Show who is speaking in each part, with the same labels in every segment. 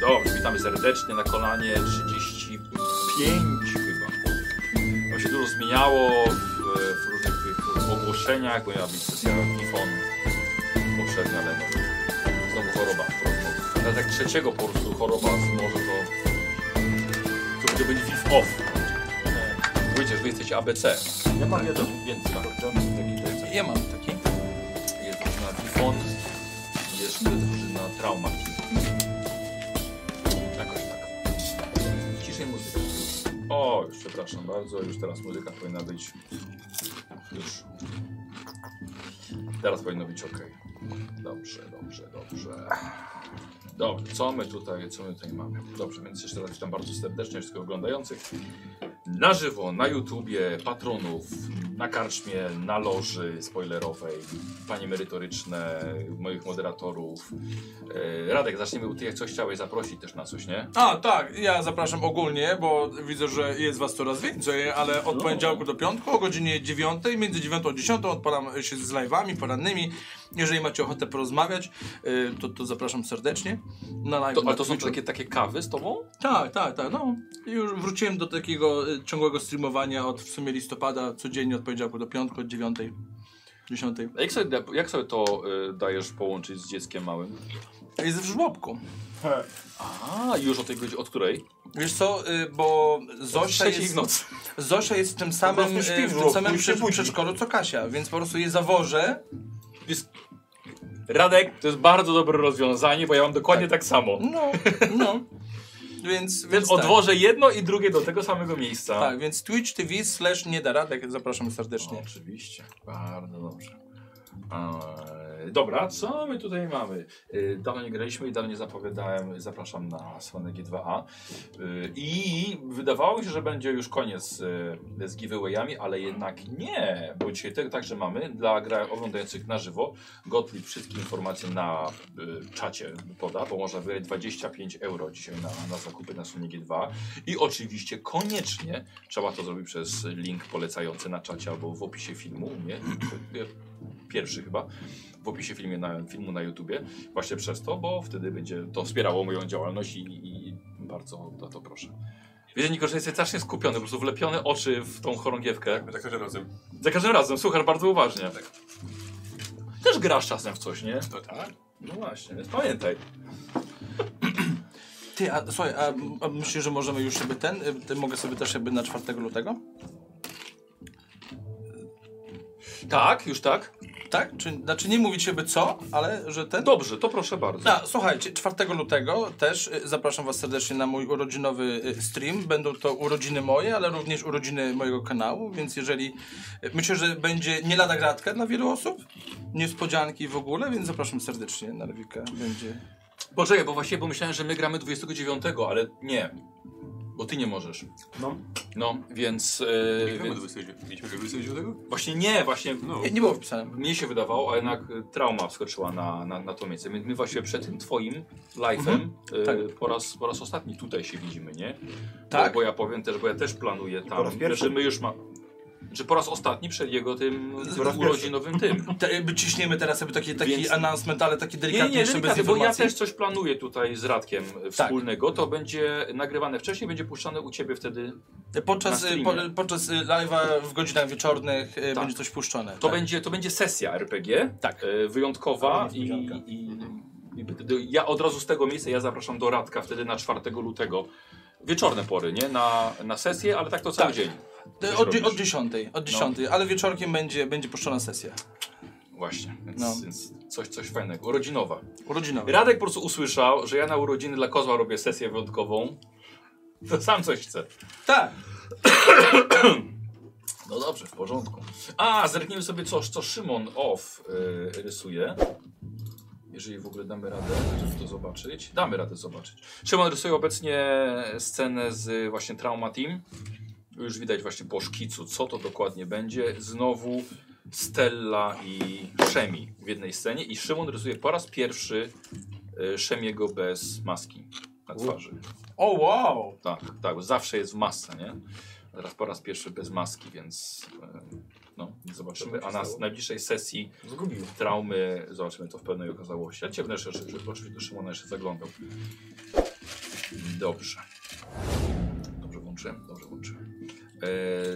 Speaker 1: Dobrze, witamy serdecznie na kolanie 35 chyba. Bo się dużo zmieniało w, w różnych tych ogłoszeniach, bo miała być sesja Tifon poprzednia, ale no, znowu choroba. Ale tak trzeciego po prostu choroba, może to, to będzie będzie fif off. Pójdziesz, wy jesteście ABC.
Speaker 2: Ja mam jeden, więc tak.
Speaker 1: Ja mam taki. Jest drużyna Tifon i jeszcze drużyna Trauma. Jakoś tak. Ciszej muzyka. O, już przepraszam bardzo, już teraz muzyka powinna być. Już. Teraz powinno być ok. Dobrze, dobrze, dobrze. Dobrze, co my tutaj, co my tutaj mamy? Dobrze, więc jeszcze raz witam bardzo serdecznie wszystkich oglądających na żywo, na YouTubie, patronów, na karczmie, na loży spoilerowej, panie merytoryczne, moich moderatorów. E, Radek, zaczniemy, u- ty jak coś chciałeś zaprosić też na coś, nie?
Speaker 3: A, tak, ja zapraszam ogólnie, bo widzę, że jest was coraz więcej, ale od
Speaker 1: No.
Speaker 3: poniedziałku do piątku o godzinie 9, między 9 a 10 odpalam się z live'ami porannymi. Jeżeli macie ochotę porozmawiać, y, to, to zapraszam serdecznie na live.
Speaker 1: To,
Speaker 3: na
Speaker 1: a to są
Speaker 3: Twitchu.
Speaker 1: takie, takie kawy z tobą?
Speaker 3: Tak, tak, tak, no. I Już wróciłem do takiego y, ciągłego streamowania od w sumie listopada, codziennie od poniedziałku do piątku, od 9, 10.
Speaker 1: A Jak sobie, jak sobie to y, dajesz połączyć z dzieckiem małym?
Speaker 3: Jest w żłobku.
Speaker 1: A, już o tej godzinie, od której?
Speaker 3: Wiesz co, y, bo Zosia
Speaker 1: trzeciej w
Speaker 3: jest,
Speaker 1: nocy.
Speaker 3: Zosia jest w tym
Speaker 2: Po
Speaker 3: samym,
Speaker 2: prostu śpi
Speaker 3: y,
Speaker 2: w
Speaker 3: w
Speaker 2: żłobku
Speaker 3: tym
Speaker 2: i
Speaker 3: samym
Speaker 2: się
Speaker 3: przed-
Speaker 2: budzi.
Speaker 3: przedszkolu co Kasia, więc po prostu je zawożę.
Speaker 1: Jest... Radek, to jest bardzo dobre rozwiązanie, bo ja mam dokładnie tak, samo.
Speaker 3: No, no. Więc,
Speaker 1: Więc
Speaker 3: więc
Speaker 1: odwożę jedno i drugie do tego samego miejsca.
Speaker 3: No, Tak, tak, więc Twitch TV slash nie da radek, zapraszam serdecznie.
Speaker 1: Oczywiście, bardzo dobrze. Eee, dobra, co my tutaj mamy? Eee, dawno nie graliśmy i dawno nie zapowiadałem. Zapraszam na stronę G2A. Eee, I wydawało się, że będzie już koniec eee, z giveawayami, ale jednak nie, bo dzisiaj te, także mamy dla gra oglądających na żywo. Gottlieb wszystkie informacje na eee, czacie poda, bo można wydać 25 euro dzisiaj na, na zakupy na stronie G2. I oczywiście koniecznie Trzeba to zrobić przez link polecający na czacie albo w opisie filmu, nie? Pierwszy chyba. W opisie filmie na, filmu na YouTubie. Właśnie przez to, bo wtedy będzie to wspierało moją działalność i, i bardzo o to proszę. Wiesz, Niko, że jesteś strasznie skupiony, po prostu wlepione oczy w tą chorągiewkę.
Speaker 4: Tak, każdym razem.
Speaker 1: Za każdym razem, słuchasz bardzo uważnie. Też grasz czasem w coś, nie?
Speaker 4: No tak.
Speaker 1: No właśnie, więc pamiętaj.
Speaker 3: Ty, a słuchaj, a, a myślisz, że możemy już jakby ten, y, ty, mogę sobie też jakby na 4 lutego?
Speaker 1: Tak, już tak?
Speaker 3: Tak? Czy, znaczy nie mówić jakby co, ale że ten...
Speaker 1: Dobrze, to proszę bardzo.
Speaker 3: A, słuchajcie, 4 lutego też y, zapraszam Was serdecznie na mój urodzinowy y, stream. Będą to urodziny moje, ale również urodziny mojego kanału, więc jeżeli... y, Myślę, że będzie nie lada gratka dla wielu osób, niespodzianki w ogóle, więc zapraszam serdecznie na Rewikę. Będzie...
Speaker 1: Poczekaj, bo właściwie pomyślałem, że my gramy 29, ale nie. Bo ty nie możesz.
Speaker 2: No.
Speaker 1: No, więc. e,
Speaker 4: Mieliśmy
Speaker 1: więc
Speaker 4: 29. Mieliśmy go 29?
Speaker 1: właśnie nie, właśnie.
Speaker 4: No.
Speaker 3: Nie było wpisane.
Speaker 1: Mnie się wydawało, a jednak e, trauma wskoczyła na, na, na to miejsce. Więc my właśnie przed tym twoim live'em
Speaker 2: Mhm.
Speaker 1: e,
Speaker 3: Tak.
Speaker 1: po, raz, po raz ostatni tutaj się widzimy, nie?
Speaker 3: Tak.
Speaker 1: Bo, bo ja powiem też, bo ja też planuję
Speaker 2: po
Speaker 1: tam.
Speaker 2: raz pierwszy.
Speaker 1: Że my już ma. Że po raz ostatni przed jego tym
Speaker 2: Po raz
Speaker 1: urodzinowym tym.
Speaker 3: Te, jakby ciśniemy teraz sobie taki, taki
Speaker 1: Więc-
Speaker 3: announcement, ale taki
Speaker 1: Nie, nie,
Speaker 3: delikatny
Speaker 1: nie,
Speaker 3: jeszcze bez
Speaker 1: delikatnie, bo ja
Speaker 3: informacji. Tak.
Speaker 1: też coś planuję tutaj z Radkiem wspólnego. To będzie nagrywane wcześniej, będzie puszczane u ciebie wtedy
Speaker 3: Podczas,
Speaker 1: na
Speaker 3: y,
Speaker 1: streamie.
Speaker 3: po, podczas y, live'a w godzinach wieczornych y, będzie coś puszczone.
Speaker 1: To,
Speaker 3: tak.
Speaker 1: będzie, to będzie sesja RPG,
Speaker 3: Tak.
Speaker 1: e, wyjątkowa
Speaker 2: Ale
Speaker 1: i,
Speaker 2: niespodzianka.
Speaker 1: i, i do- ja od razu z tego miejsca ja zapraszam do Radka wtedy na 4 lutego. Wieczorne pory, nie? Na, na sesję, ale tak to cały
Speaker 3: Tak.
Speaker 1: dzień.
Speaker 3: Y,
Speaker 1: Coś
Speaker 3: Od,
Speaker 1: robisz. No.
Speaker 3: od 10, od 10, ale wieczorkiem będzie, będzie puszczona sesja.
Speaker 1: Właśnie, więc,
Speaker 3: No.
Speaker 1: więc coś, coś fajnego. Urodzinowa.
Speaker 3: Urodzinowa.
Speaker 1: Radek po prostu usłyszał, że ja na urodziny dla Kozła robię sesję wyjątkową. To sam coś chce.
Speaker 3: Tak.
Speaker 1: No dobrze, w porządku. A, zerknijmy sobie coś, co Szymon Off y, rysuje. Jeżeli w ogóle damy radę, żeby to zobaczyć. Damy radę zobaczyć. Szymon rysuje obecnie scenę z y, właśnie Trauma Team. Już widać właśnie po szkicu, co to dokładnie będzie. Znowu Stella i Szemi w jednej scenie. I Szymon rysuje po raz pierwszy y, Szemiego bez maski na twarzy.
Speaker 3: O wow.
Speaker 1: Tak, tak, bo zawsze jest w masce, nie? Teraz po raz pierwszy bez maski, więc e, no, zobaczymy. A na s- najbliższej sesji
Speaker 2: Zgubił.
Speaker 1: traumy zobaczymy to w pełnej okazałości. Ale cię będę jeszcze, jeszcze- oczywiście do Szymona jeszcze zaglądał. Dobrze. Dobrze włączyłem, dobrze włączyłem.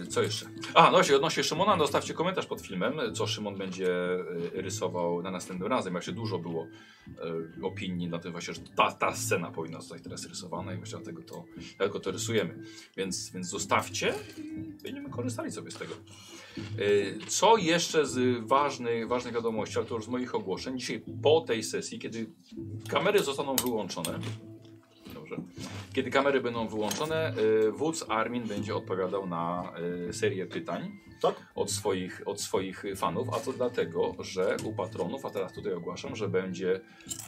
Speaker 1: E, co jeszcze? A, no jeśli odnośnie Szymona, dostawcie komentarz pod filmem, co Szymon będzie e, rysował na następnym razem. Jak się dużo było e, opinii na tym właśnie, że ta, ta scena powinna zostać teraz rysowana i właśnie dlatego to, dlatego to rysujemy. Więc, więc zostawcie i będziemy korzystali sobie z tego. E, Co jeszcze z ważnych, ważnych wiadomości, ale to już z moich ogłoszeń. Dzisiaj po tej sesji, kiedy kamery zostaną wyłączone, Dobrze. Kiedy kamery będą wyłączone, y, wódz Armin będzie odpowiadał na y, serię pytań
Speaker 2: Tak?
Speaker 1: od swoich, od swoich fanów, a to dlatego, że u patronów, a teraz tutaj ogłaszam, że będzie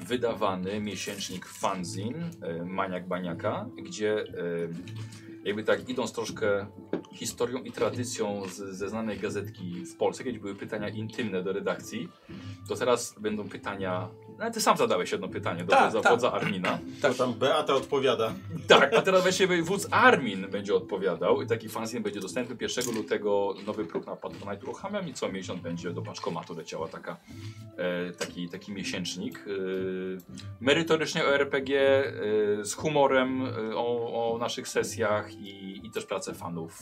Speaker 1: wydawany miesięcznik fanzin y, Maniak Baniaka, gdzie y, jakby tak idąc troszkę historią i tradycją z, ze znanej gazetki w Polsce, kiedy były pytania intymne do redakcji, to teraz będą pytania, ale ty sam zadałeś jedno pytanie do
Speaker 3: Tak,
Speaker 1: wodza,
Speaker 3: tak.
Speaker 1: wodza Armina.
Speaker 2: To tam Beata odpowiada.
Speaker 1: Tak, a teraz właśnie wódz Armin będzie odpowiadał i taki fanzin będzie dostępny 1 lutego. Nowy próg na Patronite uruchamiam i co miesiąc będzie do paczkomatu leciała taka, e, taki, taki miesięcznik. E, merytorycznie o RPG, e, z humorem e, o, o naszych sesjach i, i też prace fanów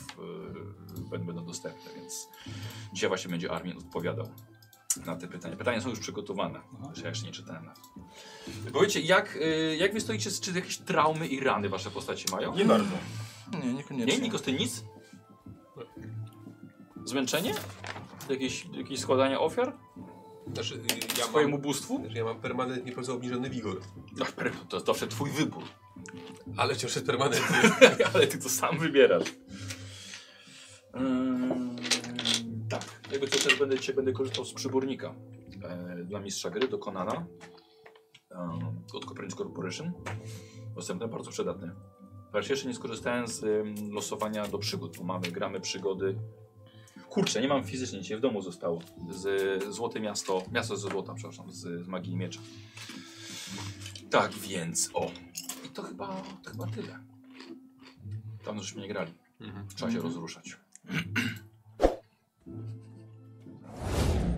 Speaker 1: e, będą- będą dostępne, więc dzisiaj właśnie będzie Armin odpowiadał na te pytania. Pytania są już przygotowane, że ja jeszcze nie czytałem. Powiedzcie, jak, y, jak wy stoicie, z- czy jakieś traumy i rany wasze postacie mają?
Speaker 2: Nie bardzo.
Speaker 3: Nie,
Speaker 1: Nie,
Speaker 3: niekoniecznie.
Speaker 1: Nikos, ty nic? Zmęczenie? Jakieś, jakieś składanie ofiar?
Speaker 4: Znaczy, ja
Speaker 1: Twojemu
Speaker 4: mam,
Speaker 1: bóstwu?
Speaker 4: znaczy, ja mam permanentnie po prostu obniżony wigor.
Speaker 1: Ach, pewno, No, to jest zawsze twój wybór.
Speaker 4: Ale wciąż jest permanentny.
Speaker 1: Ale ty to sam wybierasz. Ym, Eee, tak, jakby to też będę, cię, będę korzystał z przybornika e, dla mistrza gry do Konana um, od Copernicus Corporation. Dostępne, bardzo przydatne. Wreszcie jeszcze nie skorzystałem z ym, losowania do przygód, bo mamy, gramy przygody. Kurczę, nie mam fizycznie, dzisiaj w domu zostało. Z Złote Miasto, Miasto ze Złota, przepraszam, z, z Magii Miecza. Tak więc, o. I to chyba, to chyba tyle. Tam żeśmy nie grali. Trzeba się rozruszać.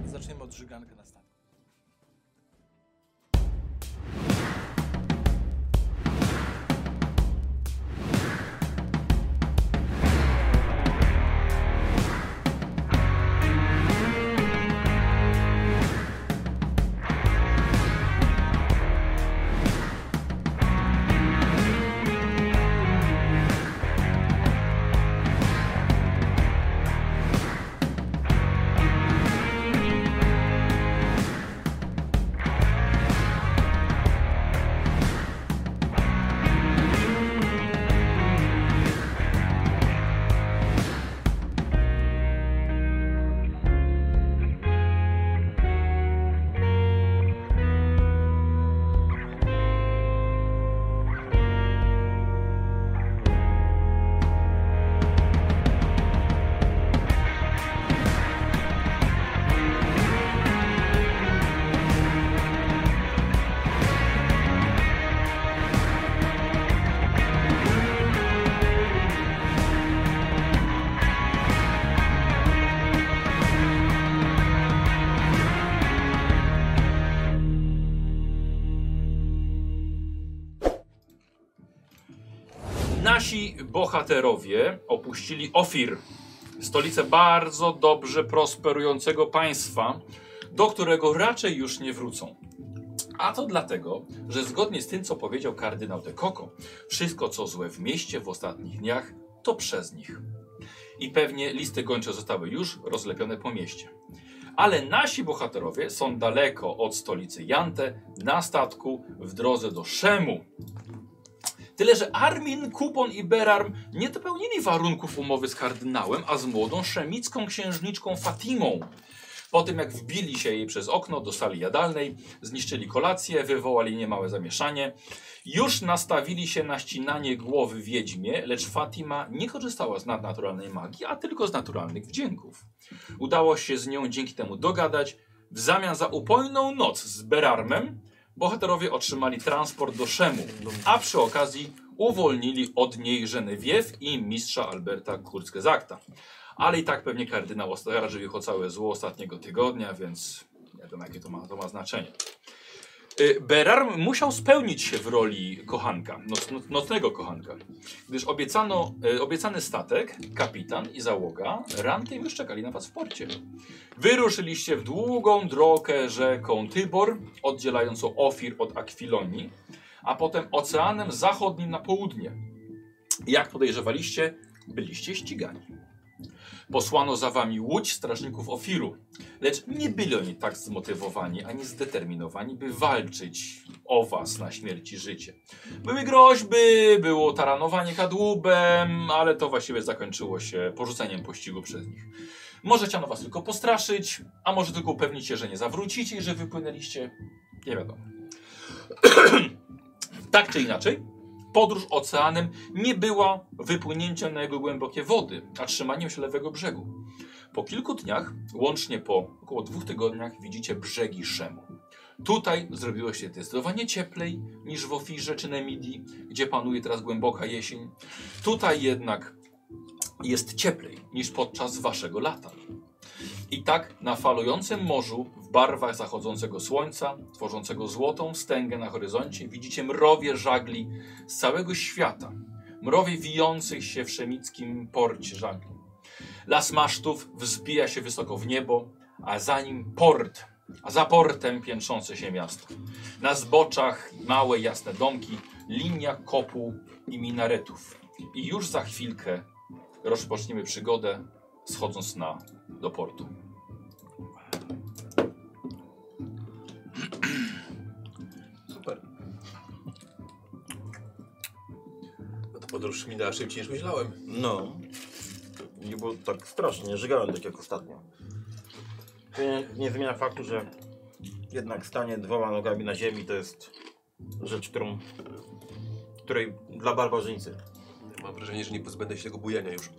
Speaker 3: Zaczniemy od żyganka na stan.
Speaker 1: Nasi bohaterowie opuścili Ofir, stolicę bardzo dobrze prosperującego państwa, do którego raczej już nie wrócą. A to dlatego, że zgodnie z tym, co powiedział kardynał de Coco, wszystko co złe w mieście w ostatnich dniach, to przez nich. I pewnie listy gończe zostały już rozlepione po mieście. Ale nasi bohaterowie są daleko od stolicy Jante, na statku, w drodze do Szemu. Tyle, że Armin, Kupon i Berarm nie dopełnili warunków umowy z kardynałem, a z młodą szemicką księżniczką Fatimą. Po tym jak wbili się jej przez okno do sali jadalnej, zniszczyli kolację, wywołali niemałe zamieszanie, już nastawili się na ścinanie głowy wiedźmie, lecz Fatima nie korzystała z nadnaturalnej magii, a tylko z naturalnych wdzięków. Udało się z nią dzięki temu dogadać. W zamian za upojną noc z Berarmem bohaterowie otrzymali transport do Szemu, a przy okazji uwolnili od niej Genewiew i mistrza Alberta Kurtzgesagta. Ale i tak pewnie kardynał oskarżył ich o całe zło ostatniego tygodnia, więc nie wiem jakie to ma, to ma znaczenie. Y, Berarm musiał spełnić się w roli kochanka, noc, noc, nocnego kochanka, gdyż obiecano, y, obiecany statek, kapitan i załoga rantem już czekali na was w porcie. Wyruszyliście w długą drogę rzeką Tybor, oddzielającą Ofir od Akwilonii, a potem oceanem zachodnim na południe. Jak podejrzewaliście, byliście ścigani. Posłano za wami łódź strażników Ofiru, lecz nie byli oni tak zmotywowani ani zdeterminowani, by walczyć o was na śmierć i życie. Były groźby, było taranowanie kadłubem, ale to właściwie zakończyło się porzuceniem pościgu przez nich. Może chciano was tylko postraszyć, a może tylko upewnić się, że nie zawrócicie i że wypłynęliście. Nie wiadomo. tak czy inaczej, podróż oceanem nie była wypłynięciem na jego głębokie wody, a trzymaniem się lewego brzegu. Po kilku dniach, łącznie po około dwóch tygodniach, widzicie brzegi Szemu. Tutaj zrobiło się zdecydowanie cieplej niż w Ofirze czy Nemidii, gdzie panuje teraz głęboka jesień. Tutaj jednak jest cieplej niż podczas waszego lata. I tak na falującym morzu, w barwach zachodzącego słońca, tworzącego złotą wstęgę na horyzoncie, widzicie mrowie żagli z całego świata. Mrowie wijących się w szemickim porcie żagli. Las masztów wzbija się wysoko w niebo, a za nim port, a za portem piętrzące się miasto. Na zboczach małe jasne domki, linia kopuł i minaretów. I już za chwilkę rozpoczniemy przygodę schodząc na do portu.
Speaker 4: Super. No to podróż minęła szybciej niż myślałem.
Speaker 2: No. Nie było tak strasznie, nie żygałem tak jak ostatnio. To nie, nie zmienia faktu, że jednak stanie dwoma nogami na ziemi to jest rzecz, którą, której dla barbarzyńcy.
Speaker 4: Mam wrażenie, że nie pozbędę się tego bujania już.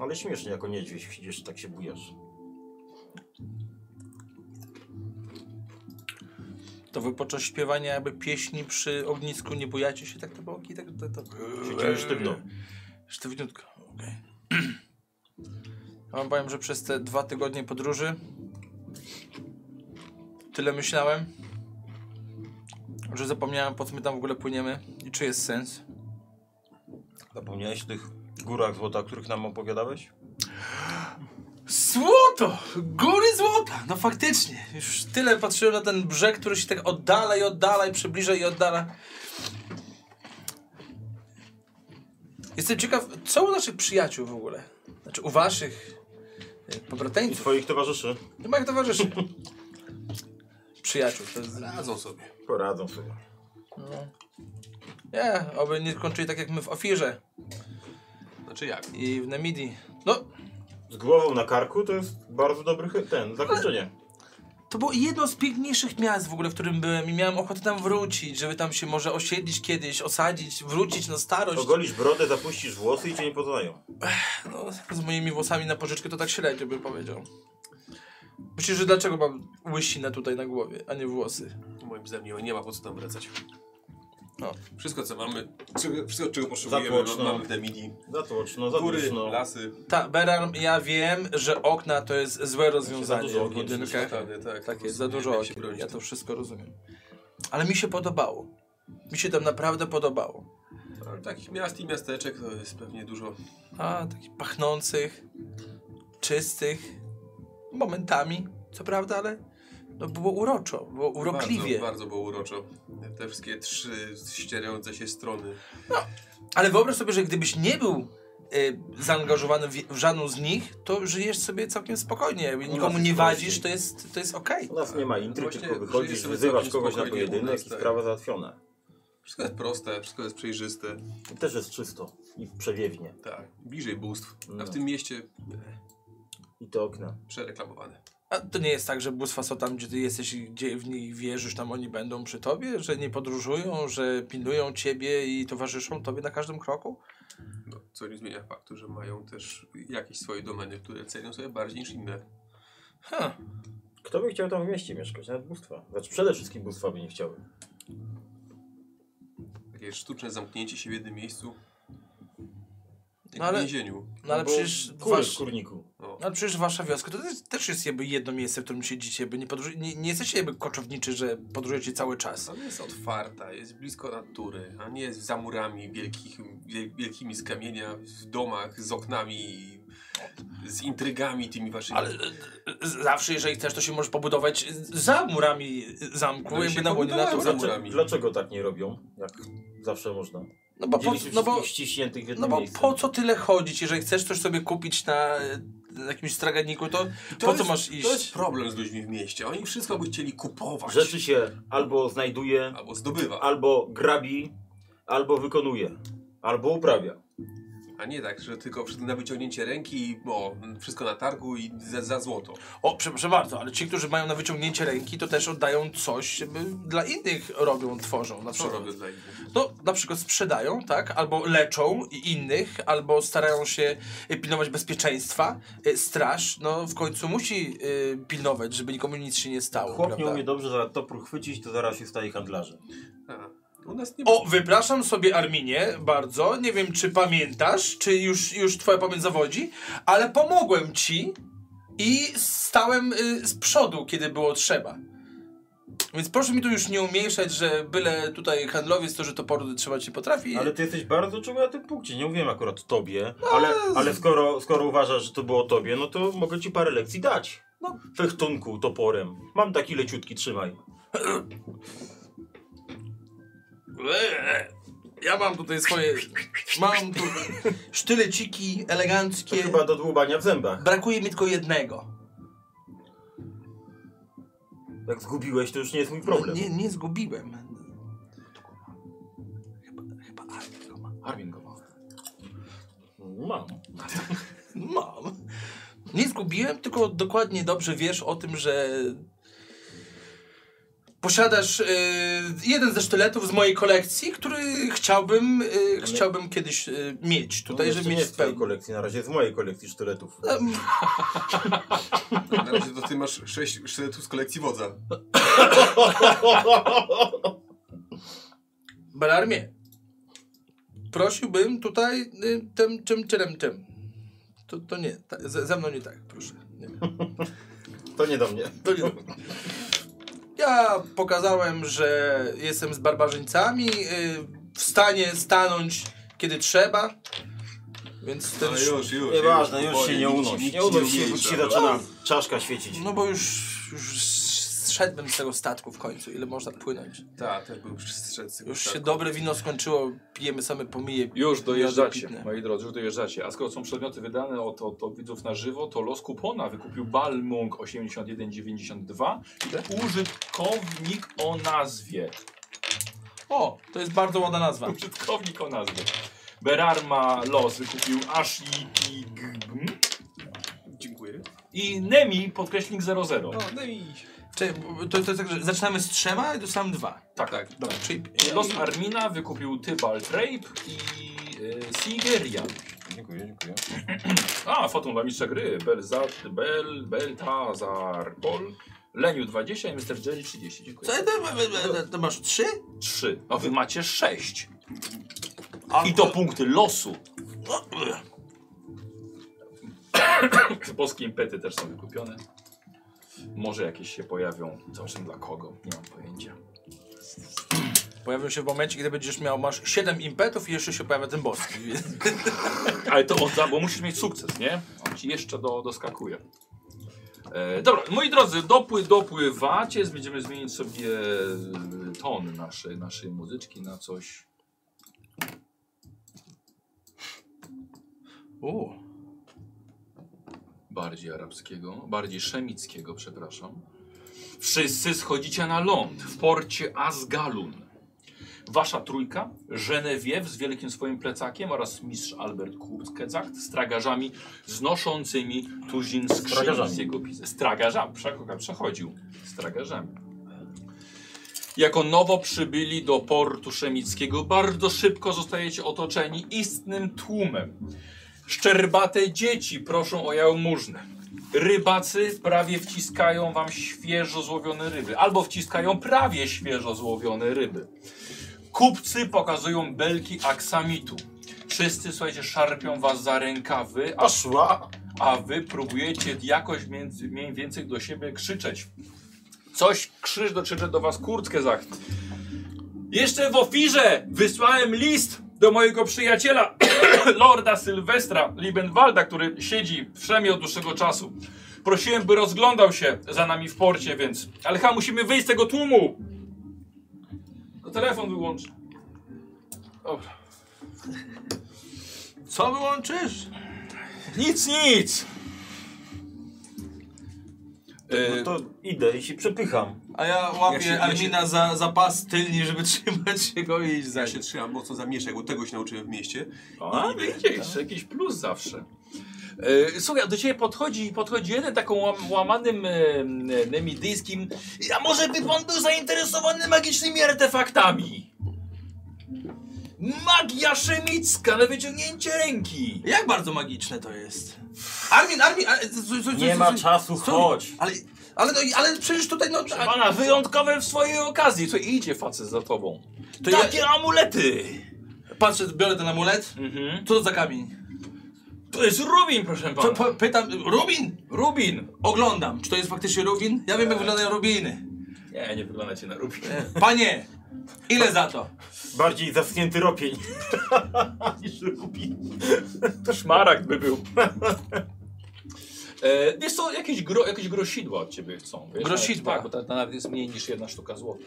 Speaker 2: Ale śmiesznie jako niedźwiedź siedzisz, tak się bujasz.
Speaker 3: To wy podczas śpiewania jakby pieśni przy ognisku nie bujacie się tak te boki, tak to... to...
Speaker 2: Siedzisz
Speaker 4: Eee.
Speaker 2: sztywno.
Speaker 3: Sztywniutko, okej. Ja wam powiem, że przez te dwa tygodnie podróży tyle myślałem, że zapomniałem po co my tam w ogóle płyniemy i czy jest sens.
Speaker 2: Zapomniałeś o tych górach złota, o których nam opowiadałeś?
Speaker 3: Złoto! Góry złota! No faktycznie. Już tyle patrzyłem na ten brzeg, który się tak oddala i oddala i przybliża i oddala. Jestem ciekaw, co u naszych przyjaciół w ogóle? Znaczy u waszych y,
Speaker 2: I
Speaker 3: pobrateńców.
Speaker 2: twoich towarzyszy.
Speaker 3: No moich towarzyszy. Przyjaciół, to jest...
Speaker 4: Radzą sobie.
Speaker 2: Poradzą sobie.
Speaker 3: Nie, oby nie skończyli tak jak my w Ofirze
Speaker 4: Znaczy jak?
Speaker 3: i w Namidii. No,
Speaker 2: Z głową na karku to jest bardzo dobry chy- ten, zakończenie.
Speaker 3: To było jedno z piękniejszych miast w ogóle, w którym byłem i miałem ochotę tam wrócić, żeby tam się może osiedlić kiedyś, osadzić, wrócić na starość.
Speaker 2: Ogolisz brodę, zapuścisz włosy i cię nie poznają.
Speaker 3: No, z moimi włosami na pożyczkę to tak średnio bym powiedział. Myślisz, że dlaczego mam łysinę tutaj na głowie, a nie włosy?
Speaker 4: Moim zdaniem nie- nie ma po co tam wracać.
Speaker 3: No.
Speaker 4: Wszystko co mamy, czego- wszystko czego potrzebujemy no,
Speaker 2: Zatłoczno.
Speaker 4: mamy w Demidi.
Speaker 2: Zatłoczno,
Speaker 4: Góry,
Speaker 3: no.
Speaker 2: zatłoczno.
Speaker 4: lasy,
Speaker 3: Ta, Beram, ja wiem, że okna to jest złe rozwiązanie
Speaker 2: dużo
Speaker 3: w
Speaker 2: okien,
Speaker 3: budynkach.
Speaker 4: szatany,
Speaker 3: Tak
Speaker 4: tak. Po
Speaker 3: jest,
Speaker 4: prostu
Speaker 3: za
Speaker 4: nie
Speaker 3: dużo
Speaker 4: wiem, jak się
Speaker 3: okien,
Speaker 4: bronić
Speaker 3: ja
Speaker 4: tym.
Speaker 3: to wszystko rozumiem. Ale mi się podobało. Mi się tam naprawdę podobało.
Speaker 4: Ale Takich miast i miasteczek to jest pewnie dużo.
Speaker 3: A, takich pachnących, czystych, momentami, co prawda, ale no było uroczo, było urokliwie.
Speaker 4: Bardzo, bardzo było uroczo. Te wszystkie trzy ścierające się strony.
Speaker 3: Ale wyobraź sobie, że gdybyś nie był y, zaangażowany w, w żadną z nich, to żyjesz sobie całkiem spokojnie. Nikomu nie wadzisz, to jest, to jest okej.
Speaker 2: U nas nie ma intryg,
Speaker 4: Właśnie
Speaker 2: tylko
Speaker 4: żyje
Speaker 2: wychodzisz,
Speaker 4: sobie
Speaker 2: wyzywasz
Speaker 4: całkiem
Speaker 2: kogoś na
Speaker 4: spokojnie u
Speaker 2: pojedynek
Speaker 4: nas,
Speaker 2: i
Speaker 4: tak.
Speaker 2: sprawa załatwiona.
Speaker 4: Wszystko jest proste, wszystko jest przejrzyste.
Speaker 2: I też jest czysto i przewiewnie.
Speaker 4: Tak. Bliżej bóstw. A
Speaker 2: No.
Speaker 4: w tym mieście e,
Speaker 2: I te okna.
Speaker 4: przereklamowane.
Speaker 3: A to nie jest tak, że bóstwa są tam, gdzie ty jesteś i gdzie w nich wierzysz, tam oni będą przy tobie, że nie podróżują, że pilnują ciebie i towarzyszą tobie na każdym kroku?
Speaker 4: No, co nie zmienia faktu, że mają też jakieś swoje domeny, które cenią sobie bardziej niż inne.
Speaker 3: Huh.
Speaker 2: Kto by chciał tam w mieście mieszkać? Nawet bóstwa. Znaczy przede wszystkim bóstwa by nie
Speaker 4: No,
Speaker 2: chciały.
Speaker 4: Takie sztuczne zamknięcie się w jednym miejscu. Jak
Speaker 3: No ale-
Speaker 4: w więzieniu.
Speaker 3: No ale
Speaker 2: Bo
Speaker 3: przecież
Speaker 2: Kury
Speaker 3: wasz...
Speaker 2: w kurniku.
Speaker 4: No.
Speaker 2: to...
Speaker 3: Ale przecież wasza wioska to też- też jest jakby jedno miejsce, w którym siedzicie, by nie, podróż... nie, nie jesteście jakby koczowniczy, że podróżujecie cały czas.
Speaker 4: Ona jest otwarta, jest blisko natury, a nie jest za murami wielkich, wie- wielkimi z kamienia, w domach, z oknami, z intrygami tymi waszymi.
Speaker 3: Ale e, e, zawsze, jeżeli chcesz, to się możesz pobudować za murami zamku,
Speaker 4: No i
Speaker 3: jakby
Speaker 4: się
Speaker 3: na łonie
Speaker 4: pobudowałem.
Speaker 3: natury.
Speaker 2: Dlaczego,
Speaker 4: Zamurami.
Speaker 2: dlaczego tak nie robią? Jak zawsze można.
Speaker 3: No bo, po,
Speaker 2: Dzieli się
Speaker 3: no bo
Speaker 2: wszystkich ściśniętych w
Speaker 3: No
Speaker 2: jednym
Speaker 3: bo
Speaker 2: miejscu.
Speaker 3: po co tyle chodzić? Jeżeli chcesz coś sobie kupić na e, na jakimś straganiku, to, po co
Speaker 4: jest-
Speaker 3: masz iść?
Speaker 4: To jest problem z ludźmi w mieście. Oni wszystko by chcieli kupować
Speaker 2: Rzeczy się albo znajduje,
Speaker 4: albo zdobywa.
Speaker 2: albo grabi, albo wykonuje, albo uprawia.
Speaker 4: A nie tak, że tylko przy- na wyciągnięcie ręki i o, wszystko na targu i za, za złoto.
Speaker 3: O, przepraszam bardzo, ale ci, którzy mają na wyciągnięcie ręki, to też oddają coś, by dla innych robią, tworzą. Znaczy, Na
Speaker 4: Co
Speaker 3: przykład.
Speaker 4: robią dla innych?
Speaker 3: No, na przykład sprzedają, tak? Albo leczą i innych, albo starają się e, pilnować bezpieczeństwa. E, Straż, no w końcu musi e, pilnować, żeby nikomu nic się nie stało.
Speaker 2: Chłop nie
Speaker 3: prawda?
Speaker 2: umie dobrze za topór chwycić, to zaraz się staje handlarzem.
Speaker 4: A, u nas nie ma.
Speaker 3: O, wypraszam sobie Arminie bardzo. Nie wiem, czy pamiętasz, czy już, już twoja pamięć zawodzi, ale pomogłem ci i stałem y, z przodu, kiedy było trzeba. Więc proszę mi tu już nie umniejszać, że byle tutaj handlowiec to, że toporu trzeba ci potrafi.
Speaker 2: Ale ty jesteś bardzo czuły na tym punkcie, nie mówiłem akurat tobie,
Speaker 3: No,
Speaker 2: ale, ale skoro, skoro uważasz, że to było tobie, no to mogę ci parę lekcji dać. No. Fechtunku, toporem. Mam taki leciutki, trzymaj.
Speaker 3: Eee, Ja mam tutaj swoje... Mam tu sztyleciki
Speaker 2: To
Speaker 3: eleganckie.
Speaker 2: chyba do dłubania w zębach.
Speaker 3: Brakuje mi tylko jednego.
Speaker 2: Jak zgubiłeś, to już nie jest mój problem.
Speaker 3: Nie, nie zgubiłem. Chyba, chyba Armin go ma.
Speaker 1: Armin go ma.
Speaker 2: Mam.
Speaker 3: Mam. Nie zgubiłem, tylko dokładnie dobrze wiesz o tym, że posiadasz y, jeden ze sztyletów z mojej kolekcji, który chciałbym, y, chciałbym kiedyś y, mieć tutaj,
Speaker 2: No, jeszcze
Speaker 3: żeby
Speaker 2: nie
Speaker 3: mieć
Speaker 2: z twojej
Speaker 3: spełnić.
Speaker 2: kolekcji, na razie z mojej kolekcji sztyletów.
Speaker 4: Na razie to ty masz sześć sztyletów z kolekcji wodza.
Speaker 3: Belarmie, prosiłbym tutaj y, tym, czym, czym, czym. To, to nie, ta, ze, ze mną nie tak, proszę. Nie.
Speaker 2: To nie do mnie.
Speaker 3: To nie dobre. Ja pokazałem, że jestem z barbarzyńcami, yy, w stanie stanąć kiedy trzeba, więc ten
Speaker 4: No
Speaker 3: sz-
Speaker 4: już, już.
Speaker 2: Nieważne, już
Speaker 4: powoli,
Speaker 2: się nie
Speaker 4: nikt ci-
Speaker 2: unoś.
Speaker 4: nikt
Speaker 2: Nie
Speaker 4: ci
Speaker 2: unoś się, bo
Speaker 4: umniejsza.
Speaker 2: ci zaczyna czaszka świecić.
Speaker 3: No bo już, już zszedłem z tego statku w końcu, ile można płynąć.
Speaker 4: Tak, też byłem strzec.
Speaker 3: Już się dobre wino skończyło, pijemy same pomije.
Speaker 1: Już dojeżdżacie,
Speaker 3: pitne.
Speaker 1: moi drodzy, już dojeżdżacie. A skoro są przedmioty wydane od, od, od widzów na żywo, to los kupona wykupił Balmung 8192 i użytkownik o nazwie.
Speaker 3: O, to jest bardzo ładna nazwa.
Speaker 1: Użytkownik o nazwie. Berarma los wykupił Ashley i Gm
Speaker 4: Dziękuję.
Speaker 1: i Nemi podkreślnik 00.
Speaker 4: No, no i...
Speaker 3: Czekaj, bo- to, to jest tak, że zaczynamy z trzema i dostałem dwa.
Speaker 1: Tak,
Speaker 4: tak.
Speaker 3: Dobra, czyli...
Speaker 1: Los Armina wykupił Tybal Trape i e, Sigerian.
Speaker 2: Dziękuję, dziękuję.
Speaker 1: A, foton dla mistrza gry. Belzat, Bel, Beltazar, Pol. Leniu 20 i Mr. Jerry 30. Dziękuję.
Speaker 3: Co, to, to, to masz trzy?
Speaker 1: 3. A wy macie 6.
Speaker 3: A-
Speaker 1: I to punkty losu. Polskie impety też są wykupione. Może jakieś się pojawią. Zobaczmy dla kogo. Nie mam pojęcia.
Speaker 3: Pojawią się w momencie, kiedy będziesz miał, masz 7 impetów i jeszcze się pojawia ten boss. Więc-
Speaker 1: Ale to odda, bo musisz mieć sukces, nie? On ci jeszcze do, doskakuje. E, dobra, moi drodzy, dopły, dopływacie. Będziemy zmienić sobie e, ton naszej, naszej muzyczki na coś.
Speaker 3: U,
Speaker 1: bardziej arabskiego, bardziej szemickiego, przepraszam. Wszyscy schodzicie na ląd w porcie Asgalun. Wasza trójka, Genevieve z wielkim swoim plecakiem oraz mistrz Albert Kurtkecakt z tragarzami znoszącymi tuzin skrzyni
Speaker 2: tragarzami.
Speaker 1: z jego pizy. Z tragarzami, przecho- przechodził z tragarzami. Jako nowo przybyli do portu szemickiego, bardzo szybko zostajecie otoczeni istnym tłumem. Szczerbate dzieci proszą o jałmużnę. Rybacy prawie wciskają wam świeżo złowione ryby, albo wciskają prawie świeżo złowione ryby. Kupcy pokazują belki aksamitu. Wszyscy, słuchajcie, szarpią was za rękawy, a,
Speaker 2: Poszła!
Speaker 1: a wy próbujecie jakoś między, mniej więcej do siebie krzyczeć. Coś krzyż dokrzycze do was kurtkę zach. Jeszcze w ofirze wysłałem list do mojego przyjaciela, lorda Sylwestra Liebenwalda, który siedzi w szemie od dłuższego czasu. Prosiłem, by rozglądał się za nami w porcie, więc... Ale chyba musimy wyjść z tego tłumu! To telefon wyłącz. Dobra.
Speaker 3: Co wyłączysz?
Speaker 1: Nic, nic!
Speaker 4: e,
Speaker 2: No to idę i się przepycham.
Speaker 3: A ja
Speaker 4: Ja
Speaker 3: łapię
Speaker 4: się- ja
Speaker 3: Armina Za, za pas tylni, żeby trzymać się go i iść za
Speaker 4: Ja
Speaker 3: nim.
Speaker 4: się trzymam mocno za mieszek, bo tego się nauczyłem w mieście.
Speaker 1: A, No, widzisz, jakiś plus zawsze. E, Słuchaj, do ciebie podchodzi, podchodzi jeden taką łam, łamanym e, m, e, nemidyjskim. A może by pan był zainteresowany magicznymi artefaktami? Magia szemicka na wyciągnięcie ręki.
Speaker 3: Jak bardzo magiczne to jest. Armin, Armin, ale, co, co, co,
Speaker 2: Nie
Speaker 3: co,
Speaker 2: ma
Speaker 3: co-
Speaker 2: czasu,
Speaker 3: co-
Speaker 2: chodź.
Speaker 3: Ale, ale, no i- ale przecież tutaj no... a-
Speaker 1: Pana wyjątkowe w swojej okazji. To idzie facet za tobą.
Speaker 3: To ja-
Speaker 1: Takie amulety.
Speaker 3: Patrzę, biorę ten amulet.
Speaker 1: Mhm.
Speaker 3: Co to za kamień?
Speaker 1: To jest rubin, proszę
Speaker 3: To,
Speaker 1: pana.
Speaker 3: po, pytam, Rubin!
Speaker 1: Rubin.
Speaker 3: Oglądam, czy to jest faktycznie Rubin? Ja wiem jak wyglądają Rubiny.
Speaker 1: Nie, nie wyglądacie na rubin.
Speaker 3: Panie, ile za to?
Speaker 2: Bardziej zaschnięty ropień. Niż lubi.
Speaker 1: Szmaragd by był. E, wiesz co, jakieś, gro, jakieś grosidła od ciebie chcą. Wiesz?
Speaker 3: Grosidła.
Speaker 1: Tak, bo ta, ta nawet jest mniej niż jedna sztuka złota.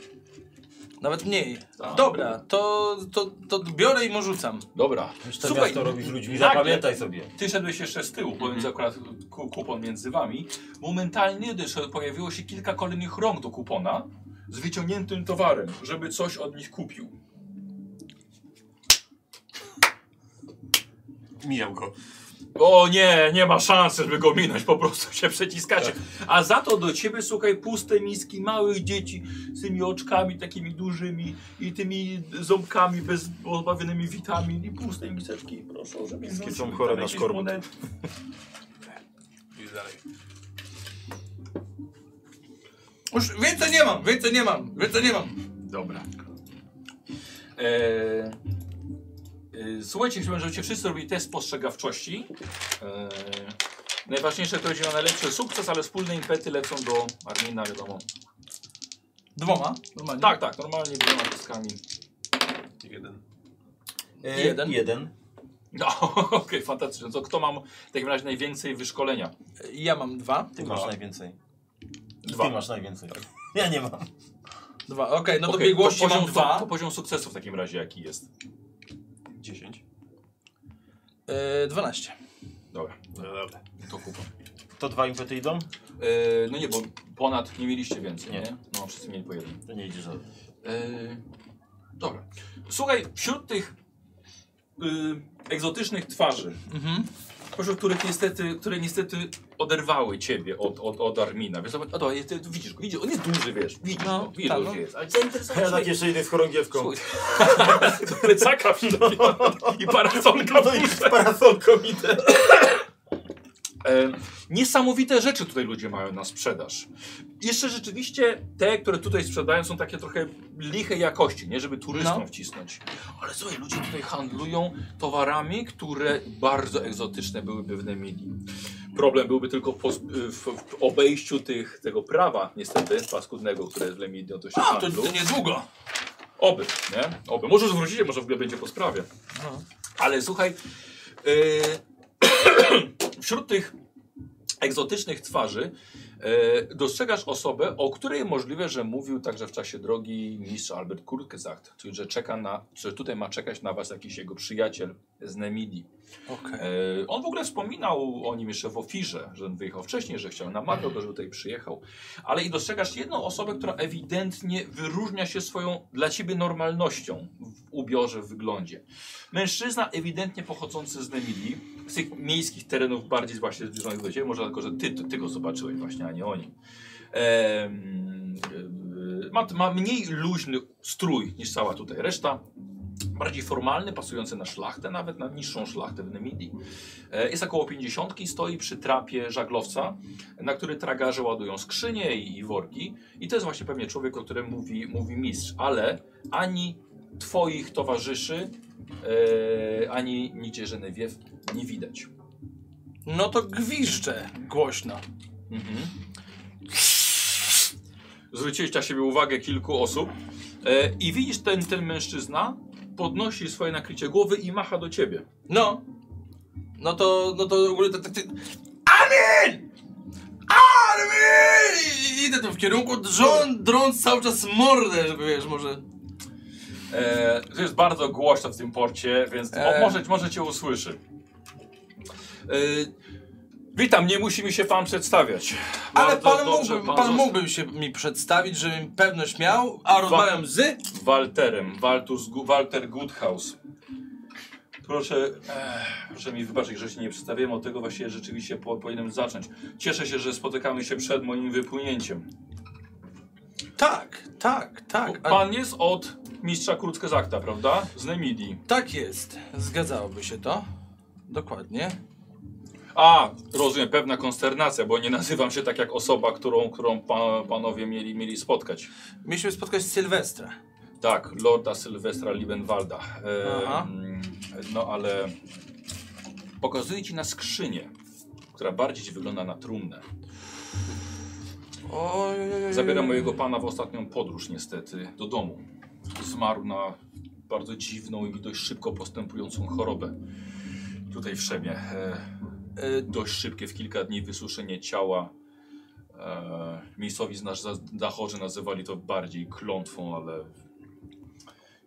Speaker 3: Nawet mniej.
Speaker 1: Tak.
Speaker 3: Dobra, to, to, to biorę i mu rzucam.
Speaker 1: Dobra.
Speaker 2: To
Speaker 1: Słuchaj,
Speaker 2: miasto robi z ludźmi,
Speaker 1: nagle-
Speaker 2: zapamiętaj sobie.
Speaker 1: Ty szedłeś jeszcze z tyłu, pomiędzy akurat ku, kupon między wami. Momentalnie też pojawiło się kilka kolejnych rąk do kupona z wyciągniętym towarem, żeby coś od nich kupił.
Speaker 4: Mijam go.
Speaker 1: O nie, nie ma szansy, żeby go minąć, po prostu się przeciskacie. A za to do ciebie, słuchaj, puste miski małych dzieci z tymi oczkami takimi dużymi i tymi ząbkami bez pozbawionymi witamin i puste miseczki. Proszę, żeby
Speaker 2: Wszystkie są chore na skorbut.
Speaker 4: Idź dalej.
Speaker 3: Już więcej nie mam, więcej nie mam, więcej nie mam.
Speaker 1: Dobra. Eee, e, słuchajcie, chciałbym, żebyście wszyscy robili test spostrzegawczości. Eee, najważniejsze to chodzi o najlepszy sukces, ale wspólne impety lecą do Armina, wiadomo.
Speaker 3: Dwoma? Normalnie.
Speaker 1: Tak, tak, normalnie dwiema kostkami.
Speaker 4: Jeden.
Speaker 2: E,
Speaker 3: Jeden.
Speaker 2: Jeden.
Speaker 1: No, okej, fantastycznie. No To kto mam w takim razie najwięcej wyszkolenia?
Speaker 3: Ja mam dwa.
Speaker 2: Ty
Speaker 1: Dwa.
Speaker 2: masz najwięcej. Ty
Speaker 1: Dwa.
Speaker 2: masz najwięcej. Ja nie mam.
Speaker 3: Dwa, okej, no to
Speaker 1: Okej,
Speaker 3: biegłości
Speaker 1: poziom
Speaker 3: mam
Speaker 1: su-
Speaker 3: dwa.
Speaker 1: To poziom sukcesu w takim razie jaki jest?
Speaker 4: Dziesięć.
Speaker 3: E, 12.
Speaker 1: Dobra,
Speaker 4: No dobra.
Speaker 1: to kupa.
Speaker 2: To dwa impety idą?
Speaker 1: Eee, no nie, bo ponad nie mieliście więcej, nie?
Speaker 2: Nie.
Speaker 1: No, wszyscy mieli po jednym.
Speaker 2: To nie idzie żaden.
Speaker 1: Yy, dobra. Słuchaj, wśród tych yy, egzotycznych twarzy,
Speaker 3: Mhm.
Speaker 1: spośród których niestety, które niestety oderwały ciebie od, od, od Armina. Wiesz, zobacz, a to, ty, ty widzisz go, widzisz, on jest duży, wiesz, widzisz,
Speaker 3: No,
Speaker 1: no, widzisz,
Speaker 3: tak,
Speaker 1: tak,
Speaker 3: no.
Speaker 1: jest. Ale
Speaker 2: Ja tak
Speaker 1: zainteresowałeś
Speaker 2: jeszcze idę z chorągiewką.
Speaker 1: Słuchaj. to plecaka w i parasolka w
Speaker 2: No i z
Speaker 1: górze.
Speaker 2: parasolką idę.
Speaker 1: E, niesamowite rzeczy tutaj ludzie mają na sprzedaż. Jeszcze rzeczywiście te, które tutaj sprzedają, są takie trochę liche jakości, nie żeby turystom
Speaker 3: No.
Speaker 1: wcisnąć. Ale słuchaj, ludzie tutaj handlują towarami, które bardzo egzotyczne byłyby w Nemili. Problem byłby tylko po, w, w obejściu tych, tego prawa, niestety, paskudnego, które jest w Lemidii odnośnie
Speaker 3: A, to,
Speaker 1: handlu.
Speaker 3: to niedługo.
Speaker 1: Oby, nie? Oby. Może zwrócicie, może w ogóle będzie po sprawie.
Speaker 3: No.
Speaker 1: Ale słuchaj, e, wśród tych egzotycznych twarzy e, dostrzegasz osobę, o której możliwe, że mówił także w czasie drogi mistrz Albert Kurkesacht, czyli że czeka na, że tutaj ma czekać na was jakiś jego przyjaciel z Nemidii.
Speaker 3: Okej.
Speaker 1: E, On w ogóle wspominał o nim jeszcze w ofirze, że on wyjechał wcześniej, że chciał namawiał go, żeby tutaj przyjechał. Ale i dostrzegasz jedną osobę, która ewidentnie wyróżnia się swoją dla ciebie normalnością w ubiorze, w wyglądzie. Mężczyzna ewidentnie pochodzący z Nemili, z tych miejskich terenów bardziej właśnie zbliżonych do ciebie, może tylko, że ty, ty go zobaczyłeś właśnie, a nie oni. Em, e, ma, ma mniej luźny strój niż cała tutaj reszta. Bardziej formalny, pasujący na szlachtę, nawet na niższą szlachtę w Nemidii. E, Jest około 50 i stoi przy trapie żaglowca, na który tragarze ładują skrzynie i, i worki. I to jest właśnie pewnie człowiek, o którym mówi, mówi mistrz, ale ani twoich towarzyszy, e, ani nigdzie Genevieve nie widać.
Speaker 3: No to gwiżdżę głośno.
Speaker 1: Mhm. Zwróciłeś na siebie uwagę kilku osób e, i widzisz, ten, ten mężczyzna podnosi swoje nakrycie głowy i macha do ciebie.
Speaker 3: No. No to, no to w ogóle tak, tak, tak. Armin! Armin! I idę tam w kierunku, drżą, drąc cały czas mordę, żeby wiesz, może...
Speaker 1: E, to jest bardzo głośno w tym porcie, więc o,
Speaker 3: E.
Speaker 1: może, może cię usłyszy. E, witam, nie musi mi się pan przedstawiać.
Speaker 3: Ale
Speaker 1: Bardzo
Speaker 3: pan,
Speaker 1: dobrze
Speaker 3: mógłby, pan,
Speaker 1: zosta-
Speaker 3: mógłby się mi przedstawić, żebym pewność miał, a rozmawiam z...
Speaker 1: Walterem, Waltus, Gu- Walter Goodhouse. Proszę, eh, proszę mi wybaczyć, że się nie przedstawiłem, od tego właśnie rzeczywiście po, powinienem zacząć. Cieszę się, że spotykamy się przed moim wypłynięciem.
Speaker 3: Tak, tak, tak. A,
Speaker 1: Pan jest od mistrza Kruckezakta, prawda? Z Nemidii.
Speaker 3: tak jest. Zgadzałoby się to. Dokładnie.
Speaker 1: A, rozumiem, pewna konsternacja, bo nie nazywam się tak jak osoba, którą, którą pa, panowie mieli, mieli spotkać.
Speaker 3: Mieliśmy spotkać Sylwestra.
Speaker 1: Tak, Lorda Sylwestra Liebenwalda. E,
Speaker 3: Aha.
Speaker 1: mm, no ale pokazuję ci na skrzynię, która bardziej ci wygląda na trumnę.
Speaker 3: Oj, oj, oj, oj.
Speaker 1: Zabieram mojego pana w ostatnią podróż niestety do domu. Zmarł na bardzo dziwną i dość szybko postępującą chorobę. Tutaj w Szemie. E,
Speaker 3: E,
Speaker 1: dość szybkie w kilka dni wysuszenie ciała. E, miejscowi z nas zachorzy nazywali to bardziej klątwą, ale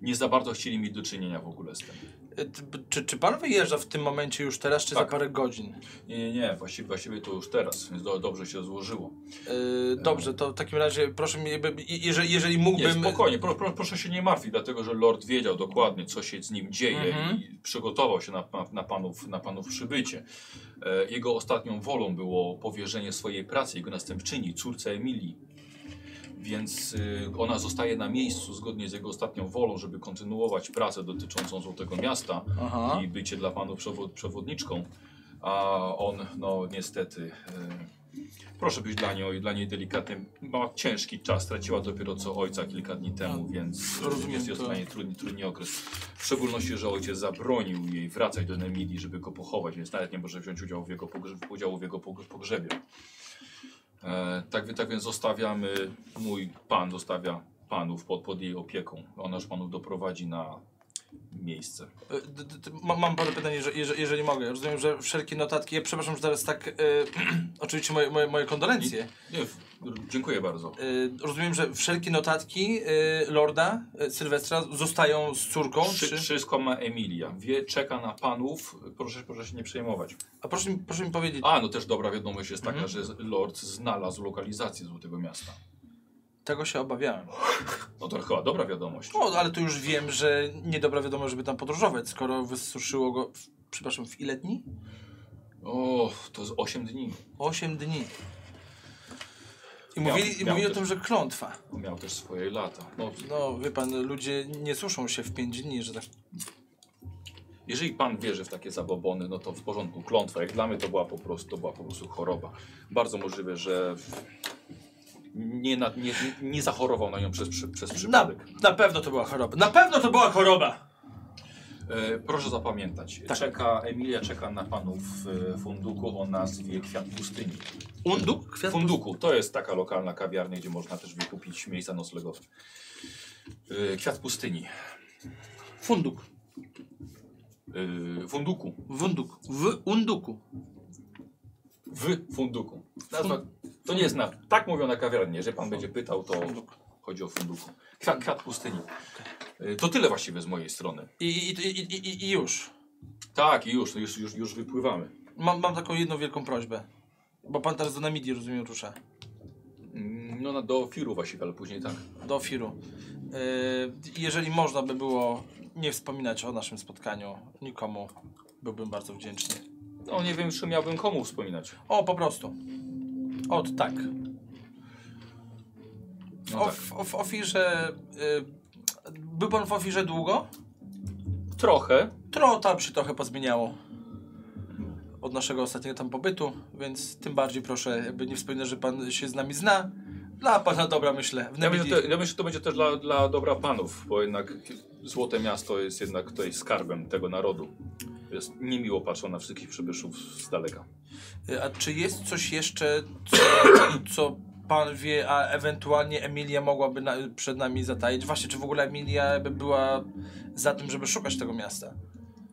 Speaker 1: nie za bardzo chcieli mieć do czynienia w ogóle z tym.
Speaker 3: e, t- Czy, czy pan wyjeżdża w tym momencie już teraz, czy za
Speaker 1: Tak.
Speaker 3: parę godzin?
Speaker 1: Nie, nie, nie, właściwie, właściwie to już teraz, więc do, dobrze się złożyło.
Speaker 3: E, dobrze, to w takim razie proszę mi, by- i- jeżeli, jeżeli
Speaker 1: Nie,
Speaker 3: mógłbym...
Speaker 1: spokojnie, pro, pro, proszę się nie martwić, dlatego że Lord wiedział dokładnie, co się z nim dzieje
Speaker 3: Mhm.
Speaker 1: i przygotował się na, na, na, panów, na panów przybycie. E, jego ostatnią wolą było powierzenie swojej pracy jego następczyni, córce Emilii. Więc y, ona zostaje na miejscu zgodnie z jego ostatnią wolą, żeby kontynuować pracę dotyczącą Złotego Miasta
Speaker 3: Aha.
Speaker 1: i bycie dla panów przewo- przewodniczką. A on, no niestety, e, proszę być dla niej, dla niej delikatnym. Ma ciężki czas, straciła dopiero co ojca kilka dni temu, więc e,
Speaker 3: Tak, rozumiem
Speaker 1: jest, jest
Speaker 3: to.
Speaker 1: dla niej trudny, trudny okres. W szczególności, że ojciec zabronił jej wracać do Nemidii, żeby go pochować, więc nawet nie może wziąć udziału w jego, pogrze- udziału w jego pogrze- pogrzebie. E, tak, wi- tak więc zostawiamy, mój pan zostawia panów pod, pod jej opieką. Ona już panów doprowadzi na miejsce.
Speaker 3: E, d- d- d- ma- Mam parę pytań, jeżeli, jeżeli, jeżeli mogę. Rozumiem, że wszelkie notatki... Ja przepraszam, że teraz tak... e, oczywiście moje, moje, moje kondolencje.
Speaker 1: Nie, w- dziękuję bardzo.
Speaker 3: Y, rozumiem, że wszelkie notatki y, Lorda y, Sylwestra zostają z córką.
Speaker 1: Wszy,
Speaker 3: Czy...
Speaker 1: wszystko ma Emilia. Wie, czeka na panów. Proszę, proszę się nie przejmować.
Speaker 3: A proszę, mi- proszę mi powiedzieć,
Speaker 1: A, no też dobra wiadomość jest taka,
Speaker 3: Mhm.
Speaker 1: że Lord znalazł lokalizację Złotego Miasta.
Speaker 3: tego się obawiałem.
Speaker 1: No to chyba dobra wiadomość.
Speaker 3: No, ale to już wiem, że niedobra wiadomość, żeby tam podróżować, skoro wysuszyło go, w, przepraszam, w ile dni?
Speaker 1: O, to z 8 dni.
Speaker 3: 8 dni. I
Speaker 1: Miał-
Speaker 3: mówili, i
Speaker 1: miał
Speaker 3: mówili o
Speaker 1: też.
Speaker 3: tym, że klątwa.
Speaker 1: On Miał też swoje lata. No,
Speaker 3: No, wie pan, ludzie nie suszą się w 5 dni, że tak.
Speaker 1: jeżeli pan wierzy w takie zabobony, no to w porządku. Klątwa, jak dla mnie to była po prostu, to była po prostu choroba. Bardzo możliwe, że nie, na, nie, nie zachorował na nią przez, przy- przez
Speaker 3: Na,
Speaker 1: przypadek.
Speaker 3: na pewno to była choroba. Na pewno to była choroba!
Speaker 1: E, Proszę zapamiętać,
Speaker 3: Tak.
Speaker 1: czeka, Emilia czeka na panów e, funduku o nazwie Kwiat Pustyni.
Speaker 3: Unduk? Kwiat
Speaker 1: Funduku to jest taka lokalna kawiarnia, gdzie można też wykupić miejsca noclegowe. E, Kwiat Pustyni.
Speaker 3: Funduk.
Speaker 1: E, Funduku.
Speaker 3: Wunduk. W unduku.
Speaker 1: W funduku. Nazwa, to nie jest na. Tak mówią na kawiarni. Że pan będzie pytał, to chodzi o funduku. Kwiat, kwiat pustyni. E, To tyle właściwie z mojej strony.
Speaker 3: I, i, i, i, i, i już.
Speaker 1: Tak, i już, już, już, już wypływamy.
Speaker 3: Mam, mam taką jedną wielką prośbę. Bo pan teraz do Namidii, rozumiem, rusza.
Speaker 1: Mm, No na, do firu właściwie, ale później tak.
Speaker 3: Do Firu. Yy, jeżeli można by było nie wspominać o naszym spotkaniu nikomu, byłbym bardzo wdzięczny.
Speaker 1: No nie wiem, czy miałbym komu wspominać.
Speaker 3: O, po prostu. Ot, tak.
Speaker 1: No
Speaker 3: o,
Speaker 1: tak.
Speaker 3: w- o, w ofirze... Yy, był pan w ofirze długo?
Speaker 1: Trochę.
Speaker 3: Tro tam się trochę pozmieniało. Od naszego ostatniego tam pobytu, więc tym bardziej proszę, jakby nie wspominać, że pan się z nami zna. Dla pana dobra, myślę. W
Speaker 1: Ja myślę,
Speaker 3: Namidii.
Speaker 1: że to, ja myślę, że to będzie też dla, dla dobra panów, bo jednak Złote Miasto jest jednak tutaj skarbem tego narodu. Jest niemiło patrzą na wszystkich przybyszów z daleka.
Speaker 3: E, A czy jest coś jeszcze, co, co pan wie, a ewentualnie Emilia mogłaby na, przed nami zataić? Właśnie, czy w ogóle Emilia by była za tym, żeby szukać tego miasta?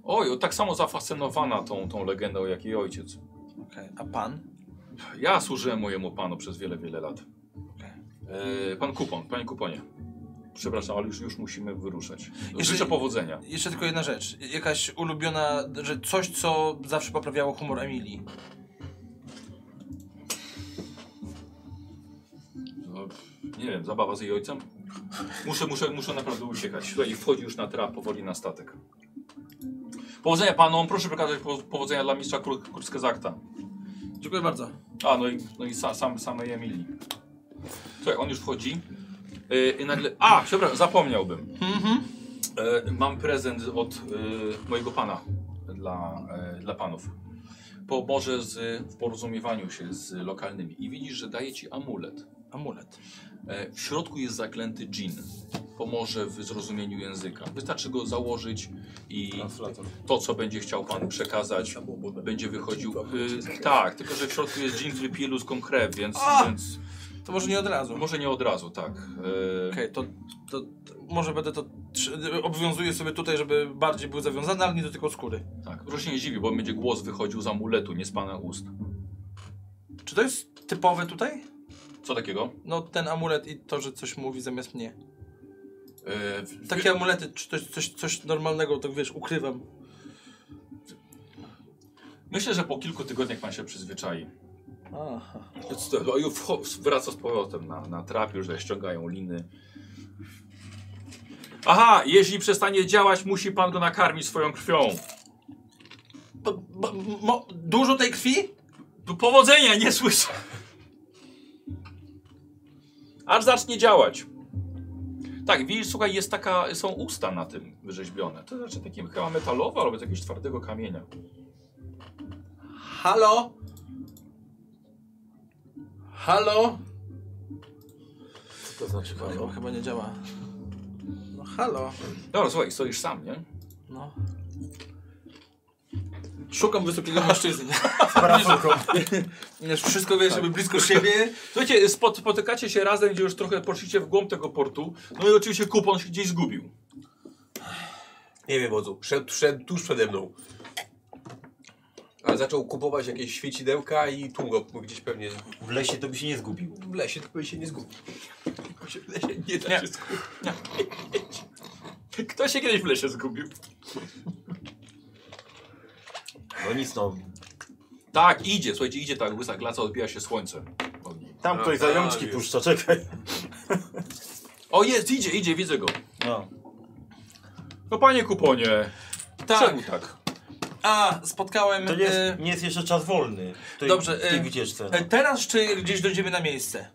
Speaker 1: Oj, o, tak samo zafascynowana tą, tą legendą jak jej ojciec.
Speaker 3: Okej, A pan?
Speaker 1: Ja służyłem mojemu panu przez wiele, wiele lat.
Speaker 3: Okej.
Speaker 1: E, pan Kupon, panie Kuponie. Przepraszam, ale już, już musimy wyruszać.
Speaker 3: Jeszcze-
Speaker 1: Życzę powodzenia.
Speaker 3: Jeszcze tylko jedna rzecz. Jakaś ulubiona, że coś, co zawsze poprawiało humor Emilii.
Speaker 1: No, nie wiem, zabawa z jej ojcem? Muszę, muszę, muszę naprawdę uciekać. Słuchaj, wchodzi już na trap, powoli na statek. Powodzenia panom, proszę przekazać po- powodzenia dla mistrza Kur- Kurskezakta.
Speaker 3: Dziękuję bardzo.
Speaker 1: A, no i, no i sa, sam, samej Emilii. Słuchaj, on już wchodzi. Yy, I nagle... A, przepraszam, zapomniałbym. E, mam prezent od e, mojego pana dla, e, dla panów. Pomoże z, w porozumiewaniu się z lokalnymi. I widzisz, że daje ci amulet.
Speaker 3: Amulet.
Speaker 1: E, W środku jest zaklęty dżin. Pomoże w zrozumieniu języka. Wystarczy go założyć i to, co będzie chciał Pan przekazać, będzie wychodził. Y, tak, tylko że w środku jest dżin, który pije ludzką krew, więc,
Speaker 3: A!
Speaker 1: więc
Speaker 3: To może nie od razu. Okej,
Speaker 1: może nie od razu, tak. E,
Speaker 3: to, to, to może będę to trzy- obowiązuję sobie tutaj, żeby bardziej był zawiązany, ale nie dotykał skóry.
Speaker 1: tak. Proszę się nie dziwi, bo będzie głos wychodził z amuletu, nie z Pana ust.
Speaker 3: Czy to jest typowe tutaj?
Speaker 1: Co takiego?
Speaker 3: No ten amulet i to, że coś mówi zamiast mnie.
Speaker 1: E, w-
Speaker 3: Takie amulety, czy coś, coś, coś normalnego, tak wiesz, ukrywam.
Speaker 1: Myślę, że po kilku tygodniach Pan się przyzwyczai.
Speaker 3: Aha.
Speaker 1: Więc to- no i wcho- Wraca z powrotem na, na trap, już ściągają liny. Aha, jeśli przestanie działać, musi pan go nakarmić swoją krwią.
Speaker 3: Bo, bo, mo, dużo tej krwi?
Speaker 1: Tu powodzenia, nie słyszę. Aż zacznie działać. Tak, widzisz, słuchaj, jest taka, są usta na tym wyrzeźbione. To znaczy takim chyba metalowe albo z jakiegoś twardego kamienia.
Speaker 3: Halo? Halo?
Speaker 2: Co to znaczy
Speaker 3: Chyba, chyba nie działa. No halo.
Speaker 1: Dobra, słuchaj, stoisz sam, nie?
Speaker 3: No. Szukam wysokiego mężczyzny. Wiesz, wszystko wiesz,
Speaker 2: Tak.
Speaker 3: żeby blisko siebie.
Speaker 1: Słuchajcie, spot, spotykacie się razem, gdzie już trochę poszliście w głąb tego portu. No i oczywiście kupon się gdzieś zgubił.
Speaker 5: Nie wiem, wodzu, szedł, szedł tuż przede mną. Ale zaczął kupować jakieś świecidełka i tłum go gdzieś pewnie
Speaker 2: W lesie to by się nie zgubił.
Speaker 5: w lesie, tylko się nie zgubił. Bo się W lesie nie da
Speaker 1: Nie.
Speaker 5: się skupić.
Speaker 1: Kto się kiedyś w lesie zgubił?
Speaker 2: No nic no.
Speaker 1: Tak, idzie, słuchajcie, idzie ta łysa glaca, odbija się słońce. od niej.
Speaker 2: Tam ktoś
Speaker 5: A, tak,
Speaker 2: zajączki
Speaker 5: jest.
Speaker 2: puszcza, czekaj.
Speaker 1: O, jest, idzie, idzie, widzę go.
Speaker 2: No.
Speaker 1: No panie kuponie, tak. czemu tak?
Speaker 3: A, spotkałem...
Speaker 2: To nie
Speaker 3: e,
Speaker 2: jest, nie jest jeszcze czas wolny. Tej,
Speaker 3: Dobrze,
Speaker 2: W tej
Speaker 3: e,
Speaker 2: wycieczce. no.
Speaker 3: e, teraz czy gdzieś dojdziemy na miejsce?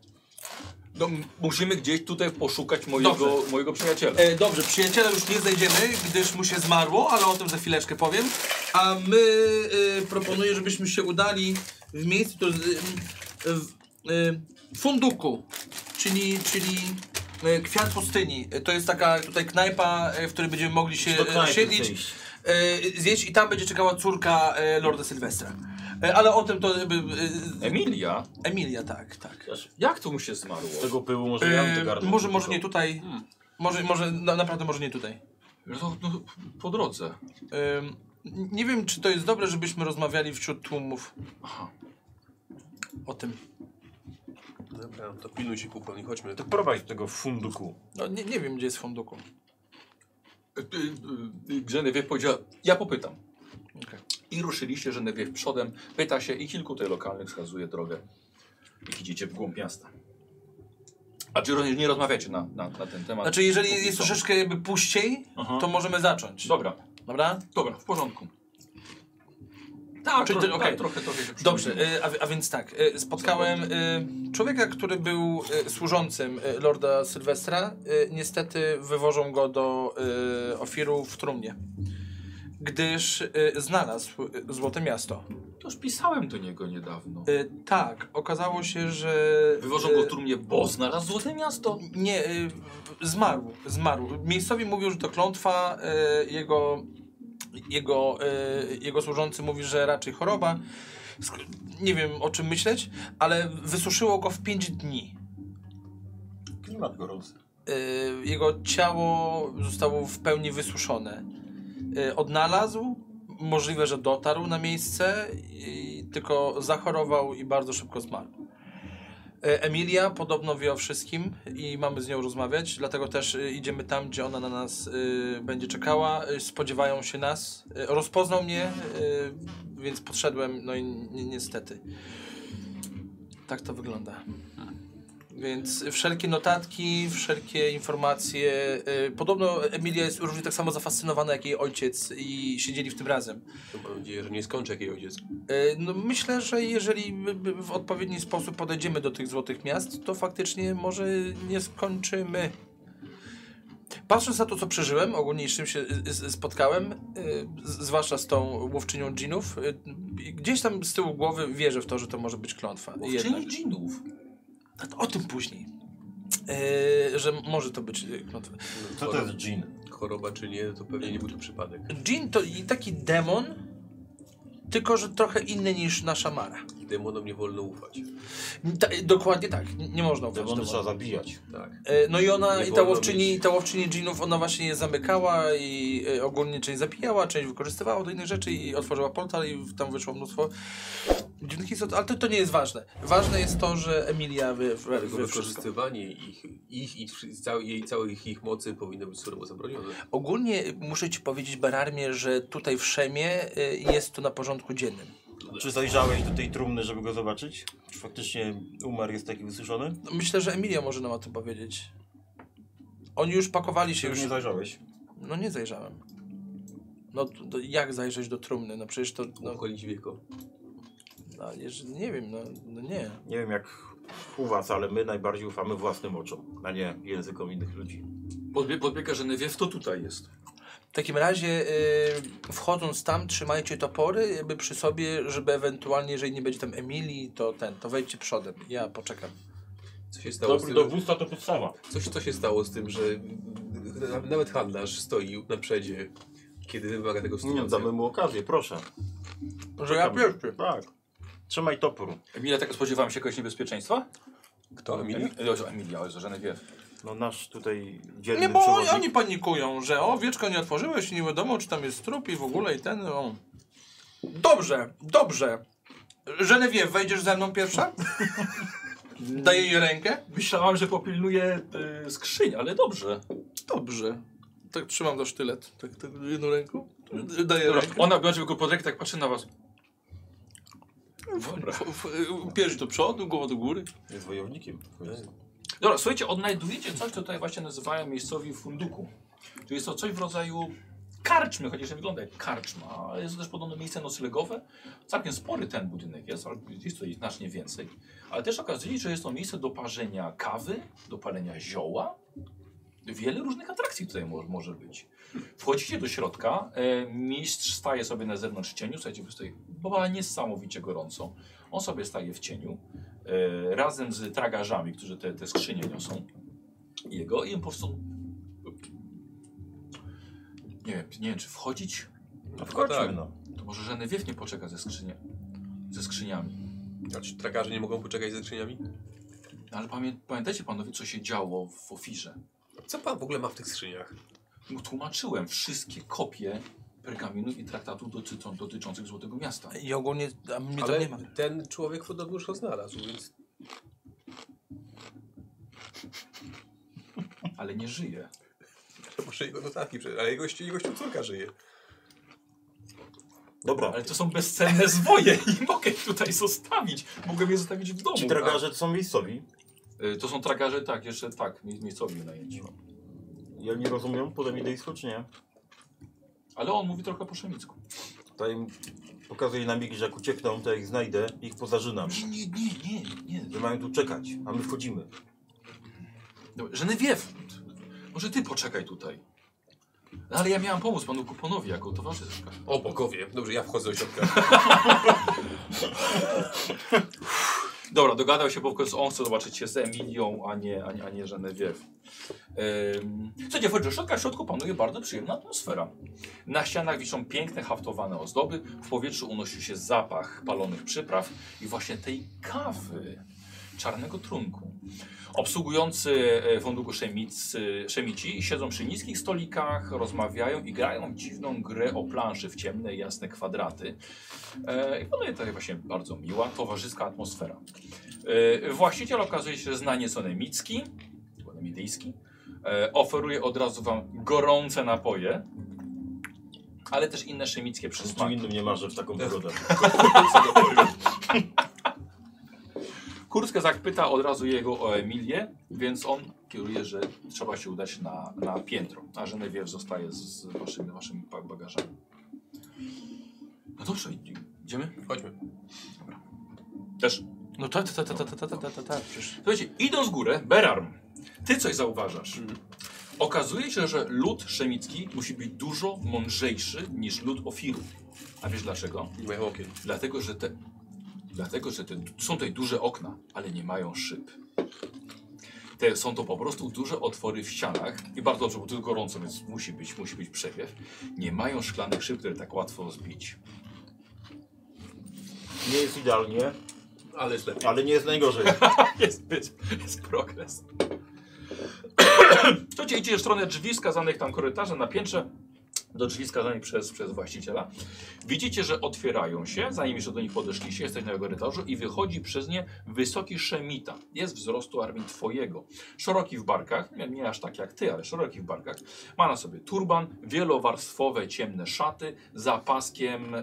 Speaker 1: No, m- musimy gdzieś tutaj poszukać mojego,
Speaker 3: Dobrze.
Speaker 1: mojego przyjaciela.
Speaker 3: E, dobrze, przyjaciela już nie znajdziemy, gdyż mu się zmarło, ale o tym za chwileczkę powiem. A my e, proponuję, żebyśmy się udali w miejsce, to, e, w e, funduku, czyli, czyli e, kwiat pustyni. E, To jest taka tutaj knajpa, e, w której będziemy mogli się
Speaker 2: Do knajpy
Speaker 3: e,
Speaker 2: chcę
Speaker 3: siedzieć,
Speaker 2: iść.
Speaker 3: e, zjeść i tam będzie czekała córka e, Lorda Sylwestra. E, ale o tym to e, e,
Speaker 1: Emilia?
Speaker 3: Emilia, tak, tak.
Speaker 1: Jak to mu się zmarło?
Speaker 2: Z no. tego pyłu może ja bym
Speaker 3: E,
Speaker 2: te gardło
Speaker 3: może, może
Speaker 2: popukał.
Speaker 3: nie tutaj. Może, może na, naprawdę może nie tutaj.
Speaker 1: No, to- no, po drodze.
Speaker 3: Ym, nie wiem, czy to jest dobre, żebyśmy rozmawiali wśród tłumów
Speaker 1: Aha.
Speaker 3: o tym.
Speaker 4: Dobra, to pilnuj się kupon i chodźmy.
Speaker 2: To prowadź tego funduku.
Speaker 3: No, nie, nie wiem, gdzie jest funduku.
Speaker 1: Y, y, y, Genevieve powiedziała, ja popytam.
Speaker 3: Okej.
Speaker 1: I ruszyliście, Genevieve przodem, pyta się i kilku tutaj lokalnych wskazuje drogę. I idziecie w głąb miasta. A czy roz- nie rozmawiacie na, na, na ten temat?
Speaker 3: Znaczy, jeżeli
Speaker 1: Póki
Speaker 3: jest
Speaker 1: co.
Speaker 3: troszeczkę jakby puściej,
Speaker 1: Aha.
Speaker 3: to możemy zacząć.
Speaker 1: Dobra,
Speaker 3: Dobra?
Speaker 1: dobra, w porządku. Tak,
Speaker 3: Czyli
Speaker 1: Czyli
Speaker 3: ty-
Speaker 1: trochę,
Speaker 3: okej.
Speaker 1: tak, trochę, trochę się
Speaker 3: Dobrze,
Speaker 1: przynudziło.
Speaker 3: y, a, wi- a więc tak, y, spotkałem y, człowieka, który był y, służącym y, Lorda Sylwestra. Y, Niestety wywożą go do y, Ofiru w trumnie, gdyż y, znalazł y, Złote Miasto.
Speaker 1: To już pisałem do niego niedawno.
Speaker 3: Y, Tak, okazało się, że...
Speaker 1: Wywożą
Speaker 3: y,
Speaker 1: go w trumnie, bo znalazł złote miasto.
Speaker 3: Nie, y, zmarł, zmarł. Miejscowi mówią, że to klątwa, y, jego, jego, y, jego służący mówi, że raczej choroba. sk- nie wiem o czym myśleć, ale wysuszyło go w 5 dni.
Speaker 2: Klimat gorący.
Speaker 3: Y, jego ciało zostało w pełni wysuszone. Y, odnalazł, możliwe, że dotarł na miejsce, i tylko zachorował i bardzo szybko zmarł. Y, Emilia podobno wie o wszystkim i mamy z nią rozmawiać, dlatego też y, idziemy tam, gdzie ona na nas y, będzie czekała. Y, spodziewają się nas. Y, rozpoznał mnie, y, więc podszedłem, no i ni niestety. Tak to wygląda. Więc wszelkie notatki, wszelkie informacje. y, Podobno Emilia jest równie tak samo zafascynowana jak jej ojciec i siedzieli w tym razem.
Speaker 5: To mam nadzieję, że nie skończy jak jej ojciec.
Speaker 3: Y, No, myślę, że jeżeli my- my w odpowiedni sposób podejdziemy do tych złotych miast, to faktycznie może nie skończymy. Patrząc na to, co przeżyłem, ogólnie z czym się y, y, spotkałem, y, z- zwłaszcza z tą łowczynią dżinów, y, y, gdzieś tam z tyłu głowy wierzę w to, że to może być klątwa. Jednak.
Speaker 1: Łowczyni dżinów.
Speaker 3: A to O tym później. Y, że może to być y, klątwa.
Speaker 2: Co to jest dżin?
Speaker 5: Choroba czy nie, to pewnie nie był to przypadek.
Speaker 3: Dżin to i taki demon, tylko że trochę inny niż nasza Mara.
Speaker 5: I demonom nie wolno ufać.
Speaker 3: Ta, dokładnie tak, n- nie można ufać
Speaker 2: Demony trzeba
Speaker 3: demonom.
Speaker 2: zabijać.
Speaker 5: Tak.
Speaker 3: E, No i ona,
Speaker 5: Nie
Speaker 3: i ta
Speaker 5: wolno
Speaker 3: łowczyni,
Speaker 5: mieć.
Speaker 3: ta łowczyni dżinów, ona właśnie je zamykała i e, ogólnie część zabijała, część wykorzystywała do innych rzeczy i otworzyła portal i w- tam wyszło mnóstwo dziwnych istot, ale to, to nie jest ważne. Ważne jest to, że Emilia wy, wy,
Speaker 5: Tylko
Speaker 3: wy wszystko.
Speaker 5: wykorzystywanie ich, ich i wszy- całej, jej, całej ich, ich mocy powinno być surowo zabronione.
Speaker 3: Ogólnie muszę ci powiedzieć, Berarmie, że tutaj w Szemie e, jest to na porządku dziennym.
Speaker 2: Czy zajrzałeś do tej trumny, żeby go zobaczyć? Czy faktycznie umarł jest taki wysuszony?
Speaker 3: No, Myślę, że Emilia może nam o tym powiedzieć. Oni już pakowali się
Speaker 2: Czy
Speaker 3: już.
Speaker 2: już nie zajrzałeś?
Speaker 3: No nie zajrzałem. No to, to jak zajrzeć do trumny? No przecież to. No,
Speaker 5: Ucholić wieko.
Speaker 3: no, jeż- nie wiem, no, no nie.
Speaker 2: Nie wiem jak u was, ale my najbardziej ufamy własnym oczom, a nie językom innych ludzi.
Speaker 1: Podbie, podbiega, że Neview to tutaj jest.
Speaker 3: W takim razie y, wchodząc tam, trzymajcie topory jakby przy sobie, żeby ewentualnie, jeżeli nie będzie tam Emilii, to ten, to wejdźcie przodem. Ja poczekam.
Speaker 5: Co się stało z
Speaker 2: Dobry
Speaker 5: tym?
Speaker 2: dowódca to podstawa.
Speaker 5: Coś, co się stało z tym, że na- nawet handlarz stoi na przedzie, kiedy wymaga tego
Speaker 2: Nie,
Speaker 5: sytuacja.
Speaker 2: damy mu okazję, proszę.
Speaker 3: Że ja pierwszy.
Speaker 2: Tak. Trzymaj topór.
Speaker 1: Emilia, tak spodziewałem się jakiegoś niebezpieczeństwa?
Speaker 5: Kto? Emilia?
Speaker 1: Emi- Oj, Emilia, oj, że Neview.
Speaker 2: No nasz tutaj dzielny
Speaker 3: Nie, bo oni,
Speaker 2: przewodnik.
Speaker 3: oni panikują, że o, wieczko nie otworzyłeś i nie wiadomo, czy tam jest trup i w ogóle i ten, o. Dobrze, dobrze. Genevieve, wejdziesz ze mną pierwsza? Daję jej rękę?
Speaker 1: Myślałam, że popilnuje y, skrzyń, ale dobrze.
Speaker 3: Dobrze. Tak trzymam za sztylet, tak, tak jedną ręką. Daję
Speaker 1: Dobra,
Speaker 3: rękę.
Speaker 1: ona bierze go pod rękę, tak patrzy na was. Dobra.
Speaker 3: F- f- Pierś do przodu, głowa do góry.
Speaker 2: Jest wojownikiem.
Speaker 1: Dobra, słuchajcie, odnajdujecie coś, co tutaj właśnie nazywają miejscowi funduku. Tu jest to coś w rodzaju karczmy, chociaż nie wygląda jak karczma, ale jest to też podobno miejsce noclegowe. Całkiem spory ten budynek jest, ale jest tutaj znacznie więcej. Ale też okazuje się, że jest to miejsce do parzenia kawy, do palenia zioła. Wiele różnych atrakcji tutaj mo może być. Wchodzicie do środka, e, mistrz staje sobie na zewnątrz w cieniu, słuchajcie, bo jest tutaj była niesamowicie gorąco. On sobie staje w cieniu e, razem z tragarzami, którzy te, te skrzynie niosą jego i on po prostu nie wiem, nie wiem czy wchodzić,
Speaker 2: No wchodźmy
Speaker 5: tak.
Speaker 2: no.
Speaker 1: to może Genevieve nie poczeka ze, skrzynie, ze skrzyniami.
Speaker 5: A czy Znaczy, trakarze nie mogą poczekać ze skrzyniami?
Speaker 1: No, ale pamię, pamiętajcie panowie, co się działo w ofirze.
Speaker 5: Co pan w ogóle ma w tych skrzyniach?
Speaker 1: Mu tłumaczyłem wszystkie kopie pergaminów i traktatów dotyczą, dotyczących Złotego Miasta.
Speaker 3: I ogólnie a mnie tam
Speaker 5: Ale
Speaker 3: nie ma.
Speaker 5: ten człowiek podobno już go znalazł, więc
Speaker 1: Ale nie żyje.
Speaker 5: to może jego notatki, prze- ale jego, jego córka żyje.
Speaker 2: Dobra.
Speaker 1: Ale to są bezcenne zwoje i mogę ich tutaj zostawić. Mogę je zostawić w domu.
Speaker 2: Ci tragarze to są miejscowi.
Speaker 1: Y, To są tragarze, tak, jeszcze tak, mi- miejscowi najęci.
Speaker 2: I oni rozumią potem idejsko czy nie?
Speaker 1: Ale on mówi trochę po szemicku.
Speaker 2: To im pokazuje na migi, że jak uciekną, to ja ich znajdę i ich pozarzynam.
Speaker 1: Nie, nie, nie, nie, nie.
Speaker 2: Że mają tu czekać, a my wchodzimy.
Speaker 1: Żenewiew, może ty poczekaj tutaj. No, ale ja miałam pomóc panu Kuponowi jako towarzyszka.
Speaker 5: O bogowie, dobrze, ja wchodzę do środka.
Speaker 1: Dobra, dogadał się, bo w końcu on chce zobaczyć się z Emilią, a nie, a nie, a nie Genevieve. Ym, Słuchajcie, w Odrzoszokach w środku panuje bardzo przyjemna atmosfera. Na ścianach wiszą piękne haftowane ozdoby, w powietrzu unosił się zapach palonych przypraw i właśnie tej kawy, czarnego trunku. Obsługujący e, funduku szemicy, e, szemici siedzą przy niskich stolikach, rozmawiają i grają dziwną grę o planszy w ciemne, jasne kwadraty. E, I panuje tutaj właśnie bardzo miła, towarzyska atmosfera. E, Właściciel okazuje się zna nieco nemicki, chyba nemidyjski. E, Oferuje od razu wam gorące napoje, ale też inne szemickie
Speaker 2: Niczym
Speaker 1: przysmaki.
Speaker 2: innym nie marzę w taką pogodę.
Speaker 1: Kurska zapyta od razu jego o Emilię, więc on kieruje, że trzeba się udać na, na piętro, a Genevieve zostaje z, z waszymi, waszymi pa- bagażami. No dobrze, i- idziemy?
Speaker 5: Chodźmy.
Speaker 1: Też.
Speaker 3: No tak, tak, tak, tak, tak, tak, tak, tak, tak, przecież.
Speaker 1: Słuchajcie, idąc górę, Berarm, ty coś zauważasz. Okazuje się, że lud szemicki musi być dużo mądrzejszy niż lud ofiru. A wiesz dlaczego?
Speaker 5: Nie mają okien.
Speaker 1: Dlatego, że te. Dlatego, że te, są tutaj duże okna, ale nie mają szyb. Te, są to po prostu duże otwory w ścianach i bardzo dobrze, bo tu jest gorąco, więc musi być, musi być przewiew. Nie mają szklanych szyb, które tak łatwo zbić.
Speaker 2: Nie jest idealnie,
Speaker 5: Ale źle.
Speaker 2: ale nie jest najgorzej.
Speaker 1: Jest, jest, jest progres. Słuchajcie, idziecie w stronę drzwi skazanych tam korytarza na piętrze do drzwi skazanych przez, przez właściciela. Widzicie, że otwierają się, zanim jeszcze do nich podeszliście, jesteś na korytarzu i wychodzi przez nie wysoki szemita. Jest wzrostu armii twojego. Szeroki w barkach, nie, nie aż tak jak ty, ale szeroki w barkach. Ma na sobie turban, wielowarstwowe ciemne szaty, za paskiem e,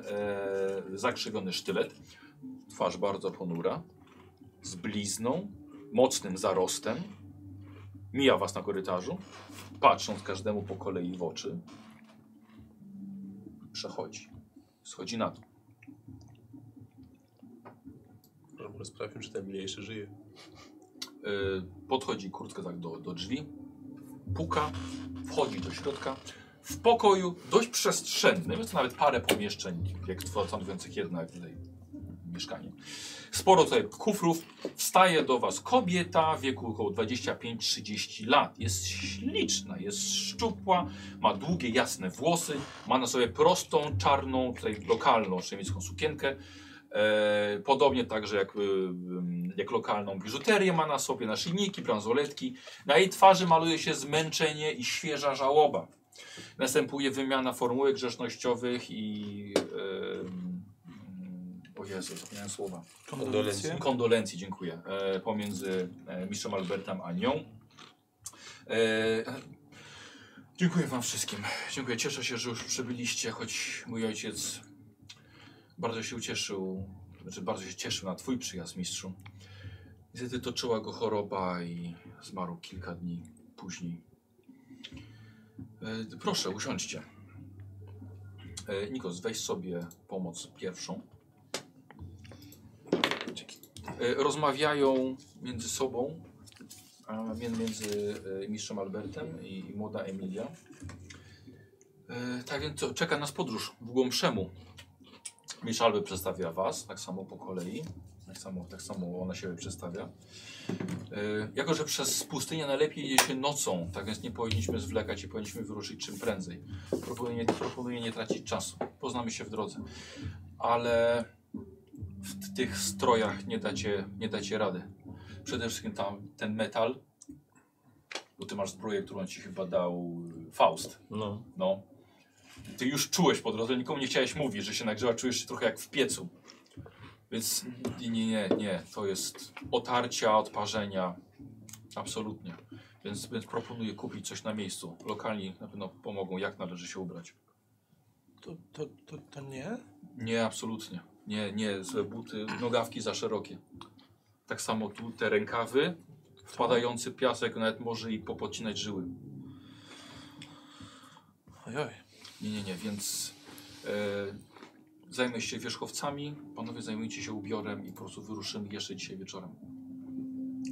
Speaker 1: zakrzywiony sztylet. Twarz bardzo ponura z blizną, mocnym zarostem. Mija was na korytarzu, patrząc każdemu po kolei w oczy. Przechodzi. Schodzi na dół.
Speaker 5: Może sprawdźmy, czy ten mniejszy żyje.
Speaker 1: Yy, podchodzi kurtkę tak do, do drzwi, puka, wchodzi do środka. W pokoju dość przestrzennym, jest to nawet parę pomieszczeń, jak tw- stanowiących jednak tutaj mieszkanie. Sporo tutaj kufrów. Wstaje do Was kobieta w wieku około 25-30 lat. Jest śliczna, jest szczupła, ma długie, jasne włosy, ma na sobie prostą, czarną, tutaj lokalną szemicką sukienkę. E, podobnie także jak, y, ym, jak lokalną biżuterię ma na sobie, naszyjniki, bransoletki. Na jej twarzy maluje się zmęczenie i świeża żałoba. Następuje wymiana formułek grzecznościowych i... ym, ym, o Jezu, zapomniałem słowa.
Speaker 5: Kondolencje.
Speaker 1: Kondolencji, dziękuję. E, pomiędzy e, mistrzem Albertem a nią. E, dziękuję wam wszystkim. Dziękuję. Cieszę się, że już przybyliście, choć mój ojciec bardzo się ucieszył, znaczy bardzo się cieszył na twój przyjazd, mistrzu. Niestety toczyła go choroba i zmarł kilka dni później. E, proszę, usiądźcie. E, Nikos, weź sobie pomoc pierwszą. E, rozmawiają między sobą, a mię- między e, mistrzem Albertem i, i młoda Emilia. E, Tak więc co, czeka nas podróż w głąb Szemu. Mistrz Albert przedstawia was, tak samo po kolei, tak samo, tak samo ona siebie przedstawia. E, Jako, że przez pustynię najlepiej jedzie się nocą, tak więc nie powinniśmy zwlekać i powinniśmy wyruszyć czym prędzej. Proponuję, proponuję nie tracić czasu. Poznamy się w drodze. Ale w tych strojach nie dacie, nie dacie rady. Przede wszystkim tam ten metal, bo ty masz zbroję, którą ci chyba dał y, Faust.
Speaker 2: No.
Speaker 1: No. Ty już czułeś po drodze, nikomu nie chciałeś mówić, że się nagrzewa, czujesz się trochę jak w piecu. Więc nie, nie, nie, nie. To jest otarcia, odparzenia. Absolutnie. Więc, więc proponuję kupić coś na miejscu. Lokalni na pewno pomogą, jak należy się ubrać.
Speaker 3: To, to, to, to nie?
Speaker 1: Nie, absolutnie. Nie, nie, złe buty, nogawki za szerokie. Tak samo tu te rękawy, wpadający piasek nawet może i popocinać żyły.
Speaker 3: Ojoj.
Speaker 1: Nie, nie, nie, więc e, zajmę się wierzchowcami, panowie zajmujcie się ubiorem i po prostu wyruszymy jeszcze dzisiaj wieczorem.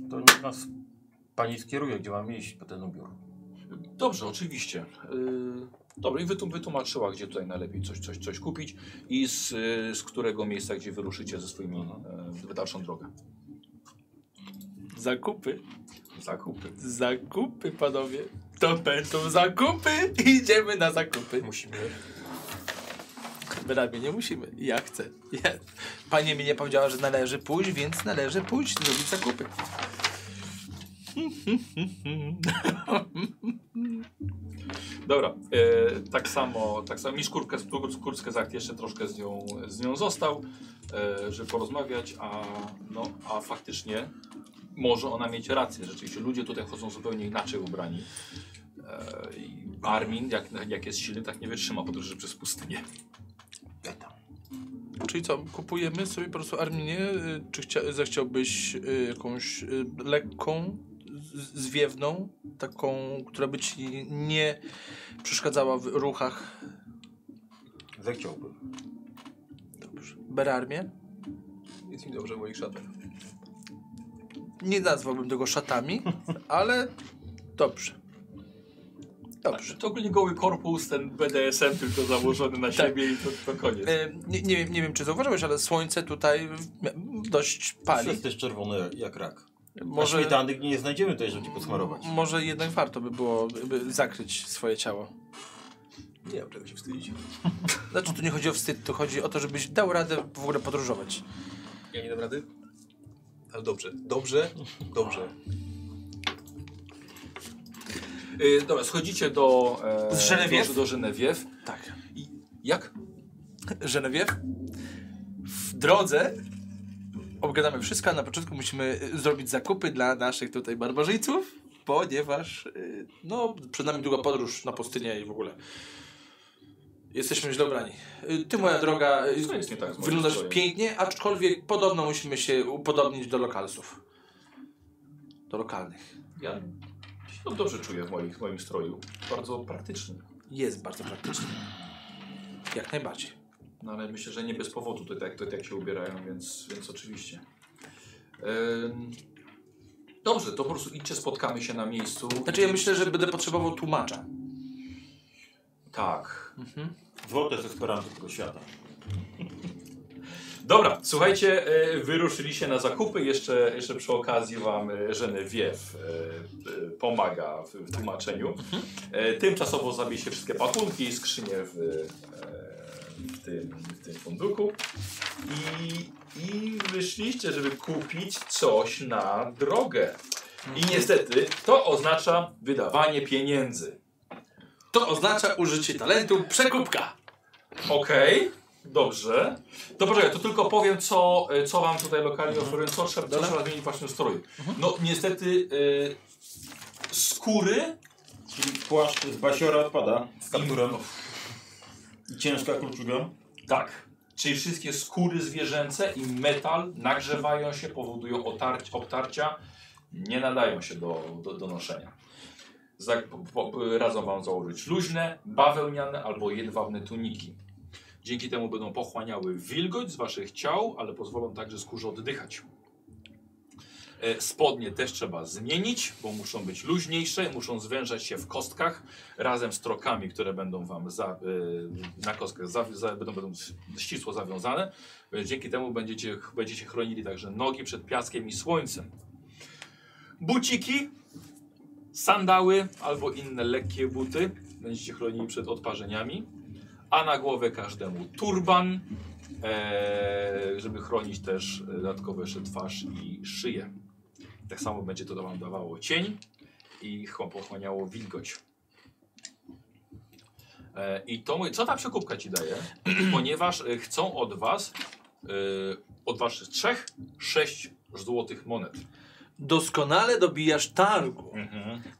Speaker 2: To niech nas pani skieruje, gdzie mam iść po ten ubiór.
Speaker 1: Dobrze, oczywiście. Yy, dobra, i wytum, wytłumaczyła, gdzie tutaj najlepiej coś, coś, coś Mhm. kupić i z, y, z którego miejsca, gdzie wyruszycie ze swoimi e, w e, dalszą drogę.
Speaker 3: Zakupy,
Speaker 1: Zakupy.
Speaker 3: zakupy, panowie. To będą zakupy. Idziemy na zakupy.
Speaker 5: Musimy.
Speaker 3: Wyrabie, nie musimy. Ja chcę. Ja. Pani mi nie powiedziała, że należy pójść, więc należy pójść, zrobić zakupy.
Speaker 1: Dobra, e, tak samo, tak samo. Mi skórkę, skórkę zakt jeszcze troszkę z nią, z nią został, e, żeby porozmawiać, a, no, a faktycznie może ona mieć rację. Rzeczywiście ludzie tutaj chodzą zupełnie inaczej ubrani. E, i Armin, jak, jak jest silny, tak nie wytrzyma podróży przez pustynię.
Speaker 3: Czyli co, kupujemy sobie po prostu Arminie? y, Czy chcia- zechciałbyś y, jakąś y, lekką, z- zwiewną, taką, która by ci nie przeszkadzała w ruchach?
Speaker 2: Zechciałbym.
Speaker 3: Dobrze. Berarmię?
Speaker 5: Jest mi dobrze w moich szatach.
Speaker 3: Nie nazwałbym tego szatami, ale dobrze. Dobrze.
Speaker 1: To ogólnie goły korpus, ten BDSM tylko założony na siebie i to, to koniec.
Speaker 3: Y, Nie, nie, wiem, nie wiem, czy zauważyłeś, ale słońce tutaj w- m- dość pali.
Speaker 2: Jest też czerwony jak rak. Może... A
Speaker 3: Może,
Speaker 2: śmietany nie znajdziemy tutaj, żeby ci posmarować.
Speaker 3: może jednak warto by było by zakryć swoje ciało.
Speaker 5: Nie mam czego się wstydzić.
Speaker 3: Znaczy, tu nie chodzi o wstyd, tu chodzi o to, żebyś dał radę w ogóle podróżować.
Speaker 5: Ja nie dam rady. Ale dobrze, dobrze, dobrze.
Speaker 1: Y, dobra, schodzicie do, e,
Speaker 3: Z Żenewiew?
Speaker 1: do, do Żenewiew.
Speaker 3: Tak.
Speaker 1: I jak?
Speaker 3: Genevieve, w drodze obgadamy wszystko, a na początku musimy y, zrobić zakupy dla naszych tutaj barbarzyńców, ponieważ y, no, przed nami długa podróż na pustynię i w ogóle. Jesteśmy źle ubrani. Y, Ty, moja droga, y,
Speaker 1: Co Tak, no, jest nie tak z moim
Speaker 3: wyglądasz
Speaker 1: strojem?
Speaker 3: pięknie, aczkolwiek podobno musimy się upodobnić do lokalsów. Do lokalnych.
Speaker 1: Ja się dobrze czuję w moim, w moim stroju. Bardzo praktyczny.
Speaker 3: Jest bardzo praktyczny. Jak najbardziej.
Speaker 1: No ale myślę, że nie bez powodu to tak, to tak się ubierają, więc, więc oczywiście. Ym, dobrze, to po prostu idźcie, spotkamy się na miejscu.
Speaker 3: Znaczy ja myślę, że będę potrzebował tłumacza.
Speaker 1: Tak.
Speaker 2: Złote z Esperanto tego świata.
Speaker 1: Dobra, słuchajcie, y, wyruszyliście na zakupy. Jeszcze, jeszcze przy okazji wam y, Genevieve y, y, pomaga w, w tłumaczeniu. Y, Tymczasowo zabieście wszystkie pakunki i skrzynie w, y, w, tym, w tym funduku. I, I wyszliście, żeby kupić coś na drogę. I niestety to oznacza wydawanie pieniędzy.
Speaker 3: To oznacza użycie talentu przekupka.
Speaker 1: Okej, dobrze. To poczekaj, to tylko powiem, co, e, co wam tutaj lokalnie
Speaker 2: Mhm.
Speaker 1: oferują, co trzeba, co trzeba zmienić właśnie w stroju. No niestety e, skóry
Speaker 2: Czyli płaszcz z basiora odpada. Z kapturem. I ciężka kluczuga.
Speaker 1: Tak. Czyli wszystkie skóry zwierzęce i metal nagrzewają się, powodują otarć, obtarcia, nie nadają się do, do, do noszenia. Za, po, po, radzą Wam założyć luźne, bawełniane albo jedwabne tuniki. Dzięki temu będą pochłaniały wilgoć z Waszych ciał, ale pozwolą także skórze oddychać. E, Spodnie też trzeba zmienić, bo muszą być luźniejsze, muszą zwężać się w kostkach razem z trokami, które będą wam za, y, na kostkach za, za, będą, będą ścisło zawiązane. Więc Dzięki temu będziecie, będziecie chronili także nogi przed piaskiem i słońcem. Buciki, sandały albo inne lekkie buty będziecie chronili przed odparzeniami. A na głowę każdemu turban, e, żeby chronić też dodatkowo jeszcze twarz i szyję. Tak samo będzie to wam dawało cień i chłop- pochłaniało wilgoć. E, I to mój, co ta przekupka ci daje? Ponieważ e, chcą od was, e, od waszych trzech, sześć złotych monet.
Speaker 3: Doskonale dobijasz targu.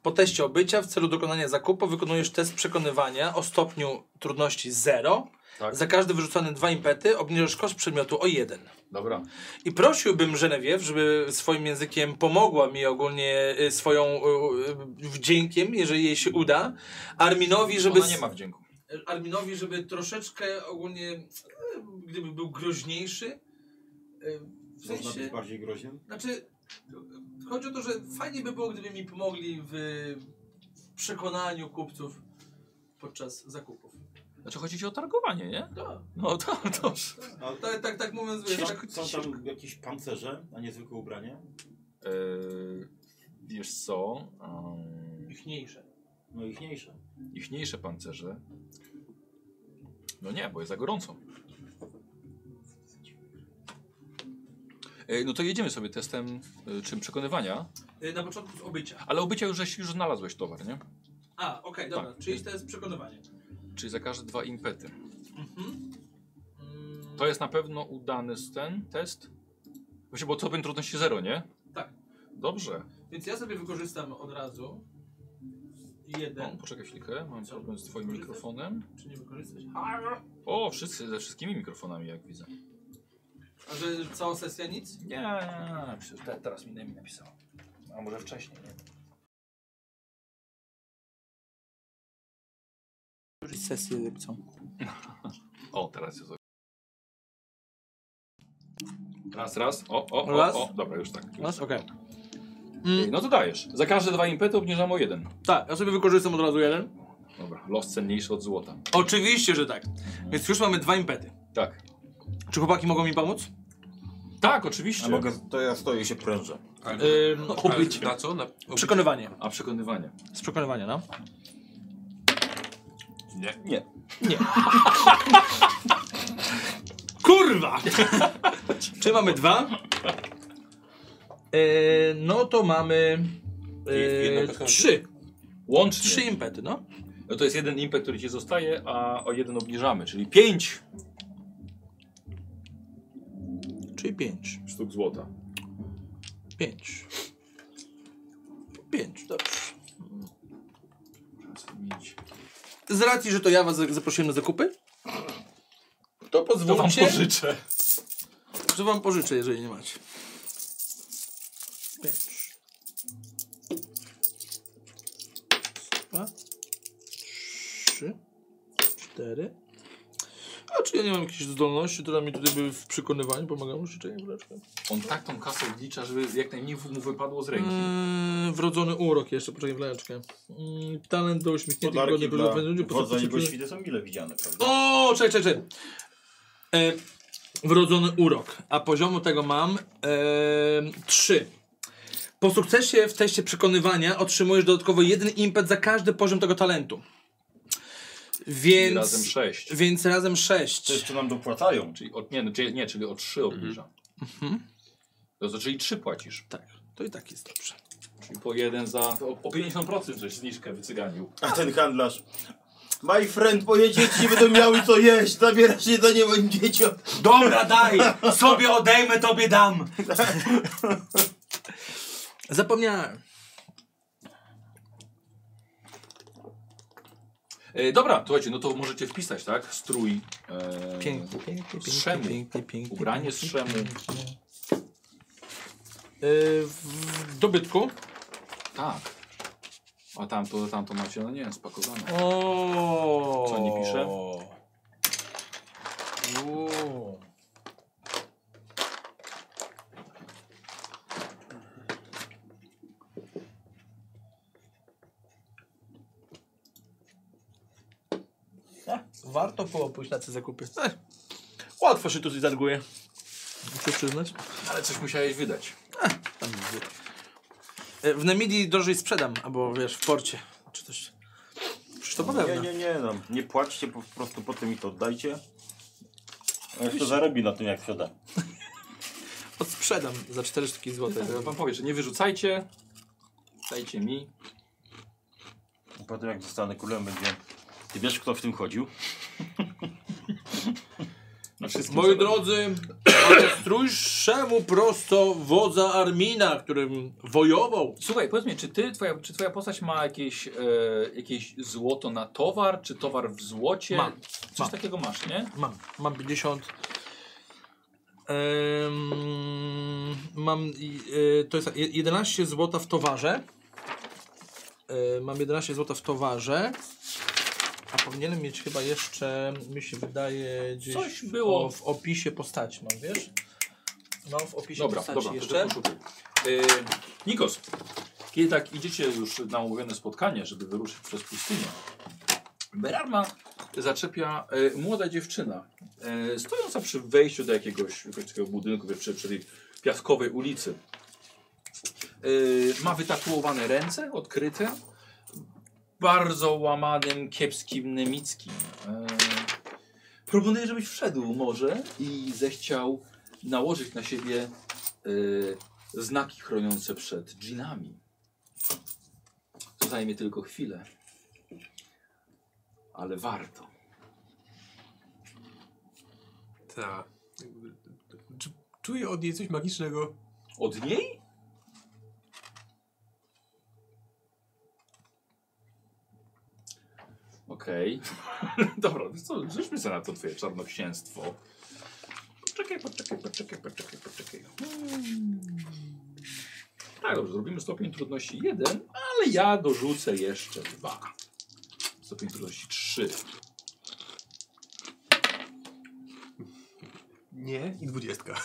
Speaker 3: Po teście obycia w celu dokonania zakupu wykonujesz test przekonywania o stopniu trudności 0.
Speaker 1: Tak.
Speaker 3: Za każdy wyrzucony dwa impety obniżasz koszt przedmiotu o 1.
Speaker 1: Dobra.
Speaker 3: I prosiłbym Genevieve, żeby swoim językiem pomogła mi ogólnie y, swoją y, y, wdziękiem, jeżeli jej się uda. Arminowi, żeby...
Speaker 1: Ona nie
Speaker 3: s-
Speaker 1: ma wdzięku.
Speaker 3: Arminowi, żeby troszeczkę ogólnie, e, gdyby był groźniejszy, e, w
Speaker 2: Można być
Speaker 3: sensie...
Speaker 2: bardziej groźnym?
Speaker 3: Znaczy, e, chodzi o to, że fajnie by było, gdyby mi pomogli w w przekonaniu kupców podczas zakupów.
Speaker 1: Znaczy chodzi ci o targowanie, nie?
Speaker 3: Tak,
Speaker 1: No to dobrze.
Speaker 3: No,
Speaker 2: A
Speaker 3: tak, tak, tak mówiąc, wiesz, tak,
Speaker 2: są tam jakieś pancerze, a nie zwykłe ubranie?
Speaker 1: Eee, wiesz co, um,
Speaker 3: Ichniejsze.
Speaker 2: No ichniejsze.
Speaker 1: ichniejsze pancerze. No nie, bo jest za gorąco. E, No to jedziemy sobie testem y, czym przekonywania,
Speaker 3: Y, Na początku z obycia.
Speaker 1: ale obycia już, żeś- już znalazłeś towar, nie?
Speaker 3: A, okej, dobra,
Speaker 1: Tak.
Speaker 3: czyli to jest przekonywanie.
Speaker 1: Czyli za każde dwa impety.
Speaker 3: Mhm. Mm,
Speaker 1: To jest na pewno udany s- ten test? Właśnie, bo co trudności zero, nie?
Speaker 3: Tak.
Speaker 1: Dobrze.
Speaker 3: Więc ja sobie wykorzystam od razu.
Speaker 1: O,
Speaker 3: Jeden.
Speaker 1: poczekaj chwilkę, mam
Speaker 3: Tak. Co?
Speaker 1: problem z twoim
Speaker 3: Korzystać?
Speaker 1: mikrofonem.
Speaker 3: Czy nie wykorzystać?
Speaker 1: O, wszyscy ze wszystkimi mikrofonami, jak widzę.
Speaker 3: A że cała sesja nic?
Speaker 1: Nie, przecież te, teraz mi Nemi napisał. A może wcześniej, nie?
Speaker 3: Sesję lipcą.
Speaker 1: O, teraz jest. ok. Raz, raz. O, o, o,
Speaker 3: Raz.
Speaker 1: o. Dobra, już tak. Już.
Speaker 3: Masz? Okej.
Speaker 1: Ej, No to dajesz. Za każde dwa impety obniżam o jeden.
Speaker 3: Tak, ja sobie wykorzystam od razu jeden.
Speaker 1: Dobra, los cenniejszy od złota.
Speaker 3: Oczywiście, że tak. Więc już mamy dwa impety.
Speaker 1: Tak.
Speaker 3: Czy chłopaki mogą mi pomóc?
Speaker 1: Tak, oczywiście.
Speaker 2: A mogę, to ja stoję i się prężę.
Speaker 5: Ale,
Speaker 4: E,
Speaker 3: Ym,
Speaker 5: ale
Speaker 3: obycie.
Speaker 5: Na co? Na obycie.
Speaker 3: Przekonywanie.
Speaker 1: A przekonywanie.
Speaker 3: Z przekonywania, no.
Speaker 5: Nie.
Speaker 1: Nie.
Speaker 3: Kurwa! Czy mamy dwa? Eee, no to mamy eee,
Speaker 5: Jedno kosmos-
Speaker 3: trzy.
Speaker 1: Łącznie.
Speaker 3: Trzy impety, no.
Speaker 1: No to jest jeden impet, który ci zostaje, a o jeden obniżamy, czyli pięć
Speaker 3: Czyli pięć.
Speaker 1: sztuk złota.
Speaker 3: Pięć. Pięć, dobrze. Z racji, że to ja was za- zaprosiłem na zakupy, to
Speaker 1: To wam
Speaker 3: pozwólcie,
Speaker 1: pożyczę.
Speaker 3: że wam pożyczę, jeżeli nie macie. Pięć. Dwa. Trzy. Cztery. A czy ja nie mam jakichś zdolności, które mi tutaj by w przekonywaniu pomagało? Jeszcze czekaj, chwileczkę.
Speaker 1: On tak tą kasę odlicza, żeby jak najmniej mu wypadło z ręki.
Speaker 3: Eee, wrodzony urok jeszcze, poczekaj chwileczkę. Mm, talent do uśmiechniętych,
Speaker 2: Podarki
Speaker 3: godnych
Speaker 2: dla
Speaker 3: ludzi,
Speaker 2: wodza i
Speaker 3: postaci-
Speaker 2: goświdy są mile widziane, prawda?
Speaker 3: O, czekaj, czekaj, czekaj. E, wrodzony urok, a poziomu tego mam e, 3. Po sukcesie w teście przekonywania otrzymujesz dodatkowo jeden impet za każdy poziom tego talentu.
Speaker 1: Czyli
Speaker 3: Więc
Speaker 1: razem sześć.
Speaker 3: Więc razem
Speaker 2: To
Speaker 3: 6.
Speaker 2: jeszcze nam dopłacają.
Speaker 1: Czyli od, nie, no, czyli- nie, czyli o trzy obniża. Mhm. To znaczy, czyli trzy płacisz.
Speaker 3: Tak, to i tak jest dobrze.
Speaker 1: Czyli po jeden za. O, o 50% żeś zniżkę wycyganił.
Speaker 2: A ten handlarz. My friend, moje dzieci będą miały co jeść, zabierasz jedzenie moim dzieciom.
Speaker 3: Dobra, daj! Sobie odejmę, tobie dam! Zapomniałem.
Speaker 1: E, dobra, słuchajcie, no to możecie wpisać, tak? Strój. E,
Speaker 3: Pięknie, pięknie,
Speaker 1: Z szemu.
Speaker 3: pięknie, pięknie, pięknie.
Speaker 1: Ubranie z
Speaker 3: pięknie,
Speaker 1: szemu.
Speaker 3: pięknie. Yy, w dobytku.
Speaker 1: Tak. A tamto, tamto macie, no nie wiem, spakowane.
Speaker 3: O.
Speaker 1: Co nie pisze?
Speaker 3: O. Warto było pójść na te zakupy. Ech, łatwo się tu zadguje. Muszę przyznać.
Speaker 1: Ale coś musiałeś wydać.
Speaker 3: Tam widzę. E, W Nemidii drożej sprzedam, albo wiesz, w porcie. Czy coś. Przecież to
Speaker 2: Nie,
Speaker 3: podobne.
Speaker 2: nie, nie, no. nie płaczcie, po prostu potem mi to oddajcie. A jeszcze zarobi na tym jak sprzeda.
Speaker 3: Odsprzedam za 4 sztuki złote.
Speaker 1: Ja wam powiem, że nie wyrzucajcie. Dajcie mi.
Speaker 2: A Potem jak zostanę królem będzie... Ty wiesz kto w tym chodził?
Speaker 1: Na wszystkim
Speaker 3: Moi
Speaker 1: zarobię.
Speaker 3: drodzy, odstrój szemu prosto wodza Armina, którym wojował.
Speaker 1: Słuchaj, powiedz mi, czy ty, twoja, czy twoja postać ma jakieś, e, jakieś złoto na towar, czy towar w złocie?
Speaker 3: Mam.
Speaker 1: Coś
Speaker 3: Mam.
Speaker 1: takiego masz, nie?
Speaker 3: Mam, mam 50. Em, mam, i- y, to jest je- 11 zł w towarze. E, mam 11 zł w towarze. A powinienem mieć chyba jeszcze, mi się wydaje, gdzieś
Speaker 1: Coś było.
Speaker 3: O, w opisie postaci mam, wiesz? Mam w opisie
Speaker 1: Dobra,
Speaker 3: postaci
Speaker 1: dobra,
Speaker 3: jeszcze.
Speaker 1: jeszcze? poszukaj. E, Nikos, kiedy tak idziecie już na umówione spotkanie, żeby wyruszyć przez pustynię, Berarma zaczepia e, młoda dziewczyna, e, stojąca przy wejściu do jakiegoś, jakiegoś takiego budynku, wiesz, przy, przy tej piaskowej ulicy. Y, ma wytatuowane ręce, odkryte. Bardzo łamanym, kiepskim nemickim. Y, proponuję, żebyś wszedł może i zechciał nałożyć na siebie y, znaki chroniące przed dżinami. To zajmie tylko chwilę. Ale warto.
Speaker 4: Ta. Czy czuję od niej coś magicznego?
Speaker 1: Od niej? Okej. Dobra, no co, rzućmy sobie na to twoje czarnoksięstwo. Poczekaj, poczekaj, poczekaj, poczekaj, poczekaj. Hmm. Tak, dobrze, zrobimy stopień trudności 1, ale ja dorzucę jeszcze 2. Stopień trudności 3.
Speaker 4: Nie. I dwudziestka.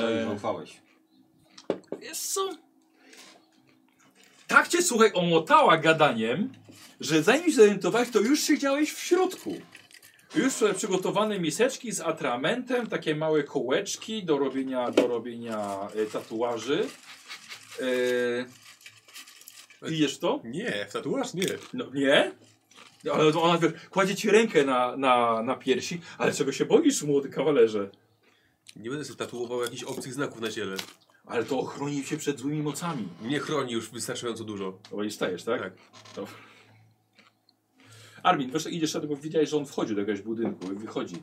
Speaker 2: no.
Speaker 1: E,
Speaker 2: Zaufałeś.
Speaker 1: Wiesz co? Tak cię, słuchaj, omotała gadaniem, że zanim się zorientowałeś, to już siedziałeś w środku. Już sobie przygotowane miseczki z atramentem, takie małe kołeczki do robienia, do robienia e, tatuaży. E, I jesz to?
Speaker 4: Nie, w tatuaż nie.
Speaker 1: No, nie? No, Ale ona wiesz, kładzie ci rękę na, na, na piersi, ale czego się boisz, młody kawalerze?
Speaker 4: Nie będę sobie tatuował jakichś obcych znaków na ciele.
Speaker 1: Ale to ochroni się przed złymi mocami.
Speaker 4: Mnie chroni już wystarczająco dużo.
Speaker 1: Bo i stajesz, tak?
Speaker 4: Tak.
Speaker 1: Dobra. Armin, wiesz, idziesz do tego, widziałeś, że on wchodzi do jakiegoś budynku i wychodzi.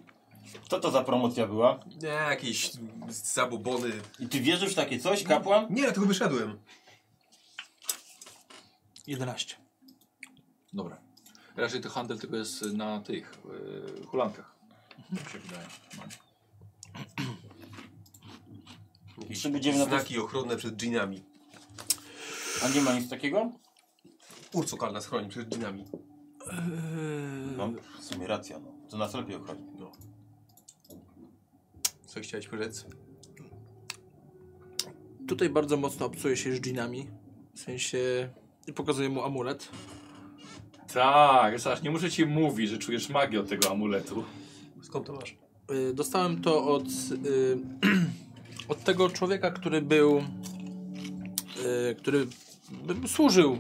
Speaker 2: Co to za promocja była?
Speaker 4: Nie, jakieś zabobony.
Speaker 2: I ty wierzysz w takie coś, kapłan?
Speaker 4: Nie, tylko wyszedłem.
Speaker 3: 11.
Speaker 1: Dobra. Raczej to handel tylko jest na tych yy, hulankach. Mi się wydaje.
Speaker 4: Jakieś
Speaker 2: Czy będziemy na to-
Speaker 4: znaki ochronne przed dżinami.
Speaker 2: A nie ma nic takiego?
Speaker 4: Urcokal nas chroni przed dżinami.
Speaker 3: E,
Speaker 2: No, w sumie racja, no. To nas lepiej ochroni.
Speaker 4: No. Co chciałeś powiedzieć?
Speaker 3: Tutaj bardzo mocno obcuje się z dżinami. W sensie... I pokazuje mu amulet.
Speaker 1: Tak, Sasz, nie muszę ci mówić, że czujesz magię od tego amuletu.
Speaker 4: Skąd to masz?
Speaker 3: Y, Dostałem to od, y, od tego człowieka, który był, y, który by- służył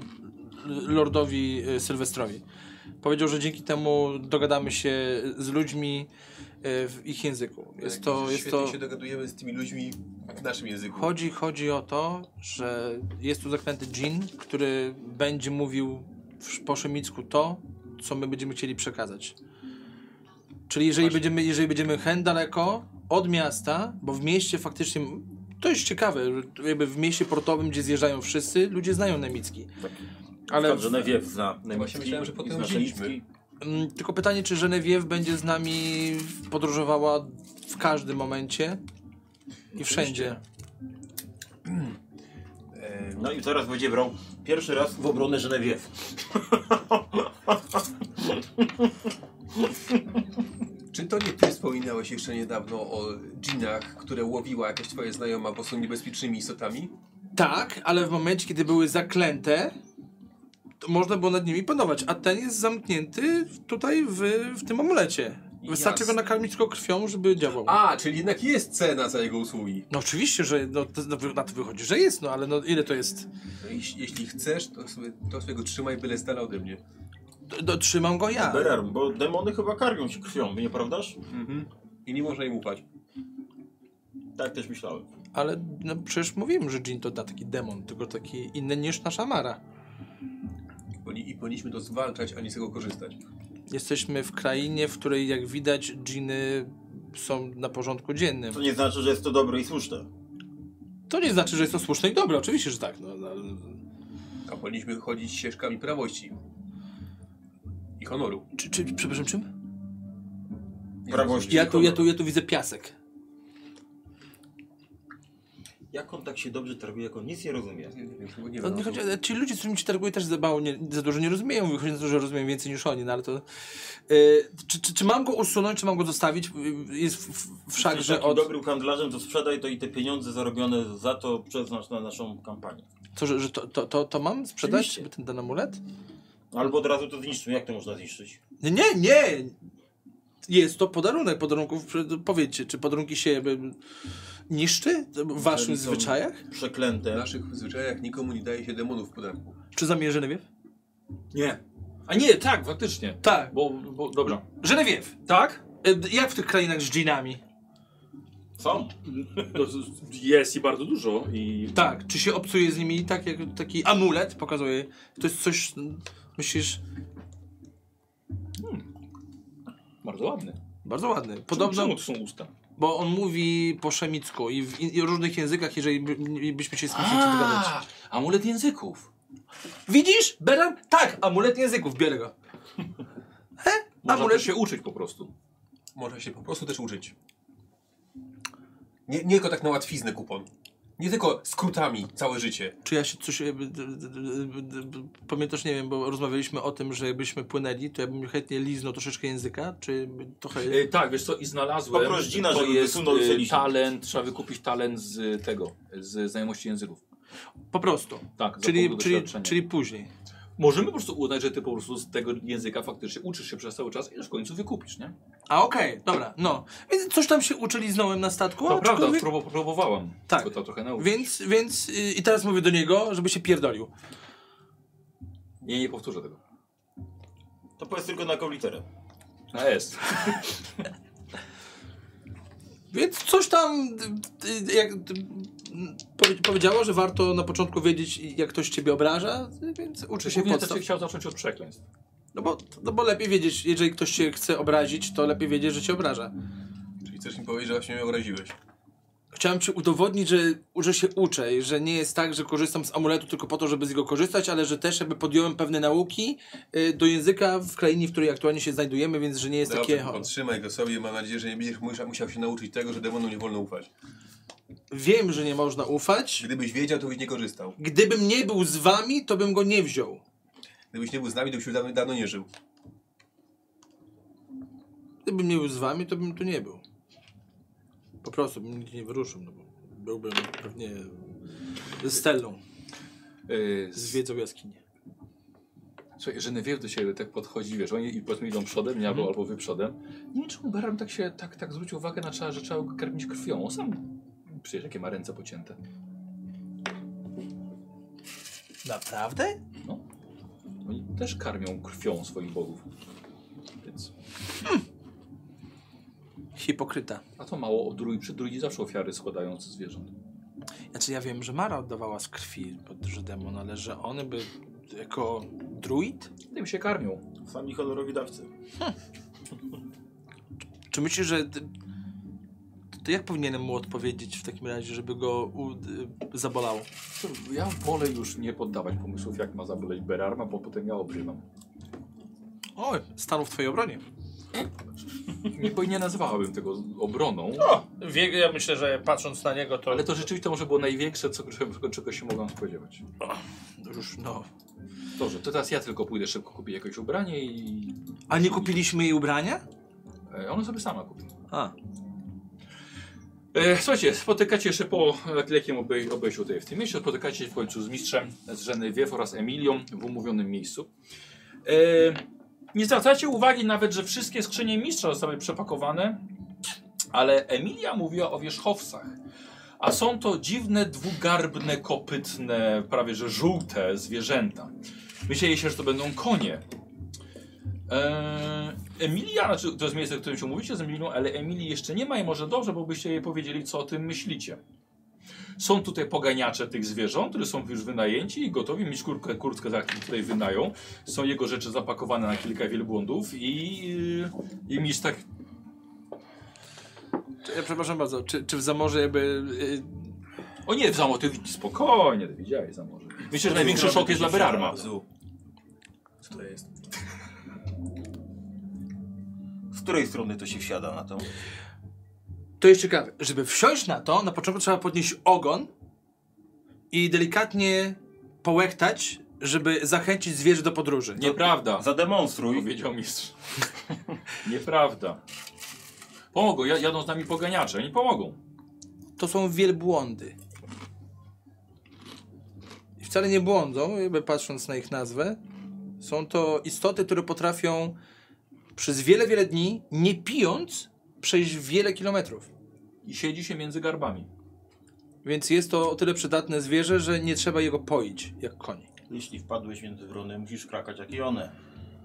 Speaker 3: lordowi y, Sylwestrowi. Powiedział, że dzięki temu dogadamy się z ludźmi y, w ich języku. Jest to, jest
Speaker 4: Świetnie
Speaker 3: to,
Speaker 4: się dogadujemy z tymi ludźmi w naszym języku.
Speaker 3: chodzi, chodzi o to, że jest tu zaklęty dżin, który będzie mówił w, po szemicku to, co my będziemy chcieli przekazać. Czyli jeżeli będziemy, jeżeli będziemy hen daleko od miasta, bo w mieście faktycznie to jest ciekawe, że jakby w mieście portowym, gdzie zjeżdżają wszyscy, ludzie znają nemicki. Ale
Speaker 2: Ale
Speaker 3: w- No
Speaker 2: że Newiew zna Właśnie
Speaker 4: myślałem, że po tym wzięliśmy.
Speaker 3: Mm, Tylko pytanie, czy Genevieve będzie z nami podróżowała w każdym momencie i wszędzie.
Speaker 2: No i teraz będzie brał pierwszy raz w obronę Genewiew.
Speaker 4: Czy to nie ty wspominałeś jeszcze niedawno o dżinach, które łowiła jakaś twoja znajoma, bo są niebezpiecznymi istotami?
Speaker 3: Tak, ale w momencie, kiedy były zaklęte, to można było nad nimi panować, a ten jest zamknięty tutaj w, w tym amulecie. Wystarczy
Speaker 4: Jasne.
Speaker 3: go nakarmić tylko krwią, żeby działał.
Speaker 4: A, czyli jednak jest cena za jego usługi.
Speaker 3: No oczywiście, że no, to, no, na to wychodzi, że jest, no ale no, ile to jest?
Speaker 4: No i, jeśli chcesz, to sobie, to sobie go trzymaj byle z dala ode mnie.
Speaker 3: D- do- trzymam go ja.
Speaker 2: Berarm, bo demony chyba karmią się krwią, nieprawdaż?
Speaker 4: Mhm. I nie można im ufać.
Speaker 2: Tak też myślałem.
Speaker 3: Ale no, przecież mówiłem, że Jin to da taki demon, tylko taki inny niż nasza Mara.
Speaker 4: Powinni- I powinniśmy to zwalczać, a nie z tego korzystać.
Speaker 3: Jesteśmy w krainie, w której jak widać dżiny są na porządku dziennym.
Speaker 2: To nie znaczy, że jest to dobre i słuszne.
Speaker 3: To nie znaczy, że jest to słuszne i dobre, oczywiście, że tak. No, no,
Speaker 4: A powinniśmy chodzić ścieżkami prawości. I honoru.
Speaker 3: czy, czy, przepraszam, czym?
Speaker 4: Nie
Speaker 2: Prawości.
Speaker 3: Ja tu, ja, tu, ja tu widzę piasek.
Speaker 2: Jak on tak się dobrze targuje, jak on nic nie rozumie?
Speaker 4: rozumiem. Nie wiem, tego nie
Speaker 3: To No, nie
Speaker 4: wiem.
Speaker 3: chodzi, ci ludzie, z którymi się targuje, też za, mało nie, za dużo nie rozumieją. Wychodzi na to, że rozumiem więcej niż oni, no ale to... Yy, czy, czy, czy mam go usunąć, czy mam go zostawić? Yy, Jest w- w- wszak,
Speaker 2: Jesteś
Speaker 3: że
Speaker 2: takim
Speaker 3: od...
Speaker 2: dobrym handlarzem, to sprzedaj to i te pieniądze zarobione za to przeznacz na naszą kampanię.
Speaker 3: Co, że, że to, to, to, to mam sprzedać,
Speaker 2: Oczywiście.
Speaker 3: żeby ten, ten amulet?
Speaker 2: Albo od razu to zniszczymy. Jak to można zniszczyć?
Speaker 3: Nie, nie, nie! jest to podarunek podarunków. Powiedzcie, czy podarunki się jakby niszczy w waszych
Speaker 5: są-
Speaker 3: zwyczajach?
Speaker 5: W
Speaker 2: Przeklęte.
Speaker 5: naszych zwyczajach nikomu nie daje się demonów w podarku.
Speaker 3: Czy zamierzony wiew?
Speaker 1: Nie. A nie, tak, faktycznie.
Speaker 3: Tak.
Speaker 1: Bo, bo dobra.
Speaker 3: Żenewiew.
Speaker 1: Tak?
Speaker 3: E, Jak w tych krainach z dżinami?
Speaker 1: Są. No, z- Jest i bardzo dużo i...
Speaker 3: Tak. Czy się obcuje z nimi tak jak taki amulet pokazuje? To jest coś, m, myślisz,
Speaker 1: Bardzo ładny.
Speaker 3: bardzo ładny.
Speaker 1: Podobno...
Speaker 3: Podobno,
Speaker 1: Czemu to są usta?
Speaker 3: bo on mówi po szemicku i w, i w różnych językach, jeżeli by, byśmy się z kimś chcieli dogadać.
Speaker 1: amulet języków.
Speaker 3: Widzisz, Beram? Tak, amulet języków, biorę go.
Speaker 1: Można
Speaker 3: Amulet-
Speaker 1: też się uczyć po prostu.
Speaker 5: Może się po prostu.
Speaker 4: prostu też użyć. Nie, nie tylko tak na łatwiznę kupon. Nie tylko skrótami całe życie.
Speaker 3: Czy ja się coś... e, jakby, d- d- d- d- d- Pamiętasz, nie wiem, bo rozmawialiśmy o tym, że jakbyśmy płynęli, to ja bym chętnie liznął troszeczkę języka, czy trochę...
Speaker 1: E, tak, wiesz co, i znalazłem.
Speaker 2: Po proździna,
Speaker 1: to
Speaker 2: żeby
Speaker 1: jest
Speaker 2: wysunął
Speaker 1: e,
Speaker 2: sobie liść.
Speaker 1: talent, trzeba wykupić talent z tego, z znajomości języków.
Speaker 3: Po prostu.
Speaker 1: Tak,
Speaker 3: Czyli,
Speaker 1: zapomnę
Speaker 3: czyli,
Speaker 1: doświadczenia.
Speaker 3: czyli później.
Speaker 1: Możemy po prostu uznać, że ty po prostu z tego języka faktycznie uczysz się przez cały czas i już w końcu wykupisz, nie?
Speaker 3: A okej, dobra, no. Więc coś tam się uczyli znałem na statku,
Speaker 1: To prawda,
Speaker 3: No, aczkolwiek-
Speaker 1: prób- próbowałam.
Speaker 3: Tak.
Speaker 1: Bo to trochę nauczyć.
Speaker 3: Więc, więc... y, I teraz mówię do niego, żeby się pierdolił.
Speaker 1: Nie, nie powtórzę tego.
Speaker 2: To powiedz tylko na jaką literę.
Speaker 1: No jest.
Speaker 3: Więc coś tam d- d- jak d- m, powie- powiedziało, że warto na początku wiedzieć, jak ktoś ciebie obraża, więc uczy się
Speaker 1: Głównie też
Speaker 3: podstaw.
Speaker 1: znaczy, chciał zacząć od przekleństw.
Speaker 3: No bo, no bo lepiej wiedzieć, jeżeli ktoś cię chce obrazić, to lepiej wiedzieć, że cię obraża.
Speaker 5: Czyli chcesz mi powiedzieć, że właśnie mnie obraziłeś.
Speaker 3: Chciałem ci udowodnić, że, że się uczę i że nie jest tak, że korzystam z amuletu tylko po to, żeby z niego korzystać, ale że też jakby podjąłem pewne nauki y, do języka w krainie, w której aktualnie się znajdujemy, więc że nie jest
Speaker 5: Dobrze,
Speaker 3: takie...
Speaker 5: kupon, trzymaj go sobie. Mam nadzieję, że nie będziesz musiał- musiał się nauczyć tego, że demonom nie wolno ufać.
Speaker 3: Wiem, że nie można ufać.
Speaker 5: Gdybyś wiedział, to byś nie korzystał.
Speaker 3: Gdybym nie był z wami, to bym go nie wziął.
Speaker 5: Gdybyś nie był z nami, to byś już dawno, dawno nie żył.
Speaker 3: Gdybym nie był z wami, to bym tu nie był. Po prostu bym nigdzie nie wyruszył, no bo byłbym pewnie ze Stellą,
Speaker 1: Yy,
Speaker 3: zwiedzał jaskinię.
Speaker 1: Słuchaj, Genevieve do siebie tak podchodzi, wiesz, oni i potem idą przodem, nie,
Speaker 3: Mhm.
Speaker 1: albo, albo wy przodem. Nie wiem, czemu Baram tak się, tak, tak zwrócił uwagę na trzeba, że trzeba go karmić krwią. On sam, przecież jakie ma ręce pocięte.
Speaker 3: Naprawdę?
Speaker 1: No. Oni też karmią krwią swoich bogów. Więc,
Speaker 3: Hipokryta.
Speaker 1: a to mało od drugi, przy drugi zawsze ofiary składają ze zwierząt.
Speaker 3: Znaczy ja wiem, że Mara oddawała z krwi pod że demon, ale że one by jako druid?
Speaker 1: Tym się karmią.
Speaker 2: Sami honorowi dawcy.
Speaker 3: Czy myślisz, że... ty- To jak powinienem mu odpowiedzieć w takim razie, żeby go u... y, zabolało?
Speaker 1: To Ja wolę już nie poddawać pomysłów, jak ma zaboleć Berarma, bo potem ja obrywam.
Speaker 3: Oj, stanął w twojej obronie.
Speaker 1: Nie, bo nie nazwałabym tego obroną,
Speaker 3: No, Wie, ja myślę, że patrząc na niego to...
Speaker 1: ale to rzeczywiście to może było największe, co, czego- czego się mogłam spodziewać.
Speaker 3: Już, no...
Speaker 1: Dobrze, to teraz ja tylko pójdę szybko kupić jakieś ubranie i
Speaker 3: A nie kupiliśmy jej ubrania?
Speaker 1: e, ona sobie sama kupi.
Speaker 3: A.
Speaker 1: E, słuchajcie, spotykacie się po lekkim obej obejściu tutaj w tym mieście, spotykacie się w końcu z mistrzem, z Genevieve oraz Emilią w umówionym miejscu. E, nie zwracacie uwagi nawet, że wszystkie skrzynie mistrza zostały przepakowane, ale Emilia mówiła o wierzchowcach. A są to dziwne, dwugarbne, kopytne, prawie że żółte zwierzęta. Myśleli się, że to będą konie. Eee, Emilia, znaczy to jest miejsce, w którym się mówicie z Emilią, ale Emilii jeszcze nie ma i może dobrze, bo byście jej powiedzieli, co o tym myślicie. Są tutaj poganiacze tych zwierząt, które są już wynajęci i gotowi mieć kurtkę, kurtkę za chwilę tutaj wynają. Są jego rzeczy zapakowane na kilka wielbłądów i, i mistrz tak
Speaker 3: Ja przepraszam bardzo, czy, czy w zamorze jakby. y,
Speaker 1: O nie, w zamorze, ty spokojnie, ty widziałeś zamorze. Myślę, że największy szok jest dla Berarma.
Speaker 5: Zu.
Speaker 4: Co to jest?
Speaker 2: Z której strony to się wsiada na to?
Speaker 3: To jest ciekawe. Żeby wsiąść na to, na początku trzeba podnieść ogon i delikatnie połechtać, żeby zachęcić zwierzę do podróży. Nie.
Speaker 1: Nieprawda,
Speaker 2: Zademonstruj.
Speaker 1: powiedział mistrz. Nieprawda. Pomogą, ja- jadą z nami poganiacze, oni pomogą.
Speaker 3: To są wielbłądy. I wcale nie błądzą, jakby patrząc na ich nazwę. Są to istoty, które potrafią przez wiele, wiele dni, nie pijąc, przejść wiele kilometrów.
Speaker 1: I siedzi się między garbami.
Speaker 3: Więc jest to o tyle przydatne zwierzę, że nie trzeba jego poić, jak koni.
Speaker 2: Jeśli wpadłeś między wrony, musisz krakać jak i one.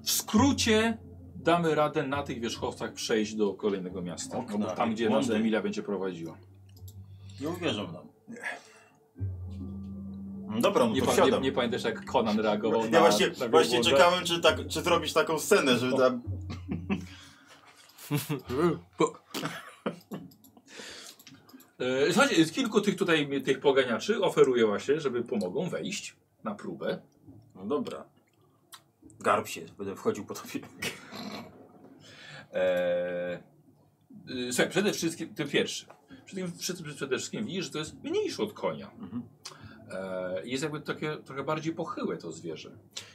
Speaker 1: W skrócie damy radę na tych wierzchowcach przejść do kolejnego miasta.
Speaker 2: Okna,
Speaker 1: Albo tam, gdzie nas
Speaker 2: błądy.
Speaker 1: Emilia będzie prowadziła.
Speaker 2: Nie uwierzą nam. Dobra, no
Speaker 1: Nie,
Speaker 2: to
Speaker 1: pa, nie,
Speaker 2: wsiadam.
Speaker 1: nie pamiętasz, jak Conan reagował na
Speaker 2: ja właśnie,
Speaker 1: na
Speaker 2: właśnie
Speaker 1: wielbłąda?
Speaker 2: ciekawym, czy, tak, czy zrobisz taką scenę, żeby tam...
Speaker 1: E, Słuchajcie, kilku tych tutaj tych poganiaczy oferuje właśnie, żeby pomogą wejść na próbę.
Speaker 2: No dobra. Garb się, będę wchodził po tobie.
Speaker 1: Eee, y, słuchaj, przede wszystkim, ty pierwszy. Przede wszystkim, przede wszystkim widzisz, że to jest mniejsze od konia. Eee, jest jakby takie trochę bardziej pochyłe to zwierzę.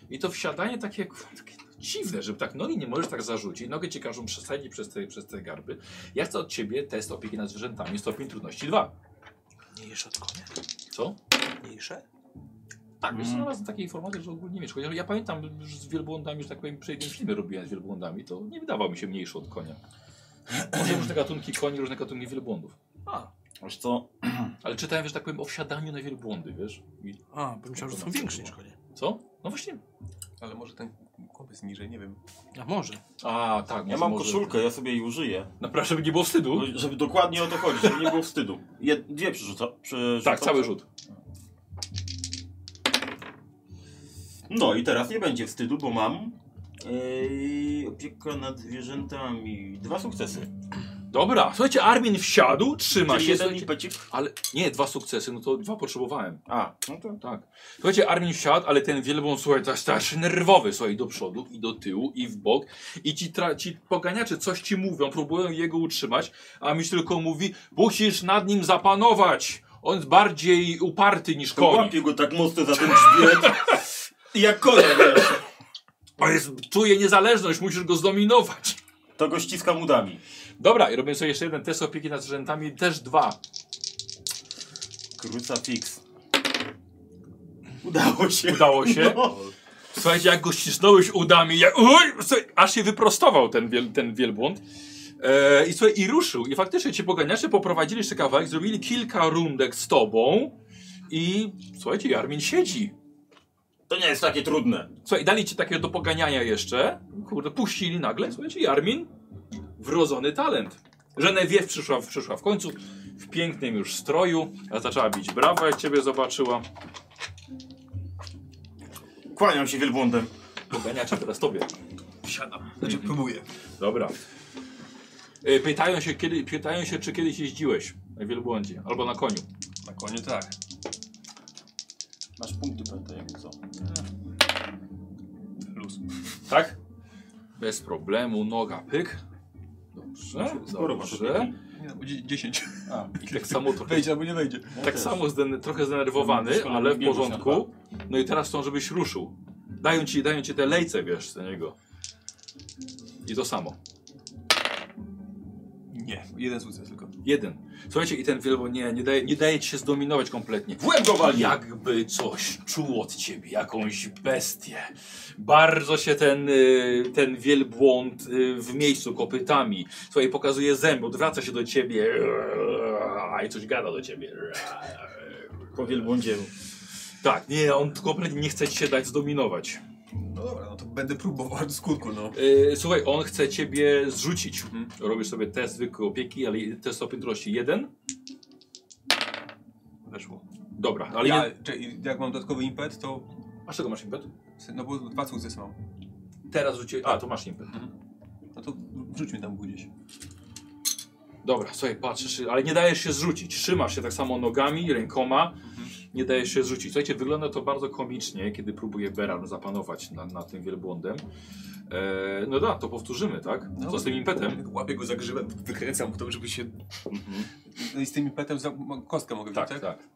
Speaker 1: I to wsiadanie takie, kurwa, takie dziwne, żeby tak nogi nie możesz tak zarzucić. Nogę cię każą przesadzić przez te, przez te garby. Ja chcę od ciebie test opieki nad zwierzętami, stopień trudności 2.
Speaker 3: Mniejsze od konia?
Speaker 1: Co?
Speaker 3: Mniejsze?
Speaker 1: Tak, wiesz,
Speaker 2: Mm.
Speaker 1: znalazłem takie informacje, że ogólnie wiesz, chociaż ja pamiętam że z wielbłądami, że tak powiem, przejdę filmy robiłem z wielbłądami, to nie wydawał mi się mniejszy od konia. Są różne gatunki koni, różne gatunki wielbłądów.
Speaker 2: Wiesz co?
Speaker 1: Ale czytałem, że tak powiem, o wsiadaniu na wielbłądy, wiesz? I
Speaker 3: A, bo myślałem, że są większe niż konie.
Speaker 1: co? No właśnie.
Speaker 4: Ale może ten chłop jest niżej, nie wiem.
Speaker 3: A może.
Speaker 1: A, tak.
Speaker 2: Ja
Speaker 1: może-
Speaker 2: mam
Speaker 1: może-
Speaker 2: koszulkę, ja sobie jej użyję.
Speaker 1: Naprawdę, żeby nie było wstydu.
Speaker 2: No, Żeby dokładnie o to chodzi, żeby nie było wstydu. Jed, dwie przerzuca, przerzuca.
Speaker 1: Tak, cały rzut.
Speaker 2: No i teraz nie będzie wstydu, bo mam yy, opiekę nad zwierzętami. Dwa sukcesy.
Speaker 1: Dobra, słuchajcie, Armin wsiadł, trzyma
Speaker 2: Czyli
Speaker 1: się.
Speaker 2: jeden
Speaker 1: Słuchajcie,
Speaker 2: impecik.
Speaker 1: ale nie, dwa sukcesy, no to dwa potrzebowałem.
Speaker 2: A, no to...
Speaker 1: Tak. Słuchajcie, Armin wsiadł, ale ten wielbłąd, słuchaj, tak strasznie nerwowy, słuchaj, do przodu i do tyłu i w bok. I ci, tra- ci poganiacze coś ci mówią, próbują jego utrzymać, a miś tylko mówi, musisz nad nim zapanować. On jest bardziej uparty niż koń.
Speaker 2: Łapię go tak mocno za ten grzbiet. Jak kolega, wiesz.
Speaker 1: On jest, czuje niezależność, musisz go zdominować.
Speaker 2: To go ściskam udami.
Speaker 1: Dobra, i robię sobie jeszcze jeden test opieki nad zwierzętami, też dwa.
Speaker 2: Krucifix. Udało się.
Speaker 1: Udało się.
Speaker 2: No.
Speaker 1: Słuchajcie, jak go ścisnąłeś udami, jak, uj, słuchaj, aż się wyprostował ten, wiel, ten wielbłąd. E, i, słuchaj, I ruszył. I faktycznie cię poganiacze poprowadzili jeszcze kawałek, zrobili kilka rundek z tobą. I słuchajcie, Jarmin siedzi.
Speaker 2: To nie jest takie trudne.
Speaker 1: Słuchaj, dali ci takiego do poganiania jeszcze. Kurde, puścili nagle. Słuchajcie, Jarmin, wrodzony talent. Genevieve przyszła, przyszła w końcu w pięknym już stroju, a zaczęła bić brawa, jak ciebie zobaczyła.
Speaker 2: Kłaniam się wielbłądem.
Speaker 1: Poganiacze teraz tobie.
Speaker 5: Znaczy próbuję.
Speaker 1: Dobra. Y, Pytają się, kiedy, pytają się, czy kiedyś jeździłeś na wielbłądzie albo na koniu.
Speaker 4: Na koniu tak.
Speaker 2: Masz punkty pamiętaj, jak co.
Speaker 4: Luz.
Speaker 1: Tak? Bez problemu, noga, pyk.
Speaker 5: Znaczy,
Speaker 1: Dobrze,
Speaker 2: Sporo masz
Speaker 1: dobrze.
Speaker 4: Nie, no, dzie- 10.
Speaker 1: I tak samo trochę,
Speaker 5: Wejdzie albo nie wejdzie.
Speaker 1: tak samo zden, trochę zdenerwowany, ale w porządku. No i teraz chcą, żebyś ruszył. Dają ci, dają ci te lejce, wiesz, do niego. I to samo.
Speaker 4: Nie, jeden sukces tylko.
Speaker 1: Jeden. Słuchajcie, i ten wielbo nie, nie daje, nie daje ci się zdominować kompletnie. W łeb go wali! Jakby coś czuł od ciebie, jakąś bestię. Bardzo się ten, y, ten wielbłąd y, w miejscu kopytami. Słuchaj, pokazuje zęby, odwraca się do ciebie. I coś gada do ciebie.
Speaker 2: Po wielbłądzie.
Speaker 1: Tak, nie, on kompletnie nie chce ci się dać zdominować.
Speaker 5: No dobra, no to będę próbował do skutku, no.
Speaker 1: Y, słuchaj, on chce ciebie zrzucić. Mhm. Robisz sobie test zwykłej opieki, ale test opętrości jeden.
Speaker 4: Weszło.
Speaker 1: Dobra, ale
Speaker 4: Ale
Speaker 1: ja...
Speaker 4: ja, czy, jak mam dodatkowy impet, to.
Speaker 1: A czego masz impet?
Speaker 4: No bo dwa sukcesy mam.
Speaker 1: Teraz rzuciłeś... A, to masz impet.
Speaker 4: No to wrzućmy tam gdzieś.
Speaker 1: Dobra, słuchaj, patrzysz, ale nie dajesz się zrzucić. Trzymasz się tak samo nogami, rękoma, nie dajesz się zrzucić. Słuchajcie, wygląda to bardzo komicznie, kiedy próbuje Beran zapanować nad, nad tym wielbłądem. Eee, no da, to powtórzymy, tak? Co z tym impetem? Mhm.
Speaker 5: Łapię go za grzywem, wykręcam to, żeby się...
Speaker 4: No i z tym impetem za, mo- kostkę mogę wziąć,
Speaker 1: Tak,
Speaker 4: tak?
Speaker 1: tak.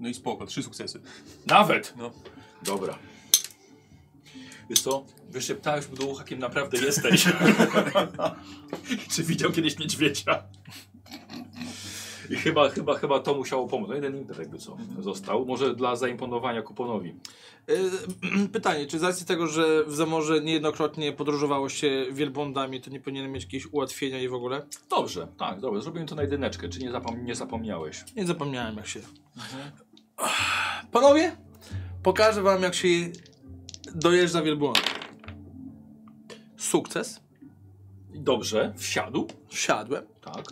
Speaker 4: No i spoko, trzy sukcesy.
Speaker 1: Nawet!
Speaker 4: No.
Speaker 1: Dobra. Wiesz co, wyszeptałeś mu do ucha, kim naprawdę jesteś. Czy widział kiedyś niedźwiedzia? I chyba, chyba, chyba to musiało pomóc. No jeden impet jakby co został. Może dla zaimponowania kuponowi.
Speaker 3: Y, Pytanie, czy z racji tego, że w Zamorze niejednokrotnie podróżowało się wielbłądami, to nie powinienem mieć jakieś ułatwienia i w ogóle?
Speaker 1: Dobrze, tak, dobrze. Zrobimy to na jedyneczkę. Czy nie, zapom nie zapomniałeś?
Speaker 3: Nie zapomniałem jak się... Mhm. Panowie, pokażę wam jak się dojeżdża wielbłąd. Sukces,
Speaker 1: Dobrze, wsiadł.
Speaker 3: wsiadłem,
Speaker 1: Tak,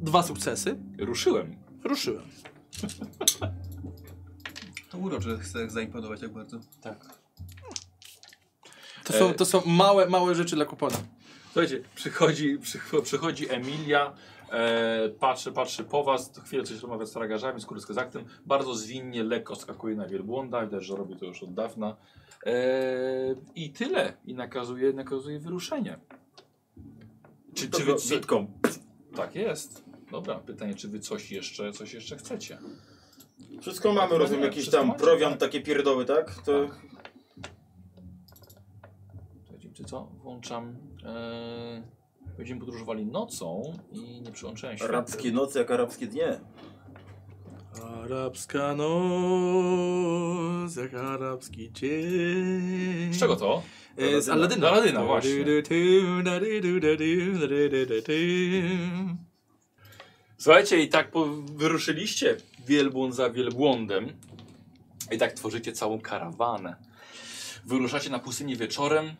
Speaker 3: dwa sukcesy,
Speaker 1: ruszyłem.
Speaker 3: ruszyłem.
Speaker 6: To urocze chcę zaimponować jak bardzo.
Speaker 4: Tak.
Speaker 3: To są, to są małe, małe rzeczy dla kupona.
Speaker 1: Słuchajcie, przychodzi, przy- przychodzi Emilia, e, patrzy, patrzy po was, to chwilę coś rozmawia z tragarzami, z kurskozaktem, bardzo zwinnie, lekko skakuje na wielbłąda, widać, że robi to już od dawna. E, I tyle. I nakazuje, nakazuje wyruszenie. Czy, czy wy, czy,
Speaker 2: Witką.
Speaker 1: tak jest. Dobra, pytanie, czy wy coś jeszcze, coś jeszcze chcecie?
Speaker 2: Wszystko mamy, rozumiem, jakiś
Speaker 1: Wszystko
Speaker 2: tam
Speaker 1: macie, tak.
Speaker 2: prowiant, takie pierdoły, tak? To...
Speaker 1: Słuchajcie, czy co? Włączam. E, będziemy podróżowali nocą i nie przyłączałem się.
Speaker 2: Arabskie noce jak arabskie dnie.
Speaker 3: Arabska noc, jak arabski dzień.
Speaker 1: Z czego to?
Speaker 3: E, Z Aladyna.
Speaker 1: Z Aladyna, właśnie. Słuchajcie, i tak po, wyruszyliście wielbłąd za wielbłądem. I tak tworzycie całą karawanę. Wyruszacie na pustynię wieczorem.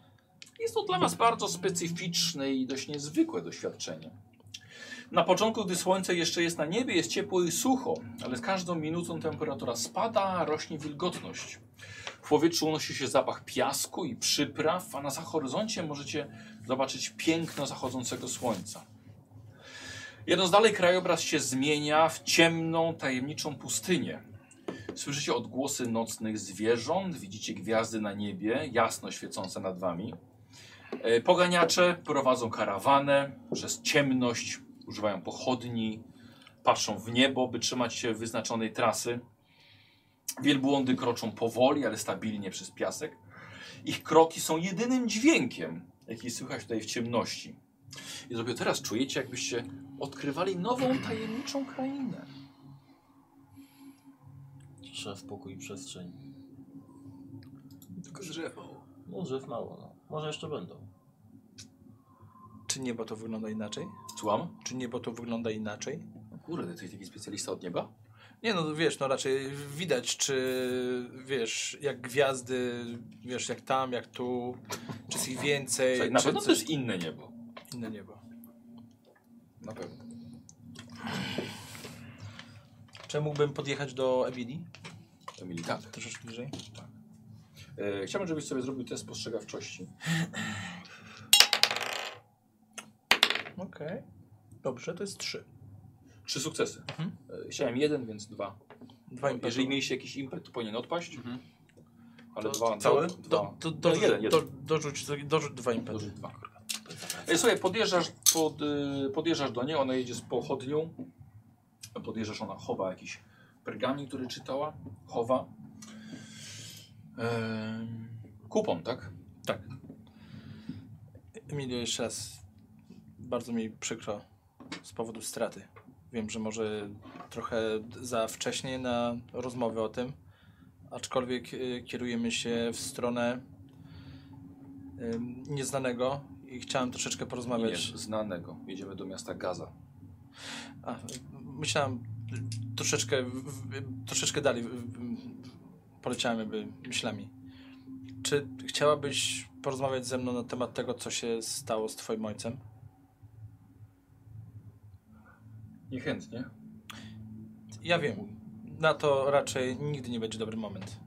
Speaker 1: Jest to dla Was bardzo specyficzne i dość niezwykłe doświadczenie. Na początku, gdy słońce jeszcze jest na niebie, jest ciepło i sucho, ale z każdą minutą temperatura spada, a rośnie wilgotność. W powietrzu unosi się zapach piasku i przypraw, a na horyzoncie możecie zobaczyć piękno zachodzącego słońca. Jedąc dalej krajobraz się zmienia w ciemną, tajemniczą pustynię. Słyszycie odgłosy nocnych zwierząt, widzicie gwiazdy na niebie, jasno świecące nad wami. E, Poganiacze prowadzą karawanę przez ciemność, używają pochodni, patrzą w niebo, by trzymać się wyznaczonej trasy. Wielbłądy kroczą powoli, ale stabilnie przez piasek. Ich kroki są jedynym dźwiękiem, jaki słychać tutaj w ciemności. I dopiero teraz czujecie, jakbyście odkrywali nową, tajemniczą krainę.
Speaker 2: Cisza, spokój i przestrzeń.
Speaker 4: Tylko drzew mało.
Speaker 2: No drzew mało, no. Może jeszcze będą.
Speaker 3: Czy niebo to wygląda inaczej?
Speaker 1: Słucham?
Speaker 3: Czy niebo to wygląda inaczej?
Speaker 1: No kurde, ty jesteś taki specjalista od nieba?
Speaker 3: Nie no, wiesz, no raczej widać, czy wiesz, jak gwiazdy, wiesz, jak tam, jak tu, czy jest ich więcej,
Speaker 1: Słuchaj, na
Speaker 3: czy
Speaker 1: pewno to
Speaker 3: coś
Speaker 1: jest inne niebo.
Speaker 3: inne niebo.
Speaker 1: Na pewno.
Speaker 3: Czy mógłbym podjechać do Emilii?
Speaker 1: To mieli tak.
Speaker 3: Troszeczkę bliżej.
Speaker 1: E, chciałbym, żebyś sobie zrobił test postrzegawczości.
Speaker 3: Okej. Dobrze, to jest trzy.
Speaker 1: Trzy sukcesy.
Speaker 3: Mhm.
Speaker 1: E, chciałem jeden, więc dwa.
Speaker 3: Dwa
Speaker 1: Jeżeli mieliście jakiś impet, to powinien odpaść.
Speaker 4: Mhm.
Speaker 1: Ale dwa.
Speaker 3: Cały?
Speaker 1: Dwa,
Speaker 3: Do,
Speaker 1: dwa.
Speaker 3: do,
Speaker 1: No,
Speaker 3: dorzuć,
Speaker 1: jeden,
Speaker 3: do,
Speaker 1: jeden.
Speaker 3: dorzuć, dorzuć dwa impety.
Speaker 1: Dobrze, dwa. E, słuchaj, podjeżdżasz, pod, y, podjeżdżasz do niej, ona jedzie z pochodnią. Podjeżdżasz, ona chowa jakiś pergamin, który czytała. Chowa. Ehm, kupon, tak?
Speaker 3: Emilio, jeszcze raz. Bardzo mi przykro z powodu straty. Wiem, że może trochę za wcześnie na rozmowę o tym, aczkolwiek y, kierujemy się w stronę y, nieznanego i chciałem troszeczkę
Speaker 1: Nie,
Speaker 3: porozmawiać.
Speaker 1: znanego. Jedziemy do miasta Gaza.
Speaker 3: A, y, myślałem y, troszeczkę, w- w- troszeczkę dalej, w- w- poleciałem jakby myślami. Czy chciałabyś porozmawiać ze mną na temat tego, co się stało z twoim ojcem?
Speaker 1: Niechętnie.
Speaker 3: Ja wiem. Na to raczej nigdy nie będzie dobry moment.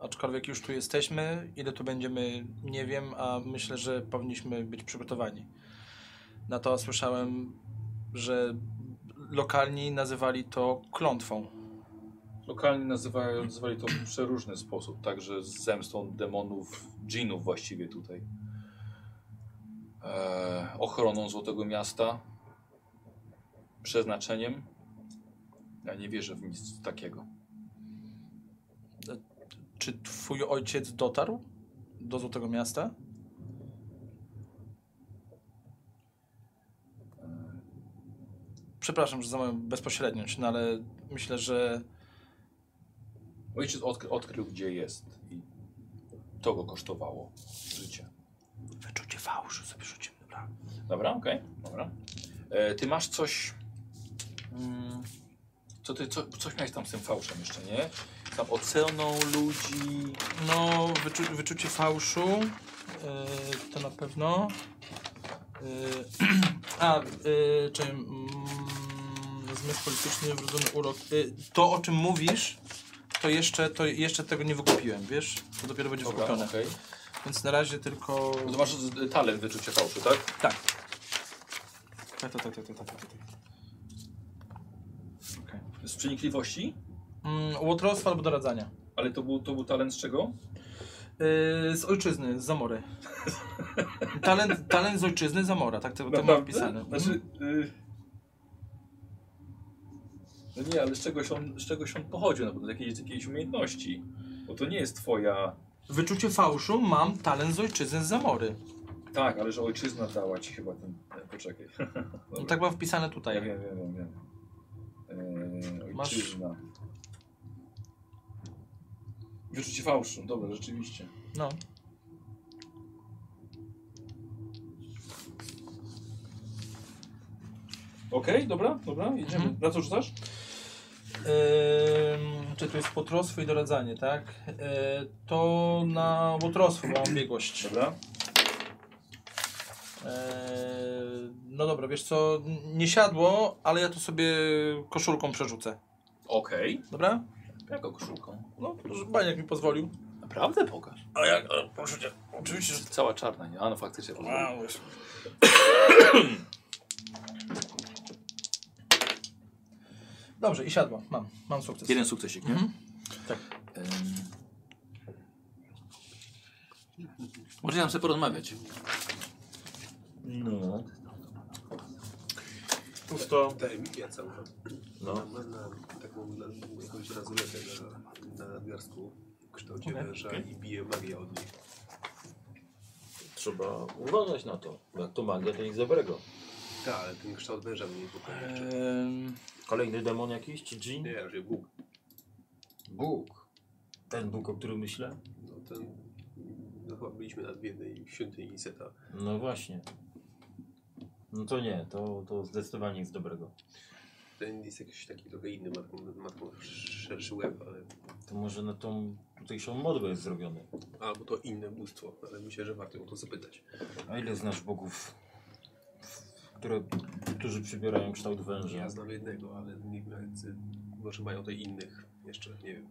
Speaker 3: Aczkolwiek już tu jesteśmy, ile tu będziemy, nie wiem, a myślę, że powinniśmy być przygotowani. Na to słyszałem, że lokalni nazywali to klątwą.
Speaker 1: Lokalni nazywają, nazywali to w przeróżny sposób, także z zemstą demonów, dżinów właściwie tutaj. E, ochroną Złotego Miasta, przeznaczeniem. Ja nie wierzę w nic takiego.
Speaker 3: Czy twój ojciec dotarł do Złotego Miasta? Przepraszam, że za moją bezpośredniość, no ale myślę, że
Speaker 1: Ojciec odkry, odkrył, gdzie jest i to go kosztowało życie.
Speaker 3: wyczucie fałszu sobie rzucimy, dobra?
Speaker 1: Dobra, okej, dobra. E, ty masz coś... Mm, co ty, co, coś miałeś tam z tym fałszem jeszcze, nie? Tam oceną ludzi...
Speaker 3: No, wyczu, wyczucie fałszu yy, to na pewno. Yy, a, yy, czy mm, zmysł polityczny, wrodzony urok. Yy, to, o czym mówisz, to jeszcze, to jeszcze tego nie wykupiłem, wiesz? To dopiero będzie
Speaker 1: Dobra,
Speaker 3: wykupione.
Speaker 1: okej.
Speaker 3: Więc na razie tylko.
Speaker 1: Bo to masz y, talent wyczucia fałszu, tak?
Speaker 3: Tak. Tak, tak, tak, tak, tak, tak, tak.
Speaker 1: Okay. Z przenikliwości?
Speaker 3: Mm, łotrostwa albo doradzania.
Speaker 1: Ale to był, to był talent z czego?
Speaker 3: Yy, z ojczyzny, z Zamory. talent, talent z ojczyzny, Zamora, tak to, to mam
Speaker 1: Naprawdę?
Speaker 3: wpisane. Mhm.
Speaker 1: Znaczy... Y... No nie, ale z czegoś on, z czegoś on pochodził, no na pewno z jakiejś, z jakiejś umiejętności. Bo to nie jest twoja...
Speaker 3: Wyczucie fałszu mam talent z ojczyzny z Zamory.
Speaker 1: Tak, ale że ojczyzna dała ci chyba ten... e, Poczekaj. Dobra.
Speaker 3: No, tak mam wpisane
Speaker 1: Ja
Speaker 3: tutaj.
Speaker 1: wiem, wiem, wiem. wiem. Eee,
Speaker 3: Masz-
Speaker 1: ojczyzna. Wyczucie fałszu, dobra, rzeczywiście.
Speaker 3: No.
Speaker 1: Okej, dobra, dobra, jedziemy.
Speaker 3: Mhm.
Speaker 1: Na co rzucasz?
Speaker 3: Ym, czy to jest potrostwo i doradzanie, tak? Yy, to na łotrostwo, bo mam biegłość.
Speaker 1: Dobra.
Speaker 3: Yy, no dobra, wiesz co, nie siadło, ale ja to sobie koszulką przerzucę.
Speaker 1: Okej.
Speaker 3: Dobra?
Speaker 1: Jaką koszulką?
Speaker 3: No, że baniak mi pozwolił.
Speaker 1: Naprawdę pokaż.
Speaker 3: A jak, a, proszę cię, oczywiście, że...
Speaker 1: Cała czarna, nie? A no faktycznie.
Speaker 3: A, wiesz. Dobrze, i siadło. Mam, mam sukces.
Speaker 1: Jeden sukcesik, nie?
Speaker 3: Mhm.
Speaker 1: Tak. Możecie nam sobie porozmawiać.
Speaker 7: No.
Speaker 8: Pusto.
Speaker 4: Daj mi pieca.
Speaker 7: No.
Speaker 4: No. Na, na, taką na, jakąś razuletę na, na nadgarstku w kształcie
Speaker 3: Okej.
Speaker 4: węża i bije magia od niej.
Speaker 7: Trzeba uważać na to. bo Jak to magia, to nic dobrego.
Speaker 4: Tak, ale ten kształt węża mnie niepokoi
Speaker 1: Eee.
Speaker 4: jeszcze.
Speaker 3: Ym,
Speaker 7: Kolejny demon jakiś, czy dżin?
Speaker 4: Nie, że Bóg.
Speaker 7: Bóg. Ten Bóg, o którym myślę?
Speaker 4: No, ten, no chyba byliśmy nad biednej świątyni Seta.
Speaker 7: No właśnie. No to nie, to, to zdecydowanie nic dobrego.
Speaker 4: Ten jest jakiś taki trochę inny, ma taką, ma taką szerszy łeb, ale,
Speaker 7: To może na tą tutejszą modłę jest zrobiony.
Speaker 4: albo to inne bóstwo, ale myślę, że warto o to zapytać.
Speaker 7: A ile znasz bogów, które, którzy przybierają kształt węża?
Speaker 4: Ja znam jednego, ale nie wiem, no, czy- może mają tutaj innych jeszcze, nie wiem.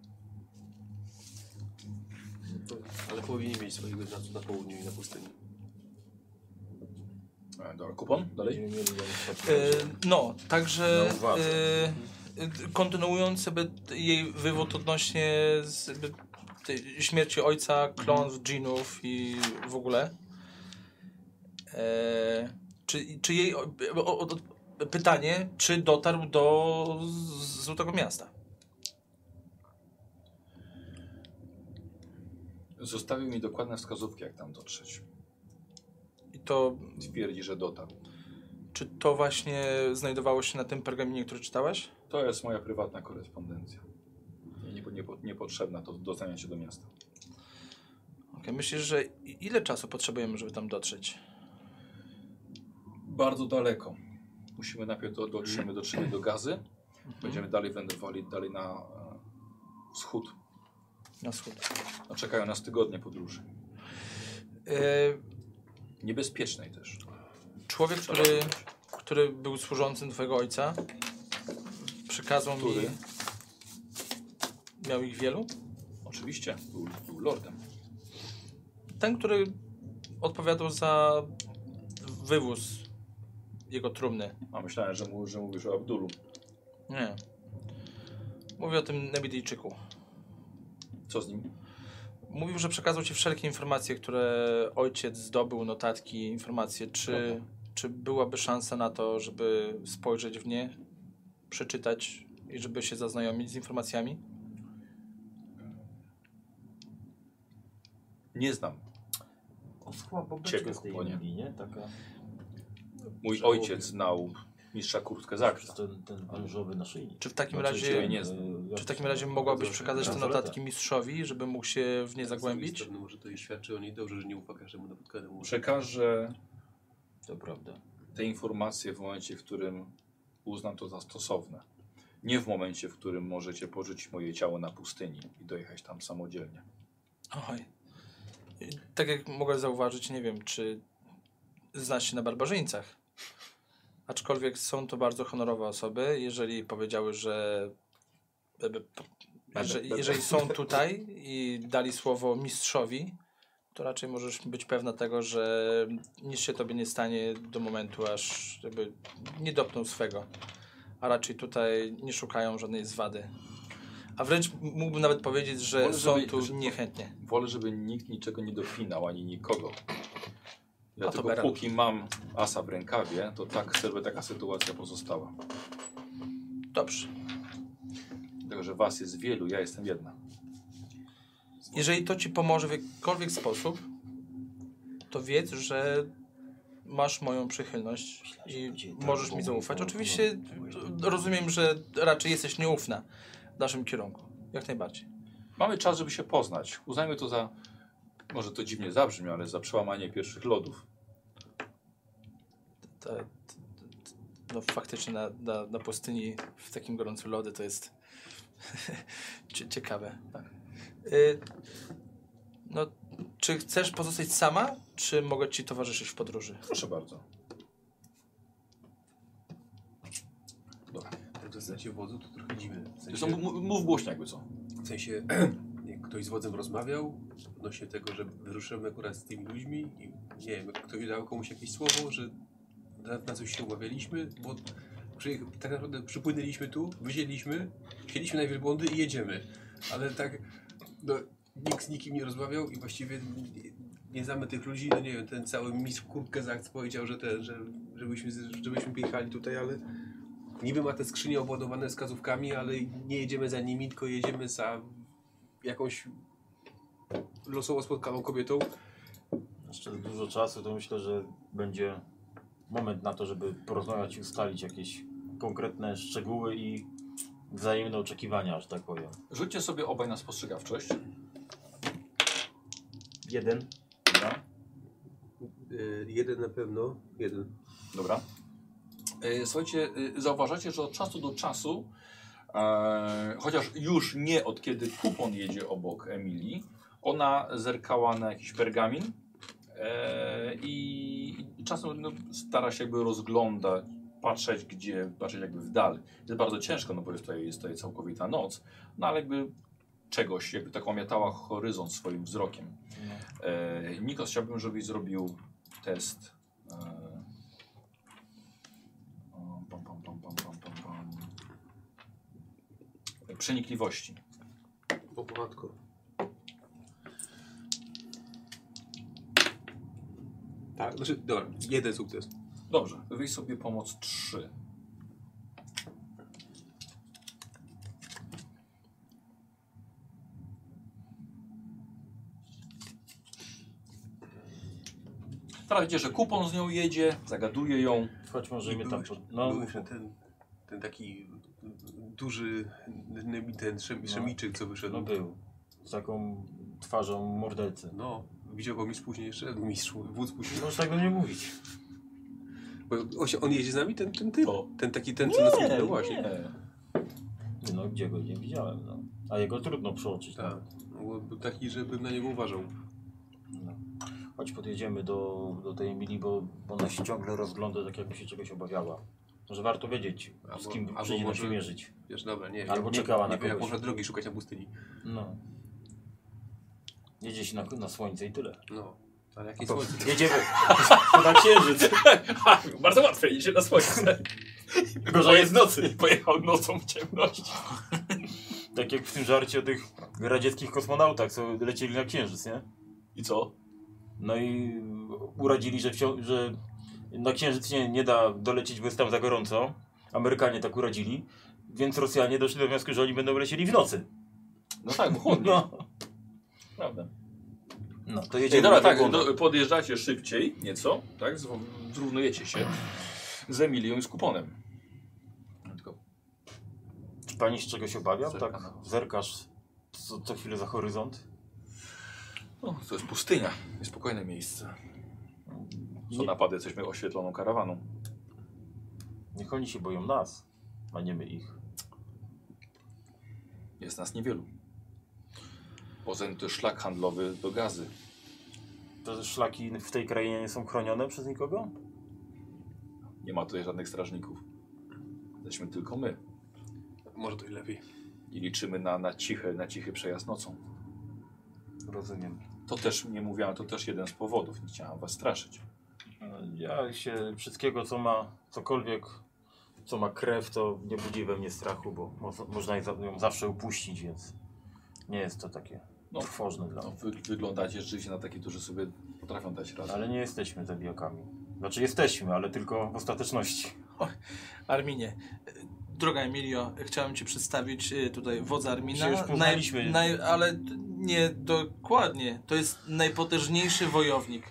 Speaker 4: To, ale powinni mieć swojego znaku na południu i na pustyni.
Speaker 1: Dobra, kupon, dalej.
Speaker 7: Będziemy mieli ją w takim
Speaker 3: y,
Speaker 7: razie.
Speaker 3: no, także
Speaker 7: Na uwadze.
Speaker 3: y, y, kontynuując jakby t- jej wywód odnośnie z, jakby tej śmierci ojca, klonów,
Speaker 7: Mhm.
Speaker 3: dżinów i w ogóle. E, czy, czy jej o, o, o, pytanie, czy dotarł do z- Złotego Miasta?
Speaker 1: Zostawił mi dokładne wskazówki, jak tam dotrzeć.
Speaker 3: I to,
Speaker 1: Twierdzi, że dotarł.
Speaker 3: czy to właśnie znajdowało się na tym pergaminie, który czytałeś?
Speaker 1: To jest moja prywatna korespondencja. Nie, nie, niepotrzebna do dostania się do miasta.
Speaker 3: Okay, myślisz, że i- ile czasu potrzebujemy, żeby tam dotrzeć?
Speaker 1: Bardzo daleko. Musimy najpierw do, dotrzemy, dotrzemy do gazy.
Speaker 3: Mhm.
Speaker 1: Będziemy dalej wędrowali dalej na e, wschód.
Speaker 3: Na wschód.
Speaker 1: A czekają nas tygodnie podróży.
Speaker 3: E,
Speaker 1: Niebezpiecznej też.
Speaker 3: Człowiek, który, który był służącym twojego ojca, przekazał mi.
Speaker 1: Który?
Speaker 3: Miał ich wielu.
Speaker 1: Oczywiście, był, był lordem.
Speaker 3: Ten, który odpowiadał za wywóz jego trumny.
Speaker 1: A myślałem, że, mu, że mówisz o Abdulu.
Speaker 3: Nie. Mówię o tym Nebidyjczyku.
Speaker 1: Co z nim?
Speaker 3: Mówił, że przekazał ci wszelkie informacje, które ojciec zdobył, notatki, informacje. Czy, czy byłaby szansa na to, żeby spojrzeć w nie, przeczytać i żeby się zaznajomić z informacjami?
Speaker 1: Nie znam.
Speaker 7: Oschła
Speaker 1: Ciebie
Speaker 7: babeczka z tej
Speaker 1: kuponie.
Speaker 7: linii, nie? Taka...
Speaker 1: Mój ojciec znał mistrza kurtkę zakrzta.
Speaker 7: Ten, ten różowy naszyjnik.
Speaker 3: Czy Tak, w takim
Speaker 7: Znaczy,
Speaker 3: razie...
Speaker 7: e,
Speaker 1: nie znam.
Speaker 7: jak-
Speaker 3: Czy w takim razie mogłabyś przekazać te
Speaker 7: bransoleta.
Speaker 3: notatki mistrzowi, żeby mógł się w nie
Speaker 4: Z
Speaker 3: zagłębić?
Speaker 4: drugiej strony Może to i świadczy o niej dobrze, że nie ufa każdemu napotkanemu.
Speaker 1: Przekażę
Speaker 7: To prawda.
Speaker 1: te informacje w momencie, w którym uznam to za stosowne. Nie w momencie, w którym możecie porzucić moje ciało na pustyni i dojechać tam samodzielnie.
Speaker 3: Oj. I Tak jak mogę zauważyć, nie wiem, czy znasz się na barbarzyńcach. Aczkolwiek są to bardzo honorowe osoby. Jeżeli powiedziały, że. e, b- p- Jeżeli, jeżeli są tutaj i dali słowo mistrzowi, to raczej możesz być pewna tego, że nic się tobie nie stanie do momentu, aż jakby nie dopną swego. A raczej tutaj nie szukają żadnej zwady. A wręcz mógłbym nawet powiedzieć, że
Speaker 1: Wolę,
Speaker 3: są
Speaker 1: żeby-
Speaker 3: tu
Speaker 1: żeby-
Speaker 3: niechętnie.
Speaker 1: Wolę, żeby nikt niczego nie dopinał, ani nikogo.
Speaker 3: to
Speaker 1: Dlatego
Speaker 3: Beran.
Speaker 1: póki mam asa w rękawie, to tak, żeby taka sytuacja pozostała.
Speaker 3: Dobrze.
Speaker 1: Dlatego, że was jest wielu, ja jestem jedna.
Speaker 3: Jeżeli to ci pomoże w jakikolwiek sposób, to wiedz, że masz moją przychylność i możesz mi zaufać. Oczywiście d- rozumiem, że raczej jesteś nieufna w naszym kierunku. Jak najbardziej.
Speaker 1: Mamy czas, żeby się poznać. Uznajmy to za, może to dziwnie zabrzmi, ale za przełamanie pierwszych lodów.
Speaker 3: To, to, to, no faktycznie na, na, na pustyni w takim gorącym lody to jest cie- ciekawe. Tak. Y, no, czy chcesz pozostać sama, czy mogę ci towarzyszyć w podróży?
Speaker 1: Proszę bardzo.
Speaker 4: To w sensie wodzu to trochę dziwne. W sensie,
Speaker 1: Zresztą m- mów głośno jakby co.
Speaker 4: w sensie jak ktoś z wodzem rozmawiał odnośnie tego, że wyruszymy akurat z tymi ludźmi i nie wiem, jak ktoś dał komuś jakieś słowo, że na, na coś się umawialiśmy, bo przy, tak naprawdę przypłynęliśmy tu, wyzięliśmy, chcieliśmy na wielbłądy i jedziemy. Ale tak, no, nikt z nikim nie rozmawiał i właściwie nie, nie znamy tych ludzi, no nie wiem, ten cały mistrz kurtkę zakt powiedział, że ten, że, żebyśmy, z- żebyśmy pojechali tutaj, ale niby ma te skrzynie obładowane wskazówkami, ale nie jedziemy za nimi, tylko jedziemy za jakąś losowo spotkaną kobietą.
Speaker 2: Jeszcze dużo czasu, to myślę, że będzie moment na to, żeby porozmawiać i ustalić jakieś konkretne szczegóły i wzajemne oczekiwania, że tak powiem.
Speaker 1: Rzućcie sobie obaj na spostrzegawczość.
Speaker 2: Jeden.
Speaker 1: Dobra.
Speaker 6: Y, jeden na pewno, jeden.
Speaker 1: Dobra. E, Słuchajcie, e, zauważacie, że od czasu do czasu, e, chociaż już nie od kiedy kupon jedzie obok Emilii, ona zerkała na jakiś pergamin e, i i czasem no, stara się jakby rozglądać, patrzeć gdzie, patrzeć jakby w dal. Jest bardzo ciężko, no bo jest tutaj, jest tutaj całkowita noc, no ale jakby czegoś, jakby tak omiatała horyzont swoim wzrokiem. E, Nikos, chciałbym, żebyś zrobił test. E, o, pam, pam, pam, pam, pam, pam, pam. E, Przenikliwości.
Speaker 6: O matko.
Speaker 4: Tak, znaczy, dobra, jeden sukces.
Speaker 1: Dobrze, wyjść sobie pomoc 3. Teraz widzicie, że kupon z nią jedzie, zagaduje ją.
Speaker 2: Chodź, może mnie tam.
Speaker 4: Byłeś-
Speaker 2: Pod... No,
Speaker 4: Był jeszcze ten, ten taki duży, n- ten szem, szemiczyk, co wyszedł.
Speaker 2: no był. Z taką twarzą mordercy.
Speaker 4: No, widział go mistrz później jeszcze, mistrz, wódz później.
Speaker 2: Możesz tego nie mówić.
Speaker 4: Bo on, się, on jeździ z nami, ten, ten typ,
Speaker 1: To.
Speaker 4: ten taki, ten, co nas
Speaker 1: No
Speaker 4: nie, właśnie.
Speaker 2: Tak.
Speaker 1: Nie.
Speaker 2: Nie, No gdzie go nie widziałem, no. A jego trudno przeoczyć.
Speaker 4: Tak, bo był taki, że bym na niego uważał.
Speaker 2: No. Chodź podjedziemy do, do tej Emilii, bo bo ona się ciągle rozgląda, tak jakby się czegoś obawiała. Może warto wiedzieć, z
Speaker 4: Albo-
Speaker 2: kim
Speaker 4: albo
Speaker 2: przyjdzie nam
Speaker 4: może-
Speaker 2: się mierzyć.
Speaker 4: Wiesz, dobra, nie
Speaker 2: Albo
Speaker 4: nie,
Speaker 2: czekała na
Speaker 4: nie, wiem, jak
Speaker 2: kogoś.
Speaker 4: można drogi szukać na pustyni.
Speaker 2: No. Jedzie się na, na słońce i tyle.
Speaker 4: No, ale jakie słońce.
Speaker 2: Jedziemy na księżyc.
Speaker 1: Bardzo łatwe, idzie na słońce.
Speaker 2: Gorzej jest w nocy.
Speaker 1: Pojechał nocą w ciemności.
Speaker 2: Tak jak w tym żarcie o tych radzieckich kosmonautach, co lecieli na księżyc, nie?
Speaker 1: I co?
Speaker 2: No i uradzili, że, wcią- że na księżyc nie, nie da dolecieć, bo jest tam za gorąco. Amerykanie tak uradzili. Więc Rosjanie doszli do wniosku, że oni będą lecieli w nocy.
Speaker 1: No tak, bo chłodno.
Speaker 2: No,
Speaker 1: Prawda.
Speaker 2: no to
Speaker 1: Ej,
Speaker 2: jedziemy
Speaker 1: dobra,
Speaker 2: na
Speaker 1: tak,
Speaker 2: bieguny.
Speaker 1: do, podjeżdżacie szybciej nieco, tak? zró- Zrównujecie się z Emilią i z kuponem.
Speaker 7: Pani z czego się obawia?
Speaker 4: Zerkam.
Speaker 7: Tak zerkasz co, co chwilę za horyzont?
Speaker 1: No, to jest pustynia, niespokojne miejsce. Co
Speaker 7: Nie-
Speaker 1: napady, jesteśmy oświetloną karawaną.
Speaker 7: Niech oni się boją nas, a nie my ich.
Speaker 1: Jest nas niewielu. Poza tym to jest szlak handlowy do gazy.
Speaker 7: Te szlaki w tej krainie nie są chronione przez nikogo?
Speaker 1: Nie ma tutaj żadnych strażników. Jesteśmy tylko my.
Speaker 4: Może to i lepiej.
Speaker 1: I liczymy na, na, cichy, na cichy przejazd nocą.
Speaker 7: Rozumiem.
Speaker 1: To też, nie mówiłem, to też jeden z powodów. Nie chciałem was straszyć.
Speaker 7: Ja się wszystkiego, co ma cokolwiek, co ma krew, to nie budzi we mnie strachu, bo mo- można je za- ją zawsze upuścić, więc nie jest to takie
Speaker 1: No.
Speaker 7: trwożne dla
Speaker 1: No,
Speaker 7: mnie.
Speaker 1: wy, wyglądacie rzeczywiście na takich, którzy sobie potrafią dać radę.
Speaker 7: Ale nie jesteśmy zabijakami. Znaczy jesteśmy, ale tylko w ostateczności.
Speaker 3: Arminie. y, Droga Emilio, chciałem Cię przedstawić y, tutaj wodza Armina.
Speaker 7: Się już poznaliśmy.
Speaker 3: Naj, naj, ale d- nie dokładnie. To jest najpotężniejszy wojownik,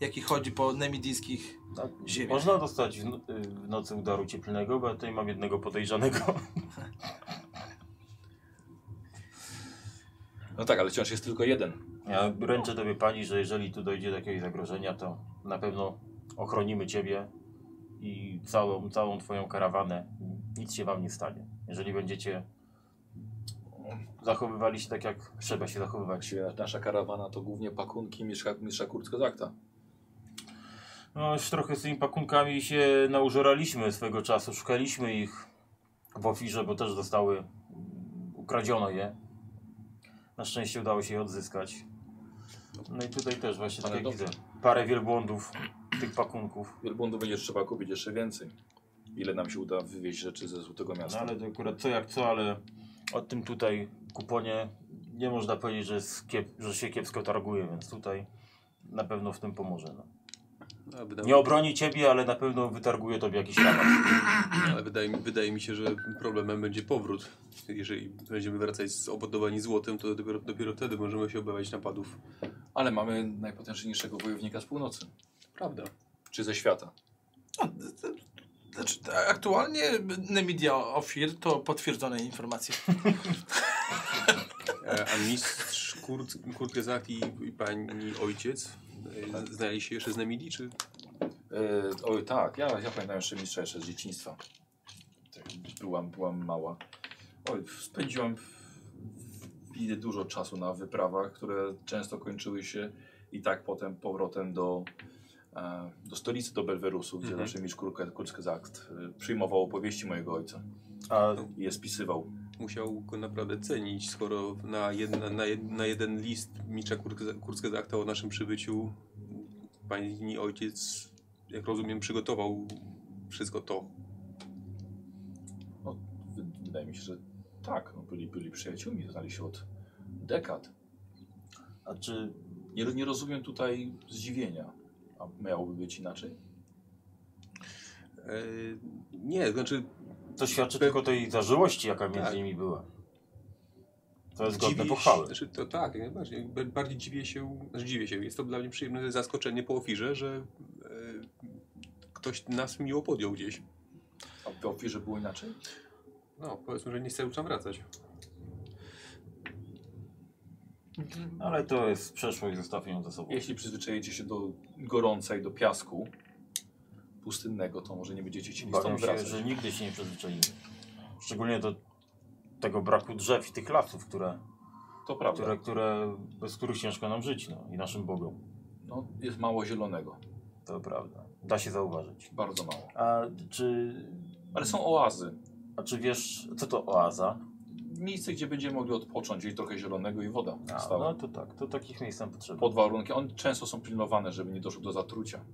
Speaker 3: jaki chodzi po nemidyjskich
Speaker 7: Tak.
Speaker 3: ziemiach.
Speaker 7: Można dostać w, no- y, w nocy udaru cieplnego, bo ja tutaj mam jednego podejrzanego.
Speaker 1: No tak, ale wciąż jest tylko jeden.
Speaker 7: Ja ręczę tobie pani, że jeżeli tu dojdzie do jakiegoś zagrożenia, to na pewno ochronimy ciebie i całą, całą twoją karawanę. Nic się wam nie stanie. Jeżeli będziecie zachowywali się tak, jak trzeba się zachowywać.
Speaker 1: Właściwie nasza karawana to głównie pakunki mistrza, mistrza Kurcko Zakta.
Speaker 7: No już trochę z tymi pakunkami się naużoraliśmy swego czasu. Szukaliśmy ich w ofirze, bo też zostały mm, ukradziono je. Na szczęście udało się je odzyskać. No i tutaj też właśnie
Speaker 1: Ale
Speaker 7: tak jak
Speaker 1: dobrze.
Speaker 7: widzę. Parę wielbłądów tych pakunków.
Speaker 1: Wielbłądu będzie trzeba kupić jeszcze więcej. Ile nam się uda wywieźć rzeczy ze Złotego
Speaker 7: No
Speaker 1: Miasta.
Speaker 7: ale to akurat co jak co, ale o tym tutaj kuponie nie można powiedzieć, że, jest kiep, że się kiepsko targuje, więc tutaj na pewno w tym pomoże. No.
Speaker 4: A wydaje,
Speaker 7: Nie obroni ciebie, ale na pewno wytarguje tobie jakiś rabat.
Speaker 4: ale wydaje, mi- wydaje mi się, że problemem będzie powrót. Jeżeli będziemy wracać z obodowani złotem, to dopiero, dopiero wtedy możemy się obawiać napadów.
Speaker 1: Ale mamy najpotężniejszego wojownika z północy.
Speaker 4: Prawda.
Speaker 1: Czy ze świata.
Speaker 3: Znaczy, t- aktualnie Nemidia Ofir to potwierdzone informacje.
Speaker 4: E, A mistrz Kurt, Kurt Gezakt i, i pani ojciec e, z- znali się jeszcze z Nemili, czy
Speaker 1: E, oj tak, ja, ja pamiętam jeszcze mistrza jeszcze z dzieciństwa. Tak, Byłam, byłam mała. Oj, spędziłam w- w- dużo czasu na wyprawach, które często kończyły się i tak potem powrotem do, e, do stolicy, do Belwerusu, gdzie
Speaker 4: Mhm.
Speaker 1: zawsze mistrz Kurczkę Zakt przyjmował opowieści mojego ojca
Speaker 7: A
Speaker 1: i je spisywał.
Speaker 4: musiał go naprawdę cenić, skoro na, jedna, na, jed, na jeden list Micza Kurskiego akta o naszym przybyciu pani ojciec, jak rozumiem, przygotował wszystko to.
Speaker 1: Wy- Wydaje mi się, że tak, no, byli, byli przyjaciółmi, znali się od dekad.
Speaker 7: A czy
Speaker 1: Nie, nie rozumiem tutaj zdziwienia. A miałoby być inaczej?
Speaker 4: E, nie, znaczy
Speaker 7: to świadczy tylko o tej zażyłości, jaka między
Speaker 4: Tak.
Speaker 7: nimi była? To jest godne
Speaker 4: dziwię
Speaker 7: pochwały.
Speaker 4: się- Znaczy, to tak, jak najbardziej. Ba- Bardziej dziwię się, znaczy dziwię się. Jest to dla mnie przyjemne zaskoczenie po ofirze, że e, ktoś nas miło podjął gdzieś.
Speaker 1: A w ofierze było inaczej?
Speaker 4: No, powiedzmy, że nie chcę już tam wracać.
Speaker 7: Ale to jest przeszłość, zostawmy ją za sobą.
Speaker 1: Jeśli przyzwyczajecie się do gorąca i do piasku pustynnego, to może nie będziecie chcieli
Speaker 7: Obawiam
Speaker 1: stąd
Speaker 7: się,
Speaker 1: wracać.
Speaker 7: że nigdy się nie przyzwyczaimy. Szczególnie do tego braku drzew i tych lasów, które,
Speaker 1: To prawda.
Speaker 7: które, które, bez których ciężko nam żyć no, i naszym Bogom.
Speaker 1: No, jest mało zielonego,
Speaker 7: To prawda. Da się zauważyć.
Speaker 1: bardzo mało.
Speaker 7: A czy,
Speaker 1: Ale są oazy.
Speaker 7: a czy wiesz, co to oaza?
Speaker 1: Miejsce, gdzie będziemy mogli odpocząć, gdzieś trochę zielonego i woda
Speaker 7: A,
Speaker 1: stała.
Speaker 7: no to tak, to takich miejsc nam potrzeba.
Speaker 1: Pod warunkiem, one często są pilnowane, żeby nie doszło do zatrucia.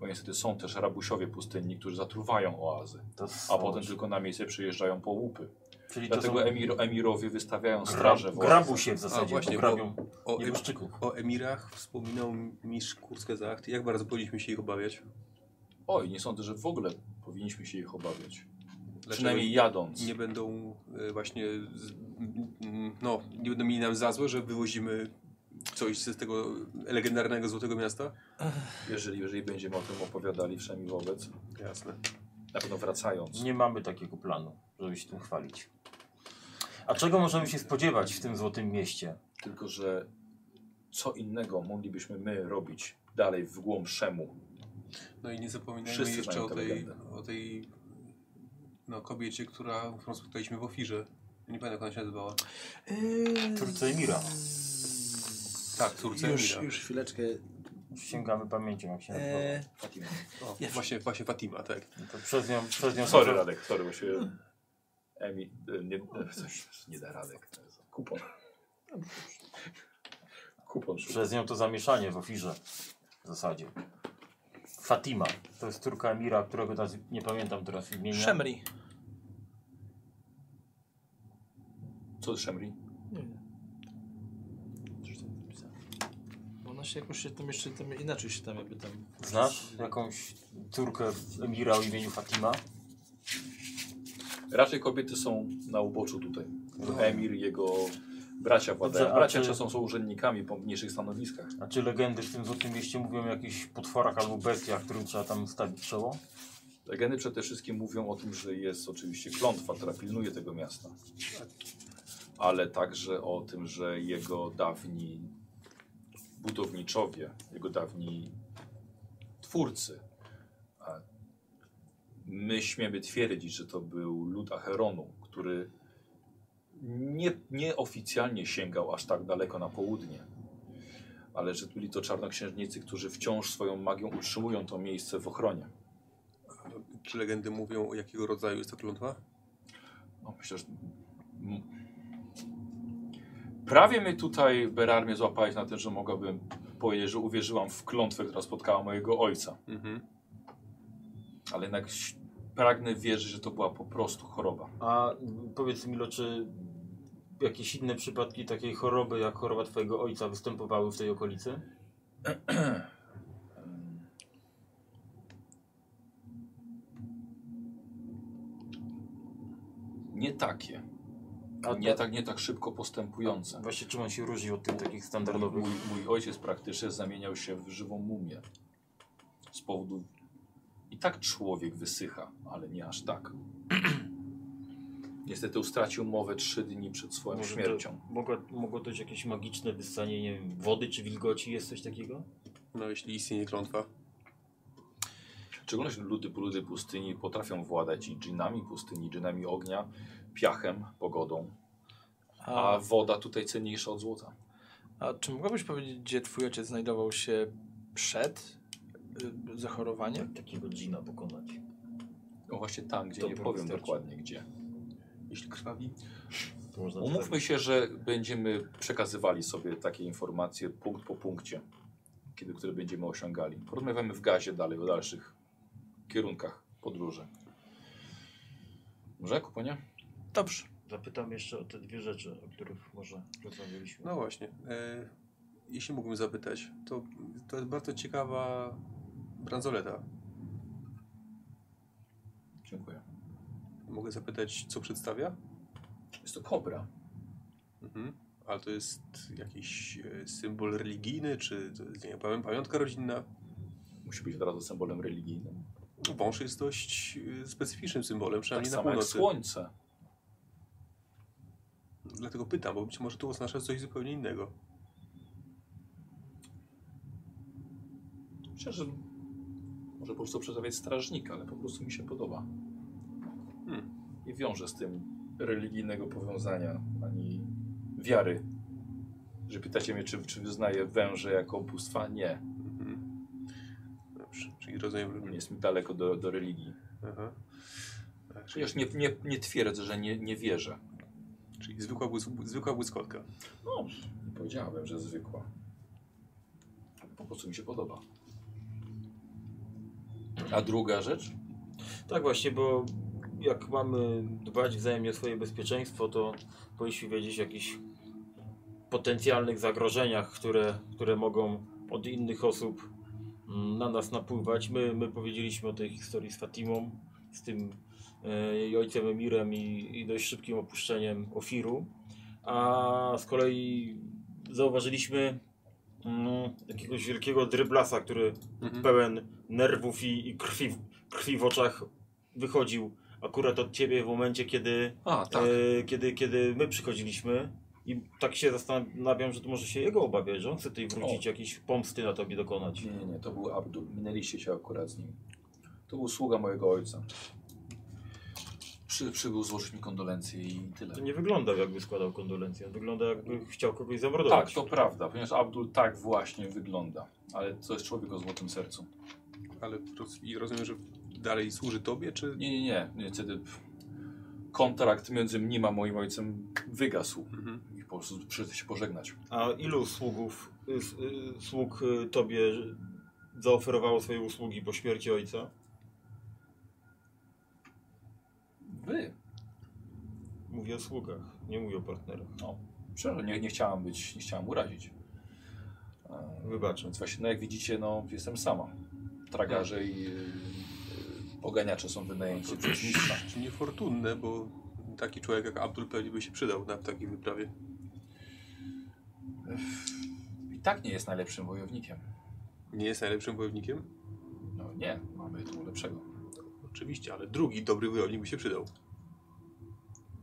Speaker 1: Bo niestety są też rabusiowie pustynni, którzy zatruwają oazy,
Speaker 7: To
Speaker 1: a
Speaker 7: są-
Speaker 1: potem tylko na miejsce przyjeżdżają po łupy.
Speaker 7: Czyli to
Speaker 1: Dlatego
Speaker 7: są
Speaker 1: emir, emirowie wystawiają
Speaker 7: gra,
Speaker 1: straże w oazach.
Speaker 7: grabu się w
Speaker 4: A,
Speaker 7: zasadzie,
Speaker 4: właśnie,
Speaker 7: bo grabią
Speaker 4: O, em-
Speaker 7: nieboszczyków.
Speaker 4: O emirach wspominał mistrz Kurskazakt. Jak bardzo powinniśmy się ich obawiać?
Speaker 1: Oj, nie sądzę, że w ogóle powinniśmy się ich obawiać.
Speaker 4: Dlaczego
Speaker 1: Przynajmniej jadąc.
Speaker 4: nie będą e, właśnie, z, m, m, no, nie będą mieli nam za złe, że wywozimy coś z tego legendarnego Złotego Miasta?
Speaker 1: Jeżeli, jeżeli będziemy o tym opowiadali wszemi wobec,
Speaker 4: Jasne.
Speaker 1: na pewno wracając.
Speaker 7: Nie mamy takiego planu, żeby się tym chwalić. A czego możemy się spodziewać w tym złotym mieście?
Speaker 1: Tylko, że co innego moglibyśmy my robić dalej w głąb Szemu.
Speaker 4: No i nie zapominajmy
Speaker 1: Wszyscy
Speaker 4: jeszcze
Speaker 1: mają
Speaker 4: o
Speaker 1: tę
Speaker 4: tej,
Speaker 1: legendę.
Speaker 4: o tej no, kobiecie, która, którą spotkaliśmy w ofirze. Nie pamiętam jak ona się nazywała.
Speaker 7: Turce Mira.
Speaker 4: Tak, córce
Speaker 9: Już,
Speaker 4: Emila.
Speaker 9: już chwileczkę.
Speaker 7: Sięgamy pamięcią, jak się nazywa.
Speaker 9: E,
Speaker 1: Fatima.
Speaker 4: O, właśnie, właśnie Fatima, tak.
Speaker 7: No to przez nią, przez nią
Speaker 1: Sorry Radek, sorry, właściwie Emi, e, nie, e, coś, nie da Radek. Kupon. Kupon szukam.
Speaker 7: Przez nią to zamieszanie w ofirze w zasadzie. Fatima, to jest córka Emira, którego teraz nie pamiętam teraz imienia.
Speaker 3: Szemri.
Speaker 1: Co z Szemri?
Speaker 9: nie wiem. Coś tam napisałem. Bo Ona się jakoś się tam jeszcze tam inaczej się tam jakby tam.
Speaker 7: Znasz jakąś córkę Emira o imieniu Fatima?
Speaker 1: Raczej kobiety są na uboczu tutaj. Emir, jego bracia
Speaker 7: Dobrze,
Speaker 1: władają.
Speaker 7: a
Speaker 1: Bracia
Speaker 7: czy-
Speaker 1: czasem są urzędnikami po mniejszych stanowiskach.
Speaker 7: A czy Znaczy legendy w tym złotym mieście mówią o jakichś potworach albo bestiach, którym trzeba tam stawić czoło?
Speaker 1: Legendy przede wszystkim mówią o tym, że jest oczywiście klątwa, która pilnuje tego miasta. Ale także o tym, że jego dawni budowniczowie, jego dawni twórcy, a my śmiemy twierdzić, że to był lud Acheronu, który nie, nieoficjalnie sięgał aż tak daleko na południe. Ale że byli to czarnoksiężnicy, którzy wciąż swoją magią utrzymują to miejsce w ochronie.
Speaker 4: Czy legendy mówią o jakiego rodzaju jest to klątwa?
Speaker 1: No myślę, że... m- Prawie mnie tutaj, Berar, mnie złapałeś na tym, że mogłabym powiedzieć, że uwierzyłam w klątwę, która spotkała mojego ojca.
Speaker 4: Mhm.
Speaker 1: Ale jednak ś- pragnę wierzyć, że to była po prostu choroba.
Speaker 7: A powiedz Milo, czy jakieś inne przypadki takiej choroby, jak choroba twojego ojca występowały w tej okolicy?
Speaker 1: Nie takie.
Speaker 7: A
Speaker 1: Nie
Speaker 7: to-
Speaker 1: tak, nie tak szybko postępujące.
Speaker 7: Właśnie czym on się różni od tych takich
Speaker 1: Mój,
Speaker 7: standardowych?
Speaker 1: mój, mój ojciec praktycznie zamieniał się w żywą mumię. Z powodu... I tak człowiek wysycha, ale nie aż tak. Niestety stracił mowę trzy dni przed swoją
Speaker 7: Może to-
Speaker 1: śmiercią.
Speaker 7: Mogło, mogło to być jakieś magiczne wyssanie nie wiem, wody czy wilgoci, jest coś takiego?
Speaker 4: No jeśli istnieje klątwa.
Speaker 1: W szczególności ludy, ludy pustyni potrafią władać i dżinami pustyni, dżinami ognia, piachem, pogodą.
Speaker 3: A,
Speaker 1: A woda tutaj cenniejsza od złota.
Speaker 3: a czy mogłabyś powiedzieć, gdzie twój ojciec znajdował się przed y, zachorowaniem?
Speaker 7: Takiego dżina pokonać.
Speaker 1: No właśnie tam, gdzie
Speaker 7: To
Speaker 1: nie
Speaker 7: by
Speaker 1: powiem
Speaker 7: wystarczy.
Speaker 1: dokładnie gdzie.
Speaker 4: Jeśli krwawi,
Speaker 7: To można
Speaker 1: Umówmy się, że będziemy przekazywali sobie takie informacje punkt po punkcie, kiedy które będziemy osiągali. Porozmawiamy w gazie dalej o dalszych kierunkach podróży. Może Jakubo, nie?
Speaker 3: Dobrze.
Speaker 7: Zapytam jeszcze o te dwie rzeczy, o których może rozmawialiśmy.
Speaker 4: No właśnie. E, jeśli mógłbym zapytać, to, to jest bardzo ciekawa bransoleta.
Speaker 1: Dziękuję.
Speaker 4: Mogę zapytać, co przedstawia?
Speaker 1: Jest to kobra.
Speaker 4: Mhm. Ale to jest jakiś e, symbol religijny, czy to jest, nie wiem, pamiątka rodzinna?
Speaker 1: Musi być od razu symbolem religijnym.
Speaker 4: Wąż jest dość e, specyficznym symbolem,
Speaker 1: Tak
Speaker 4: przynajmniej na
Speaker 1: samo jak
Speaker 4: północy.
Speaker 1: słońce.
Speaker 4: Dlatego pytam, bo być może tu oznacza coś zupełnie innego.
Speaker 1: Myślę, że może po prostu przedstawiać strażnika, ale po prostu mi się podoba.
Speaker 4: Hmm.
Speaker 1: Nie wiąże z tym religijnego powiązania ani wiary. Że pytacie mnie, czy, czy wyznaję węże jako bóstwa? Nie.
Speaker 4: Mhm. Dobrze, czyli rozumiem, że...
Speaker 1: Jest mi daleko do, do religii.
Speaker 4: Aha. Tak, Czyli,
Speaker 1: Chociaż nie, nie, nie twierdzę, że nie, nie wierzę.
Speaker 4: czyli zwykła, błys- zwykła błyskotka.
Speaker 1: No, nie powiedziałem, że zwykła. Po prostu mi się podoba. A druga rzecz?
Speaker 7: Tak właśnie, bo jak mamy dbać wzajemnie o swoje bezpieczeństwo, to powinniśmy wiedzieć o jakichś potencjalnych zagrożeniach, które, które mogą od innych osób mm, na nas napływać. My, my powiedzieliśmy o tej historii z Fatimą, z tym e, jej ojcem Emirem i, i dość szybkim opuszczeniem Ofiru. A z kolei zauważyliśmy mm, jakiegoś wielkiego dryblasa, który
Speaker 4: Mhm.
Speaker 7: pełen nerwów i, i krwi, krwi w oczach wychodził, a akurat od ciebie w momencie, kiedy
Speaker 1: A, tak.
Speaker 7: e, kiedy, kiedy my przychodziliśmy i tak się zastanawiam, że to może się jego obawiać, że on chce tutaj wrócić, jakieś pomsty na tobie dokonać.
Speaker 1: Nie, nie, nie, to był Abdul. Minęliście się akurat z nim. To był sługa mojego ojca. Przy, przybył złożyć mi kondolencje i tyle.
Speaker 2: Tak.
Speaker 7: To nie wyglądał jakby składał kondolencje, on wygląda jakby chciał kogoś
Speaker 1: Tak,
Speaker 7: zamordować.
Speaker 1: to prawda, ponieważ Abdul tak właśnie wygląda. Ale to jest człowiek o złotym sercu.
Speaker 4: Ale roz, i rozumiem, że dalej służy tobie, czy...
Speaker 1: Nie, nie, nie. Niestety kontrakt między mnim a moim ojcem wygasł.
Speaker 4: Mhm.
Speaker 1: I po prostu przyszedł się pożegnać.
Speaker 7: A ilu sługów, y, s- y, sług y, tobie zaoferowało swoje usługi po śmierci ojca?
Speaker 1: Wy?
Speaker 7: Mówię o sługach, nie mówię o partnerach.
Speaker 1: Przepraszam, nie, nie chciałam być, nie chciałam urazić. E,
Speaker 7: Wybaczam.
Speaker 1: Więc właśnie, no jak widzicie, no jestem sama. Tragarze i yy, poganiacze są wynajęci przez mistrza.
Speaker 4: Czy niefortunne, bo taki człowiek jak Abdul pewnie by się przydał na takiej wyprawie.
Speaker 1: I tak nie jest najlepszym wojownikiem.
Speaker 4: Nie jest najlepszym wojownikiem?
Speaker 1: No nie, mamy tu lepszego.
Speaker 4: Oczywiście, ale drugi dobry wojownik by się przydał.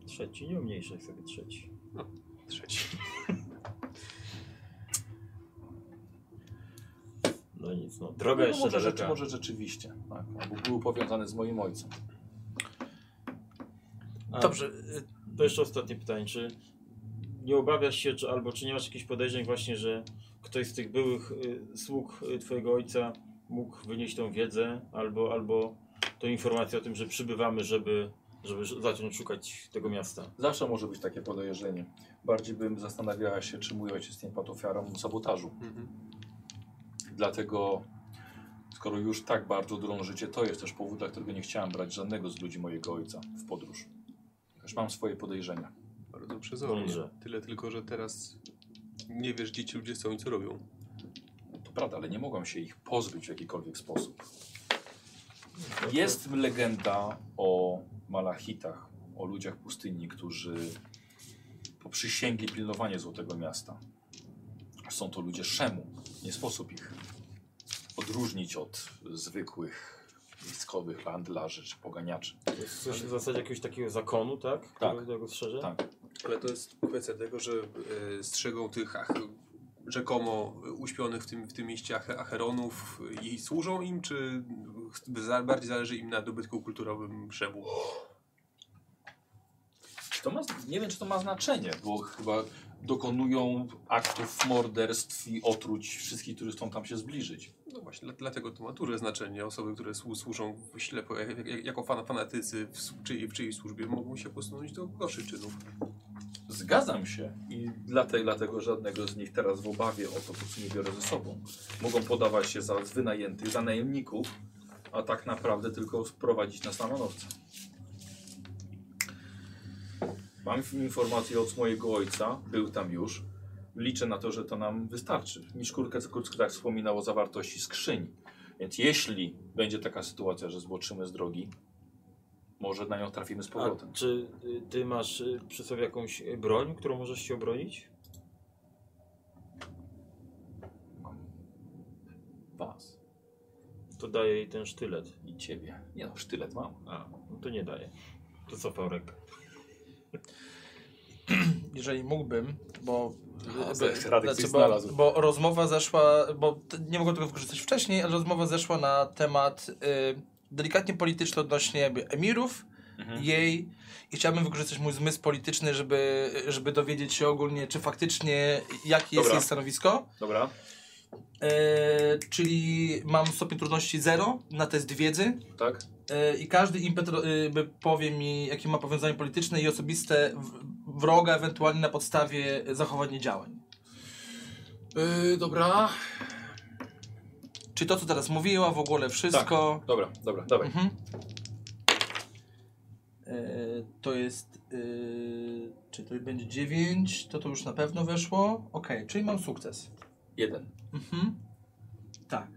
Speaker 7: Trzeci, nie umniejszaj sobie trzeci.
Speaker 4: Trzeci.
Speaker 7: No nic, no. Droga jeszcze
Speaker 1: no, może, rzeczy,
Speaker 7: daleka.
Speaker 1: może rzeczywiście. Tak, albo był powiązany z moim ojcem.
Speaker 7: A,
Speaker 3: Dobrze, y,
Speaker 7: To jeszcze ostatnie pytanie. Czy nie obawiasz się, czy, albo czy nie masz jakichś podejrzeń właśnie, że ktoś z tych byłych y, sług y, twojego ojca mógł wynieść tą wiedzę albo, albo tą informację o tym, że przybywamy, żeby, żeby ż- zacząć szukać tego miasta?
Speaker 1: Zawsze może być takie podejrzenie. Bardziej bym zastanawiała się, czy mój ojciec nie padł ofiarą sabotażu.
Speaker 4: Mhm.
Speaker 1: Dlatego, skoro już tak bardzo drążycie, to jest też powód, dla którego nie chciałem brać żadnego z ludzi mojego ojca w podróż. Też mam swoje podejrzenia.
Speaker 4: Bardzo przezornie.
Speaker 7: Dobrze.
Speaker 4: Tyle tylko, że teraz nie wiesz, gdzie ci ludzie są i co robią.
Speaker 1: To prawda, ale nie mogłem się ich pozbyć w jakikolwiek sposób. Jest legenda o malachitach, o ludziach pustyni, którzy poprzysięgli pilnowanie Złotego Miasta. Są to ludzie szemu. Nie sposób ich odróżnić od zwykłych miejskowych handlarzy czy poganiaczy.
Speaker 7: To jest coś w zasadzie jakiegoś takiego zakonu, tak?
Speaker 1: Tak.
Speaker 7: Który Tego strzeże?
Speaker 1: Tak.
Speaker 4: Ale to jest kwestia tego, że e, strzegą tych ach, rzekomo uśpionych w tym, w tym mieście ach, acheronów i służą im, czy ch- za, bardziej zależy im na dobytku kulturowym Szebu?
Speaker 1: To ma, nie wiem, czy to ma znaczenie, bo chyba dokonują aktów morderstw i otruć wszystkich, którzy chcą tam się zbliżyć.
Speaker 4: No właśnie, dla- dlatego to ma duże znaczenie. Osoby, które słu- służą ślepo, jak- jak- jako fan, fanatycy w, s- czyjej- w czyjej służbie, mogą się posunąć do gorszych czynów.
Speaker 1: Zgadzam się i dlatego, dlatego żadnego z nich teraz w obawie o to po prostu nie biorę ze sobą. Mogą podawać się za wynajętych, za najemników, a tak naprawdę tylko sprowadzić na stanowce. Mam f- informację od mojego ojca, był tam już. Liczę na to, że to nam wystarczy. Miszkurka Kurczka tak wspominał o zawartości skrzyń. Więc jeśli będzie taka sytuacja, że zboczymy z drogi, może na nią trafimy z
Speaker 7: A
Speaker 1: powrotem.
Speaker 7: czy y, ty masz y, przy sobie jakąś y, broń, którą możesz się obronić?
Speaker 1: Was
Speaker 7: To daje jej ten sztylet.
Speaker 1: i ciebie. Nie no, sztylet mam.
Speaker 7: A, no to nie daje. To co, Faurek?
Speaker 3: jeżeli mógłbym, bo.
Speaker 1: Aha,
Speaker 3: bo-
Speaker 1: Radek coś
Speaker 3: bo,
Speaker 1: znalazł.
Speaker 3: bo rozmowa zeszła, bo t- nie mogłem tego wykorzystać wcześniej, ale rozmowa zeszła na temat y, delikatnie polityczny odnośnie jakby emirów,
Speaker 1: Mhm.
Speaker 3: jej i chciałbym wykorzystać mój zmysł polityczny, żeby, żeby dowiedzieć się ogólnie, czy faktycznie jakie jest
Speaker 1: Dobra.
Speaker 3: jej stanowisko.
Speaker 1: Dobra.
Speaker 3: E, czyli mam stopień trudności 0 na test wiedzy.
Speaker 1: Tak?
Speaker 3: E, I każdy impet ro- e, by powie mi, jakie ma powiązanie polityczne i osobiste w- wroga, ewentualnie na podstawie zachowań i działań.
Speaker 1: Yy, dobra.
Speaker 3: Czy to, co teraz mówiła, w ogóle wszystko.
Speaker 1: Dobra, dobra, Tak. dawaj.
Speaker 3: Mhm. E, to jest. E, czy to będzie 9? To to już na pewno weszło. Ok, czyli mam sukces.
Speaker 1: Jeden.
Speaker 3: Mhm. Tak.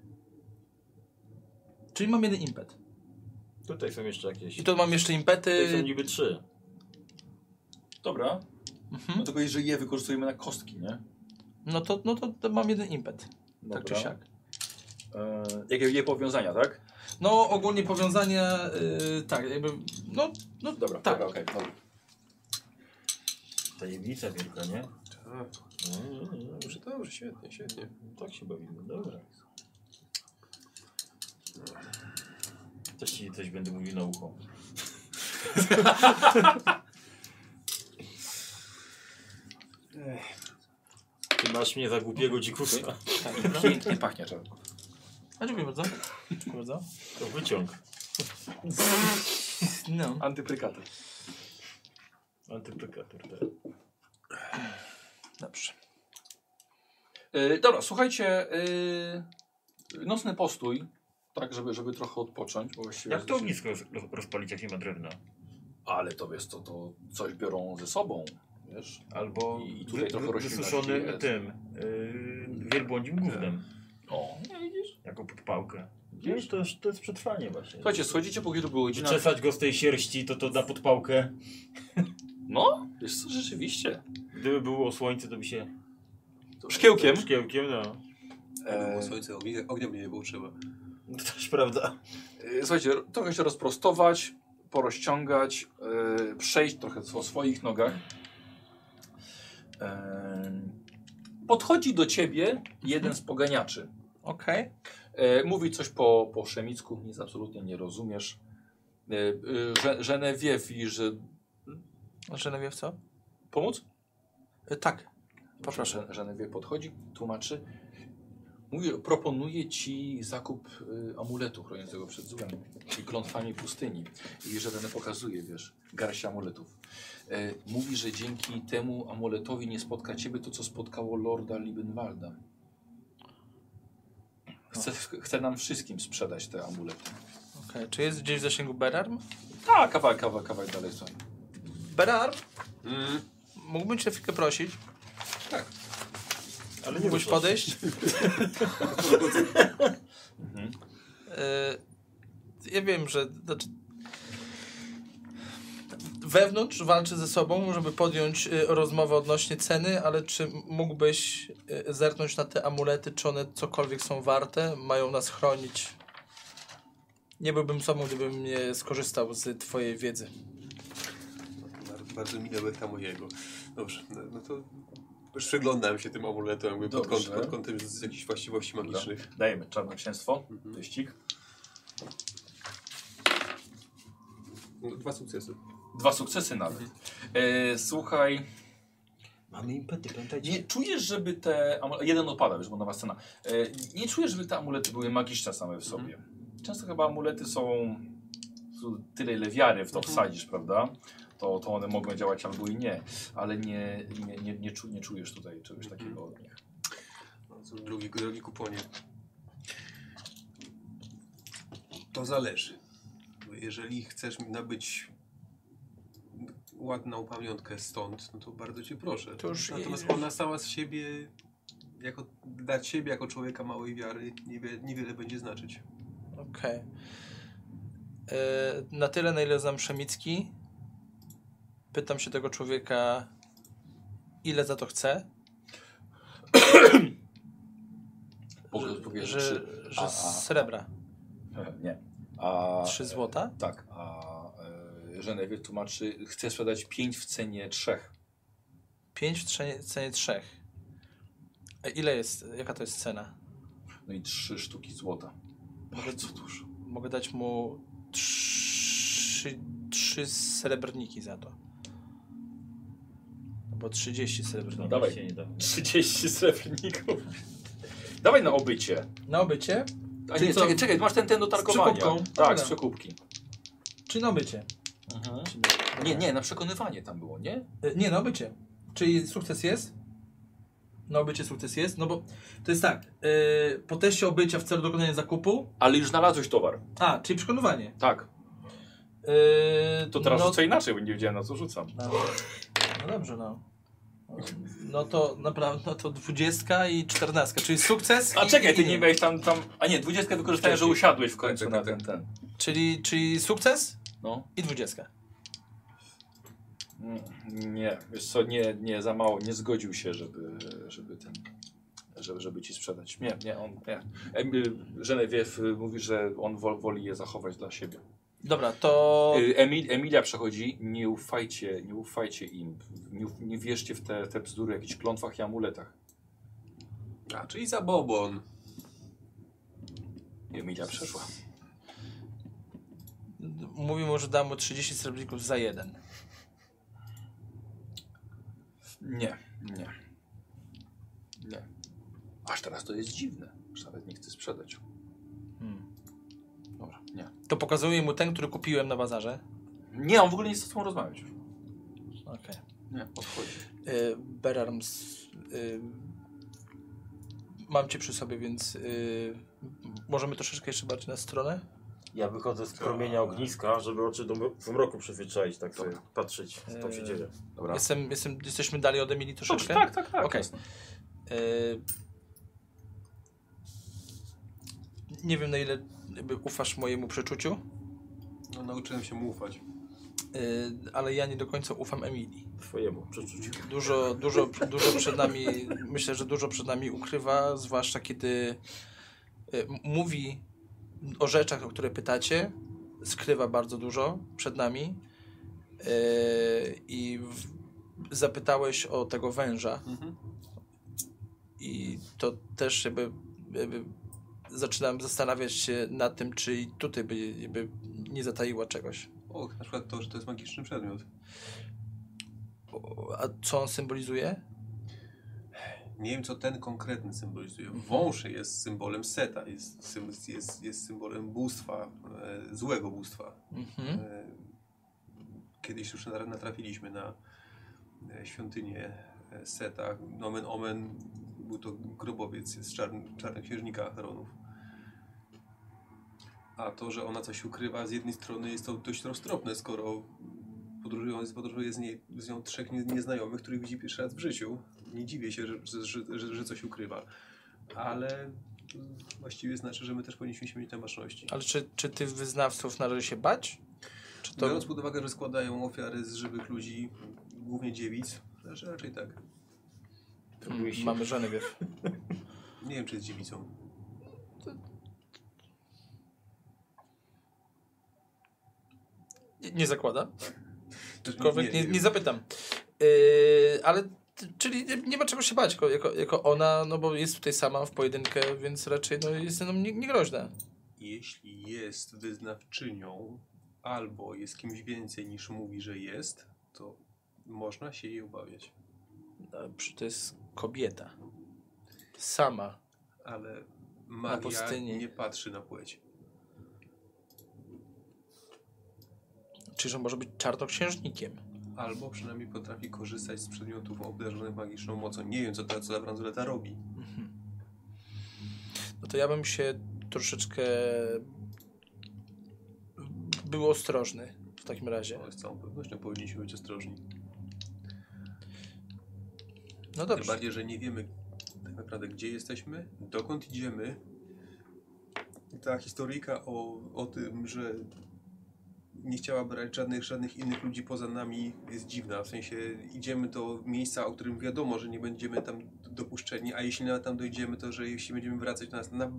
Speaker 3: Czyli mam jeden impet.
Speaker 7: Tutaj są jeszcze jakieś.
Speaker 3: I to mam jeszcze
Speaker 7: Tutaj są
Speaker 3: impety.
Speaker 7: niby trzy.
Speaker 1: Dobra.
Speaker 3: Mhm.
Speaker 1: No tylko jeżeli je wykorzystujemy na kostki, nie?
Speaker 3: No to, no to, to mam jeden impet.
Speaker 1: Dobra.
Speaker 3: Tak czy siak.
Speaker 1: E, jakie jej powiązania, tak?
Speaker 3: No ogólnie powiązania, y, tak, jakby, no, no
Speaker 1: Dobra,
Speaker 3: tak.
Speaker 1: dobra, okej. dobra.
Speaker 2: Tajemnica wielka, nie?
Speaker 4: Tak. Dobrze, dobrze, świetnie, świetnie.
Speaker 2: Tak się bawimy, dobra. Też ci coś będę mówił na ucho.
Speaker 7: Ty masz mnie za głupiego dzikusa.
Speaker 1: Pięknie pachnie to.
Speaker 9: A dziękuję bardzo. Dziękuję bardzo.
Speaker 7: To wyciąg.
Speaker 9: No.
Speaker 1: Antyprykaty.
Speaker 7: Antyprykator. tak.
Speaker 9: Dobrze.
Speaker 1: E, dobra, słuchajcie, e, nocny postój, tak, żeby, żeby trochę odpocząć, bo właściwie...
Speaker 2: Jak to ognisko roz- roz- rozpalić, jak nie ma drewna?
Speaker 1: Ale to jest to, to coś biorą ze sobą, wiesz?
Speaker 2: Albo
Speaker 1: I- i tutaj trochę
Speaker 2: wy-
Speaker 1: roślinności
Speaker 2: wysuszony
Speaker 1: jest.
Speaker 2: tym yy, wielbłądzim gównem.
Speaker 1: O. Tak.
Speaker 2: Jako podpałkę. Wiesz, to, jest- to jest przetrwanie właśnie.
Speaker 1: Słuchajcie, schodzicie po kilku godzinach.
Speaker 2: Czesać go z tej sierści, to to da podpałkę.
Speaker 1: No, wiesz co, rzeczywiście.
Speaker 2: Gdyby było słońce, to by się...
Speaker 1: Szkiełkiem.
Speaker 2: Szkiełkiem, no.
Speaker 1: E,
Speaker 4: Jakby było słońce, ognia, ognia by nie było trzeba.
Speaker 2: To też prawda.
Speaker 1: E, Słuchajcie, ro- trochę się rozprostować, porozciągać, e, przejść trochę po swoich nogach. E, Podchodzi do ciebie jeden z poganiaczy.
Speaker 3: Okej.
Speaker 1: E, Mówi coś po, po szemicku, nic absolutnie nie rozumiesz. E, e, Że- Genevieve i że...
Speaker 3: A Genevieve co?
Speaker 1: Pomóc?
Speaker 3: Y, tak.
Speaker 1: Poproszę. Genevieve podchodzi, tłumaczy. Mówi, proponuję ci zakup y, amuletu chroniącego przed złem i klątwami pustyni. I że ten pokazuje, wiesz, garść amuletów. E, mówi, że dzięki temu amuletowi nie spotka ciebie to, co spotkało Lorda Liebenwalda. Chce, chce nam wszystkim sprzedać te amulety.
Speaker 3: Okej, czy jest gdzieś w zasięgu Berarm?
Speaker 1: Tak, A, kawałek, kawałek, kawałek dalej są.
Speaker 3: Berarm?
Speaker 4: Mm.
Speaker 3: Mógłbym cię chwilkę prosić? Tak. Ale nie Mógłbyś podejść? Y, ja wiem, że... Znaczy, wewnątrz walczy ze sobą, żeby podjąć y, rozmowę odnośnie ceny, ale czy mógłbyś y, zerknąć na te amulety, czy one cokolwiek są warte, mają nas chronić? Nie byłbym sobą, gdybym nie skorzystał z twojej wiedzy.
Speaker 4: Bar- Bardzo minęły ta mojego. Dobrze, no, no to przyglądam się tym amuletom jakby pod, kąt,
Speaker 1: Dobrze.
Speaker 4: pod kątem z z jakichś właściwości magicznych.
Speaker 1: Dajemy czarnoksięstwo, wyścig.
Speaker 4: No, dwa sukcesy.
Speaker 1: Dwa sukcesy nawet. E, słuchaj...
Speaker 7: Mamy impety, pamiętajcie.
Speaker 1: Nie czujesz, żeby te. amu- Jeden opada, wiesz, bo nowa scena. E, nie czujesz, żeby te amulety były magiczne same w sobie.
Speaker 7: Mhm.
Speaker 1: Często chyba amulety są. są Tyle, ile wiary w to
Speaker 7: Mhm.
Speaker 1: wsadzisz, prawda? To, to one mogą działać albo i nie, ale nie, nie, nie, nie, czu, nie czujesz tutaj czegoś
Speaker 7: Mhm.
Speaker 1: takiego od nich.
Speaker 4: No, są Drugi, drugi kuponie. To zależy. Bo Jeżeli chcesz mi nabyć ładną pamiątkę stąd, no to bardzo cię proszę.
Speaker 3: To już
Speaker 4: Natomiast
Speaker 3: jest.
Speaker 4: ona sama z siebie, jako, dla ciebie jako człowieka małej wiary, niewiele, niewiele będzie znaczyć.
Speaker 3: Okej. E, Na tyle, na ile znam Szemicki, pytam się tego człowieka, ile za to chce,
Speaker 1: Bo odpowiesz,
Speaker 3: że,
Speaker 1: że.
Speaker 3: że
Speaker 1: a, a.
Speaker 3: srebra,
Speaker 1: Nie. A,
Speaker 3: 3 złota.
Speaker 1: tak, a e, Genevieve tłumaczy, chce sprzedać 5 w cenie 3.
Speaker 3: 5 w trze- cenie 3. Ile jest, jaka to jest cena?
Speaker 1: No i 3 sztuki złota. Bardzo dużo.
Speaker 3: Mogę dać mu 3, trzy srebrniki za to. Albo 30
Speaker 2: No,
Speaker 3: srebrników.
Speaker 1: dawaj.
Speaker 2: się nie da.
Speaker 1: 30 srebrników. Dawaj na obycie.
Speaker 3: Na obycie?
Speaker 1: A
Speaker 3: Czyli
Speaker 1: nie,
Speaker 3: co?
Speaker 1: czekaj, czekaj, masz ten, ten do targowania.
Speaker 3: przekupką?
Speaker 1: Tak,
Speaker 3: Dobra.
Speaker 1: z przekupki.
Speaker 3: Czy na obycie?
Speaker 1: Mhm. Nie, nie, na przekonywanie tam było, nie?
Speaker 3: E, Nie, no bycie. Czyli sukces jest? No bycie sukces jest, no bo to jest tak, e, po teście obycia w celu dokonania zakupu,
Speaker 1: Ale już znalazłeś towar.
Speaker 3: a, czyli przekonywanie.
Speaker 1: Tak.
Speaker 3: E,
Speaker 1: To teraz
Speaker 3: no,
Speaker 1: rzucę inaczej, bo nie wiedziałem na co rzucam.
Speaker 3: no, no dobrze, no. No to naprawdę, no to dwudziestka i czternastka, czyli sukces
Speaker 1: A
Speaker 3: i,
Speaker 1: czekaj,
Speaker 3: i
Speaker 1: ty nie miałeś tam, tam... A nie, dwudziestkę wykorzystałem, że usiadłeś w końcu na ten, ten.
Speaker 3: Czyli, czyli sukces
Speaker 1: No.
Speaker 3: i dwudziestka.
Speaker 1: Nie, wiesz co, nie, nie, za mało, nie zgodził się, żeby, żeby ten... żeby, żeby ci sprzedać. Nie, nie, on, nie. Em, y, Genevieve y, mówi, że on wol, woli je zachować dla siebie.
Speaker 3: Dobra, to...
Speaker 1: Y, Emil, Emilia przechodzi, nie ufajcie, nie ufajcie im, nie, uf- nie wierzcie w te, te bzdury, o jakichś klątwach i amuletach.
Speaker 5: A, czyli za bobon.
Speaker 1: I Emilia przeszła.
Speaker 3: Mówi mu, że dam mu 30 srebrników za jeden.
Speaker 1: Nie, nie. Nie. Aż teraz to jest dziwne, że nawet nie chce sprzedać. Hmm. Dobra, nie.
Speaker 3: To pokazuje mu ten, który kupiłem na bazarze.
Speaker 1: Nie, on w ogóle nie chce z tobą rozmawiać.
Speaker 3: Okej.
Speaker 1: Nie, odchodzi.
Speaker 3: Y, Berarms, y, mam cię przy sobie, więc y, możemy troszeczkę jeszcze bardziej na stronę.
Speaker 2: Ja wychodzę z promienia ogniska, żeby oczy do mro- zmroku przyzwyczaić, tak sobie patrzeć, co tam się
Speaker 3: Eee,
Speaker 2: dzieje.
Speaker 1: Dobra.
Speaker 3: Jestem, jestem, jesteśmy dalej od Emilii troszeczkę.
Speaker 1: Tak, tak, tak.
Speaker 3: Okej.
Speaker 1: jasne.
Speaker 3: Y, nie wiem na ile jakby ufasz mojemu przeczuciu,
Speaker 4: No, nauczyłem się mu ufać.
Speaker 3: y, ale ja nie do końca ufam Emilii.
Speaker 2: Twojemu przeczuciu.
Speaker 3: Dużo, dużo, dużo przed nami, myślę, że dużo przed nami ukrywa, zwłaszcza kiedy y, m- mówi o rzeczach, o które pytacie, skrywa bardzo dużo przed nami. Y, I w, zapytałeś o tego węża. I to też jakby, jakby zaczynam zastanawiać się nad tym, czy i tutaj by jakby nie zataiła czegoś.
Speaker 4: O, na przykład to, że to jest magiczny przedmiot.
Speaker 3: O, A co on symbolizuje?
Speaker 4: Nie wiem, co ten konkretny symbolizuje. Wąż jest symbolem Seta, jest, sym, jest, jest symbolem bóstwa, e, złego bóstwa.
Speaker 3: Mhm.
Speaker 4: E, Kiedyś już na- natrafiliśmy na e, świątynię e, Seta. Nomen omen był to grobowiec z czarn, czarnoksiężnika Acheronów. A to, że ona coś ukrywa, z jednej strony jest to dość roztropne, skoro podróżują, podróżuje z, niej, z nią trzech nie- nieznajomych, których widzi pierwszy raz w życiu. Nie dziwię się, że, że, że, że coś ukrywa. Ale mm, właściwie znaczy, że my też powinniśmy mieć tę baczności.
Speaker 3: Ale czy, czy ty wyznawców należy się bać? Czy to...
Speaker 4: Biorąc pod uwagę, że składają ofiary z żywych ludzi, głównie dziewic, znaczy raczej tak.
Speaker 3: Mm, mamy żony, wiesz.
Speaker 4: Nie wiem, czy jest dziewicą.
Speaker 3: Nie, nie zakłada.
Speaker 4: Aczkolwiek
Speaker 3: Aczkolwiek nie, nie zapytam. Yy, ale t- czyli nie, nie ma czego się bać jako, jako, jako ona, no bo jest tutaj sama w pojedynkę, więc raczej no, jest nam nie- niegroźna.
Speaker 4: Jeśli jest wyznawczynią albo jest kimś więcej niż mówi, że jest, to można się jej obawiać.
Speaker 3: No, przy- to jest kobieta. Sama.
Speaker 4: Ale Maria
Speaker 3: pustyni.
Speaker 4: nie patrzy na płeć.
Speaker 3: Czyż on może być czarnoksiężnikiem?
Speaker 4: Albo przynajmniej potrafi korzystać z przedmiotów obdarzonych magiczną mocą. Nie wiem, co ta, co ta bransoleta robi.
Speaker 3: Mhm. No to ja bym się troszeczkę był ostrożny w takim razie.
Speaker 4: Ale z całą pewnością powinniśmy być ostrożni.
Speaker 3: No
Speaker 4: Tym
Speaker 3: dobrze.
Speaker 4: bardziej, że nie wiemy tak naprawdę, gdzie jesteśmy, dokąd idziemy. I Ta historyjka o, o tym, że nie chciała brać żadnych, żadnych innych ludzi poza nami jest dziwna. W sensie idziemy do miejsca, o którym wiadomo, że nie będziemy tam dopuszczeni, a jeśli nawet tam dojdziemy, to że jeśli będziemy wracać do nas, na,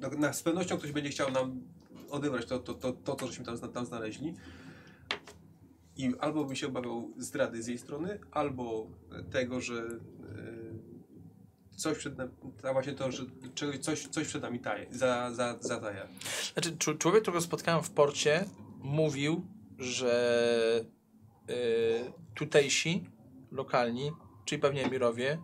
Speaker 4: na, na, z pewnością ktoś będzie chciał nam odebrać to, to, to, to, to żeśmy tam, zna- tam znaleźli. I albo bym się obawiał zdrady z jej strony, albo tego, że e, coś przed nami, a właśnie to, że czegoś- coś, coś przed nami taje, za, za, zataja.
Speaker 3: Znaczy, czu- człowiek, którego spotkałem w porcie, mówił, że y, tutejsi, lokalni, czyli pewnie emirowie,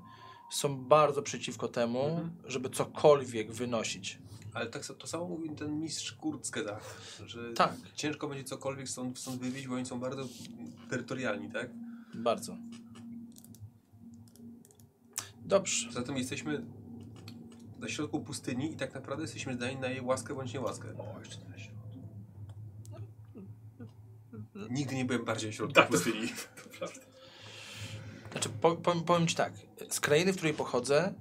Speaker 3: są bardzo przeciwko temu, żeby cokolwiek wynosić.
Speaker 4: Ale tak, sa- to samo mówił ten mistrz Kurtzke, tak, że
Speaker 3: Tak.
Speaker 4: ciężko będzie cokolwiek stąd, stąd wywieźć, bo oni są bardzo terytorialni, tak?
Speaker 3: Bardzo. Dobrze.
Speaker 4: Zatem jesteśmy na środku pustyni i tak naprawdę jesteśmy zdani na jej łaskę bądź niełaskę. O, jeszcze na środku. Nigdy nie byłem bardziej w środku pustyni.
Speaker 3: Znaczy, po, powiem, powiem ci tak. Z krainy, w której pochodzę,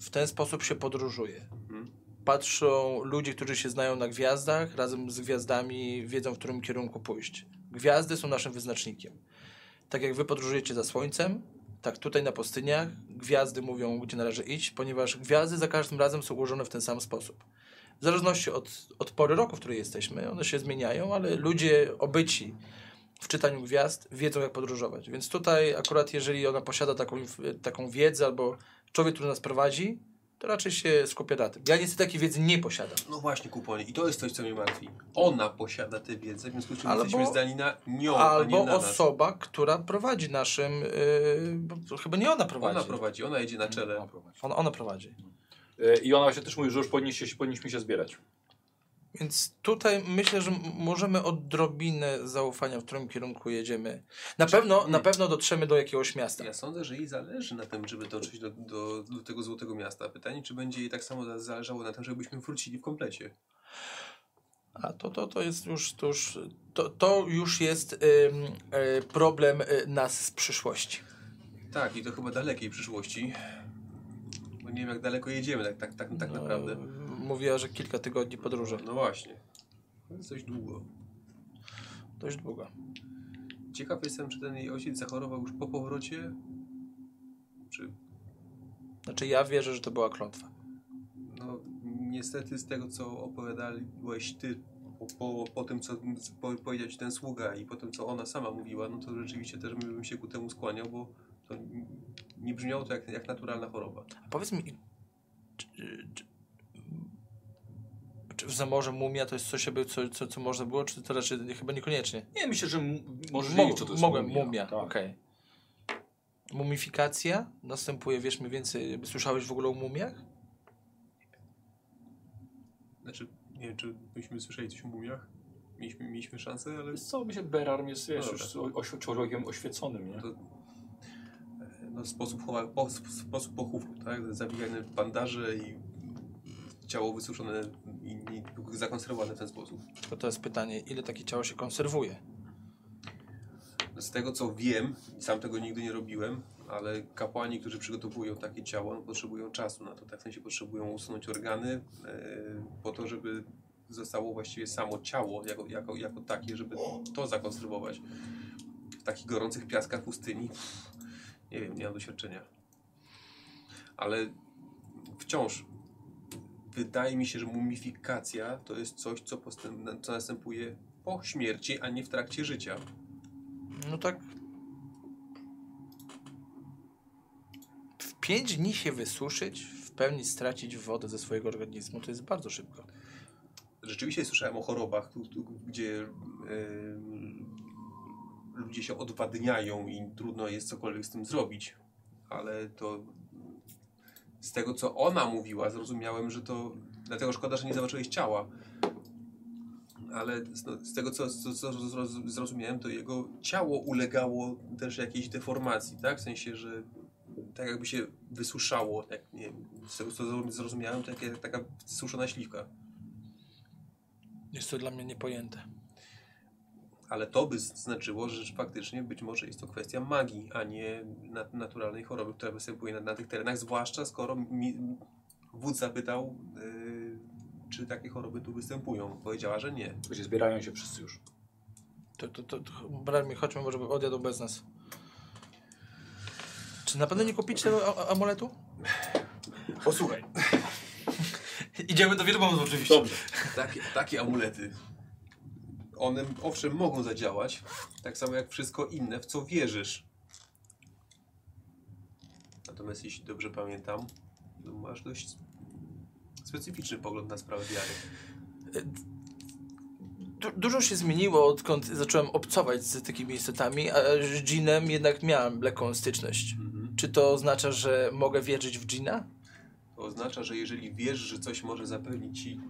Speaker 3: w ten sposób się podróżuje.
Speaker 4: Mhm.
Speaker 3: Patrzą ludzie, którzy się znają na gwiazdach, razem z gwiazdami wiedzą, w którym kierunku pójść. Gwiazdy są naszym wyznacznikiem. Tak jak wy podróżujecie za słońcem, tak tutaj na pustyniach gwiazdy mówią, gdzie należy iść, ponieważ gwiazdy za każdym razem są ułożone w ten sam sposób. W zależności od, od pory roku, w której jesteśmy, one się zmieniają, ale ludzie obyci w czytaniu gwiazd wiedzą, jak podróżować. Więc tutaj akurat jeżeli ona posiada taką, inf- taką wiedzę albo człowiek, który nas prowadzi, to raczej się skupia na tym. Ja niestety takiej wiedzy nie posiadam.
Speaker 4: No właśnie, kuponie. I to jest coś, co mnie martwi. Ona posiada tę wiedzę, w związku z czym
Speaker 3: Albo-
Speaker 4: jesteśmy zdani na nią, a No, nie
Speaker 3: Albo
Speaker 4: na nas.
Speaker 3: osoba, która prowadzi naszym... Yy, bo to chyba nie ona prowadzi.
Speaker 4: Ona prowadzi, ona jedzie na
Speaker 3: No,
Speaker 4: czele.
Speaker 3: Ona, ona prowadzi.
Speaker 1: E, I ona się też mówi, że już powinniście, się- powinniśmy się zbierać.
Speaker 3: Więc tutaj myślę, że m- możemy odrobinę zaufania, w którym kierunku jedziemy. Na pewno, na pewno dotrzemy do jakiegoś miasta.
Speaker 4: Ja sądzę, że jej zależy na tym, żeby dotrzeć do, do, do tego złotego miasta. Pytanie, czy będzie jej tak samo za- zależało na tym, żebyśmy wrócili w komplecie.
Speaker 3: A to, to, to jest już, to już, to, to już jest ym, y, problem y, nas z przyszłości.
Speaker 4: Tak, i to chyba dalekiej przyszłości. Bo nie wiem, jak daleko jedziemy tak, tak, tak, tak naprawdę.
Speaker 3: No, mówiła, że kilka tygodni podróży.
Speaker 4: No właśnie. To jest dość długo.
Speaker 3: Dość długo.
Speaker 4: Ciekaw jestem, czy ten jej ojciec zachorował już po powrocie? Czy
Speaker 3: Znaczy ja wierzę, że to była klątwa.
Speaker 4: No, niestety z tego, co opowiadałeś ty, po, po, po tym, co po, powiedział ci ten sługa i po tym, co ona sama mówiła, no to rzeczywiście też bym się ku temu skłaniał, bo to n- nie brzmiało to jak, jak naturalna choroba.
Speaker 3: A powiedz mi, czy, czy, czy w zamorze mumia to jest coś, jakby- co, co, co można było, czy to raczej chyba niekoniecznie?
Speaker 1: Nie, myślę, że m- możesz
Speaker 3: Mo-
Speaker 1: wiedzieć, co to jest
Speaker 3: mogłem,
Speaker 1: mumia.
Speaker 3: mumia,
Speaker 1: Tak.
Speaker 3: okej. Mumifikacja następuje, wiesz mniej więcej, jakby słyszałeś w ogóle o mumiach?
Speaker 4: Znaczy, nie wiem, czy myśmy słyszeli coś o mumiach? Mieliśmy, mieliśmy szansę, ale...
Speaker 1: Wiesz Co, myślę, Berarm jest wiesz,
Speaker 4: No
Speaker 1: już o- oświ- człowiekiem oświeconym, nie?
Speaker 4: To, no, sposób, chowa, po, sposób pochówku, tak? Zawijane w bandaże i ciało wysuszone i, i zakonserwowane w ten sposób.
Speaker 3: To to jest pytanie, ile takie ciało się konserwuje?
Speaker 4: Z tego co wiem, sam tego nigdy nie robiłem, ale kapłani, którzy przygotowują takie ciało, no, potrzebują czasu na to. Tak w sensie potrzebują usunąć organy e, po to, żeby zostało właściwie samo ciało jako, jako, jako takie, żeby to zakonserwować. W takich gorących piaskach pustyni pff, nie wiem, nie mam doświadczenia. Ale wciąż wydaje mi się, że mumifikacja to jest coś, co, postęp, co następuje po śmierci, a nie w trakcie życia.
Speaker 3: No tak... W pięć dni się wysuszyć, w pełni stracić wodę ze swojego organizmu, to jest bardzo szybko.
Speaker 4: rzeczywiście słyszałem o chorobach, tu- tu- gdzie em, ludzie się odwadniają i trudno jest cokolwiek z tym zrobić. Ale to z tego, co ona mówiła, zrozumiałem, że to. Dlatego szkoda, że nie zobaczyłeś ciała. Ale z, no, z tego, co, co, co zroz- zrozumiałem, to jego ciało ulegało też jakiejś deformacji, tak? W sensie, że tak jakby się wysuszało. Jak, nie, wiem, z tego, co zrozum- zrozumiałem, to jak, taka suszona śliwka.
Speaker 3: Jest to dla mnie niepojęte.
Speaker 4: Ale to by znaczyło, że faktycznie być może jest to kwestia magii, a nie nat- naturalnej choroby, która występuje na, na tych terenach, zwłaszcza skoro mi, wódz zapytał, yy, czy takie choroby tu występują. Powiedziała, że nie.
Speaker 1: Gdzie zbierają się wszyscy już.
Speaker 3: To, to, to, to brat mi, chodźmy, może odjadą bez nas. Czy na pewno nie kupić tego a- amuletu?
Speaker 4: Posłuchaj.
Speaker 3: Idziemy do wielbłądów oczywiście.
Speaker 4: Takie, takie amulety. One owszem mogą zadziałać, tak samo jak wszystko inne, w co wierzysz. Natomiast jeśli dobrze pamiętam, to masz dość specyficzny pogląd na sprawę wiary.
Speaker 3: Du dużo się zmieniło, odkąd zacząłem obcować z takimi istotami, a z dżinem jednak miałem lekką styczność. Czy to oznacza, że mogę wierzyć w dżina?
Speaker 4: To oznacza, że jeżeli wiesz, że coś może zapewnić ci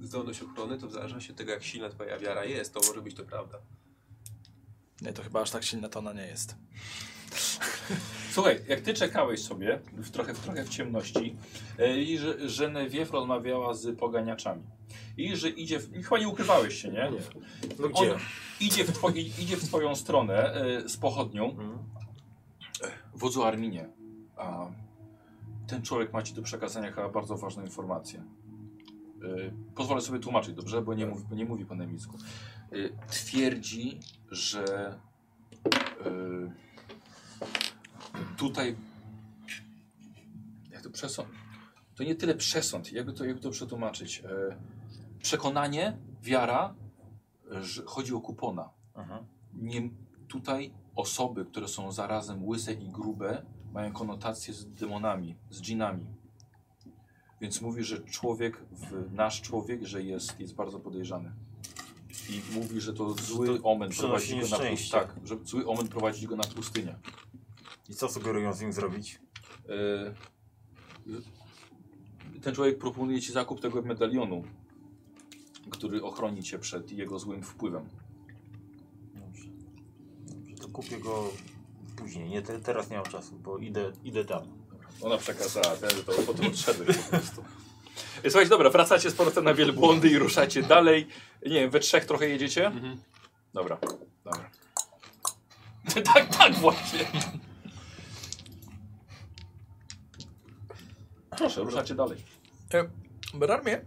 Speaker 4: zdolność ochrony, to w zależności od tego, jak silna twoja wiara jest, to może być to prawda.
Speaker 3: Nie, to chyba aż tak silna tona nie jest.
Speaker 1: Słuchaj, jak ty czekałeś sobie, w trochę, w trochę w ciemności, e, i że Genevieve rozmawiała z poganiaczami. I że idzie, w, chyba nie ukrywałeś się, nie?
Speaker 2: No gdzie?
Speaker 1: On idzie, w twoi, idzie w twoją stronę e, z pochodnią. Wodzu Arminie, a ten człowiek ma ci do przekazania chyba bardzo ważną informację. E, Pozwolę sobie tłumaczyć, dobrze? Bo nie mówi, bo nie mówi po niemiecku. E, Twierdzi, że y, e, tutaj jak to przesąd. To nie tyle przesąd, jakby to, jakby to przetłumaczyć. E, przekonanie, wiara, e, że chodzi o kupona.
Speaker 2: Aha.
Speaker 1: Nie, tutaj osoby, które są zarazem łyse i grube, mają konotację z demonami, z dżinami. Więc mówi, że człowiek, w, nasz człowiek, że jest, jest bardzo podejrzany. I mówi, że to zły
Speaker 2: to
Speaker 1: omen
Speaker 2: przynosi
Speaker 1: prowadzi go na pustynię.
Speaker 2: nieszczęście.
Speaker 1: Tak, że zły omen prowadzi go na pustynię.
Speaker 2: I co sugerują z nim zrobić?
Speaker 1: E, Y, Ten człowiek proponuje ci zakup tego medalionu, który ochroni cię przed jego złym wpływem.
Speaker 2: Dobrze. Dobrze, to kupię go później. Nie, te, teraz nie mam czasu, bo idę, idę tam.
Speaker 1: Ona przekazała ten, że to potem odszedłeś po prostu. Słuchajcie, dobra, wracacie z powrotem na wielbłądy i ruszacie dalej. Nie wiem, we trzech trochę jedziecie? Dobra, dobra. tak, tak właśnie. Proszę, ruszacie dalej.
Speaker 3: Berarmie, E,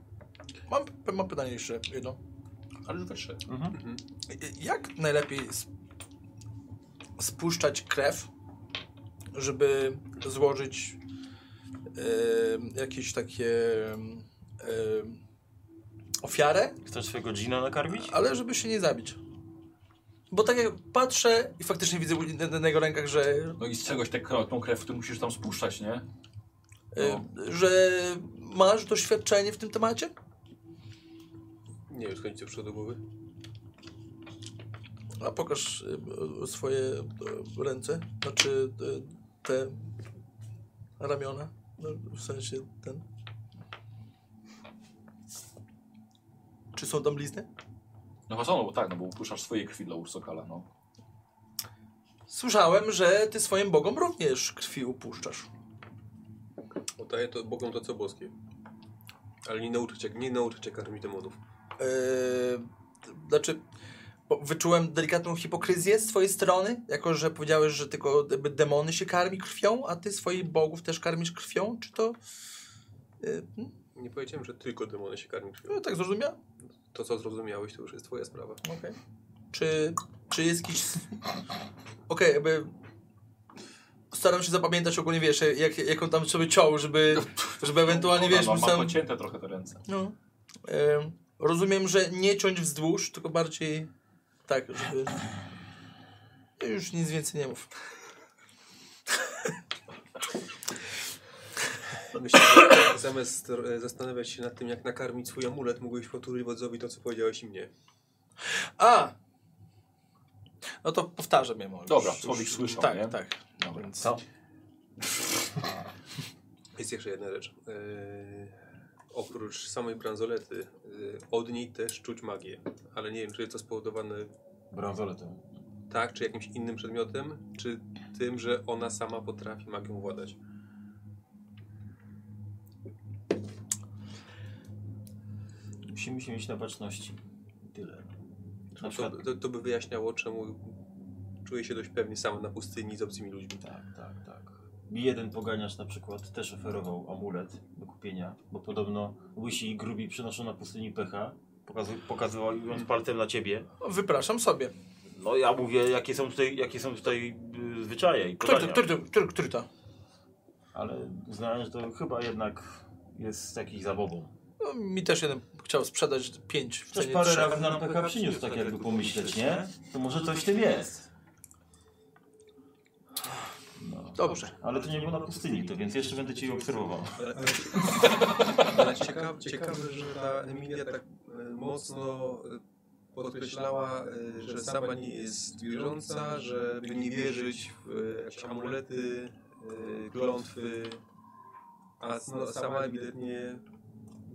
Speaker 3: mam, mam pytanie jeszcze jedno.
Speaker 1: Ale już we trzech.
Speaker 3: Jak najlepiej sp- spuszczać krew, żeby złożyć em, jakieś takie em, em, ofiarę,
Speaker 2: Chcesz swojego dżina nakarmić?
Speaker 3: ale żeby się nie zabić? Bo tak jak patrzę i faktycznie widzę na- na na jego rękach, że,
Speaker 1: No i z czegoś tę krw- tą krew, którą musisz tam spuszczać, nie?
Speaker 3: e, że masz doświadczenie w tym temacie?
Speaker 4: Nie wiem, skąd ci to przyszło do głowy.
Speaker 3: A pokaż e, e, swoje e, ręce, znaczy e, te ramiona, no, w sensie ten. Czy są tam blizny?
Speaker 1: No chyba są, no bo tak, no bo upuszczasz swojej krwi dla Ursokala, no.
Speaker 3: Słyszałem, że ty swoim bogom również krwi upuszczasz.
Speaker 4: Oddaję to Bogom to, co boskie. Ale nie nauczę cię, nie nauczę cię karmić demonów.
Speaker 3: Eee, znaczy, bo wyczułem delikatną hipokryzję z twojej strony, jako że powiedziałeś, że tylko jakby demony się karmi krwią, a ty swoich bogów też karmisz krwią, czy to... e,
Speaker 4: Nie powiedziałem, że tylko demony się karmią krwią.
Speaker 3: no, tak zrozumiałem.
Speaker 4: To, co zrozumiałeś, to już jest twoja sprawa.
Speaker 3: Okej. Czy, czy jest jakiś... Okej, jakby... Staram się zapamiętać ogólnie, wiesz, jak, jaką tam sobie ciął, żeby, żeby ewentualnie, wiesz,
Speaker 1: no,
Speaker 3: no,
Speaker 1: mam
Speaker 3: sam...
Speaker 1: pocięte trochę te ręce.
Speaker 3: No. Em, rozumiem, że nie ciąć wzdłuż, tylko bardziej tak, żeby... Już nic więcej nie mów.
Speaker 4: Myślę, że zamiast e, zastanawiać się nad tym, jak nakarmić swój amulet, mógłbyś powtórzyć wodzowi to, co powiedziałeś i mnie.
Speaker 3: A! No to powtarzam je może.
Speaker 1: Dobra, człowiek słyszał,
Speaker 3: Tak,
Speaker 1: nie?
Speaker 3: tak.
Speaker 1: Dobra.
Speaker 2: Co?
Speaker 4: Jest jeszcze jedna rzecz. Eee, oprócz samej bransolety, eee, od niej też czuć magię. Ale nie wiem, czy jest to spowodowane
Speaker 2: Bransoletem.
Speaker 4: tak, czy jakimś innym przedmiotem, czy tym, że ona sama potrafi magią władać.
Speaker 2: Musimy się mieć na baczności. Tyle. Na
Speaker 4: To,
Speaker 2: przykład...
Speaker 4: to, to by wyjaśniało, czemu czuje się dość pewnie sama na pustyni z obcymi ludźmi.
Speaker 2: Tak, tak, tak. Mi jeden poganiacz na przykład też oferował amulet do kupienia, bo podobno łysi i grubi przynoszą na pustyni pecha. Pokazu- pokazywał ją palcem na ciebie.
Speaker 3: Wypraszam sobie.
Speaker 2: No ja mówię, jakie są tutaj, jakie są tutaj y, zwyczaje i
Speaker 3: Który to,
Speaker 2: podania.
Speaker 3: który to, który, który to?
Speaker 2: Ale uznałem, że to chyba jednak jest jakiś zabobą.
Speaker 3: No, mi też jeden chciał sprzedać pięć. w
Speaker 2: Ktoś
Speaker 3: cenie
Speaker 2: parę
Speaker 3: trzech.
Speaker 2: razy nam pecha przyniósł, tak jakby pomyśleć, nie? To może coś w tym jest. No.
Speaker 3: Dobrze.
Speaker 2: Ale to nie było na pustyni, to więc jeszcze będę cię obserwował.
Speaker 4: Ale ciekawe, ciekawe, że ta Emilia tak e, mocno e, podkreślała, e, że sama nie jest wierząca, żeby nie wierzyć w e, jakieś amulety, e, klątwy, a s- no, sama ewidentnie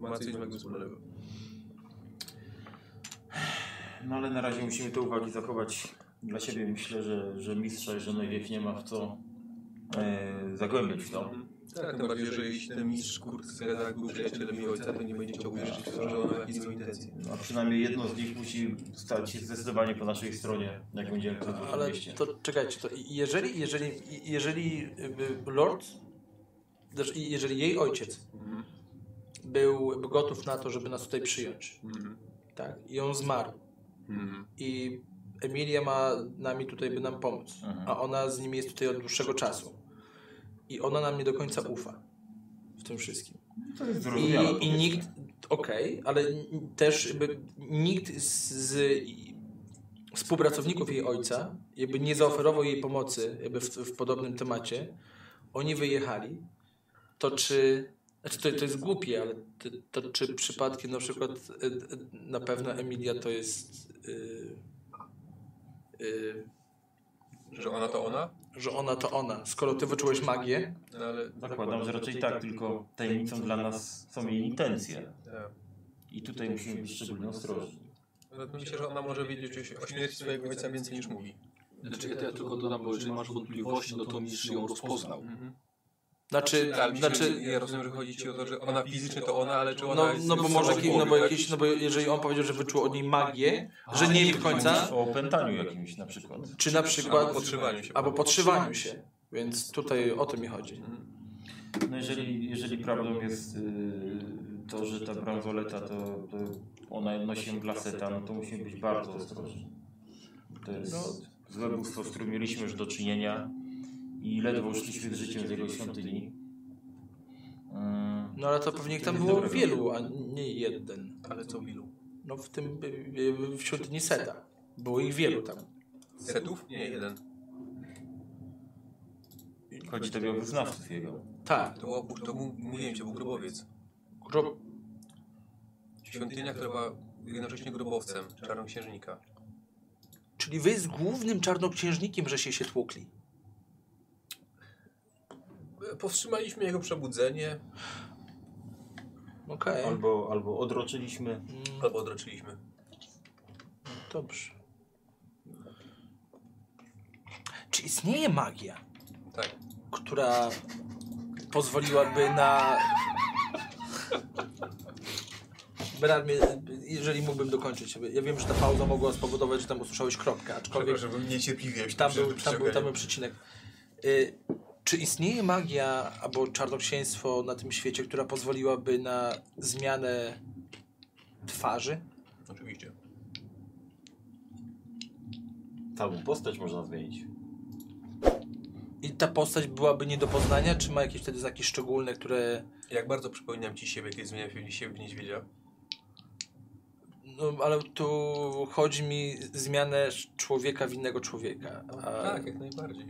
Speaker 4: ma coś z magią wspólnego.
Speaker 2: No ale na razie musimy te uwagi zachować dla siebie. Myślę, że, że mistrza i Genevieve nie ma w co e, zagłębiać w to.
Speaker 4: Tak, tym bardziej, że jeśli ten mistrz kurczę tak był przyjacielem jej ojca, to nie będzie chciał wierzyć w to, że ona ma jakieś złe intencje.
Speaker 2: A przynajmniej jedno z nich musi stać się zdecydowanie po naszej stronie, jak będziemy to
Speaker 3: Ale
Speaker 2: mieście.
Speaker 3: to czekajcie, to jeżeli, jeżeli, jeżeli y, Lord, znaczy jeżeli jej ojciec był gotów na to, żeby nas tutaj przyjąć, tak, i on zmarł, mhm. i Emilia ma nami tutaj, by nam pomóc, a ona z nimi jest tutaj od dłuższego czasu, i ona nam nie do końca ufa, w tym wszystkim. I,
Speaker 2: Zrozumiałe.
Speaker 3: i nikt, okej, ale n- też jakby nikt z, z współpracowników jej ojca jakby nie zaoferował jej pomocy jakby w, w podobnym temacie. Oni wyjechali. To czy, znaczy to, to jest głupie, ale to, to czy przypadkiem na przykład e, e, na pewno Emilia to jest... e, e,
Speaker 4: Że ona to ona?
Speaker 3: że ona to ona, skoro ty wyczułeś magię,
Speaker 4: No ale...
Speaker 2: Zakładam, że raczej tak, tylko tajemnicą dla nas są jej intencje.
Speaker 4: Tak.
Speaker 2: I tutaj musimy być szczególnie ostrożni.
Speaker 4: ale no, Myślę, że ona może wiedzieć o śmierci swojego ojca więcej niż mówi.
Speaker 7: Znaczy, ja, ja tylko dodam, bo jeżeli masz wątpliwości, no to mistrz ją rozpoznał.
Speaker 3: znaczy,
Speaker 4: Tak,
Speaker 3: znaczy
Speaker 4: znaczy, ja rozumiem, że chodzi ci o to, że ona fizycznie to ona, ale czy ona
Speaker 3: No,
Speaker 4: jest
Speaker 3: no bo
Speaker 4: sobą
Speaker 3: może
Speaker 4: w
Speaker 3: jakiś,
Speaker 4: głowie,
Speaker 3: no bo
Speaker 4: tak?
Speaker 3: jakiś, no bo jeżeli on powiedział, że wyczuł od niej magię, że nie wie do końca,
Speaker 2: O opętaniu jakimś na przykład.
Speaker 3: czy na
Speaker 4: Albo
Speaker 3: przykład,
Speaker 4: podtrzymaniu się.
Speaker 3: albo podszywaniu się. Więc tutaj o to mi chodzi.
Speaker 2: No jeżeli, jeżeli prawdą jest y, to, że ta bransoleta to, to ona nosi glaseta, no to musimy być bardzo ostrożni. To jest złe bóstwo, z którym mieliśmy już do czynienia i ledwo szliśmy z życiem z jego świątyni. Mm,
Speaker 3: No ale to pewnie ich tam
Speaker 2: jest
Speaker 3: było
Speaker 2: dobre.
Speaker 3: wielu, a nie jeden.
Speaker 10: Ale co wilu?
Speaker 3: No w tym, y, y, wśród Niseta. Było ich wielu tam.
Speaker 4: Setów? Nie, jeden.
Speaker 2: Chodzi tobie o wyznawców jego.
Speaker 3: Tak.
Speaker 4: To, był- to był, mówiłem ci, był grobowiec.
Speaker 3: Gro...
Speaker 4: Świątynia, która była jednocześnie grobowcem czarnoksiężnika.
Speaker 3: Czyli wy z głównym czarnoksiężnikiem, że się się tłukli.
Speaker 4: Powstrzymaliśmy jego przebudzenie,
Speaker 3: Okej.
Speaker 2: Albo, albo odroczyliśmy.
Speaker 3: Mm,
Speaker 4: albo odroczyliśmy.
Speaker 3: Dobrze. Czy istnieje magia?
Speaker 4: Tak.
Speaker 3: która pozwoliłaby na. Brat, mnie- jeżeli mógłbym dokończyć, ja wiem, że ta pauza mogła spowodować, że tam usłyszałeś kropkę, aczkolwiek
Speaker 4: Przepraszam, bo mnie niecierpliwie się
Speaker 3: tam
Speaker 4: przy-
Speaker 3: był, tam był, tam był przycinek. Y, czy istnieje magia albo czarnoksięstwo na tym świecie, która pozwoliłaby na zmianę twarzy?
Speaker 4: Oczywiście.
Speaker 2: Całą postać można zmienić.
Speaker 3: I ta postać byłaby nie do poznania? Czy ma jakieś wtedy znaki szczególne, które
Speaker 4: Jak bardzo przypominam ci siebie, kiedy zmieniam się- siebie w niedźwiedzia.
Speaker 3: No, ale tu chodzi mi zmianę sz- człowieka w innego człowieka. A
Speaker 4: Tak, jak najbardziej.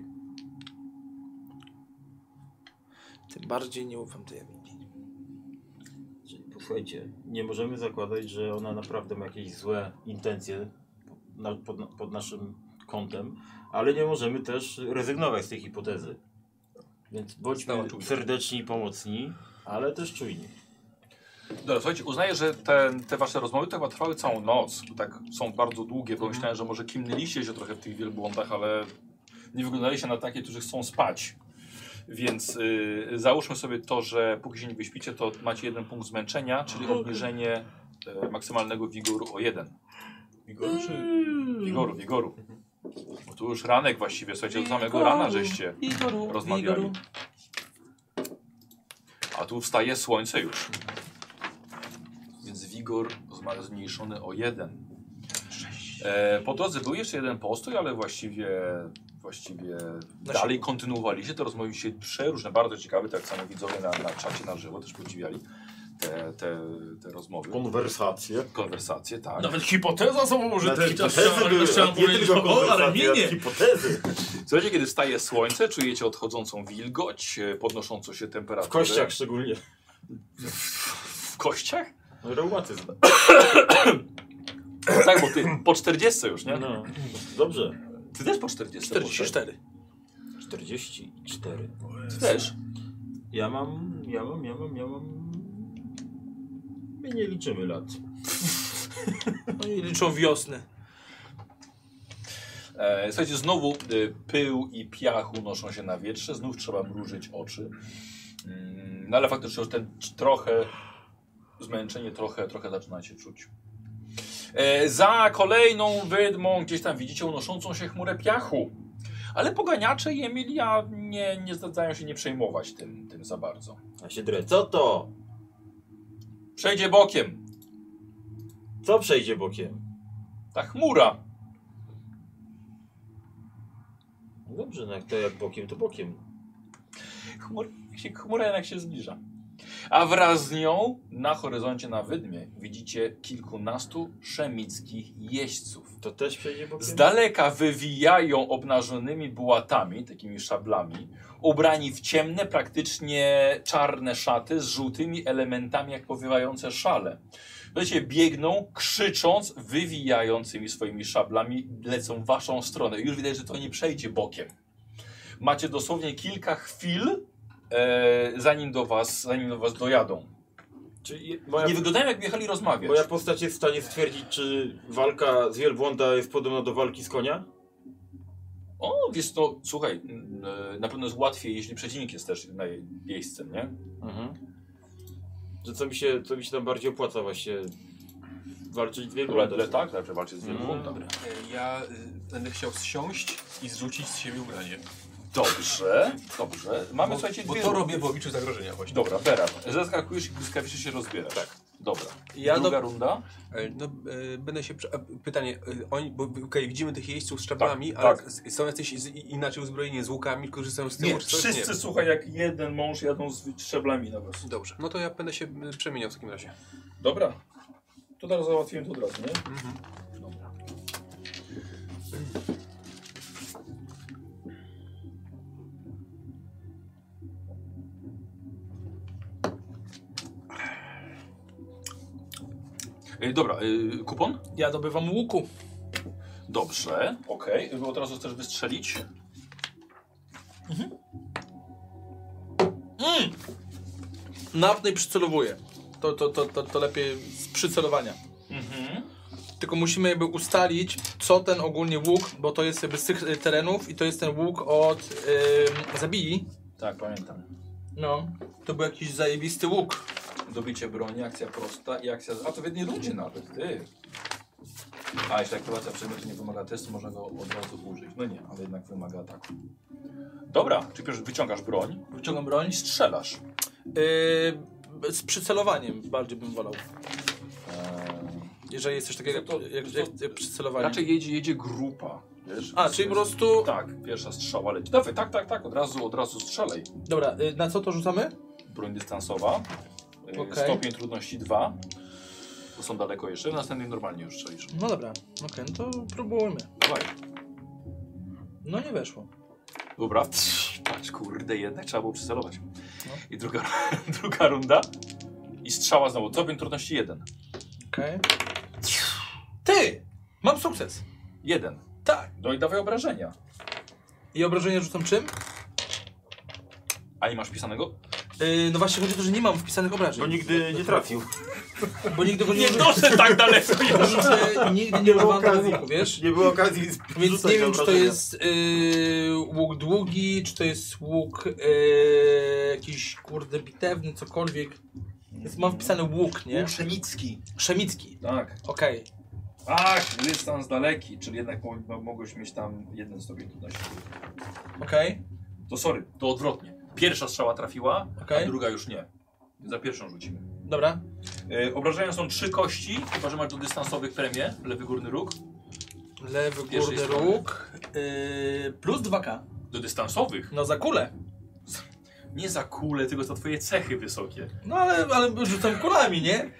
Speaker 3: Tym bardziej nie ufam tej Emilii.
Speaker 2: Czyli posłuchajcie, nie możemy zakładać, że ona naprawdę ma jakieś złe intencje na, pod, pod naszym kątem, ale nie możemy też rezygnować z tej hipotezy. Więc bądźmy
Speaker 4: Stała czujność.
Speaker 2: serdeczni i pomocni, ale też czujni.
Speaker 1: Dobra, słuchajcie, uznaję, że ten, te wasze rozmowy to chyba trwały całą noc. bo Tak są bardzo długie,
Speaker 7: Mhm.
Speaker 1: bo myślałem, że może kimnęliście się trochę w tych wielbłądach, ale nie wyglądaliście na takie, którzy chcą spać. Więc y, załóżmy sobie to, że póki się nie wyśpicie, to macie jeden punkt zmęczenia, czyli
Speaker 7: Mhm.
Speaker 1: obniżenie e, maksymalnego wigoru o jeden.
Speaker 4: Igor, czy...
Speaker 1: Wigoru, wigoru.
Speaker 7: Mhm.
Speaker 1: Bo tu już ranek właściwie, słuchajcie, do samego rana żeście
Speaker 3: Igoru,
Speaker 1: rozmawiali. A tu wstaje słońce już. Więc wigor zma- zmniejszony o jeden. E, po drodze był jeszcze jeden postój, ale właściwie, właściwie dalej kontynuowaliście te rozmowy się przeróżne, bardzo ciekawe, tak samo widzowie na, na czacie na żywo też podziwiali te, te, te rozmowy,
Speaker 2: Konwersacje.
Speaker 1: konwersacje, tak.
Speaker 7: Nawet hipoteza są użyte.
Speaker 2: hipotezy.
Speaker 1: Słuchajcie, kiedy staje słońce, czujecie odchodzącą wilgoć, e, podnoszącą się temperaturę.
Speaker 2: W kościach szczególnie.
Speaker 1: W kościach?
Speaker 2: No, Reumatyzm.
Speaker 1: Tak, bo ty po 40 już, nie?
Speaker 2: No, dobrze.
Speaker 1: Ty też po 40. Boże.
Speaker 3: 44.
Speaker 2: 44.
Speaker 1: Ty też.
Speaker 2: Ja mam, ja mam, ja mam, ja mam... My nie liczymy lat.
Speaker 3: Oni liczą wiosnę.
Speaker 1: E, słuchajcie, znowu y, pył i piach unoszą się na wietrze, znów trzeba mrużyć oczy. Mm, no ale faktycznie już ten c- trochę zmęczenie, trochę, trochę zaczynacie czuć. E, za kolejną wydmą gdzieś tam widzicie unoszącą się chmurę piachu. Ale poganiacze i Emilia nie, nie zdają się nie przejmować tym, tym za bardzo.
Speaker 2: A się drę. Co to?
Speaker 1: Przejdzie bokiem
Speaker 2: Co przejdzie bokiem?
Speaker 1: ta chmura.
Speaker 2: No Dobrze, no jak to jak bokiem, to bokiem.
Speaker 1: Chmur, się, chmura jednak się zbliża. A wraz z nią na horyzoncie na wydmie widzicie kilkunastu szemickich jeźdźców.
Speaker 7: To też przejdzie bokiem?
Speaker 1: Z daleka wywijają obnażonymi bułatami, takimi szablami, ubrani w ciemne, praktycznie czarne szaty z żółtymi elementami, jak powiewające szale. Wiecie, biegną, krzycząc, wywijającymi swoimi szablami, lecą w waszą stronę. Już widać, że to nie przejdzie bokiem. Macie dosłownie kilka chwil, e, zanim, do was, zanim do was dojadą.
Speaker 7: Czyli moja,
Speaker 1: Nie wyglądają, jakby jechali rozmawiać.
Speaker 7: moja postać jest w stanie stwierdzić, czy walka z wielbłąda jest podobna do walki z konia?
Speaker 1: O, wiesz, no słuchaj, m, e, na pewno jest łatwiej, jeśli przeciwnik jest też na jej miejsce, nie?
Speaker 7: Że co mi się, co mi się tam bardziej opłaca właśnie walczyć z
Speaker 1: Dobra,
Speaker 7: wielbłądem?
Speaker 1: ale tak, zawsze walczy z wielką. Dobra.
Speaker 4: E, Ja y, będę chciał zsiąść i zrzucić z siebie ubranie.
Speaker 1: Dobrze, dobrze. Mamy, słuchajcie,
Speaker 4: bo
Speaker 1: dwie...
Speaker 4: to robię w obliczu zagrożenia właśnie.
Speaker 1: Dobra, Beran, zaskakujesz i błyskawicznie się rozbierasz. Tak. Dobra.
Speaker 4: Ja
Speaker 1: Druga
Speaker 4: do-
Speaker 1: runda.
Speaker 4: E, No, e, będę się. prze- a, Pytanie, e, oni, bo okay, widzimy tych jeźdźców z szablami,
Speaker 1: Tak,
Speaker 4: ale
Speaker 1: tak.
Speaker 4: s- są jacyś z, i- inaczej uzbrojeni z łukami, korzystają z tyłu?
Speaker 1: Nie,
Speaker 4: czy coś?
Speaker 1: wszyscy, słuchaj, jak jeden mąż jadą z szczeblami na was.
Speaker 4: Nie. Dobrze, no to ja będę się e, przemieniał w takim razie.
Speaker 1: Dobra. To teraz załatwiłem to od razu, nie? Dobra. Dobra, y, kupon?
Speaker 3: Ja dobywam łuku.
Speaker 1: Dobrze, okej. Bo teraz chcesz wystrzelić?
Speaker 3: Napnę i przycelowuję. To, to, to, to, to lepiej z przycelowania.
Speaker 1: Mhm.
Speaker 3: Tylko musimy jakby ustalić, co ten ogólnie łuk, bo to jest jakby z tych y, terenów i to jest ten łuk od ym, Zabili.
Speaker 1: Tak, pamiętam.
Speaker 3: No, to był jakiś zajebisty łuk.
Speaker 1: Dobicie broni, akcja prosta i akcja... A to w jednej rundzie nawet, ty. A, jeśli aktywacja przedmiotu nie wymaga testu, można go od razu użyć. No nie, ale jednak wymaga ataku. Dobra, czyli pierwszy wyciągasz broń Eee,
Speaker 3: Wyciągam broń.
Speaker 1: i strzelasz.
Speaker 3: Yy, z przycelowaniem bardziej bym wolał.
Speaker 1: Eee,
Speaker 3: Jeżeli jest coś takiego
Speaker 1: To- to-
Speaker 3: jak, jak,
Speaker 1: to-
Speaker 3: jak, jak przycelowanie.
Speaker 1: Eee, raczej jedzie, jedzie grupa, wiesz?
Speaker 3: A, czyli po prostu...
Speaker 1: Tak, pierwsza strzała leci. Dawaj, tak, tak, tak, od razu, od razu strzelaj.
Speaker 3: Dobra, y, na co to rzucamy?
Speaker 1: Broń dystansowa. Eee,
Speaker 3: Okej.
Speaker 1: Stopień trudności 2. To są daleko jeszcze, w następnym normalnie już strzelisz.
Speaker 3: No dobra, okej, no to próbujmy.
Speaker 1: Dawaj.
Speaker 3: No nie weszło.
Speaker 1: Dobra, patrz, kurde, jednak trzeba było przycelować. I druga, druga runda. I strzała znowu. Tobie trudności jeden.
Speaker 3: Okej. Ty! Mam sukces!
Speaker 1: Jeden.
Speaker 3: Tak.
Speaker 1: No i dawaj obrażenia.
Speaker 3: I obrażenie rzucam czym?
Speaker 1: A nie masz pisanego?
Speaker 3: Yy, no właśnie chodzi o to, że nie mam wpisanych
Speaker 7: Bo
Speaker 3: obrażeń.
Speaker 7: No nigdy nie trafił.
Speaker 3: Bo nigdy go nie
Speaker 1: Nie doszedł tak daleko.
Speaker 3: rzucę, nigdy nie używam tego łuku, wiesz?
Speaker 7: Nie było okazji
Speaker 3: Więc
Speaker 7: rzucać
Speaker 3: nie wiem, czy to
Speaker 7: obrażenia.
Speaker 3: jest yy, łuk długi, czy to jest łuk yy, jakiś kurde bitewny, cokolwiek. Więc mam wpisany łuk, nie?
Speaker 1: Szenicki.
Speaker 3: Szemicki.
Speaker 1: Tak.
Speaker 3: Okej.
Speaker 1: Ach, Tak, dystans daleki, czyli jednak mo- mo- mogłeś mieć tam jeden stopień trudności.
Speaker 3: Okej.
Speaker 1: To sorry, to odwrotnie. Pierwsza strzała trafiła, a
Speaker 3: Okej.
Speaker 1: druga już nie. Za pierwszą rzucimy.
Speaker 3: Dobra.
Speaker 1: Yy, obrażenia są trzy kości, chyba że masz do dystansowych premię, lewy górny róg.
Speaker 3: Lewy
Speaker 1: Pierwszy
Speaker 3: górny
Speaker 1: strony.
Speaker 3: róg. Yy, plus 2K.
Speaker 1: Do dystansowych.
Speaker 3: No za kulę.
Speaker 1: Nie za kule, tylko za twoje cechy wysokie.
Speaker 3: No ale, ale rzucam kulami, nie?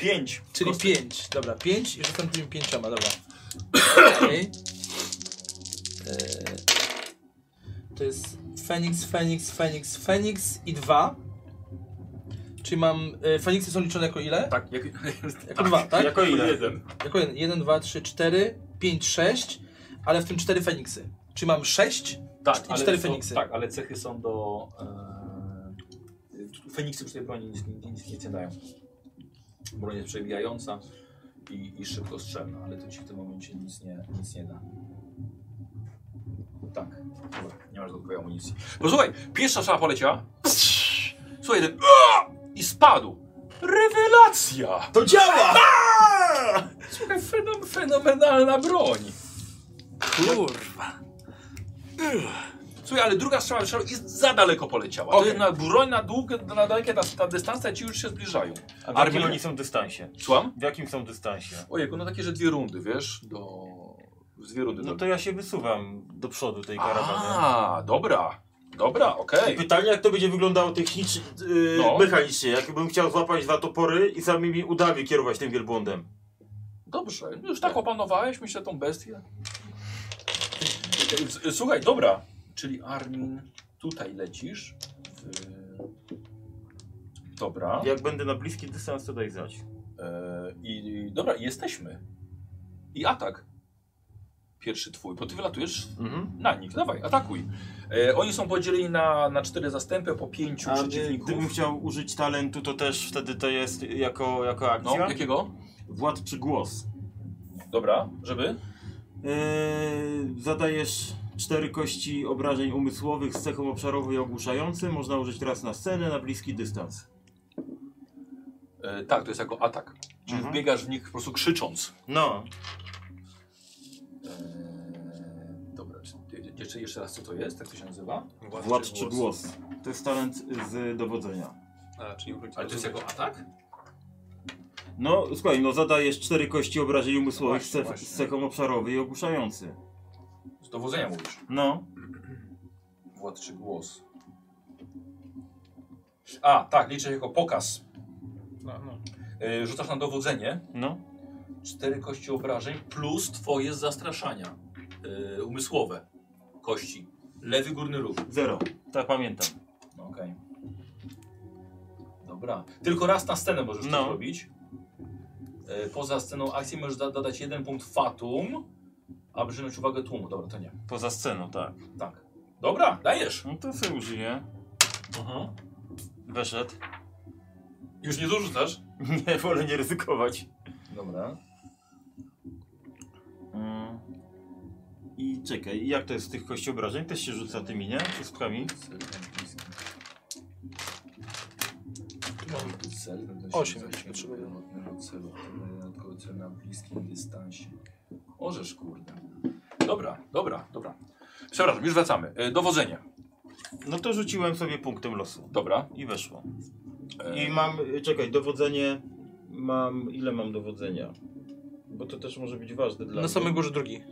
Speaker 1: Pięć.
Speaker 3: Czyli
Speaker 1: Kostek.
Speaker 3: pięć. Dobra, pięć i rzucam tymi pięcioma, dobra. Okej. Eee, To jest Feniks, Feniks, Feniks, Feniks i dwa. Czyli mam. E, Feniksy są liczone jako ile?
Speaker 1: Tak, jak,
Speaker 3: Jako dwa, tak?
Speaker 7: Jako ile?
Speaker 1: jeden.
Speaker 3: Jako jeden. Jeden, dwa, trzy, cztery, pięć, sześć, ale w tym cztery Feniksy. Czyli mam sześć?
Speaker 1: Tak,
Speaker 3: I cztery
Speaker 1: są-
Speaker 3: Feniksy.
Speaker 1: Tak, ale cechy są do... E, Feniksy przy tej broni nic, nic, nic nic nie dają. Broń jest przebijająca i, i szybko strzelna, ale to ci w tym momencie nic nie, nic nie da. Tak, dobra, nie masz dodatkowej amunicji. No słuchaj, pierwsza szala poleciała. Słuchaj, ten... I spadł. Rewelacja!
Speaker 7: To działa!
Speaker 1: Słuchaj, fenom, fenomenalna broń. Kurwa. Słuchaj, ale druga strzała strzał jest za daleko poleciała. To
Speaker 3: Okej.
Speaker 1: jest na broń na długie, na dalekie, ta, ta dystancja ci już się zbliżają.
Speaker 7: A w
Speaker 1: Armii-
Speaker 7: jakim oni są dystansie?
Speaker 1: Słucham?
Speaker 7: W jakim są dystansie?
Speaker 1: Ojej, no takie, że dwie rundy, wiesz, do... Z dwie rundy.
Speaker 7: No
Speaker 1: do...
Speaker 7: to ja się wysuwam do przodu tej karawany.
Speaker 1: A, dobra. Dobra, okej.
Speaker 2: Pytanie, jak to będzie wyglądało technicznie, yy,
Speaker 1: No.
Speaker 2: mechanicznie. Jakbym chciał złapać dwa topory i samymi udami kierować tym wielbłądem.
Speaker 1: Dobrze, już tak opanowałeś, myślę, tą bestię. S- s- Słuchaj, dobra, czyli Armin, tutaj lecisz. W- Dobra.
Speaker 2: Jak będę na bliski dystans, to daj znać.
Speaker 1: E, I dobra, jesteśmy. I atak. Pierwszy twój, bo ty wylatujesz na nich. Dawaj, atakuj. E, oni są podzieleni na, na cztery zastępy, po pięciu
Speaker 2: A gdy-
Speaker 1: przeciwników.
Speaker 2: gdybym chciał użyć talentu, to też wtedy to jest jako, jako
Speaker 1: No,
Speaker 2: akcja.
Speaker 1: jakiego?
Speaker 2: Władczy głos.
Speaker 1: Dobra, żeby?
Speaker 2: Yy, zadajesz cztery kości obrażeń umysłowych z cechą obszarową i ogłuszającym. Można użyć raz na scenę, na bliski dystans.
Speaker 1: E, tak, to jest jako atak. Czyli
Speaker 2: Mhm.
Speaker 1: wbiegasz w nich po prostu krzycząc.
Speaker 2: No,
Speaker 1: E, dobra, czy, jeszcze, jeszcze raz co to jest? Jak to się nazywa?
Speaker 2: No, władczy głos. To jest talent z dowodzenia.
Speaker 11: A, czyli uchodzi-
Speaker 1: Ale to jest jako atak?
Speaker 2: No, słuchaj, no zadajesz cztery kości obrażeń umysłowych
Speaker 1: Właśnie,
Speaker 2: z, cech,
Speaker 1: właśnie.
Speaker 2: z cechą obszarowej i ogłuszający.
Speaker 1: Z dowodzenia mówisz.
Speaker 2: No,
Speaker 1: Władczy głos. A, tak, liczę jako pokaz. E, rzucasz na dowodzenie.
Speaker 2: no.
Speaker 1: Cztery kości obrażeń plus twoje zastraszania e, umysłowe. Kości. Lewy górny róg.
Speaker 2: Zero. Tak pamiętam.
Speaker 1: No, Okej. Dobra. Tylko raz na scenę możesz
Speaker 2: No.
Speaker 1: to zrobić. E, Poza sceną akcji możesz da- dodać jeden punkt fatum, aby przyjąć uwagę tłumu. Dobra, to nie.
Speaker 2: Poza sceną, tak.
Speaker 1: Tak. Dobra, dajesz.
Speaker 2: No to sobie użyję. Weszedł.
Speaker 1: Już nie dorzucasz?
Speaker 2: Nie, wolę nie ryzykować.
Speaker 1: Dobra.
Speaker 2: Mm. I czekaj, jak to jest z tych kości obrażeń? Też się rzuca tymi, nie? Wszystkami.
Speaker 3: Osiem.
Speaker 1: na bliskim dystansie. Orzesz, kurde. Dobra, dobra, dobra. Przepraszam, już wracamy. E, Dowodzenie.
Speaker 2: No to rzuciłem sobie punktem losu.
Speaker 1: Dobra.
Speaker 2: I weszło.
Speaker 1: E,
Speaker 2: I mam, y, czekaj, dowodzenie. Mam, ile mam dowodzenia? Bo to też może być ważne
Speaker 3: No,
Speaker 2: dla
Speaker 12: Na
Speaker 2: mnie.
Speaker 12: samej górze drugi.
Speaker 2: Y,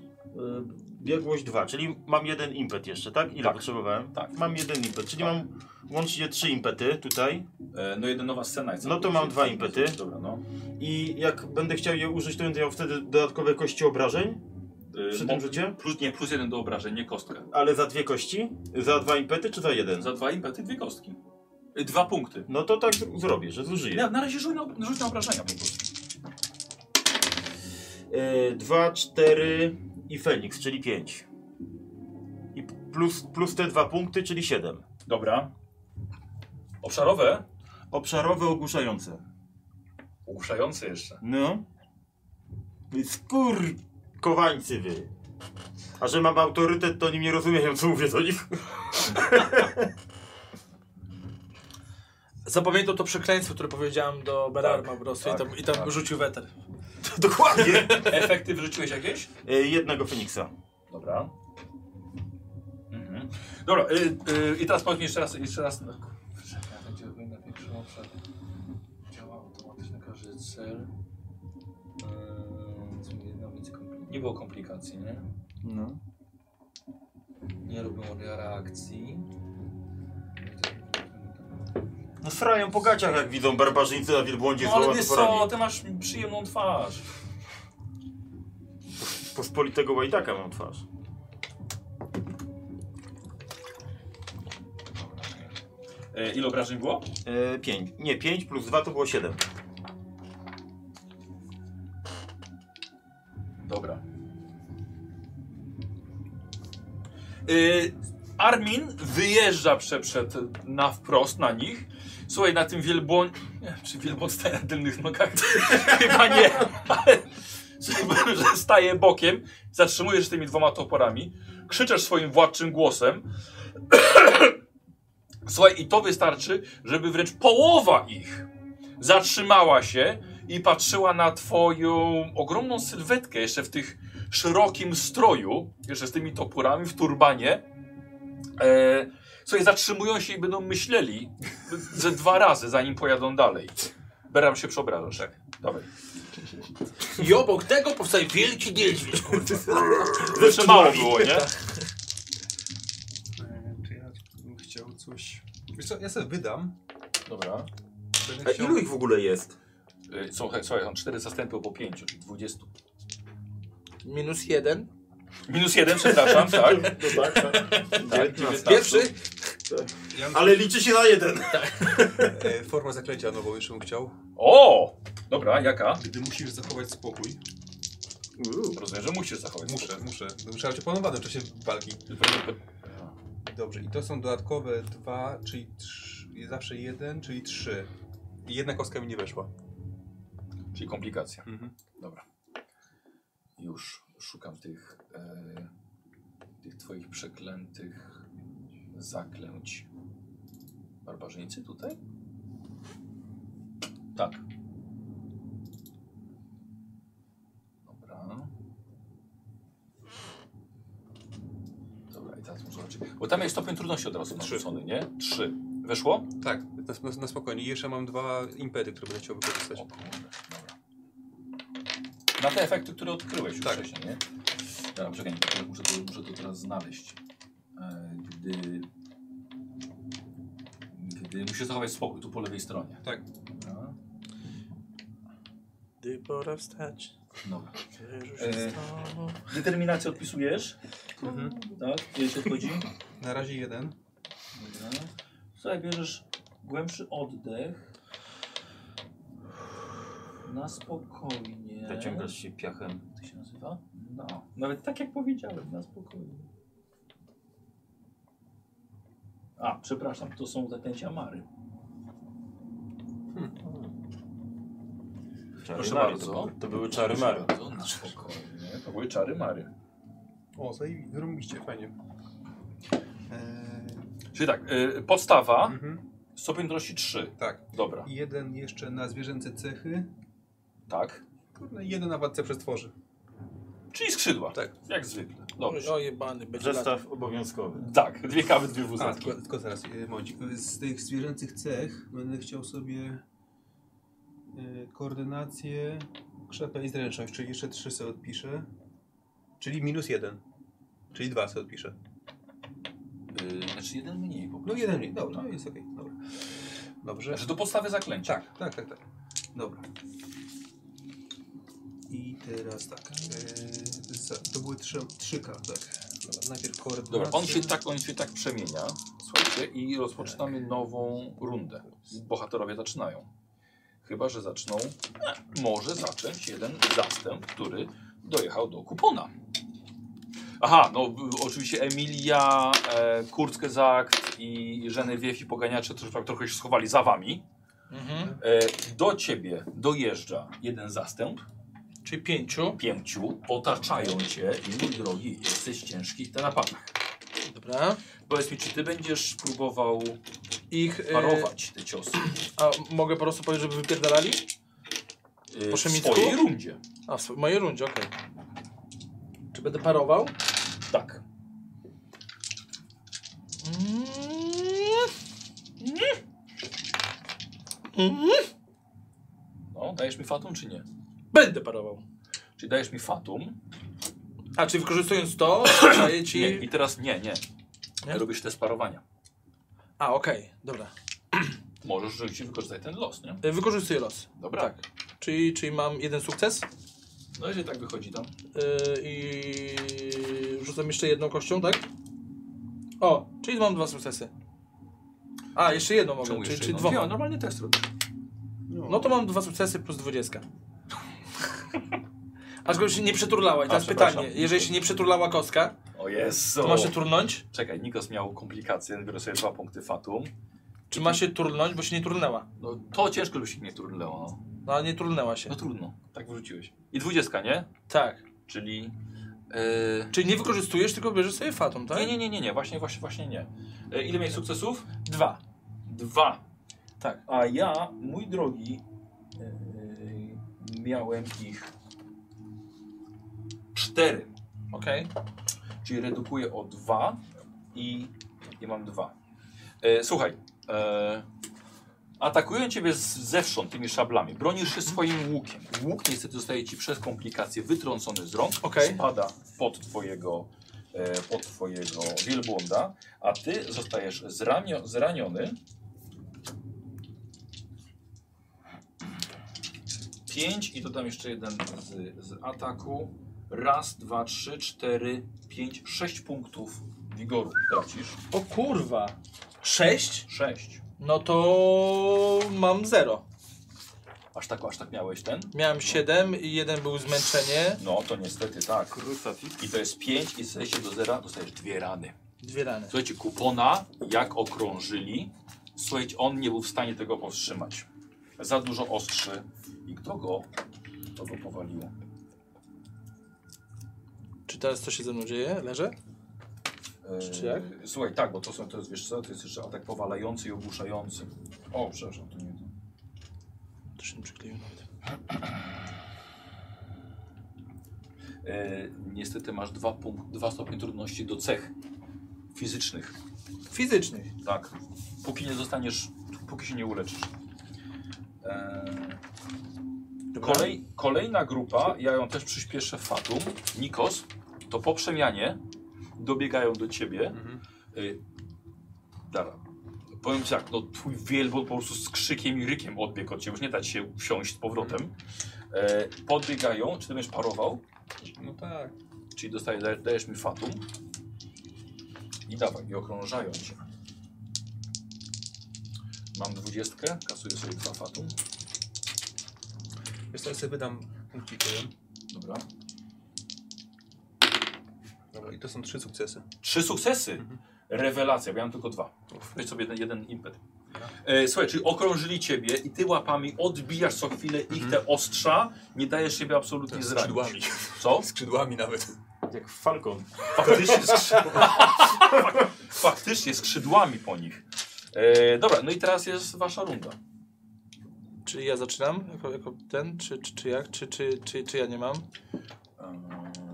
Speaker 2: Biegłość 2, czyli mam jeden impet jeszcze, tak? Ile potrzebowałem?
Speaker 1: Tak.
Speaker 2: Mam jeden impet, czyli mam łącznie trzy impety tutaj.
Speaker 1: e, No jedna nowa scena jest.
Speaker 2: No to mam dwa impety.
Speaker 1: Dobra, no.
Speaker 2: I jak będę chciał je użyć, to będę miał wtedy dodatkowe kości obrażeń
Speaker 1: E,
Speaker 2: przy
Speaker 1: mo-
Speaker 2: tym rzucie.
Speaker 1: Plus, nie, plus jeden do obrażeń, nie kostkę.
Speaker 2: Ale za dwie kości? Za dwa impety czy za jeden?
Speaker 1: Za dwa impety dwie kostki. Y, Dwa punkty.
Speaker 2: No to tak zr- zrobię, że zużyję.
Speaker 1: Na, na razie rzuć na, rzuć na obrażenia po prostu.
Speaker 2: E, Dwa, cztery i Feniks, czyli pięć. I p- plus, plus te dwa punkty, czyli siedem.
Speaker 1: Dobra. Obszarowe.
Speaker 2: Obszarowe ogłuszające.
Speaker 1: Ogłuszające jeszcze.
Speaker 2: No. Wy Skurkowańcy wy. A że mam autorytet, to oni nie rozumieją, co mówię do nich.
Speaker 3: Zapamiętał to przekleństwo, które powiedziałem do Berarma po prostu i tam, i tam
Speaker 1: tak.
Speaker 3: rzucił weter.
Speaker 2: Dokładnie.
Speaker 1: Efekty wyrzuciłeś jakieś?
Speaker 2: E, Jednego Feniksa.
Speaker 1: Dobra. Mhm. Dobra, y, y, i teraz powiedz mi jeszcze raz, jeszcze raz.
Speaker 4: No Ja tak działałem na większy obszar. Działa automatycznie każdy cel. Eee, co mi jedna więcej komplik-
Speaker 1: Nie było komplikacji, nie?
Speaker 2: No.
Speaker 4: Nie robią reakcji.
Speaker 2: No srają po gaciach, jak widzą barbarzyńcy na wielbłądzie
Speaker 1: No
Speaker 2: z
Speaker 1: ale
Speaker 2: dwoma
Speaker 1: wiesz co,
Speaker 2: toporami.
Speaker 1: ty masz przyjemną twarz.
Speaker 2: Pospolitego łajdaka mam twarz.
Speaker 1: E, ile obrażeń było?
Speaker 2: E, pięć. Nie, pięć plus dwa to było siedem.
Speaker 1: Dobra. Y, Armin wyjeżdża prze, przed, na wprost na nich. Słuchaj, na tym wielbłąd... Czy wielbłąd staje na tylnych nogach? Chyba nie. Ale słuchaj, że staje bokiem, zatrzymujesz się tymi dwoma toporami, krzyczesz swoim władczym głosem. Słuchaj, i to wystarczy, żeby wręcz połowa ich zatrzymała się i patrzyła na twoją ogromną sylwetkę jeszcze w tych szerokim stroju, jeszcze z tymi toporami w turbanie. E, słuchaj, zatrzymują się i będą myśleli ze dwa razy, zanim pojadą dalej. Beram się przeobrażasz. Tak. Dawaj.
Speaker 3: I obok tego powstaje wielki niedźwiedź, kurwa.
Speaker 2: Tak.
Speaker 1: Jeszcze mało było, nie?
Speaker 4: Eee, Czy ja chciał, ja sobie wydam.
Speaker 1: Dobra.
Speaker 2: A
Speaker 4: Będę chciał...
Speaker 2: ilu ich w ogóle jest?
Speaker 1: Y, Są, he- słuchaj, są cztery zastępy po pięciu, czyli 20.
Speaker 3: Minus jeden.
Speaker 1: Minus jeden, przepraszam, tak?
Speaker 2: No tak, tak.
Speaker 1: Dziewiętnastu.
Speaker 13: Pierwszy?
Speaker 4: Ja bym
Speaker 2: Ale liczy się na jeden.
Speaker 4: e, formę zaklęcia nową jeszcze bym chciał.
Speaker 1: O! Dobra, jaka?
Speaker 4: Gdy musisz zachować spokój.
Speaker 1: Rozumiem, że musisz zachować.
Speaker 4: Muszę, muszę. Bo Muszę być opanowany w czasie walki. Dobrze, i to są dodatkowe dwa, czyli trz, zawsze jeden, czyli trzy. I jedna kostka mi nie weszła.
Speaker 1: Czyli komplikacja.
Speaker 4: Mhm.
Speaker 1: Dobra. Już szukam tych, e, tych twoich przeklętych zaklęć. Barbarzyńcy tutaj? Tak. Dobra. Dobra, i teraz muszę zobaczyć. Bo tam jest stopień trudności od razu
Speaker 4: Trzy.
Speaker 1: narzucony, nie? Trzy. Weszło?
Speaker 4: Tak, na, na, na spokojnie. I Jeszcze mam dwa impety, które będę chciał wykorzystać.
Speaker 1: O kurde, dobra. Na te efekty, które odkryłeś już
Speaker 4: Tak.
Speaker 1: wcześniej, nie? Dobra, czekaj, to muszę to, muszę to teraz znaleźć. E, Gdy... Gdy musisz zachować spokój, tu po lewej stronie.
Speaker 4: Tak.
Speaker 1: Dobra.
Speaker 3: Gdy pora wstać.
Speaker 1: Dobra.
Speaker 3: wyruszyć
Speaker 1: E,
Speaker 3: stąd.
Speaker 1: Determinację odpisujesz?
Speaker 4: Mhm.
Speaker 1: Tak, ile się odchodzi?
Speaker 4: Na razie jeden.
Speaker 1: Dobra. Słuchaj, bierzesz głębszy oddech. Na spokojnie.
Speaker 2: Zaciągasz się piachem.
Speaker 1: Jak to się nazywa? No, nawet tak jak powiedziałem, na spokojnie. A, przepraszam, to są zaklęcia Mary.
Speaker 2: Czary
Speaker 1: Proszę
Speaker 2: Mary,
Speaker 1: bardzo.
Speaker 2: To, były- to były czary Mary.
Speaker 1: To na spokojnie. To były czary Mary.
Speaker 4: O, zajebi- zrobiliście, fajnie. Eee,
Speaker 1: Czyli tak, y, podstawa,
Speaker 4: mhm.
Speaker 1: stopień drości 3.
Speaker 4: Tak.
Speaker 1: Dobra.
Speaker 4: I jeden jeszcze na zwierzęce cechy.
Speaker 1: Tak.
Speaker 4: Kurde, i jeden na wadce przestworzy.
Speaker 1: Czyli skrzydła.
Speaker 4: Tak.
Speaker 1: Jak zwykle. Dobrze.
Speaker 3: O jebany, będzie lat.
Speaker 2: Zestaw obowiązkowy.
Speaker 1: Tak, dwie kawy, dwie
Speaker 4: A,
Speaker 1: wózki.
Speaker 4: tylko, tylko zaraz, e, momencik. Z tych zwierzęcych cech będę chciał sobie e, koordynację, krzepę i zręczność, czyli jeszcze trzy sobie odpiszę. Czyli minus jeden. Czyli dwa sobie odpiszę.
Speaker 1: Y, znaczy jeden mniej po prostu.
Speaker 4: No jeden mniej, dobra, no jest okej, dobra. Dobrze.
Speaker 1: Znaczy do podstawy zaklęcia.
Speaker 4: Tak, tak, tak, tak. Dobra. I teraz tak. e, za- to były trzy, trzy K, tak. Dobra, najpierw koordynacja.
Speaker 1: Dobra, on się tak, on się tak przemienia. Słuchajcie, i rozpoczynamy nową rundę. Bohaterowie zaczynają. Chyba, że zaczną. e, Może zacząć jeden zastęp, który dojechał do kupona. Aha, no w- oczywiście Emilia, e, Kurzgesagt i Genevieve i Poganiacze też tak trochę się schowali za wami.
Speaker 3: Mhm.
Speaker 1: E, do ciebie dojeżdża jeden zastęp,
Speaker 3: Czyli pięciu.
Speaker 1: pięciu, otaczają cię i mój drogi, jesteś ciężki na napach.
Speaker 3: Dobra.
Speaker 1: Powiedz mi, czy ty będziesz próbował
Speaker 3: Ich. e,
Speaker 1: parować te ciosy
Speaker 3: a mogę po prostu powiedzieć, żeby wypierdalali?
Speaker 1: yy,
Speaker 3: po
Speaker 1: w
Speaker 3: szemicku?
Speaker 1: swojej rundzie?
Speaker 3: A, w swo- mojej rundzie, okej. Czy będę parował?
Speaker 1: Tak. No, dajesz mi fatum czy nie?
Speaker 3: Będę parował.
Speaker 1: Czy dajesz mi fatum?
Speaker 3: A czy wykorzystując to, daję ci.
Speaker 1: Nie, i teraz nie, nie.
Speaker 3: Nie?
Speaker 1: Robisz te sparowania.
Speaker 3: A, okej, dobra.
Speaker 1: Możesz rzeczywiście wykorzystać ten los, nie?
Speaker 3: E, Wykorzystuję los.
Speaker 1: Dobra.
Speaker 3: Tak. Czyli, czyli mam jeden sukces
Speaker 1: No jeżeli tak wychodzi tam.
Speaker 3: e, i rzucam jeszcze jedną kością, tak? O, czyli mam dwa sukcesy. A, jeszcze jedną mogę,
Speaker 1: Czemu
Speaker 3: czyli,
Speaker 1: jeszcze
Speaker 3: czyli
Speaker 1: jedno?
Speaker 3: dwoma.
Speaker 1: Nie, normalnie test robisz.
Speaker 3: No to mam dwa sukcesy plus dwudziestka. Aż go się nie przeturlała. I
Speaker 1: A,
Speaker 3: teraz
Speaker 1: przepraszam.
Speaker 3: pytanie, jeżeli się nie przeturlała kostka,
Speaker 1: O jest.
Speaker 3: to ma się turnąć?
Speaker 1: Czekaj, Nikos miał komplikacje, biorę sobie dwa punkty fatum.
Speaker 3: Czy ma się turnąć, bo się nie turnęła?
Speaker 1: No to ciężko, by się nie trudnęło. No.
Speaker 3: No, ale nie turnęła się.
Speaker 1: no trudno, tak wyrzuciłeś. I dwudziestka, nie?
Speaker 3: Tak.
Speaker 1: Czyli... Yy,
Speaker 3: Czyli nie wykorzystujesz, tylko bierzesz sobie fatum, tak?
Speaker 1: Nie, nie, nie, nie, nie, właśnie, właśnie, właśnie nie. E, ile miałeś sukcesów?
Speaker 3: Dwa.
Speaker 1: Dwa.
Speaker 3: Tak.
Speaker 1: A ja, mój drogi, e, miałem ich cztery.
Speaker 3: Okej.
Speaker 1: Czyli redukuję o dwa i, i mam dwa. E, słuchaj, e, atakują ciebie z, zewsząd tymi szablami. Bronisz się swoim łukiem. Łuk niestety zostaje ci przez komplikacje wytrącony z rąk.
Speaker 3: Okej.
Speaker 1: Spada pod twojego e, od twojego wielbłąda, a ty zostajesz zranio, zraniony. 5 i dodam jeszcze jeden z, z ataku. Raz, dwa, trzy, cztery, pięć, sześć punktów wigoru tracisz.
Speaker 3: O kurwa. Sześć?
Speaker 1: Sześć.
Speaker 3: No to mam zero.
Speaker 1: Aż tak, aż tak miałeś ten?
Speaker 3: Miałem siedem i jeden był zmęczenie.
Speaker 1: No to niestety tak. I to jest 5 i zejście do zera dostajesz dwie rany.
Speaker 3: Dwie rany.
Speaker 1: Słuchajcie, kupona jak okrążyli, słuchajcie, on nie był w stanie tego powstrzymać. Za dużo ostrzy. I kto go? Kto go powalił?
Speaker 3: Czy teraz coś się ze mną dzieje? Leżę? Czy- czy jak?
Speaker 1: Eee, Słuchaj, tak, bo to są, to jest, wiesz co, to jest jeszcze atak powalający i ogłuszający. O, przepraszam, to nie to.
Speaker 3: To się nie przykleił nawet.
Speaker 1: Eee, niestety masz dwa, punkt, dwa stopnie trudności do cech fizycznych.
Speaker 3: Fizycznych.
Speaker 1: Tak. Póki nie zostaniesz, póki się nie uleczysz. Eee, kolej, kolejna grupa, ja ją też przyspieszę Fatum, Nikos, to po przemianie dobiegają do ciebie. Y, Dara, powiem ci tak, no twój wielbłąd po prostu z krzykiem i rykiem odbiegł od ciebie, już nie dać się wsiąść z powrotem. E, podbiegają, czy ty będziesz parował?
Speaker 4: No tak.
Speaker 1: Czyli dostaje, dajesz, dajesz mi fatum. I dawaj, i okrążają cię. Mam dwudziestkę, kasuję sobie dwa fatum.
Speaker 4: Wiesz co, ja sobie wydam punkcikiem.
Speaker 1: Dobra.
Speaker 4: Dobra, i to są trzy sukcesy.
Speaker 1: Trzy sukcesy. Rewelacja, bo ja mam tylko dwa. Weź sobie jeden, jeden impet. E, słuchaj, czyli okrążyli ciebie i ty łapami odbijasz co chwilę ich te ostrza, nie dajesz siebie absolutnie
Speaker 14: Z
Speaker 1: zranić.
Speaker 14: skrzydłami.
Speaker 1: Co?
Speaker 14: Skrzydłami nawet.
Speaker 7: Jak Falcon.
Speaker 1: Faktycznie, skrzydła... Fak- Faktycznie skrzydłami po nich. E, dobra, no i teraz jest wasza runda.
Speaker 3: Czy ja zaczynam jako, jako ten, czy, czy, czy jak, czy, czy, czy, czy ja nie mam?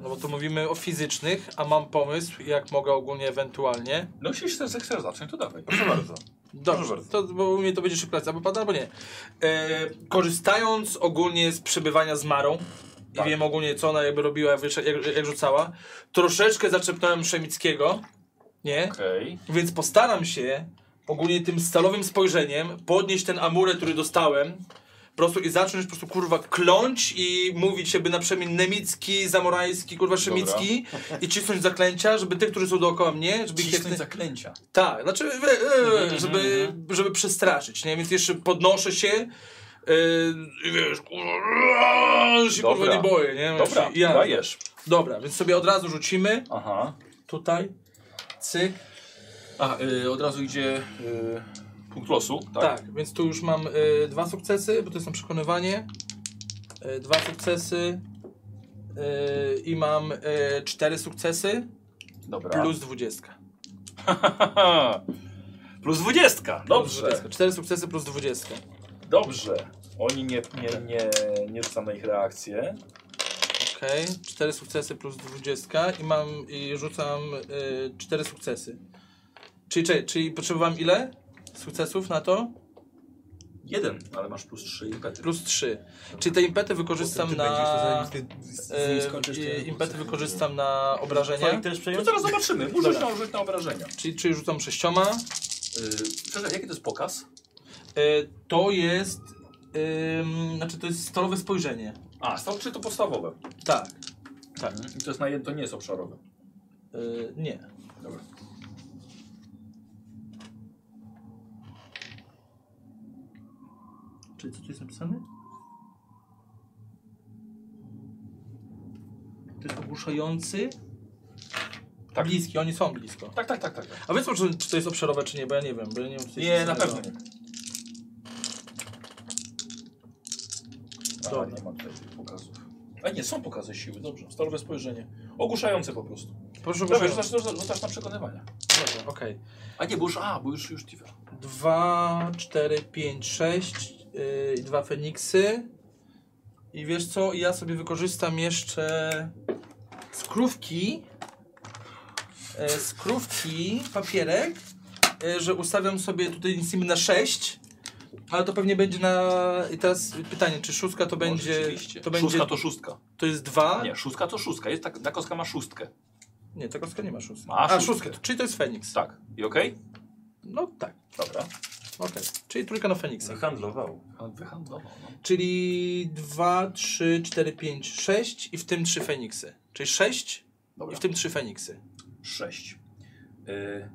Speaker 3: No bo tu mówimy o fizycznych, a mam pomysł, jak mogę ogólnie ewentualnie.
Speaker 1: No jeśli chcesz, chcesz zacząć, to dawaj. Proszę bardzo.
Speaker 3: Dobrze, to, bo u mnie to będzie szybko, albo pada, albo nie. E, korzystając ogólnie z przebywania z Marą, i wiem ogólnie co ona jakby robiła, jak, wysze- jak, jak rzucała, troszeczkę zaczepnąłem Szemickiego, nie?
Speaker 1: Okej.
Speaker 3: Więc postaram się ogólnie tym stalowym spojrzeniem podnieść ten amurę, który dostałem, po prostu i zacząć po prostu kurwa kląć i mówić jakby na przemian Nemicki, Zamorański, kurwa Szemicki i cisnąć zaklęcia, żeby tych, którzy są dookoła mnie, żeby ich jak
Speaker 1: Cisnąć Mhm, zaklęcia.
Speaker 3: tak, znaczy, e, e, żeby, żeby przestraszyć, nie? Więc jeszcze podnoszę się e, i wiesz, kurwa, się
Speaker 1: Dobra.
Speaker 3: kurwa nie boję, nie?
Speaker 1: Dobra,
Speaker 3: Znaczy, ja-
Speaker 1: dajesz.
Speaker 3: Dobra, więc sobie od razu rzucimy.
Speaker 1: Aha.
Speaker 3: Tutaj, cyk.
Speaker 1: A, y, od razu idzie y, punkt losu, tak?
Speaker 3: Tak, więc tu już mam e, dwa sukcesy, bo to jest na przekonywanie. E, dwa sukcesy e, i mam e, cztery sukcesy
Speaker 1: Dobra.
Speaker 3: plus dwudziestka.
Speaker 1: Plus dwudziestka,
Speaker 3: Plus
Speaker 1: dobrze.
Speaker 3: dwudziestka. Cztery sukcesy plus dwudziestka.
Speaker 1: Dobrze. Oni nie, nie, nie, nie rzucam na ich reakcję.
Speaker 3: Okej, cztery 4 sukcesy plus 20 i mam i rzucam y, 4 sukcesy. Czyli, czyli, czyli potrzebowałem ile sukcesów na to?
Speaker 1: Jeden, ale masz plus trzy impety.
Speaker 3: Plus 3. Czyli te impety wykorzystam
Speaker 4: Ty
Speaker 3: na.
Speaker 4: będziesz, zanim ty z, z,
Speaker 3: y,
Speaker 4: z, skończysz te-
Speaker 3: y, impety wykorzystam na
Speaker 7: Falk
Speaker 3: obrażenia.
Speaker 7: też
Speaker 1: No
Speaker 7: przejąć?
Speaker 1: zaraz zobaczymy. Możesz
Speaker 3: Dobra.
Speaker 1: nam rzucić na obrażenia.
Speaker 3: Czyli, czyli rzucam sześcioma.
Speaker 1: Yy, przepraszam, jaki to jest pokaz?
Speaker 3: Y, to jest. ym, znaczy to jest stalowe spojrzenie.
Speaker 1: A, stop, czy to podstawowe?
Speaker 3: Tak.
Speaker 1: Tak. I to, jest na, jed- to nie jest obszarowe.
Speaker 3: Y, nie.
Speaker 1: Dobra.
Speaker 3: Czyli co tu jest napisane? To jest ogłuszający.
Speaker 1: Tak.
Speaker 3: Bliski, oni są blisko.
Speaker 1: Tak, tak, tak, tak. tak.
Speaker 3: A wiesz, czy, czy to jest obszarowe, czy nie? Bo ja nie wiem. Bo ja nie, wiem, czy to jest
Speaker 1: Nie, na
Speaker 3: napisane.
Speaker 1: pewno nie. A,
Speaker 3: Dobra.
Speaker 1: nie ma tutaj tych pokazów. A nie, są pokazy siły, dobrze. Stalowe spojrzenie. Ogłuszające po prostu.
Speaker 3: no. Proszę,
Speaker 1: Dobra,
Speaker 3: proszę.
Speaker 1: rzucasz, rzucasz, rzucasz na przekonywania.
Speaker 3: Dobra, Okej.
Speaker 1: A nie, bo już, a, bo już, już Tiver.
Speaker 3: Dwa, cztery, pięć, sześć yy, i dwa Feniksy. I wiesz co, ja sobie wykorzystam jeszcze skrówki, e, skrówki, papierek, e, że ustawiam sobie tutaj nicimy na 6, ale to pewnie będzie na... I teraz pytanie, czy szóstka to będzie...
Speaker 1: rzeczywiście.
Speaker 3: To będzie
Speaker 1: Szóstka to szóstka.
Speaker 3: to jest 2?
Speaker 1: Nie, szóstka to szóstka. Jest tak, ta kostka ma szóstkę.
Speaker 3: Nie, ta kostka nie ma szóstki.
Speaker 1: Ma
Speaker 3: A,
Speaker 1: szóstkę.
Speaker 3: szóstkę, to- czyli to jest Feniks.
Speaker 1: Tak. I okej?
Speaker 3: No tak,
Speaker 1: Dobra.
Speaker 3: okej. Czyli trójka na Feniksa.
Speaker 2: Handlował.
Speaker 1: Wyhandlował. No.
Speaker 3: Czyli 2, 3, 4, 5, 6 i w tym 3 Feniksy. Czyli 6
Speaker 1: Dobra.
Speaker 3: i w tym 3 Feniksy.
Speaker 1: 6. E...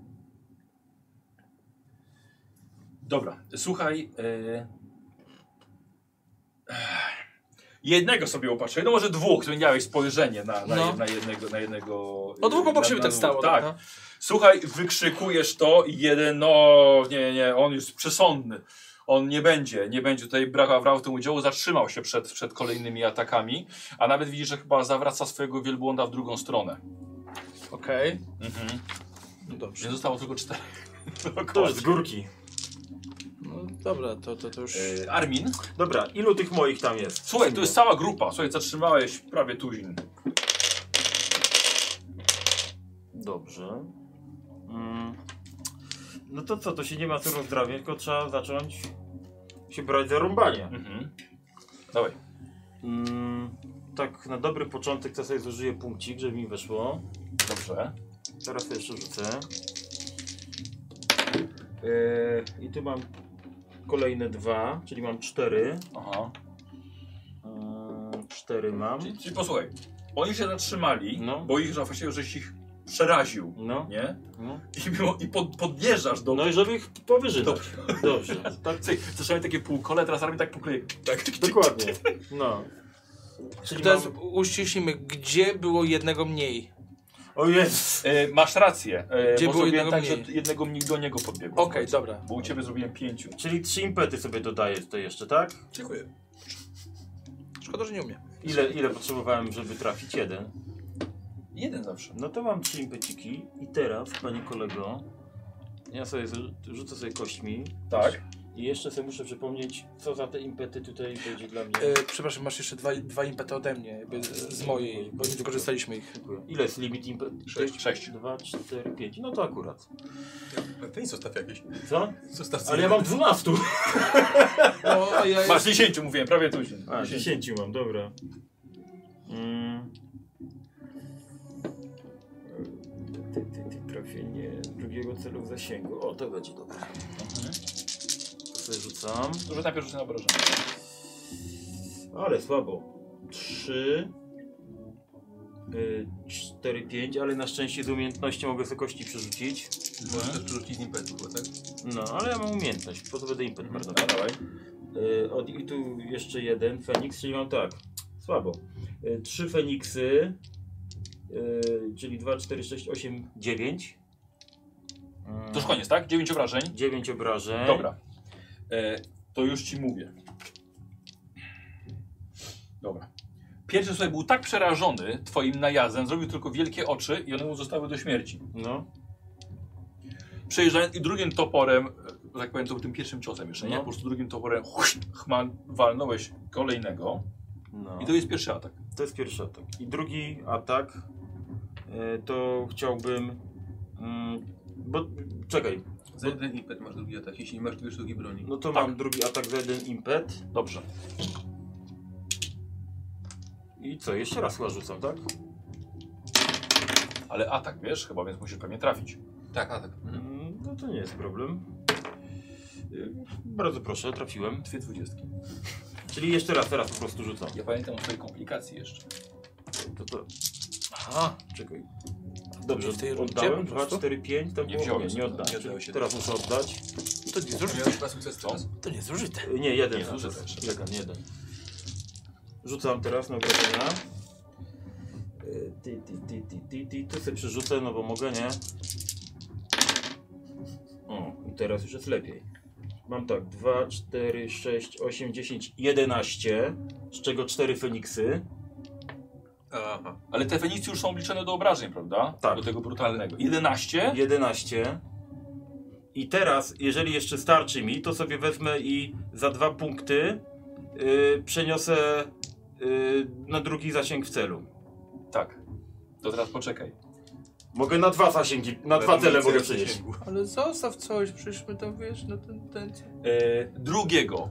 Speaker 1: Dobra, słuchaj. E... Jednego sobie opatrzyłeś, no może dwóch, to miałeś spojrzenie na, na,
Speaker 3: No.
Speaker 1: na jednego. Na jednego y,
Speaker 3: O dwóch obok
Speaker 1: na-
Speaker 3: siebie
Speaker 1: na
Speaker 3: tak
Speaker 1: dwóch.
Speaker 3: stało.
Speaker 1: Tak.
Speaker 3: no.
Speaker 1: Słuchaj, wykrzykujesz to i jeden, no nie, nie, on już przesądny. On nie będzie, nie będzie tutaj brał, brał w tym udziału, zatrzymał się przed, przed kolejnymi atakami, a nawet widzisz, że chyba zawraca swojego wielbłąda w drugą stronę.
Speaker 3: Okej,
Speaker 1: Mhm.
Speaker 3: no dobrze.
Speaker 1: Więc zostało tylko cztery.
Speaker 2: To już z górki.
Speaker 3: No dobra, to, to, to już...
Speaker 1: E, Armin.
Speaker 2: Dobra, ilu tych moich tam jest?
Speaker 1: Słuchaj, to jest cała grupa. Słuchaj, zatrzymałeś prawie tuzin.
Speaker 2: Dobrze. Mm. No to co, to się nie ma co rozdrabniać, tylko trzeba zacząć się brać za rąbanie.
Speaker 1: Mhm. Dawaj.
Speaker 2: Mm. Tak, na dobry początek to sobie zużyję punkcik, żeby mi weszło.
Speaker 1: Dobrze.
Speaker 2: Teraz sobie jeszcze rzucę. Yy, I tu mam kolejne dwa, czyli mam cztery.
Speaker 1: Aha.
Speaker 2: Yy, cztery mam.
Speaker 1: Czyli, czyli posłuchaj. Oni się zatrzymali,
Speaker 2: No.
Speaker 1: bo ich, że właściwie żeś ich przeraził,
Speaker 2: No,
Speaker 1: nie?
Speaker 2: no.
Speaker 1: I, mimo, i pod, podjeżdżasz do...
Speaker 2: No i żeby ich powyżej.
Speaker 1: Dobrze.
Speaker 2: dać. Dobrze.
Speaker 1: Tak, cyk. Zaczynamy takie półkole, teraz Armin tak pokleje. Tak.
Speaker 2: Dokładnie. No. Czyli
Speaker 3: Teraz
Speaker 2: mam...
Speaker 3: uściślimy, gdzie było jednego mniej.
Speaker 2: O jest!
Speaker 1: E, masz rację. E,
Speaker 3: Gdzie
Speaker 1: bo
Speaker 3: było
Speaker 1: zrobiłem
Speaker 3: jednego
Speaker 1: tak, że
Speaker 3: mniej?
Speaker 1: jednego mniej do niego podbiegło.
Speaker 3: Okej, dobra.
Speaker 1: Bo u ciebie zrobiłem pięciu.
Speaker 2: Czyli trzy impety sobie dodaję tutaj jeszcze, tak?
Speaker 5: Dziękuję.
Speaker 3: Szkoda, że nie umie.
Speaker 2: Ile, ile potrzebowałem, żeby trafić? Jeden.
Speaker 1: Jeden zawsze.
Speaker 2: No to mam trzy impeciki. I teraz, panie kolego, ja sobie zrzu- rzucę sobie kośćmi.
Speaker 1: Tak.
Speaker 2: I jeszcze sobie muszę przypomnieć, co za te impety tutaj będzie dla mnie.
Speaker 3: E, przepraszam, masz jeszcze dwa, dwa impety ode mnie, jakby z, z mojej, bo nie wykorzystaliśmy ich.
Speaker 2: Ile jest limit impet?
Speaker 1: Sześć. Sześć.
Speaker 2: 2, 4, 5. No to akurat.
Speaker 5: Ten No zostaw jakieś.
Speaker 2: Co?
Speaker 5: Zostaw
Speaker 2: Ale ja mam 12.
Speaker 3: No, a ja
Speaker 1: Masz dziesięciu, mówiłem, prawie tuzin.
Speaker 2: A,
Speaker 1: Dziesięciu.
Speaker 2: 10 mam, dobra. Mm. Ty, ty, ty, trafienie drugiego celu w zasięgu. O, to będzie dobre. To sobie rzucam.
Speaker 1: Dużo najpierw rzucę na obrażenia.
Speaker 2: Ale słabo. 3, 4, 5, y, ale na szczęście z umiejętności mogę wysokości przerzucić.
Speaker 4: Możesz też przerzucić impetu, bo tak?
Speaker 2: No, ale ja mam umiejętność, po to będę impet marnował.
Speaker 1: No, dawaj.
Speaker 2: Y, od, I tu jeszcze jeden Feniks, czyli mam tak, słabo. Y, Trzy Feniksy, y, czyli 2, 4, 6, 8, 9.
Speaker 1: To już koniec, tak? Dziewięć obrażeń.
Speaker 2: 9 obrażeń.
Speaker 1: Dobra. E, to już ci mówię. Dobra. Pierwszy słuchaj był tak przerażony twoim najazdem, zrobił tylko wielkie oczy i one mu zostały do śmierci.
Speaker 2: No,
Speaker 1: Przejeżdżając i drugim toporem, e, że tak powiem, to był tym pierwszym ciosem jeszcze, nie?
Speaker 2: No.
Speaker 1: Po prostu drugim toporem huś, chma, walnąłeś kolejnego
Speaker 2: no.
Speaker 1: i to jest pierwszy atak.
Speaker 2: To jest pierwszy atak. I drugi atak y, to chciałbym. mm, bo czekaj,
Speaker 4: Za jeden impet masz drugi atak, jeśli nie masz dwie sztuki broni.
Speaker 2: no to
Speaker 1: Tak.
Speaker 2: mam drugi atak za jeden impet.
Speaker 1: Dobrze.
Speaker 2: I co, jeszcze raz chyba rzucam, tak?
Speaker 1: Ale atak, wiesz, chyba, więc musisz pewnie trafić.
Speaker 4: Tak, a tak.
Speaker 2: Mm, No to nie jest problem. Y, Bardzo proszę, trafiłem.
Speaker 1: Dwie dwudziestki.
Speaker 2: Czyli jeszcze raz, teraz po prostu rzucam.
Speaker 1: Ja pamiętam o twojej komplikacji jeszcze.
Speaker 2: To to.
Speaker 3: Aha,
Speaker 2: Czekaj. Dobrze,
Speaker 3: W tej rundzie
Speaker 2: oddałem
Speaker 3: po
Speaker 2: 2,
Speaker 3: prostu?
Speaker 2: 4, 5, to
Speaker 1: Nie
Speaker 2: było
Speaker 1: wziąłeś.
Speaker 2: nie, nie oddałem.
Speaker 4: Nie oddałeś się.
Speaker 2: Teraz muszę oddać.
Speaker 3: to nie zużyte.
Speaker 4: Miałem dwa sukcesy
Speaker 1: Co?
Speaker 4: teraz.
Speaker 3: To nie zużyte.
Speaker 2: Y, Nie, jeden.
Speaker 1: Nie,
Speaker 2: na
Speaker 1: dużo
Speaker 2: czas.
Speaker 1: też.
Speaker 2: Jeden, jeden. Rzucam teraz na obrażenia. Y, Ty, ty, ty, ty, ty, ty, to sobie przerzucę, no bo mogę, nie? O, i teraz już jest lepiej. Mam tak, 2, 4, 6, 8, 10, 11, z czego 4 Feniksy.
Speaker 4: Aha.
Speaker 1: Ale te Fenicy już są obliczone do obrażeń, prawda?
Speaker 2: Tak.
Speaker 1: Do tego brutalnego. 11?
Speaker 2: 11. I teraz, jeżeli jeszcze starczy mi, to sobie wezmę i za dwa punkty yy, przeniosę yy, na drugi zasięg w celu.
Speaker 1: Tak. To teraz poczekaj.
Speaker 2: Mogę na dwa zasięgi, na dwa cele mogę przenieść.
Speaker 3: Ale zostaw coś, przecież my to wiesz, no ten, ten...
Speaker 1: E, drugiego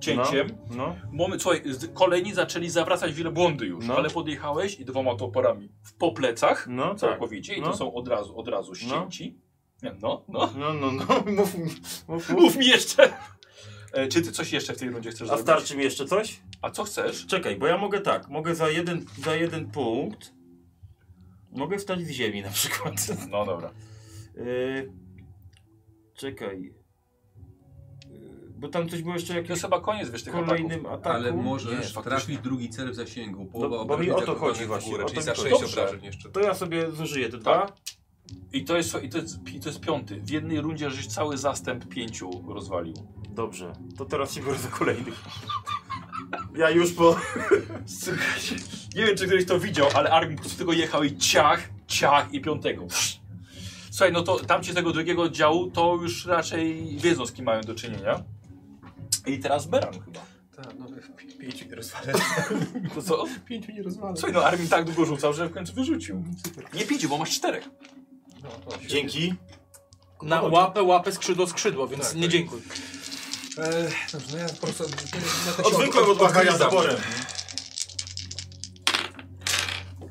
Speaker 1: cięciem.
Speaker 2: No.
Speaker 1: Moment, słuchaj, z- kolejni zaczęli zawracać wielbłądy już,
Speaker 2: No.
Speaker 1: ale podjechałeś i dwoma toporami w, po plecach
Speaker 2: No, tak.
Speaker 1: całkowicie i
Speaker 2: No.
Speaker 1: to są od razu, od razu ścięci. Nie, No, no.
Speaker 2: No, no, no. Mów, mi- mów, mów.
Speaker 1: Mów mi jeszcze! E, Czy ty coś jeszcze w tej rundzie chcesz
Speaker 2: A
Speaker 1: zrobić?
Speaker 2: starczy mi jeszcze coś?
Speaker 1: A co chcesz?
Speaker 2: Czekaj, bo ja mogę tak, mogę za jeden, za jeden punkt mogę wstać z ziemi na przykład.
Speaker 1: No dobra.
Speaker 2: Yy, czekaj. Yy, Bo tam coś było jeszcze
Speaker 1: To
Speaker 2: jakieś
Speaker 1: jest chyba koniec, wiesz, tych ataków. Tak.
Speaker 2: kolejnym ataku.
Speaker 4: Ale
Speaker 1: Nie,
Speaker 4: możesz
Speaker 1: faktycznie.
Speaker 4: trafić drugi cel w zasięgu. Połowa
Speaker 2: No, bo mi
Speaker 4: obrażeń
Speaker 2: o to
Speaker 4: zakładanych
Speaker 2: chodzi
Speaker 4: w
Speaker 2: właśnie,
Speaker 4: górę,
Speaker 2: o
Speaker 4: Czyli
Speaker 2: to
Speaker 4: za
Speaker 2: mi-
Speaker 4: 6
Speaker 1: Dobrze.
Speaker 4: obrażeń jeszcze.
Speaker 2: To ja sobie zużyję te dwa.
Speaker 1: I to jest, i to jest, i to jest piąty. W jednej rundzie żeś cały zastęp pięciu rozwalił.
Speaker 2: Dobrze, to teraz się biorę za kolejnych. Ja już po...
Speaker 1: Słuchajcie, nie wiem, czy któryś to widział, ale Armin po prostu tylko jechał i ciach, ciach i piątego. Słuchaj, no to tamci z tego drugiego oddziału to już raczej wiedzą, z kim mają do czynienia. I teraz Beran chyba.
Speaker 4: Tak, no pi- pięciu nie rozwalę.
Speaker 1: To co?
Speaker 4: Pięciu nie rozwalę.
Speaker 1: Słuchaj, no Armin tak długo rzucał, że w końcu wyrzucił. Nie pięciu, bo masz czterech.
Speaker 4: No, no, świetnie.
Speaker 2: Dzięki.
Speaker 3: No
Speaker 9: Na łapę, łapę, skrzydło, skrzydło, więc
Speaker 4: Tak,
Speaker 9: nie
Speaker 4: tak.
Speaker 9: dziękuj.
Speaker 4: Eee, dobrze, no ja po prostu na te
Speaker 2: Odwykłem od machania zaborem.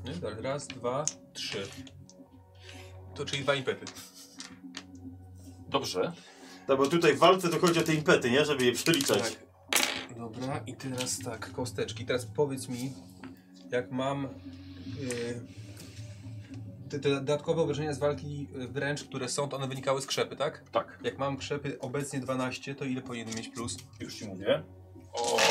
Speaker 4: Nie? Tak, raz, dwa, trzy.
Speaker 5: To czyli dwa impety.
Speaker 1: Dobrze.
Speaker 2: No bo tutaj w walce to chodzi o te impety, nie? Żeby je przyliczać.
Speaker 4: Tak. Dobra, i teraz tak, kosteczki. Teraz powiedz mi, jak mam yy, te, te dodatkowe obrażenia z walki yy, wręcz, które są, to one wynikały z krzepy, tak?
Speaker 1: Tak,
Speaker 4: Jak mam krzepy obecnie 12, to ile powinienem mieć plus?
Speaker 1: już ci mówię.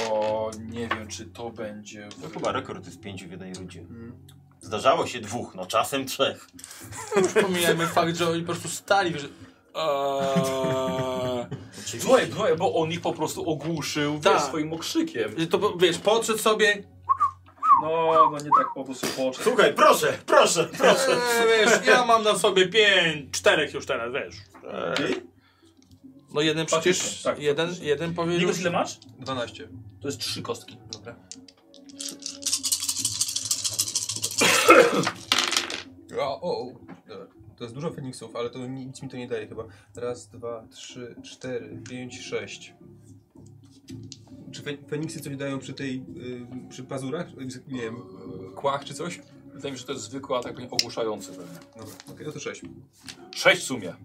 Speaker 1: O, nie wiem, czy to będzie.
Speaker 2: To
Speaker 1: W...
Speaker 2: chyba rekord jest pięciu w jednej rundzie.
Speaker 1: Mm.
Speaker 2: Zdarzało się dwóch, no czasem trzech.
Speaker 9: Już pomijajmy fakt, że oni po prostu stali, że... Eee...
Speaker 1: Słuchaj, słuchaj, bo on ich po prostu ogłuszył wiesz,
Speaker 9: Tak.
Speaker 1: swoim okrzykiem.
Speaker 9: To po- wiesz, podszedł sobie,
Speaker 1: No, no nie tak po prostu poszedł.
Speaker 2: Słuchaj, proszę, proszę, proszę.
Speaker 9: eee, wiesz, ja mam na sobie pięć, czterech już teraz, wiesz.
Speaker 2: Eee.
Speaker 9: No jeden przecież,
Speaker 1: Faktycznie, tak,
Speaker 9: jeden,
Speaker 1: faktycznie.
Speaker 9: jeden
Speaker 1: Nie
Speaker 9: powiedział...
Speaker 1: wiesz, ile masz?
Speaker 4: 12.
Speaker 1: To jest trzy kostki.
Speaker 4: Dobra. O, o, o. Dobra. To jest dużo Feniksów, ale to nic mi to nie daje chyba. Raz, dwa, trzy, cztery, pięć, sześć. Czy fe, Feniksy coś dają przy tej. y, przy pazurach? Y, Nie wiem, kłach czy coś?
Speaker 1: Wydaje mi się, że to jest zwykły atak ogłuszający pewnie.
Speaker 4: Dobra, okej, no to sześć.
Speaker 1: Sześć w sumie. E,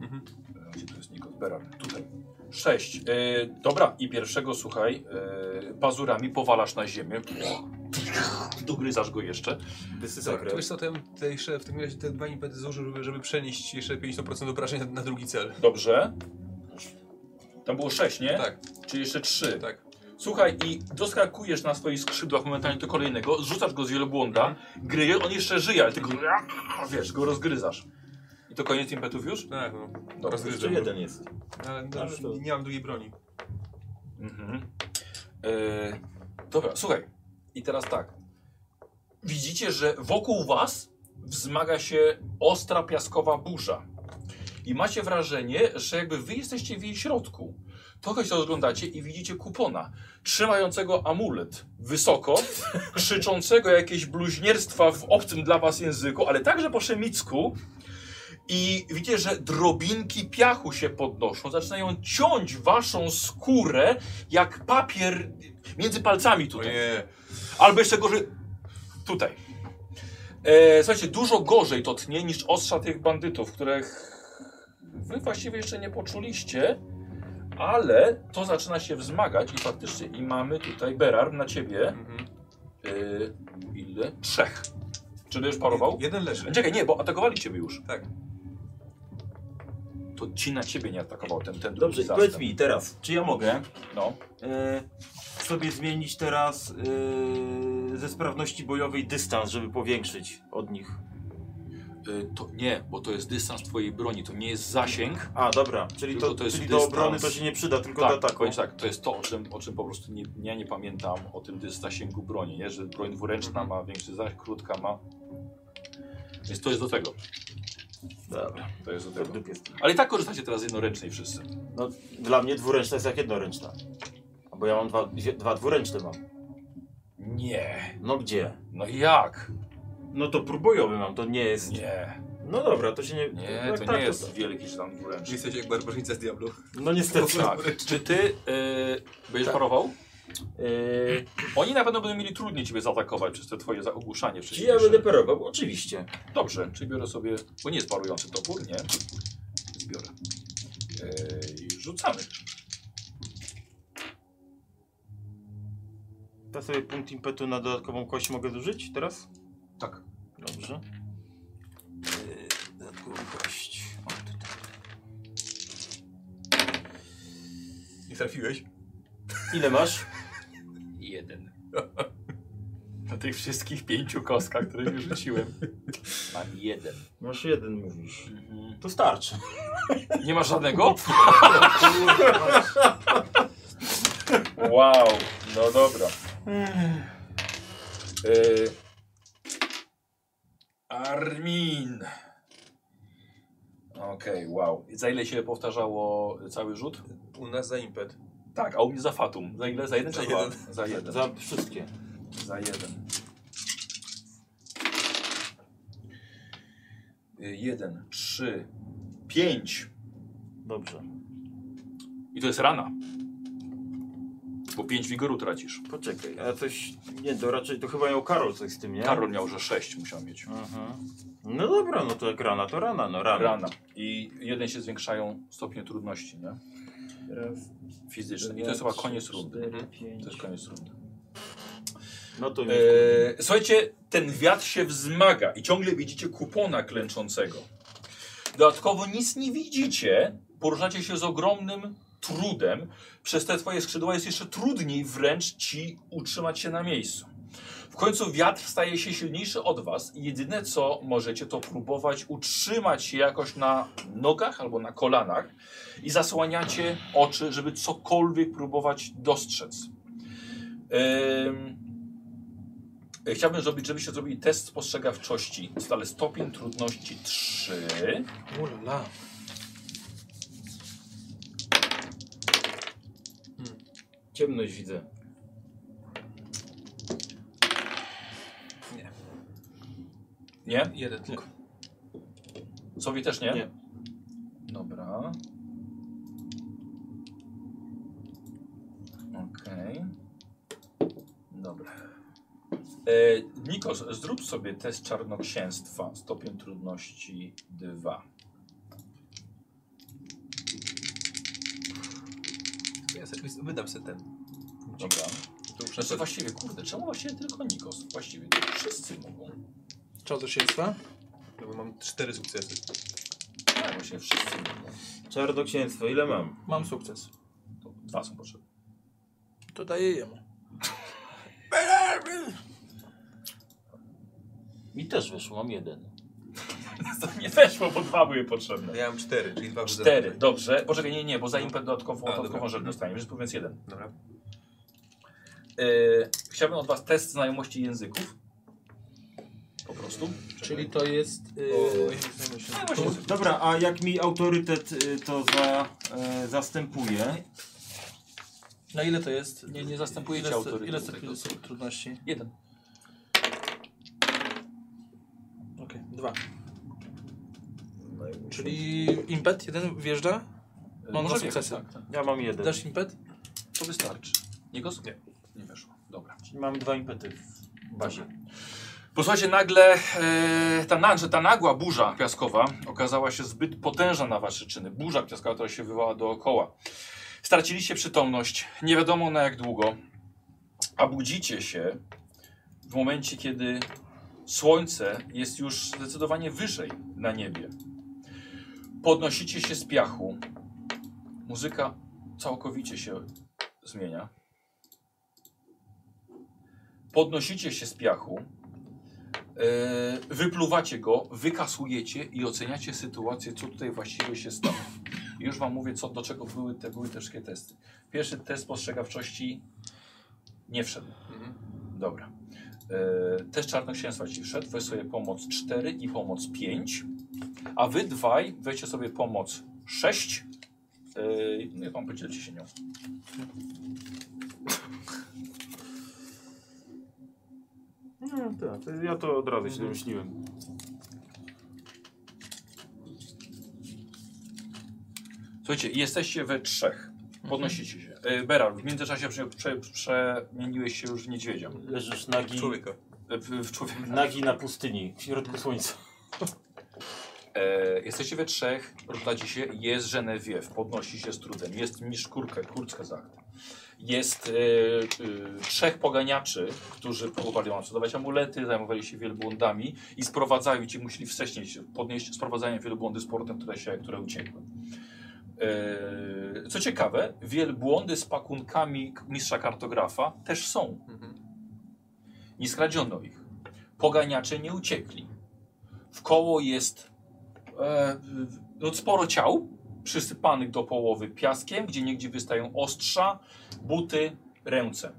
Speaker 1: Gdzie to jest Nikos Beran? Tutaj. Sześć. E, dobra, i pierwszego słuchaj, e, pazurami powalasz na ziemię. Dogryzasz go jeszcze. Tak,
Speaker 2: Wysysa
Speaker 4: Dobra, to
Speaker 2: krew.
Speaker 4: Tak, wiesz co, ten, te jeszcze, w tym razie te dwa impety zużył, żeby, żeby przenieść jeszcze 50% obrażeń na, na drugi cel.
Speaker 1: Dobrze. Tam było sześć, nie?
Speaker 4: Tak,
Speaker 1: Czyli jeszcze trzy.
Speaker 4: tak.
Speaker 1: Słuchaj, i doskakujesz na swoich skrzydłach momentalnie do kolejnego, zrzucasz go z wielbłąda, gryje, on jeszcze żyje, ale ty go, wiesz, go rozgryzasz. I to koniec impetów już?
Speaker 4: Tak, no.
Speaker 1: Dobra.
Speaker 2: Jeszcze jeden jest.
Speaker 4: Ale no,
Speaker 2: Ale
Speaker 4: już
Speaker 2: to-
Speaker 4: nie mam drugiej broni.
Speaker 1: Mhm. E, dobra, słuchaj. I teraz tak. Widzicie, że wokół was wzmaga się ostra piaskowa burza. I macie wrażenie, że jakby wy jesteście w jej środku. Trochę się rozglądacie i widzicie kupona, trzymającego amulet wysoko, krzyczącego jakieś bluźnierstwa w obcym dla was języku, ale także po szemicku. I widzicie, że drobinki piachu się podnoszą, zaczynają ciąć waszą skórę jak papier między palcami tutaj.
Speaker 5: Nie.
Speaker 1: Albo jeszcze gorzej. Tutaj. E, słuchajcie, dużo gorzej to tnie niż ostrza tych bandytów, których wy właściwie jeszcze nie poczuliście, ale to zaczyna się wzmagać i faktycznie i mamy tutaj Berar na ciebie.
Speaker 4: Mhm.
Speaker 1: E, ile? Trzech. Czy ty już parował?
Speaker 4: Jeden leży.
Speaker 1: Czekaj, nie, bo atakowali ciebie już.
Speaker 4: Tak.
Speaker 1: To ci na ciebie nie atakował ten, ten drugi
Speaker 2: Dobrze, i
Speaker 1: zastęp.
Speaker 2: powiedz mi teraz, czy ja mogę
Speaker 1: No.
Speaker 2: e, sobie zmienić teraz e, ze sprawności bojowej dystans, żeby powiększyć od nich?
Speaker 1: Y, to nie, bo to jest dystans twojej broni, to nie jest zasięg.
Speaker 2: A, dobra, czyli,
Speaker 1: Tylko
Speaker 2: to,
Speaker 1: to jest
Speaker 2: czyli do
Speaker 1: dystans.
Speaker 2: obrony to się nie przyda, tylko
Speaker 1: tak,
Speaker 2: do ataku.
Speaker 1: powiem tak, to jest to, o czym, o czym po prostu nie, ja nie pamiętam o tym dys- zasięgu broni, nie? że broń dwuręczna ma większy zasięg, krótka ma. Więc to jest do tego.
Speaker 2: Dobra,
Speaker 1: To jest do
Speaker 2: to
Speaker 1: tego.
Speaker 2: dupie z tym.
Speaker 1: Ale i tak korzystacie teraz z jednoręcznej wszyscy.
Speaker 2: No, dla mnie dwuręczna jest jak jednoręczna. Bo ja mam dwa, dwie- dwa dwuręczne mam.
Speaker 1: Nie.
Speaker 2: No gdzie?
Speaker 1: No jak?
Speaker 2: No to próbojowy mam, to nie jest...
Speaker 1: Nie.
Speaker 7: No dobra, No tak, to się nie...
Speaker 1: Nie, to nie jest wielki szlam dwuręczny.
Speaker 5: Jesteś jak barbarzyńca z Diablo.
Speaker 7: No niestety.
Speaker 1: Tak. Czy ty y, będziesz parował?
Speaker 2: E,
Speaker 1: Oni na pewno będą mieli trudniej ciebie zaatakować przez te twoje zagłuszanie
Speaker 7: Czy ja
Speaker 1: wcześniejsze.
Speaker 7: będę parował? Oczywiście.
Speaker 1: Dobrze, czyli biorę sobie, bo nie jest parujący topór, nie? Zbiorę. Y, I rzucamy.
Speaker 2: To sobie punkt impetu na dodatkową kość mogę zużyć teraz?
Speaker 1: Tak.
Speaker 2: Dobrze. Yy, Dodatkową kość. O, tutaj.
Speaker 5: Nie trafiłeś?
Speaker 2: Ile masz?
Speaker 1: Jeden. Na tych wszystkich pięciu kostkach, które już rzuciłem. Mam jeden.
Speaker 2: Masz jeden, mówisz.
Speaker 1: Mhm.
Speaker 2: To starczy.
Speaker 1: Nie masz żadnego? wow, no dobra. Y, Armin. Okej, wow. Za ile się powtarzało cały rzut?
Speaker 5: U nas za impet.
Speaker 1: Tak, a u mnie za fatum. Za ile? Za jeden
Speaker 5: Za
Speaker 1: czy dwa?
Speaker 5: jeden.
Speaker 1: Za jeden.
Speaker 2: Za wszystkie.
Speaker 1: Za jeden. Y, Jeden, trzy, pięć.
Speaker 2: Dobrze.
Speaker 1: I to jest rana. Bo pięć wigoru tracisz.
Speaker 2: Poczekaj, a coś... Nie, to raczej to chyba miał Karol coś z tym, nie?
Speaker 1: Karol miał, że sześć musiał mieć.
Speaker 2: Mhm. No dobra, no to jak rana, to rana, no rana.
Speaker 1: Rana. I jeden się zwiększają stopnie trudności, nie?
Speaker 2: Raz,
Speaker 1: Fizyczne. I to
Speaker 2: dwa,
Speaker 1: jest chyba
Speaker 2: trzy,
Speaker 1: koniec rundy.
Speaker 2: cztery,
Speaker 1: To
Speaker 2: pięć.
Speaker 1: jest koniec rundy.
Speaker 2: No to już.
Speaker 1: Eee, słuchajcie, ten wiatr się wzmaga i ciągle widzicie kupona klęczącego. Dodatkowo nic nie widzicie, poruszacie się z ogromnym trudem. Przez te twoje skrzydła jest jeszcze trudniej wręcz ci utrzymać się na miejscu. W końcu wiatr staje się silniejszy od was i jedyne co możecie to próbować utrzymać się jakoś na nogach albo na kolanach i zasłaniacie oczy, żeby cokolwiek próbować dostrzec. Ehm, E, Chciałbym, zrobić, żebyście zrobili test spostrzegawczości. Stale stopień trudności 3.
Speaker 9: Ula.
Speaker 7: Ciemność widzę.
Speaker 1: Nie?
Speaker 3: Jeden tylko.
Speaker 1: Sowi też nie?
Speaker 7: Nie.
Speaker 1: Dobra. Okej. Dobra. E, Nikos, zrób sobie test czarnoksięstwa. Stopień trudności 2.
Speaker 4: Ja sobie, wydam sobie ten.
Speaker 1: Dobra. To już znaczy, właściwie, kurde, czemu właściwie tylko Nikos? Właściwie to wszyscy mogą.
Speaker 3: Czarnoksięstwa?
Speaker 4: No bo mam cztery sukcesy.
Speaker 1: Tak, właśnie wszyscy mogą.
Speaker 2: Czarnoksięstwo, ile mam?
Speaker 3: Mam sukces.
Speaker 1: To dwa są potrzebne.
Speaker 3: To daję jemu.
Speaker 7: Mi też wyszło, mam jeden.
Speaker 1: To nie weszło, bo dwa były potrzebne.
Speaker 5: Ja mam cztery, czyli dwa wrzucę.
Speaker 1: Cztery, dobrze. Poczekaj, nie, nie, bo za impet dodatkową,
Speaker 5: A,
Speaker 1: dodatkową
Speaker 5: dobra.
Speaker 1: rzecz dostaniemy, więc powiedz jeden.
Speaker 5: Dobra.
Speaker 1: Yy, chciałbym od was test znajomości języków. Po prostu.
Speaker 9: Czyli to jest... y,
Speaker 1: No właśnie,
Speaker 2: Dobra, a jak mi autorytet y, to za, y, zastępuje?
Speaker 3: Na ile to jest?
Speaker 1: nie, nie zastępuje
Speaker 3: Ile
Speaker 1: cię
Speaker 3: jest, ile
Speaker 1: autorytetu.
Speaker 3: jest
Speaker 1: tego.
Speaker 3: tych trudności?
Speaker 1: Jeden.
Speaker 3: Okej, dwa. Czyli impet jeden wjeżdża?
Speaker 1: Yy,
Speaker 3: Mam dwa
Speaker 1: może
Speaker 3: sukcesy.
Speaker 1: wjechać, tak, tak.
Speaker 2: Ja mam jeden.
Speaker 3: Dasz impet?
Speaker 1: To wystarczy. Nikos? Nie. Nie weszło. Dobra.
Speaker 2: Mam dwa impety w bazie.
Speaker 1: Posłuchajcie, nagle e, ta, na, że ta nagła burza piaskowa okazała się zbyt potężna na wasze czyny. Burza piaskowa, która się wywołała dookoła. Straciliście przytomność, nie wiadomo na jak długo, a budzicie się w momencie, kiedy słońce jest już zdecydowanie wyżej na niebie. Podnosicie się z piachu. Muzyka całkowicie się zmienia. Podnosicie się z piachu. E, wypluwacie go, wykasujecie i oceniacie sytuację, co tutaj właściwie się stało. I Już wam mówię, co, do czego były te, były te wszystkie testy. Pierwszy test spostrzegawczości nie wszedł. Dobra. E, test czarnoksięstwa ci wszedł, weź sobie pomoc 4 i pomoc 5, a wy dwaj weźcie sobie pomoc 6. E, no i wam podzielcie się nią.
Speaker 2: No tak, to ja to od razu się domyśliłem.
Speaker 1: Słuchajcie, jesteście we trzech. Podnosicie się. E, Beral, w międzyczasie prze, prze, przemieniłeś się już w niedźwiedzia.
Speaker 2: Leżysz nagi,
Speaker 4: Człowieka.
Speaker 1: E, w- W człowieka.
Speaker 2: nagi na pustyni, w środku słońca.
Speaker 1: E, jesteście we trzech, rozdacie się, jest Genevieve, podnosi się z trudem, jest Miszkurka, kurczka zakt. Jest e, e, trzech poganiaczy, którzy próbowali wam sprzedawać amulety, zajmowali się wielbłądami i sprowadzają ci, musieli wcześniej się podnieść sprowadzanie wielbłądy z portem, które, się, które uciekły. E, co ciekawe, wielbłądy z pakunkami k- mistrza kartografa też są. Nie skradziono ich. Poganiacze nie uciekli. W koło jest e, no, sporo ciał, przysypanych do połowy piaskiem, gdzie niegdzie wystają ostrza, buty, ręce.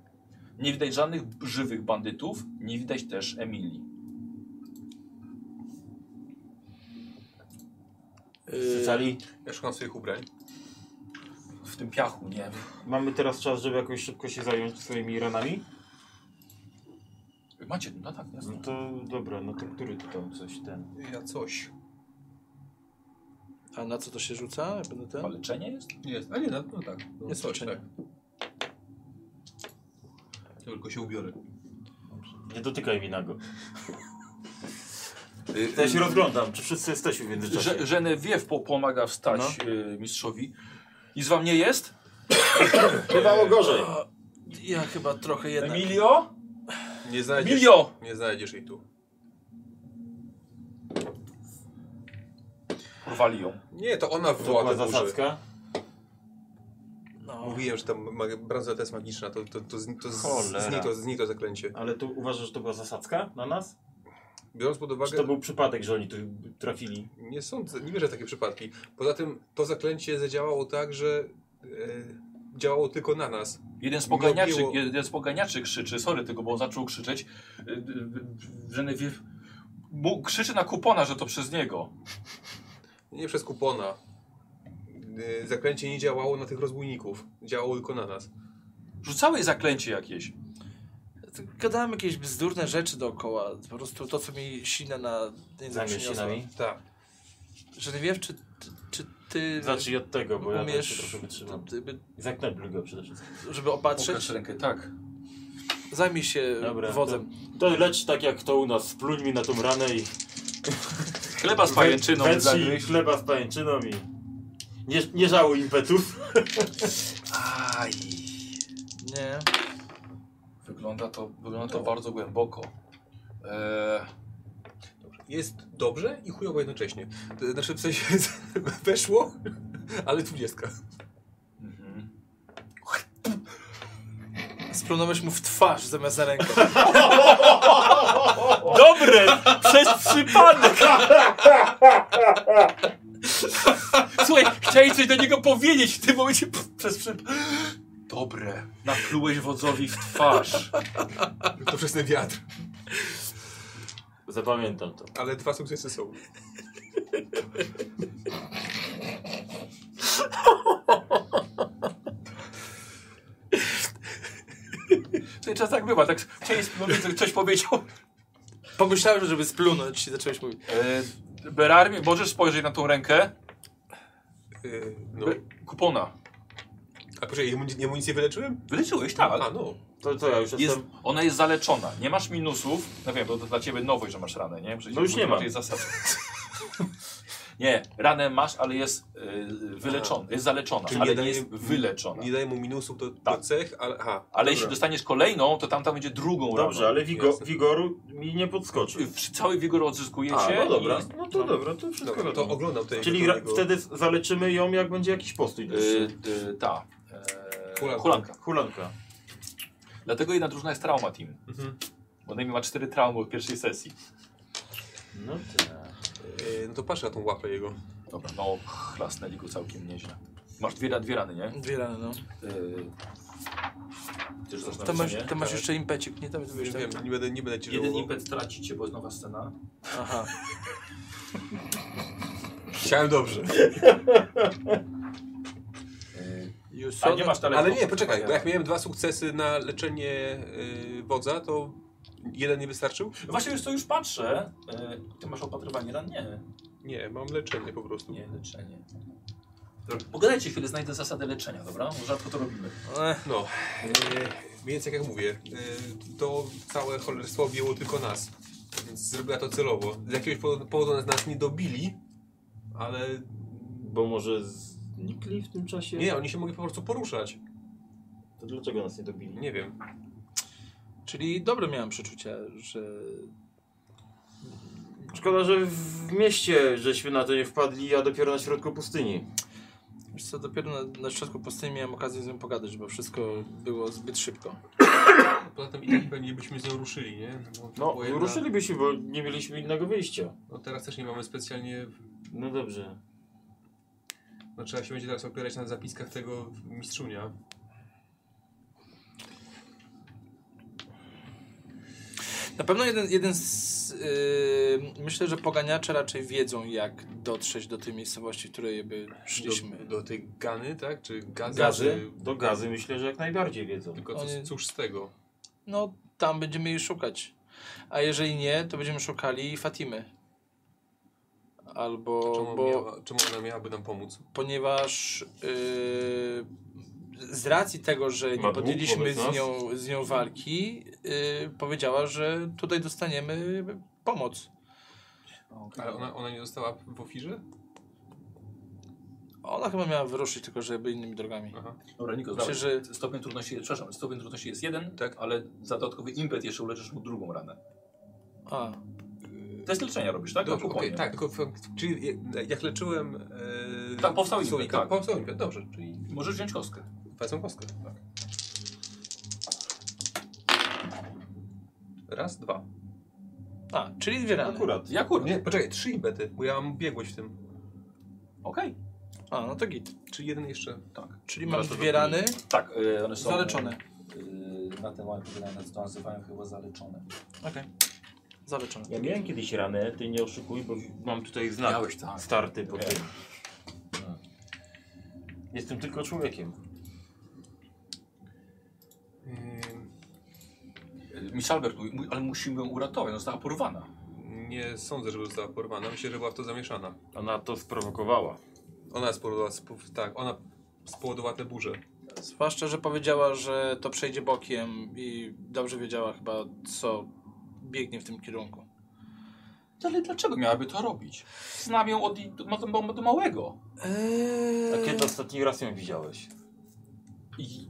Speaker 1: Nie widać żadnych żywych bandytów, nie widać też Emilii.
Speaker 2: E, Zali,
Speaker 4: Ja szukam swoich ubrań.
Speaker 1: W tym piachu, nie?
Speaker 2: mamy teraz czas, żeby jakoś szybko się zająć swoimi ranami?
Speaker 1: Macie, no tak, jasne.
Speaker 2: No to dobra, no to który tu tam coś ten...
Speaker 15: Ja coś.
Speaker 3: A na co to się rzuca? Ja Będę
Speaker 4: No.
Speaker 3: ten?
Speaker 1: A leczenie jest?
Speaker 15: Jest. A nie, no, no tak. No,
Speaker 3: Jest
Speaker 15: coś,
Speaker 3: leczenie.
Speaker 15: tak. Tylko się ubiorę.
Speaker 2: Nie dotykaj mi nago.
Speaker 4: Y,
Speaker 2: Ja się rozglądam, czy wszyscy jesteśmy w
Speaker 1: Że,
Speaker 2: międzyczasie.
Speaker 1: Genevieve po pomaga wstać
Speaker 4: No.
Speaker 1: y, mistrzowi. Nic wam nie jest?
Speaker 16: Bywało gorzej.
Speaker 3: Ja chyba trochę
Speaker 4: Tak.
Speaker 3: jednak.
Speaker 1: Emilio?
Speaker 4: Nie znajdziesz,
Speaker 1: Emilio!
Speaker 4: nie znajdziesz jej tu.
Speaker 1: Porwali ją.
Speaker 4: Nie, to ona
Speaker 2: To
Speaker 4: wywoła
Speaker 2: była
Speaker 4: te burzy.
Speaker 2: zasadzka.
Speaker 3: No.
Speaker 4: Mówiłem, że ta ma- bransoleta jest magiczna, to, to, to, zni- to z-
Speaker 2: Cholera.
Speaker 4: znikło, znikło zaklęcie.
Speaker 2: Ale tu uważasz, że to była zasadzka na nas?
Speaker 4: Biorąc pod
Speaker 2: Czy
Speaker 4: uwagę,
Speaker 2: to był przypadek, że oni tu trafili?
Speaker 4: nie sądzę, nie wierzę w takie przypadki. Poza tym to zaklęcie zadziałało tak, że e, działało tylko na nas.
Speaker 1: Jeden z, poganiaczy,
Speaker 4: Miło.
Speaker 1: jeden z poganiaczy krzyczy, sorry tego, bo on zaczął krzyczeć. Y, y, y, Genevieve mu krzyczy na kupona, że to przez niego.
Speaker 4: Nie przez kupona. E, Zaklęcie nie działało na tych rozbójników. Działało tylko na nas.
Speaker 1: Rzucałeś zaklęcie jakieś.
Speaker 3: Gadałem jakieś bzdurne rzeczy dookoła. Po prostu to, co mi sina na nie
Speaker 2: Zajmiesz się
Speaker 3: przyniosła.
Speaker 2: nami?
Speaker 4: Tak.
Speaker 3: Że nie wiem, czy, czy, czy ty
Speaker 2: Zacznij Znaczy, od tego, bo ja tam się
Speaker 3: umiesz
Speaker 2: trochę wytrzymam.
Speaker 3: żeby,
Speaker 2: Zaknebluj go przede wszystkim.
Speaker 3: żeby opatrzeć?
Speaker 1: Pokaż rękę, tak.
Speaker 3: Zajmij się
Speaker 2: Dobra,
Speaker 3: wodzem.
Speaker 2: To lecz tak jak to u nas, spluń mi na tą ranę i
Speaker 1: Chleba z pajęczyną
Speaker 2: Wędzi
Speaker 1: zagryź.
Speaker 2: chleba z pajęczyną i nie, nie żałuj impetów.
Speaker 1: Aj,
Speaker 3: Nie.
Speaker 1: wygląda to, wygląda to bardzo głęboko. Eee,
Speaker 4: Jest dobrze i chujowo jednocześnie. To Znaczy w sensie weszło, ale dwudziestka.
Speaker 1: mhm.
Speaker 3: Splunąłeś mu w twarz zamiast na rękę.
Speaker 2: Dobre! Przez przypadek!
Speaker 1: Słuchaj, chciałem coś do niego powiedzieć w tym momencie p- przez przyp... Dobre, naplułeś wodzowi w twarz.
Speaker 4: To przez ten wiatr.
Speaker 2: Zapamiętam to.
Speaker 4: Ale dwa sukcesy są.
Speaker 1: Słuchaj, czas tak bywa, tak chciałeś powiedzieć, coś powiedział.
Speaker 3: Pomyślałem, żeby splunąć i zacząłeś mówić.
Speaker 1: Eee, Berarmie, możesz spojrzeć na tą rękę?
Speaker 4: Yy, no.
Speaker 1: Be- kupona.
Speaker 4: A proszę, jemu, jemu nic nie wyleczyłem?
Speaker 1: Wyleczyłeś,
Speaker 4: A no.
Speaker 2: To co, ja już
Speaker 1: Tak. Jest,
Speaker 2: jestem...
Speaker 1: ona jest zaleczona, nie masz minusów. No wiem, bo to dla ciebie nowość, że masz ranę, nie? Przecież
Speaker 2: No już
Speaker 1: mówię,
Speaker 2: nie mam.
Speaker 1: to jest zasada. nie, ranę masz, ale jest yy, wyleczona, jest zaleczona,
Speaker 4: Czyli
Speaker 1: ale
Speaker 4: nie
Speaker 1: nie
Speaker 4: daje-
Speaker 1: jest wyleczona.
Speaker 4: Nie daje mu minusów do,
Speaker 1: no. Tak.
Speaker 4: do cech, ale. Aha,
Speaker 1: Ale jeśli
Speaker 4: dobra.
Speaker 1: dostaniesz kolejną, to tamta będzie drugą
Speaker 2: Dobrze,
Speaker 1: raną.
Speaker 2: ale wigo, wigoru mi nie podskoczył.
Speaker 1: Y, przy- Cały wigor odzyskujecie.
Speaker 2: A, no dobra.
Speaker 1: i-
Speaker 2: No to dobra, to wszystko
Speaker 4: Dobra, no to
Speaker 2: wiadomo.
Speaker 4: oglądam tutaj.
Speaker 2: Czyli ra- wtedy z- zaleczymy ją, jak będzie jakiś postój dłuższy.
Speaker 1: Y, y, ta. Yy,
Speaker 4: Hulanka.
Speaker 1: hulanka.
Speaker 2: Hulanka.
Speaker 1: Dlatego jedna drużyna jest trauma team.
Speaker 4: Mhm.
Speaker 1: Bo najmniej ma cztery traumy w pierwszej sesji.
Speaker 2: No tak.
Speaker 4: Yy, no to patrzę na tą łapę jego.
Speaker 1: Dobra, no chlasnęli go całkiem nieźle. Masz dwie, ra- dwie rany, nie?
Speaker 3: Dwie rany, no.
Speaker 1: Yy, też zaczynasz
Speaker 3: To masz,
Speaker 1: nie?
Speaker 3: to masz
Speaker 1: Tak.
Speaker 3: jeszcze impecik, nie? Tam jest
Speaker 4: Już
Speaker 3: jeszcze- tak.
Speaker 4: wiem, nie będę, nie będę ci
Speaker 1: Jeden
Speaker 4: żałował.
Speaker 1: impet tracicie, bo jest nowa scena.
Speaker 3: Aha.
Speaker 4: Chciałem dobrze.
Speaker 1: Yy,
Speaker 3: You
Speaker 1: A
Speaker 3: saw
Speaker 1: nie
Speaker 3: that-
Speaker 1: masz talentu.
Speaker 4: Ale nie, poczekaj, bo jak miałem dwa sukcesy na leczenie yy, wodza, to jeden nie wystarczył?
Speaker 1: No Właśnie już to już patrzę. Yy, Ty masz opatrywanie ran? Nie.
Speaker 4: Nie, mam leczenie po prostu.
Speaker 1: Nie, leczenie. Pogadajcie chwilę, znajdę zasady leczenia, dobra? Bo rzadko to robimy.
Speaker 17: No, e, więc jak, jak mówię, e, to całe cholerstwo objęło tylko nas. Więc zrobiła to celowo. Z jakiegoś powodu, powodu nas, nas nie dobili, ale
Speaker 7: Bo może znikli w tym czasie?
Speaker 17: nie, oni się mogli po prostu poruszać.
Speaker 7: To dlaczego nas nie dobili?
Speaker 17: Nie wiem.
Speaker 3: Czyli dobre miałem przeczucie, że...
Speaker 7: Szkoda, że w mieście żeśmy na to nie wpadli, a dopiero na środku pustyni.
Speaker 3: Wiesz co, dopiero na, na środku pustyni miałem okazję z nią pogadać, bo wszystko było zbyt szybko.
Speaker 4: Poza tym i tak pewnie byśmy z nią ruszyli, nie? Bo
Speaker 7: No,
Speaker 4: była jedna-
Speaker 7: ruszylibyśmy, bo nie mieliśmy innego wyjścia.
Speaker 4: No teraz też nie mamy specjalnie...
Speaker 7: No dobrze.
Speaker 4: No trzeba się będzie teraz opierać na zapiskach tego mistrzunia.
Speaker 3: Na pewno jeden, jeden z... Yy, myślę, że poganiacze raczej wiedzą, jak dotrzeć do tej miejscowości, w której by szliśmy.
Speaker 4: Do, do tej gany, tak? Czy gazy?
Speaker 7: Gazy? Do gazy myślę, że jak najbardziej wiedzą.
Speaker 4: Tylko co,
Speaker 3: Oni-
Speaker 4: cóż z tego?
Speaker 3: No, tam będziemy jej szukać. A jeżeli nie, to będziemy szukali Fatimy. Albo...
Speaker 4: Czemu,
Speaker 3: No, bo...
Speaker 4: miała, czemu ona miałaby nam pomóc?
Speaker 3: ponieważ yy, z racji tego, że
Speaker 7: Ma
Speaker 3: nie
Speaker 7: dług
Speaker 3: podjęliśmy
Speaker 7: wobec
Speaker 3: z
Speaker 7: nas?
Speaker 3: nią, z nią walki, yy, powiedziała, że tutaj dostaniemy pomoc.
Speaker 4: Ale ona, ona nie została w ofirze?
Speaker 3: Ona chyba miała wyruszyć, tylko żeby innymi drogami.
Speaker 4: Aha.
Speaker 1: Dobra, Niko,
Speaker 3: Myślę,
Speaker 1: dawaj.
Speaker 3: że
Speaker 1: Stopień trudności, przepraszam, stopień trudności jest jeden, tak. ale za dodatkowy impet jeszcze uleczysz mu drugą ranę.
Speaker 3: a,
Speaker 1: Test leczenia robisz, tak?
Speaker 4: Dobrze,
Speaker 1: Na
Speaker 4: okej,
Speaker 1: kuponię.
Speaker 4: tak, tylko fakt- czyli je- jak leczyłem... Yy,
Speaker 1: Tak, powstał impet,
Speaker 4: słoika,
Speaker 1: tak.
Speaker 4: Powstał impet, dobrze, czyli
Speaker 1: Możesz wziąć kostkę.
Speaker 4: wezmę kostkę. Tak. Raz, dwa.
Speaker 3: a, czyli dwie rany.
Speaker 4: Akurat.
Speaker 1: Ja akurat.
Speaker 4: Nie, poczekaj, trzy impety, bo ja mam biegłość w tym.
Speaker 1: Okej.
Speaker 3: A, no to git.
Speaker 4: Czyli jeden jeszcze.
Speaker 3: Czyli mam
Speaker 1: Teraz to
Speaker 3: dwie
Speaker 1: dotknij.
Speaker 3: rany
Speaker 1: Tak, yy, one są...
Speaker 3: zaleczone.
Speaker 1: Yy, na te łapy, na to nazywają chyba zaleczone.
Speaker 3: Okej. Zaleczone.
Speaker 7: Ja miałem kiedyś ranę, ty nie oszukuj, bo mam tutaj znak
Speaker 1: Miałeś, tak.
Speaker 7: starty po
Speaker 1: Wiem.
Speaker 7: tym. Hmm. Jestem tylko człowiekiem.
Speaker 4: mm,
Speaker 1: Yy, Miss Albert, mówi, mój- ale musimy ją uratować, ona została porwana.
Speaker 4: Nie sądzę, żeby została porwana. Myślę, że była w to zamieszana.
Speaker 7: Ona to sprowokowała.
Speaker 4: Ona spowodowała, spo- tak, ona spowodowała te burze.
Speaker 3: Zwłaszcza, że powiedziała, że to przejdzie bokiem i dobrze wiedziała chyba, co biegnie w tym kierunku.
Speaker 1: Ale dlaczego miałaby to robić? Znam ją od do, do, do małego.
Speaker 3: Eee...
Speaker 7: A kiedy ostatni raz ją widziałeś?
Speaker 1: I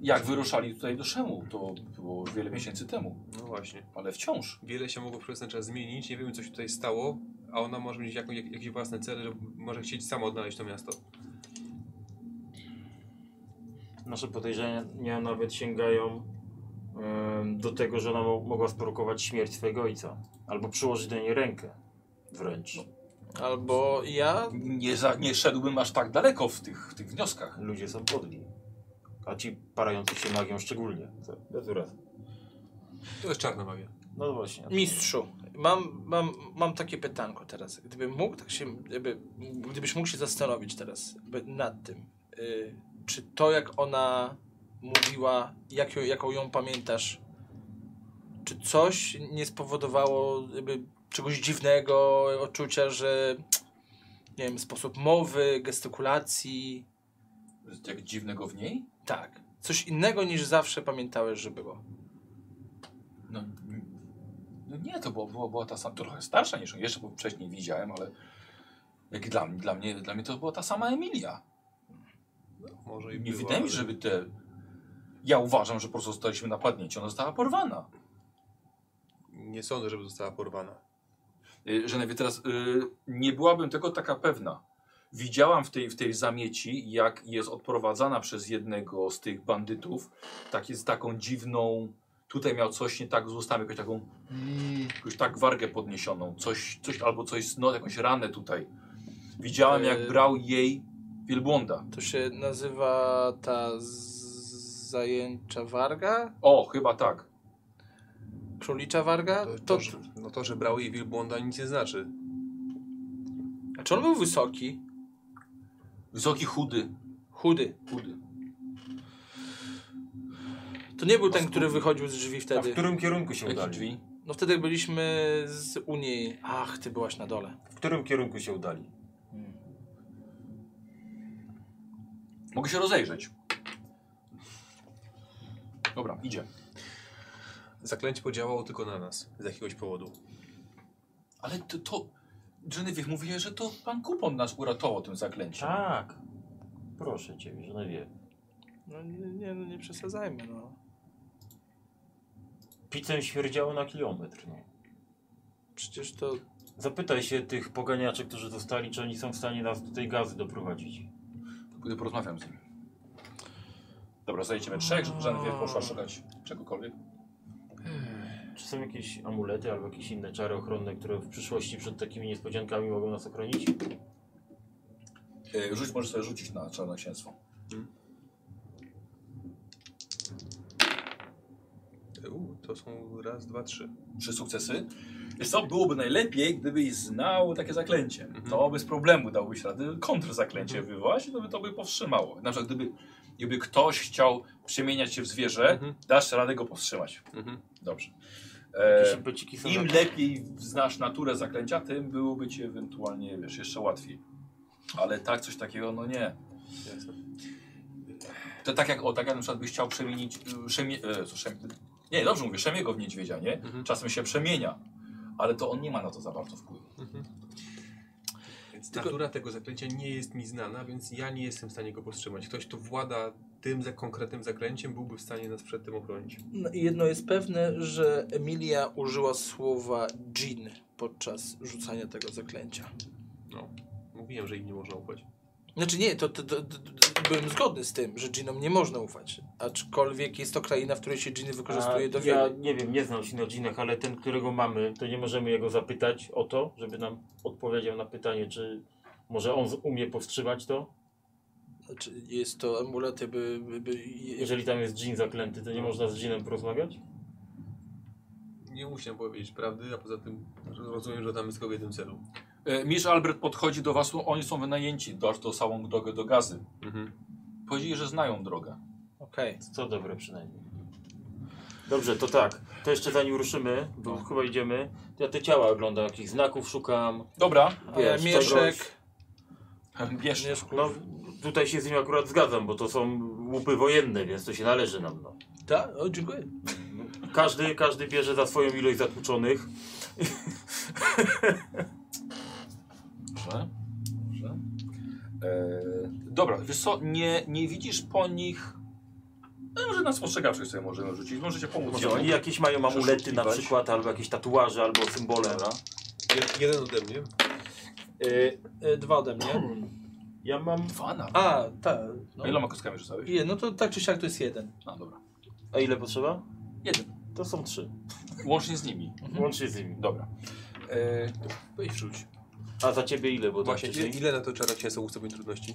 Speaker 1: jak wyruszali tutaj do Szemu, to było już wiele miesięcy temu,
Speaker 4: No właśnie.
Speaker 1: ale wciąż.
Speaker 4: Wiele się mogło przez ten czas zmienić, nie wiemy co się tutaj stało, a ona może mieć jakąś, jak, jakieś własne cele, że może chcieć sama odnaleźć to miasto.
Speaker 7: Nasze podejrzenia nawet sięgają em, do tego, że ona mo- mogła sprowokować śmierć swojego ojca. Albo przyłożyć do niej rękę. Wręcz.
Speaker 3: Albo ja
Speaker 1: Nie, za, nie szedłbym aż tak daleko w tych, w tych wnioskach.
Speaker 7: Ludzie są podli. A ci parający się magią szczególnie. Co? Bez urazy.
Speaker 4: To jest czarna magia.
Speaker 7: No właśnie.
Speaker 3: Mistrzu, mam, mam, mam takie pytanko teraz. Gdybym mógł tak się, jakby, gdybyś mógł się zastanowić teraz jakby nad tym, y, czy to jak ona mówiła, jak ją, jaką ją pamiętasz, czy coś nie spowodowało jakby, czegoś dziwnego, odczucia, że nie wiem, sposób mowy, gestykulacji,
Speaker 1: Jak dziwnego w niej?
Speaker 3: tak. Coś innego niż zawsze pamiętałeś, że było.
Speaker 1: No, n- no nie, to była, była, była ta sama, trochę starsza niż ją jeszcze, bo wcześniej widziałem, ale jak dla, mnie- dla, mnie, dla mnie to była ta sama Emilia.
Speaker 4: Może i
Speaker 1: Nie
Speaker 4: była,
Speaker 1: wydaje mi się,
Speaker 4: ale-
Speaker 1: żeby te... Ja uważam, że po prostu zostaliśmy napadnięci, ona została porwana.
Speaker 4: Nie sądzę, żeby została porwana.
Speaker 1: Y, że nawet teraz y, nie byłabym tego taka pewna. Widziałam w tej, w tej zamieci, jak jest odprowadzana przez jednego z tych bandytów, tak jest taką dziwną, tutaj miał coś nie tak z ustami, jakąś taką, mm, jakąś tak wargę podniesioną, coś, coś albo coś, no jakąś ranę tutaj. Widziałem,
Speaker 3: Yy.
Speaker 1: jak brał jej wielbłąda.
Speaker 3: To się nazywa ta z- zajęcza warga?
Speaker 1: O, chyba tak.
Speaker 3: Królicza warga?
Speaker 4: To,
Speaker 3: To,
Speaker 4: to, że, no to, że brał jej wielbłąda nic nie znaczy.
Speaker 3: a czy on był wysoki?
Speaker 1: Wysoki, chudy.
Speaker 3: Chudy.
Speaker 1: chudy.
Speaker 3: To nie był ten, który wychodził z drzwi
Speaker 7: A w
Speaker 3: wtedy.
Speaker 7: którym kierunku się
Speaker 1: Jakie
Speaker 7: udali?
Speaker 1: drzwi?
Speaker 3: No wtedy byliśmy z Unii. Ach, ty byłaś na dole.
Speaker 7: W którym kierunku się udali?
Speaker 1: Mogę się rozejrzeć. Dobra, idzie.
Speaker 4: Zaklęcie podziałało tylko na nas z jakiegoś powodu.
Speaker 1: Ale to, to Genevieve mówiła, że to pan Kupon nas uratował tym zaklęciem.
Speaker 7: Tak. Proszę cię, Genevieve.
Speaker 3: No nie, nie, no nie przesadzajmy, no.
Speaker 7: Pizzę śmierdziało na kilometr, no.
Speaker 3: Przecież to...
Speaker 7: Zapytaj się tych poganiaczy, którzy zostali, czy oni są w stanie nas do tej gazy doprowadzić.
Speaker 1: Pójdę porozmawiam z nim. Dobra, zajdziemy trzech, żeby Genevieve poszła szukać czegokolwiek.
Speaker 7: Czy są jakieś amulety albo jakieś inne czary ochronne, które w przyszłości przed takimi niespodziankami mogą nas ochronić?
Speaker 1: E, Rzuć, możesz sobie rzucić na czarnoksięstwo.
Speaker 4: U, to są raz, dwa, trzy.
Speaker 1: Trzy sukcesy. Wiesz co, byłoby najlepiej, gdybyś znał takie zaklęcie.
Speaker 4: Mhm.
Speaker 1: To bez problemu dałbyś radę kontrzaklęcie wywołać i to by to by powstrzymało. Na przykład gdyby, gdyby ktoś chciał przemieniać się w zwierzę,
Speaker 4: Mhm.
Speaker 1: dasz radę go powstrzymać.
Speaker 4: Mhm.
Speaker 1: Dobrze.
Speaker 7: Jakieś
Speaker 1: E,
Speaker 7: impeciki są
Speaker 1: Im
Speaker 7: za-
Speaker 1: lepiej znasz naturę zaklęcia, tym byłoby ci ewentualnie, wiesz, jeszcze łatwiej. Ale tak, coś takiego, no nie. To tak jak, o, tak jak na przykład byś chciał przemienić, y, szemie, e, co, szem, nie, dobrze mówię, szemiego w niedźwiedzia, nie?
Speaker 4: Mhm.
Speaker 1: Czasem się przemienia, ale to on nie ma na to za bardzo wpływu.
Speaker 4: Więc natura tego zaklęcia nie jest mi znana, więc ja nie jestem w stanie go powstrzymać. Ktoś, kto włada tym za konkretnym zaklęciem, byłby w stanie nas przed tym ochronić.
Speaker 3: No i jedno jest pewne, że Emilia użyła słowa dżin podczas rzucania tego zaklęcia.
Speaker 4: Mówiłem, że im nie można ufać.
Speaker 3: Znaczy nie, to, to, to, to, to byłem zgodny z tym, że dżinom nie można ufać. Aczkolwiek jest to kraina, w której się dżiny wykorzystuje
Speaker 7: A
Speaker 3: do
Speaker 7: Ja
Speaker 3: wielu.
Speaker 7: nie wiem, nie znam się na dżinach, ale ten, którego mamy, to nie możemy jego zapytać o to, żeby nam odpowiedział na pytanie, czy może on z- umie powstrzymać to?
Speaker 3: Znaczy jest to amulet, jakby... by- by- je-
Speaker 7: Jeżeli tam jest dżin zaklęty, to nie można z dżinem porozmawiać?
Speaker 4: Nie musiałem powiedzieć prawdy, a poza tym rozumiem, że tam jest tylko w jednym celu.
Speaker 1: E, Misz Albert podchodzi do was, oni są wynajęci, do, do samą drogę do gazy.
Speaker 4: Mhm.
Speaker 1: Powiedzieli, że znają drogę.
Speaker 3: Okej.
Speaker 7: Co dobre przynajmniej. Dobrze, to tak. To jeszcze zanim ruszymy, bo
Speaker 1: No.
Speaker 7: chyba idziemy, to ja te ciała oglądam, jakichś znaków szukam.
Speaker 1: Dobra,
Speaker 3: E,
Speaker 7: Wiesz,
Speaker 3: Mieszek,
Speaker 1: bierz.
Speaker 7: No, tutaj się z nim akurat zgadzam, bo to są łupy wojenne, więc to się należy nam. No.
Speaker 3: Tak, o, dziękuję.
Speaker 7: Każdy, każdy bierze za swoją ilość zatłuczonych.
Speaker 1: Dobrze. Dobrze. E, dobra, wiesz co, nie, nie widzisz po nich... No, może na spostrzegawczość sobie możemy rzucić, możecie pomóc.
Speaker 7: Może oni jakieś mają amulety na
Speaker 1: przeszukiwać.
Speaker 7: przykład, albo jakieś tatuaże, albo symbole. no.
Speaker 4: Je- jeden ode mnie.
Speaker 7: Y,
Speaker 3: E, dwa ode mnie.
Speaker 7: ja mam.
Speaker 1: Dwa nawet.
Speaker 3: A, tak. No.
Speaker 1: A iloma kostkami rzucałeś?
Speaker 3: Je, no to tak czy siak to jest jeden.
Speaker 1: No dobra.
Speaker 7: A ile potrzeba?
Speaker 1: Jeden.
Speaker 7: To są trzy.
Speaker 1: Łącznie z nimi.
Speaker 7: Łącznie z nimi.
Speaker 1: Dobra. E,
Speaker 7: y,
Speaker 4: Weź wrzuć.
Speaker 7: A za ciebie ile? Bo
Speaker 4: Właśnie,
Speaker 7: tak
Speaker 4: ile,
Speaker 7: wcześniej?
Speaker 4: ile na to czarodziejstwo ustawień trudności?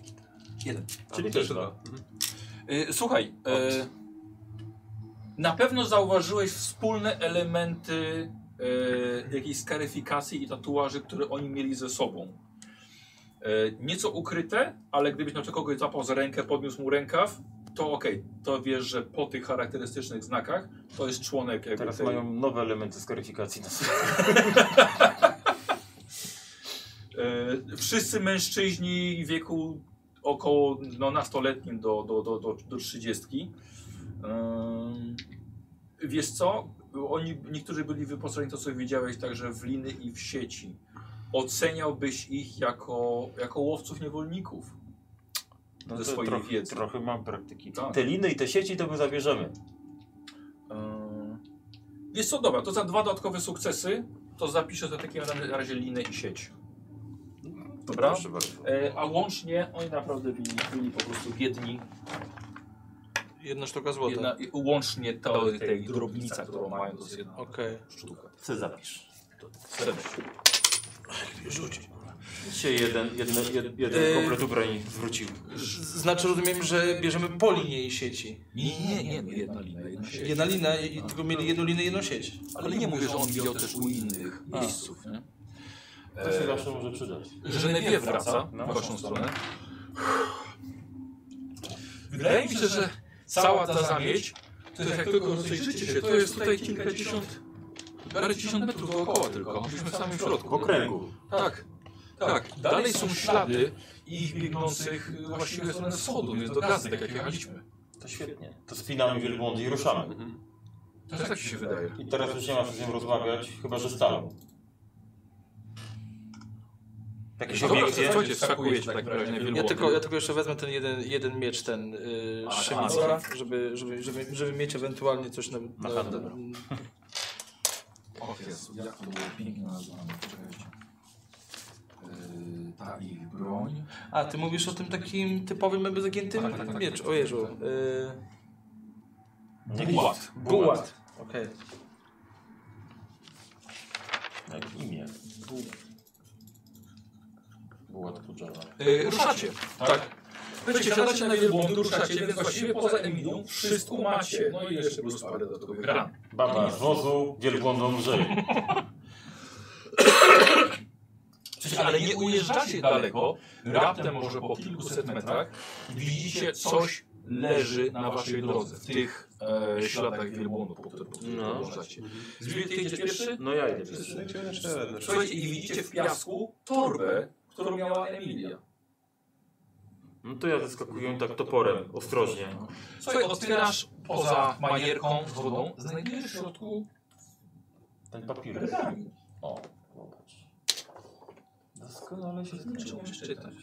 Speaker 1: jeden.
Speaker 7: Czyli
Speaker 4: A,
Speaker 7: też
Speaker 4: jeszcze
Speaker 7: dwa.
Speaker 4: Mhm.
Speaker 1: E, słuchaj, e, na pewno zauważyłeś wspólne elementy e, jakiejś skaryfikacji i tatuaży, które oni mieli ze sobą. E, nieco ukryte, ale gdybyś na przykład kogoś zapał za rękę, podniósł mu rękaw, to okej, to wiesz, że po tych charakterystycznych znakach to jest członek jakby
Speaker 7: Teraz
Speaker 1: tej-
Speaker 7: mają nowe elementy skaryfikacji na sobie.
Speaker 1: E, wszyscy mężczyźni w wieku około no, nastoletnim do, do, do, do, do 30. Ym, wiesz co? Oni, niektórzy byli wyposażeni to, co widziałeś, także w liny i w sieci. Oceniałbyś ich jako, jako łowców niewolników.
Speaker 7: No
Speaker 1: Ze
Speaker 7: to
Speaker 1: swojej
Speaker 7: trochę,
Speaker 1: wiedzy.
Speaker 7: trochę mam praktyki.
Speaker 1: Tak.
Speaker 7: Te liny i te sieci to my zabierzemy.
Speaker 1: Ym, E, wiesz co? Dobra, to za dwa dodatkowe sukcesy to zapiszę za takim na razie linę i sieć.
Speaker 7: No,
Speaker 1: Dobra?
Speaker 7: Proszę bardzo.
Speaker 1: E, a łącznie oni naprawdę byli, byli po prostu biedni.
Speaker 3: Jedna sztuka złota.
Speaker 1: Jedna, i- łącznie to,
Speaker 2: To
Speaker 1: tej,
Speaker 2: tej
Speaker 1: drobnica,
Speaker 2: drobnica,
Speaker 1: którą mają, to jest jedna
Speaker 3: Okej.
Speaker 1: sztuka.
Speaker 7: Co zapisz?
Speaker 1: Serdeczny.
Speaker 7: Dzisiaj jeden, jeden, jeden, jeden
Speaker 3: Yy.
Speaker 7: komplet ubrań wrócił.
Speaker 3: Z- Znaczy rozumiem, że bierzemy po linie i sieci.
Speaker 1: Nie, nie, nie, no jedna linia, jedna sieć.
Speaker 3: Jedna lina i i tylko mieli jedną linę i jedną sieć.
Speaker 1: Ale nie mówię, że on widział też u innych
Speaker 3: A.
Speaker 1: miejsców, nie?
Speaker 7: To się zawsze może przydać.
Speaker 1: Genevieve wraca
Speaker 7: No.
Speaker 1: w waszą stronę.
Speaker 2: Wydaje mi się, że cała ta zamieć, to jest jak tylko rozejrzycie się, to jest tutaj kilkadziesiąt, parędziesiąt metrów dookoła tylko. Byliśmy w samym środku.
Speaker 7: W okręgu.
Speaker 2: Tak.
Speaker 1: Tak, dalej, są ślady ich biegnących y, właściwie w stronę wschodu, więc do gazy, tak jak jechaliśmy.
Speaker 7: To świetnie.
Speaker 2: To spinamy wielbłądy i ruszamy.
Speaker 7: Mhm.
Speaker 1: Też tak ci się wydaje.
Speaker 2: I teraz już nie ma co z nim rozmawiać, chyba że z talą. Jakieś
Speaker 1: Dobra,
Speaker 2: obiekcje?
Speaker 1: to słuchajcie, wskakujecie w takim razie na
Speaker 3: Ja
Speaker 1: wielbłądy.
Speaker 3: tylko, ja tylko jeszcze wezmę ten jeden, jeden miecz, ten yy,
Speaker 1: A,
Speaker 3: Szymica, żeby, żeby, żeby, żeby mieć ewentualnie coś na... na,
Speaker 2: Aha,
Speaker 3: na
Speaker 2: dobra.
Speaker 18: O Jezu, jak to było pięknie nazwane, poczekajcie.
Speaker 1: E,
Speaker 18: Yy, ta ich broń.
Speaker 3: a, ty mówisz o tym takim typowym jakby zagiętym
Speaker 18: Tak, tak, tak,
Speaker 3: miecz,
Speaker 18: tak,
Speaker 3: o
Speaker 18: tak,
Speaker 3: Jezu.
Speaker 18: tak.
Speaker 3: Yy,
Speaker 2: Bułat.
Speaker 3: bułat, okej.
Speaker 2: Jak imię. Bułat Kudżela.
Speaker 1: Y, ruszacie. Tak. Wiecie, siadacie na wielbłądy, ruszacie, więc właściwie poza Emilią wszystko macie. No i jeszcze plus parę dodatkowych ran.
Speaker 2: Baba z wozu, wielbłądom lżej.
Speaker 1: Przecież, ale nie ujeżdżacie daleko, raptem może po kilkuset metrach widzicie coś leży na waszej drodze, w tych e, śladach wielbłądów, po których po których
Speaker 7: No.
Speaker 1: podążacie. Zbir, ty idziesz pierwszy?
Speaker 7: No ja idę przez
Speaker 1: Słuchajcie, i widzicie w piasku torbę, którą miała Emilia.
Speaker 7: No to ja zaskakuję tak toporem, ostrożnie.
Speaker 1: Słuchaj, otwierasz poza manierką z wodą, znajdujesz w środku
Speaker 2: Ten papier.
Speaker 1: pergamin.
Speaker 2: O.
Speaker 7: Doskonale się
Speaker 1: Czy umiesz czytać?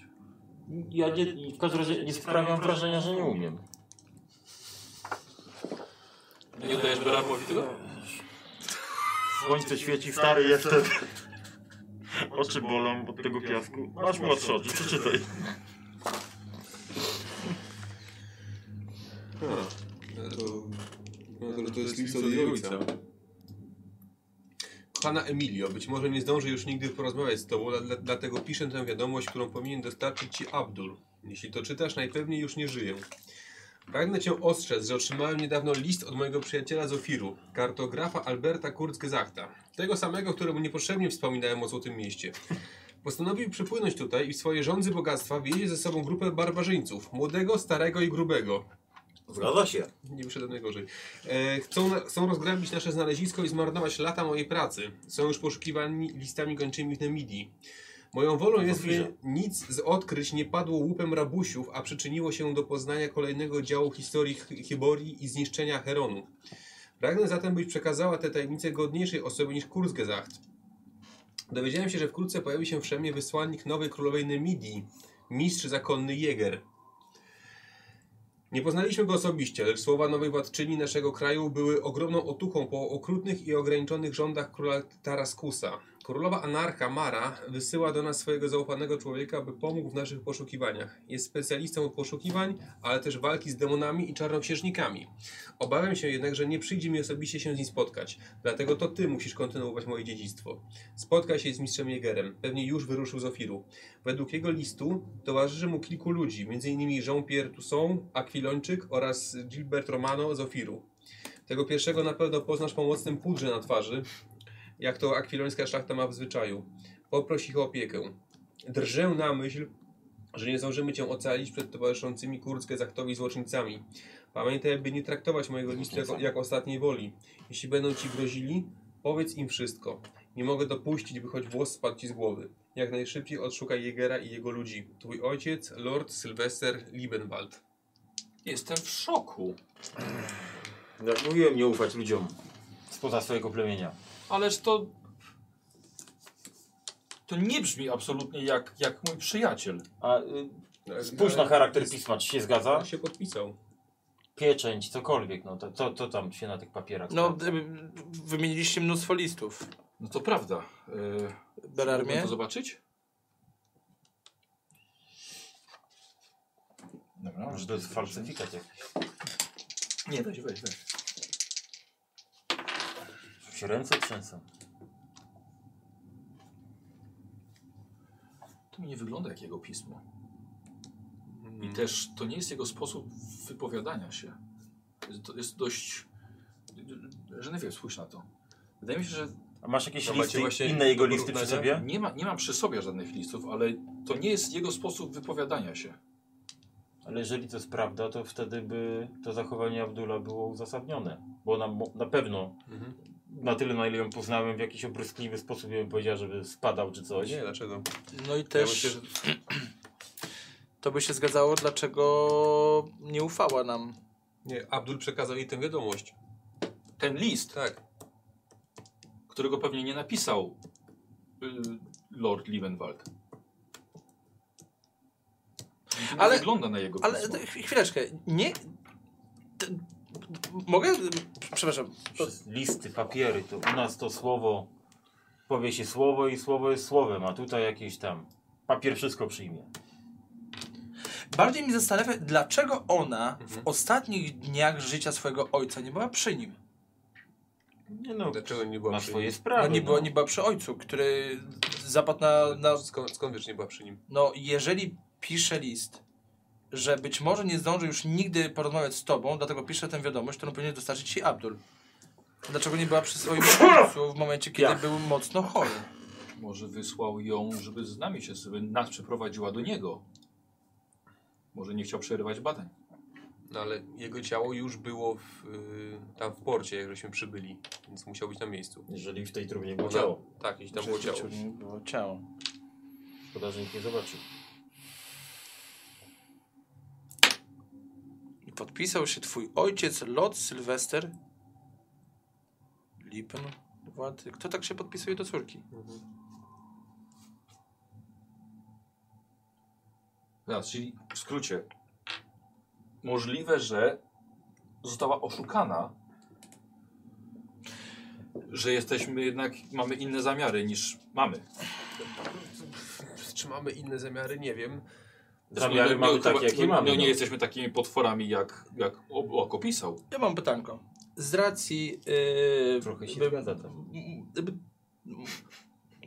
Speaker 7: Ja nie, w każdym razie nie sprawiam wrażenia, że nie umiem.
Speaker 1: Nie dajesz Beramowi tego?
Speaker 2: Słońce świeci, stary jestem. Oczy bolą od tego piasku. Masz młodsze oczy, przeczytaj.
Speaker 4: No to, no to, to jest list od jej ojca. Kochana Emilio, być może nie zdążę już nigdy porozmawiać z tobą, dla- dla- dlatego piszę tę wiadomość, którą powinien dostarczyć ci Abdul. Jeśli to czytasz, najpewniej już nie żyję. Pragnę cię ostrzec, że otrzymałem niedawno list od mojego przyjaciela z Ofiru, kartografa Alberta Kurzgesachta, tego samego, któremu niepotrzebnie wspominałem o Złotym Mieście. Postanowił przypłynąć tutaj i w swojej rządzy bogactwa wiezie ze sobą grupę barbarzyńców, młodego, starego i grubego,
Speaker 2: Zgadza się.
Speaker 4: nie wyszedł najgorzej. E, chcą, na, chcą rozgrabić nasze znalezisko i zmarnować lata mojej pracy. Są już poszukiwani listami gończymi w Nemidii. Moją wolą jest, by
Speaker 2: Dobrze.
Speaker 4: nic z odkryć nie padło łupem rabusiów, a przyczyniło się do poznania kolejnego działu historii Hy- Hyborii i zniszczenia Heronu. Pragnę zatem, byś przekazała te tajemnice godniejszej osobie niż Kurzgesagt. Dowiedziałem się, że wkrótce pojawi się w Szemie wysłannik nowej królowej Nemidii, mistrz zakonny Jäger. Nie poznaliśmy go osobiście, lecz słowa nowej władczyni naszego kraju były ogromną otuchą po okrutnych i ograniczonych rządach króla Taraskusa. Królowa anarcha Mara wysyła do nas swojego zaufanego człowieka, by pomógł w naszych poszukiwaniach. Jest specjalistą od poszukiwań, ale też walki z demonami i czarnoksiężnikami. Obawiam się jednak, że nie przyjdzie mi osobiście się z nim spotkać, dlatego to ty musisz kontynuować moje dziedzictwo. Spotkaj się z mistrzem Jägerem, pewnie już wyruszył z Ofiru. Według jego listu towarzyszy mu kilku ludzi, m.in. Jean-Pierre Toussaint, Akwilończyk oraz Gilbert Romano z Ofiru. Tego pierwszego na pewno poznasz po mocnym pudrze na twarzy, jak to akwilońska szlachta ma w zwyczaju. Poproś ich o opiekę. Drżę na myśl, że nie zdążymy cię ocalić przed towarzyszącymi kurdzkę zaktowi złoczyńcami. Pamiętaj, by nie traktować mojego listu jako, jak ostatniej woli. Jeśli będą ci grozili, powiedz im wszystko. Nie mogę dopuścić, by choć włos spadł ci z głowy. Jak najszybciej odszukaj Jegera i jego ludzi. Twój ojciec, Lord Sylwester Liebenwald.
Speaker 1: Jestem w szoku.
Speaker 2: Jak mówiłem, nie ufać ludziom spoza swojego plemienia.
Speaker 1: Ależ to. To nie brzmi absolutnie jak, jak mój przyjaciel.
Speaker 7: A y,
Speaker 2: Spójrz na charakter pisma, czy się zgadza?
Speaker 4: On się podpisał.
Speaker 7: pieczęć, cokolwiek, no to, to, to tam się na tych papierach.
Speaker 3: No,
Speaker 7: sprawdza.
Speaker 3: y, wymieniliście mnóstwo listów.
Speaker 1: No to prawda. Yy,
Speaker 3: Berarmie?
Speaker 1: to zobaczyć?
Speaker 2: Dobra, że to jest falsyfikat jakiś.
Speaker 1: Nie, weź, weź, weź.
Speaker 7: Się ręce trzęsą.
Speaker 1: To mi nie wygląda jak jego pismo.
Speaker 4: Mhm.
Speaker 3: Mhm.
Speaker 1: I też to nie jest jego sposób wypowiadania się. Jest- To jest dość. Że nie wiem, spójrz na to. Wydaje mi się, że
Speaker 2: A masz jakieś
Speaker 4: No, macie
Speaker 2: listy,
Speaker 4: właśnie
Speaker 2: inne jego listy przy
Speaker 4: porównania?
Speaker 2: sobie?
Speaker 1: nie, ma, nie mam przy sobie żadnych listów, ale to nie jest jego sposób wypowiadania się.
Speaker 7: Ale jeżeli to jest prawda,
Speaker 4: Mhm.
Speaker 7: to wtedy by to zachowanie Abdula było uzasadnione. Bo ona mo- na pewno na tyle, na ile ją poznałem, w jakiś opryskliwy sposób bym powiedział, żeby spadał czy coś.
Speaker 19: Nie, dlaczego?
Speaker 3: No i
Speaker 19: Ja
Speaker 3: też
Speaker 19: myślę, że
Speaker 3: to by się zgadzało, dlaczego nie ufała nam.
Speaker 4: Nie, Abdul przekazał jej tę wiadomość.
Speaker 1: Ten list,
Speaker 4: Tak.
Speaker 1: którego pewnie nie napisał y, Lord Liebenwald. Ale
Speaker 3: Ale-
Speaker 1: wygląda na jego
Speaker 3: Ale
Speaker 1: pismo.
Speaker 3: t- chwileczkę, nie... T- Mogę? Przepraszam.
Speaker 7: Przez listy, papiery, to u nas to słowo, powie się słowo i słowo jest słowem, a tutaj jakieś tam, papier wszystko przyjmie.
Speaker 3: Bardziej mi zastanawia, dlaczego ona
Speaker 19: Mhm.
Speaker 3: w ostatnich dniach życia swojego ojca nie była przy nim.
Speaker 7: Nie no,
Speaker 4: Dlaczego nie była
Speaker 7: ma
Speaker 4: przy nim?
Speaker 7: swoje
Speaker 3: No,
Speaker 7: sprawy.
Speaker 3: nie, była, nie była przy ojcu, który zapadł na... na
Speaker 4: Skąd, skąd wiesz, że nie była przy nim?
Speaker 3: no, jeżeli pisze list, że być może nie zdąży już nigdy porozmawiać z tobą, dlatego pisze tę wiadomość, którą powinien dostarczyć ci Abdul. Dlaczego nie była przy swoim ojcu w momencie, kiedy
Speaker 7: Ja.
Speaker 3: był mocno chory?
Speaker 1: Może wysłał ją, żeby z nami się, żeby nas przeprowadziła do niego. Może nie chciał przerywać badań.
Speaker 4: No ale jego ciało już było w, y, tam w porcie, jak żeśmy przybyli, więc musiał być na miejscu.
Speaker 7: Jeżeli w tej trumnie było
Speaker 4: Ona-
Speaker 7: ciało,
Speaker 4: Tak, jeśli tam było ciało.
Speaker 3: Było ciało.
Speaker 7: szkoda, że nikt nie zobaczył.
Speaker 3: I podpisał się twój ojciec, Lot, Sylwester, Lipen, Wad. Kto tak się podpisuje do córki?
Speaker 1: Teraz, No, czyli w skrócie. Możliwe, że została oszukana, że jesteśmy jednak, mamy inne zamiary niż mamy.
Speaker 4: Czy mamy inne zamiary? Nie wiem.
Speaker 7: Zamiary
Speaker 1: No,
Speaker 7: mamy
Speaker 1: chyba-
Speaker 7: takie, jakie
Speaker 1: no,
Speaker 7: mamy.
Speaker 1: No nie
Speaker 7: no.
Speaker 1: jesteśmy takimi potworami, jak, jak Ołak opisał.
Speaker 3: Ja mam pytanko. Z racji... Yy,
Speaker 7: Trochę się
Speaker 3: by-
Speaker 7: zgadza tam.
Speaker 3: y, by-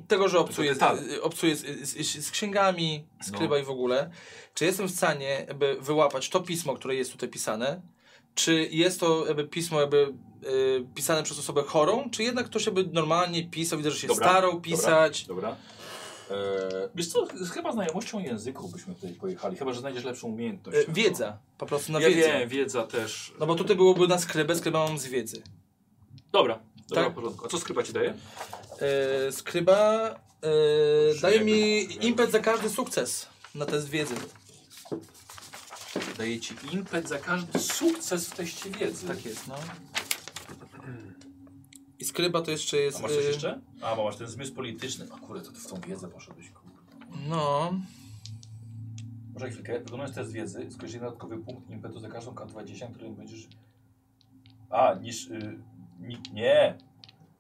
Speaker 3: tego, że obcuję,
Speaker 1: Tak.
Speaker 3: z, y, obcuję z, z, z księgami,
Speaker 1: No.
Speaker 3: skryba i w ogóle, czy jestem w stanie by wyłapać to pismo, które jest tutaj pisane, czy jest to jakby pismo jakby, y, pisane przez osobę chorą, czy jednak ktoś jakby normalnie pisał, widzę, że się
Speaker 1: Dobra,
Speaker 3: starał pisać.
Speaker 1: Dobra. Eee, wiesz co, z- chyba znajomością języku byśmy tutaj pojechali, chyba, że znajdziesz lepszą umiejętność.
Speaker 3: Y, wiedza, po prostu na
Speaker 1: ja
Speaker 3: wiedzę.
Speaker 1: wiem, wiedza też.
Speaker 3: No bo tutaj byłoby na skrybę, skryba mam z wiedzy.
Speaker 1: Dobra, dobra,
Speaker 3: Tak.
Speaker 1: w porządku. A co skryba ci daje?
Speaker 3: Y, skryba y, daje mi impet za każdy sukces na test wiedzy.
Speaker 1: Daje ci impet za każdy sukces w teście wiedzy.
Speaker 3: Tak jest, no. I skryba to jeszcze jest.
Speaker 1: A masz coś
Speaker 3: y,
Speaker 1: jeszcze? A, bo masz ten zmysł polityczny. A kurde, to ty w tą wiedzę poszedłeś. kurde.
Speaker 3: No.
Speaker 1: Może chwilkę. Wykonując test wiedzy, skorzystaj dodatkowy punkt impetu za każdą K20, którym będziesz... A, niż... Y, ni, nie!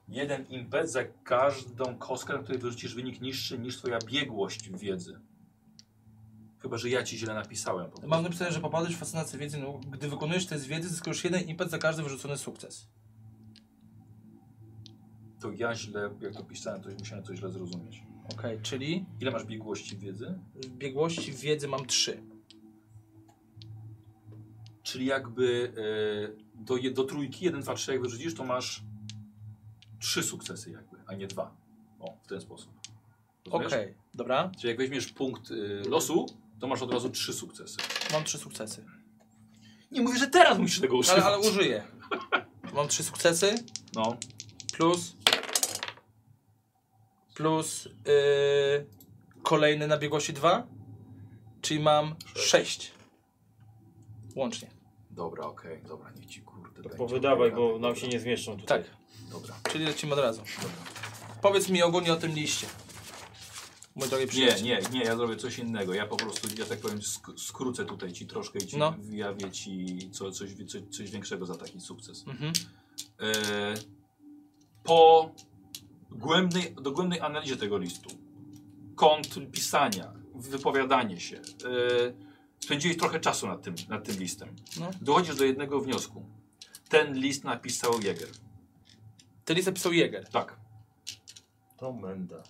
Speaker 1: Jeden impet za każdą kostkę, na której wyrzucisz wynik niższy niż twoja biegłość w wiedzy. Chyba, że ja ci źle napisałem. po prostu.
Speaker 3: Mam napisane, że popadłeś w fascynację wiedzy. No, gdy wykonujesz test wiedzy, zyskujesz jeden impet za każdy wyrzucony sukces.
Speaker 1: To ja źle, jak to pisałem, to musiałem coś źle zrozumieć.
Speaker 3: Okej, czyli
Speaker 1: Ile masz biegłości w wiedzy?
Speaker 3: w biegłości wiedzy mam trzy.
Speaker 1: Czyli jakby e, do, je- do trójki 1, 2, 3 jak wyrzucisz, to masz trzy sukcesy jakby, a nie dwa. O, w ten sposób.
Speaker 3: Okej,
Speaker 1: Rozumiesz?
Speaker 3: dobra.
Speaker 1: Czyli jak weźmiesz punkt y, losu, to masz od razu trzy sukcesy.
Speaker 3: Mam trzy sukcesy.
Speaker 1: Nie mówię, że teraz musisz tego użyć.
Speaker 3: Ale, ale użyję. Mam trzy sukcesy
Speaker 1: No,
Speaker 3: plus. Plus yy, kolejny na biegłości dwa. Czyli mam sześć. Łącznie.
Speaker 1: dobra, okej, dobra, niech ci kurde. będzie.
Speaker 7: Powydawaj, bo nam się nie zmieszczą tutaj.
Speaker 3: Tak.
Speaker 7: Tak.
Speaker 1: Dobra.
Speaker 3: Czyli lecimy od razu. Powiedz mi ogólnie o tym liście. Mój drogi
Speaker 1: Nie,
Speaker 3: przyjaciel.
Speaker 1: nie, nie, ja zrobię coś innego. Ja po prostu, ja tak powiem, sk skrócę tutaj ci troszkę i ci
Speaker 3: No.
Speaker 1: wyjawię ci co, coś, wi- co, coś większego za taki sukces.
Speaker 3: Mhm.
Speaker 1: E, po głębnej, dogłębnej analizie tego listu, kąt pisania, wypowiadanie się, e, spędziłeś trochę czasu nad tym, nad tym listem.
Speaker 3: No.
Speaker 1: Dochodzisz do jednego wniosku. Ten list napisał Jäger.
Speaker 3: Ten list napisał Jäger.
Speaker 1: Tak.
Speaker 7: To menda.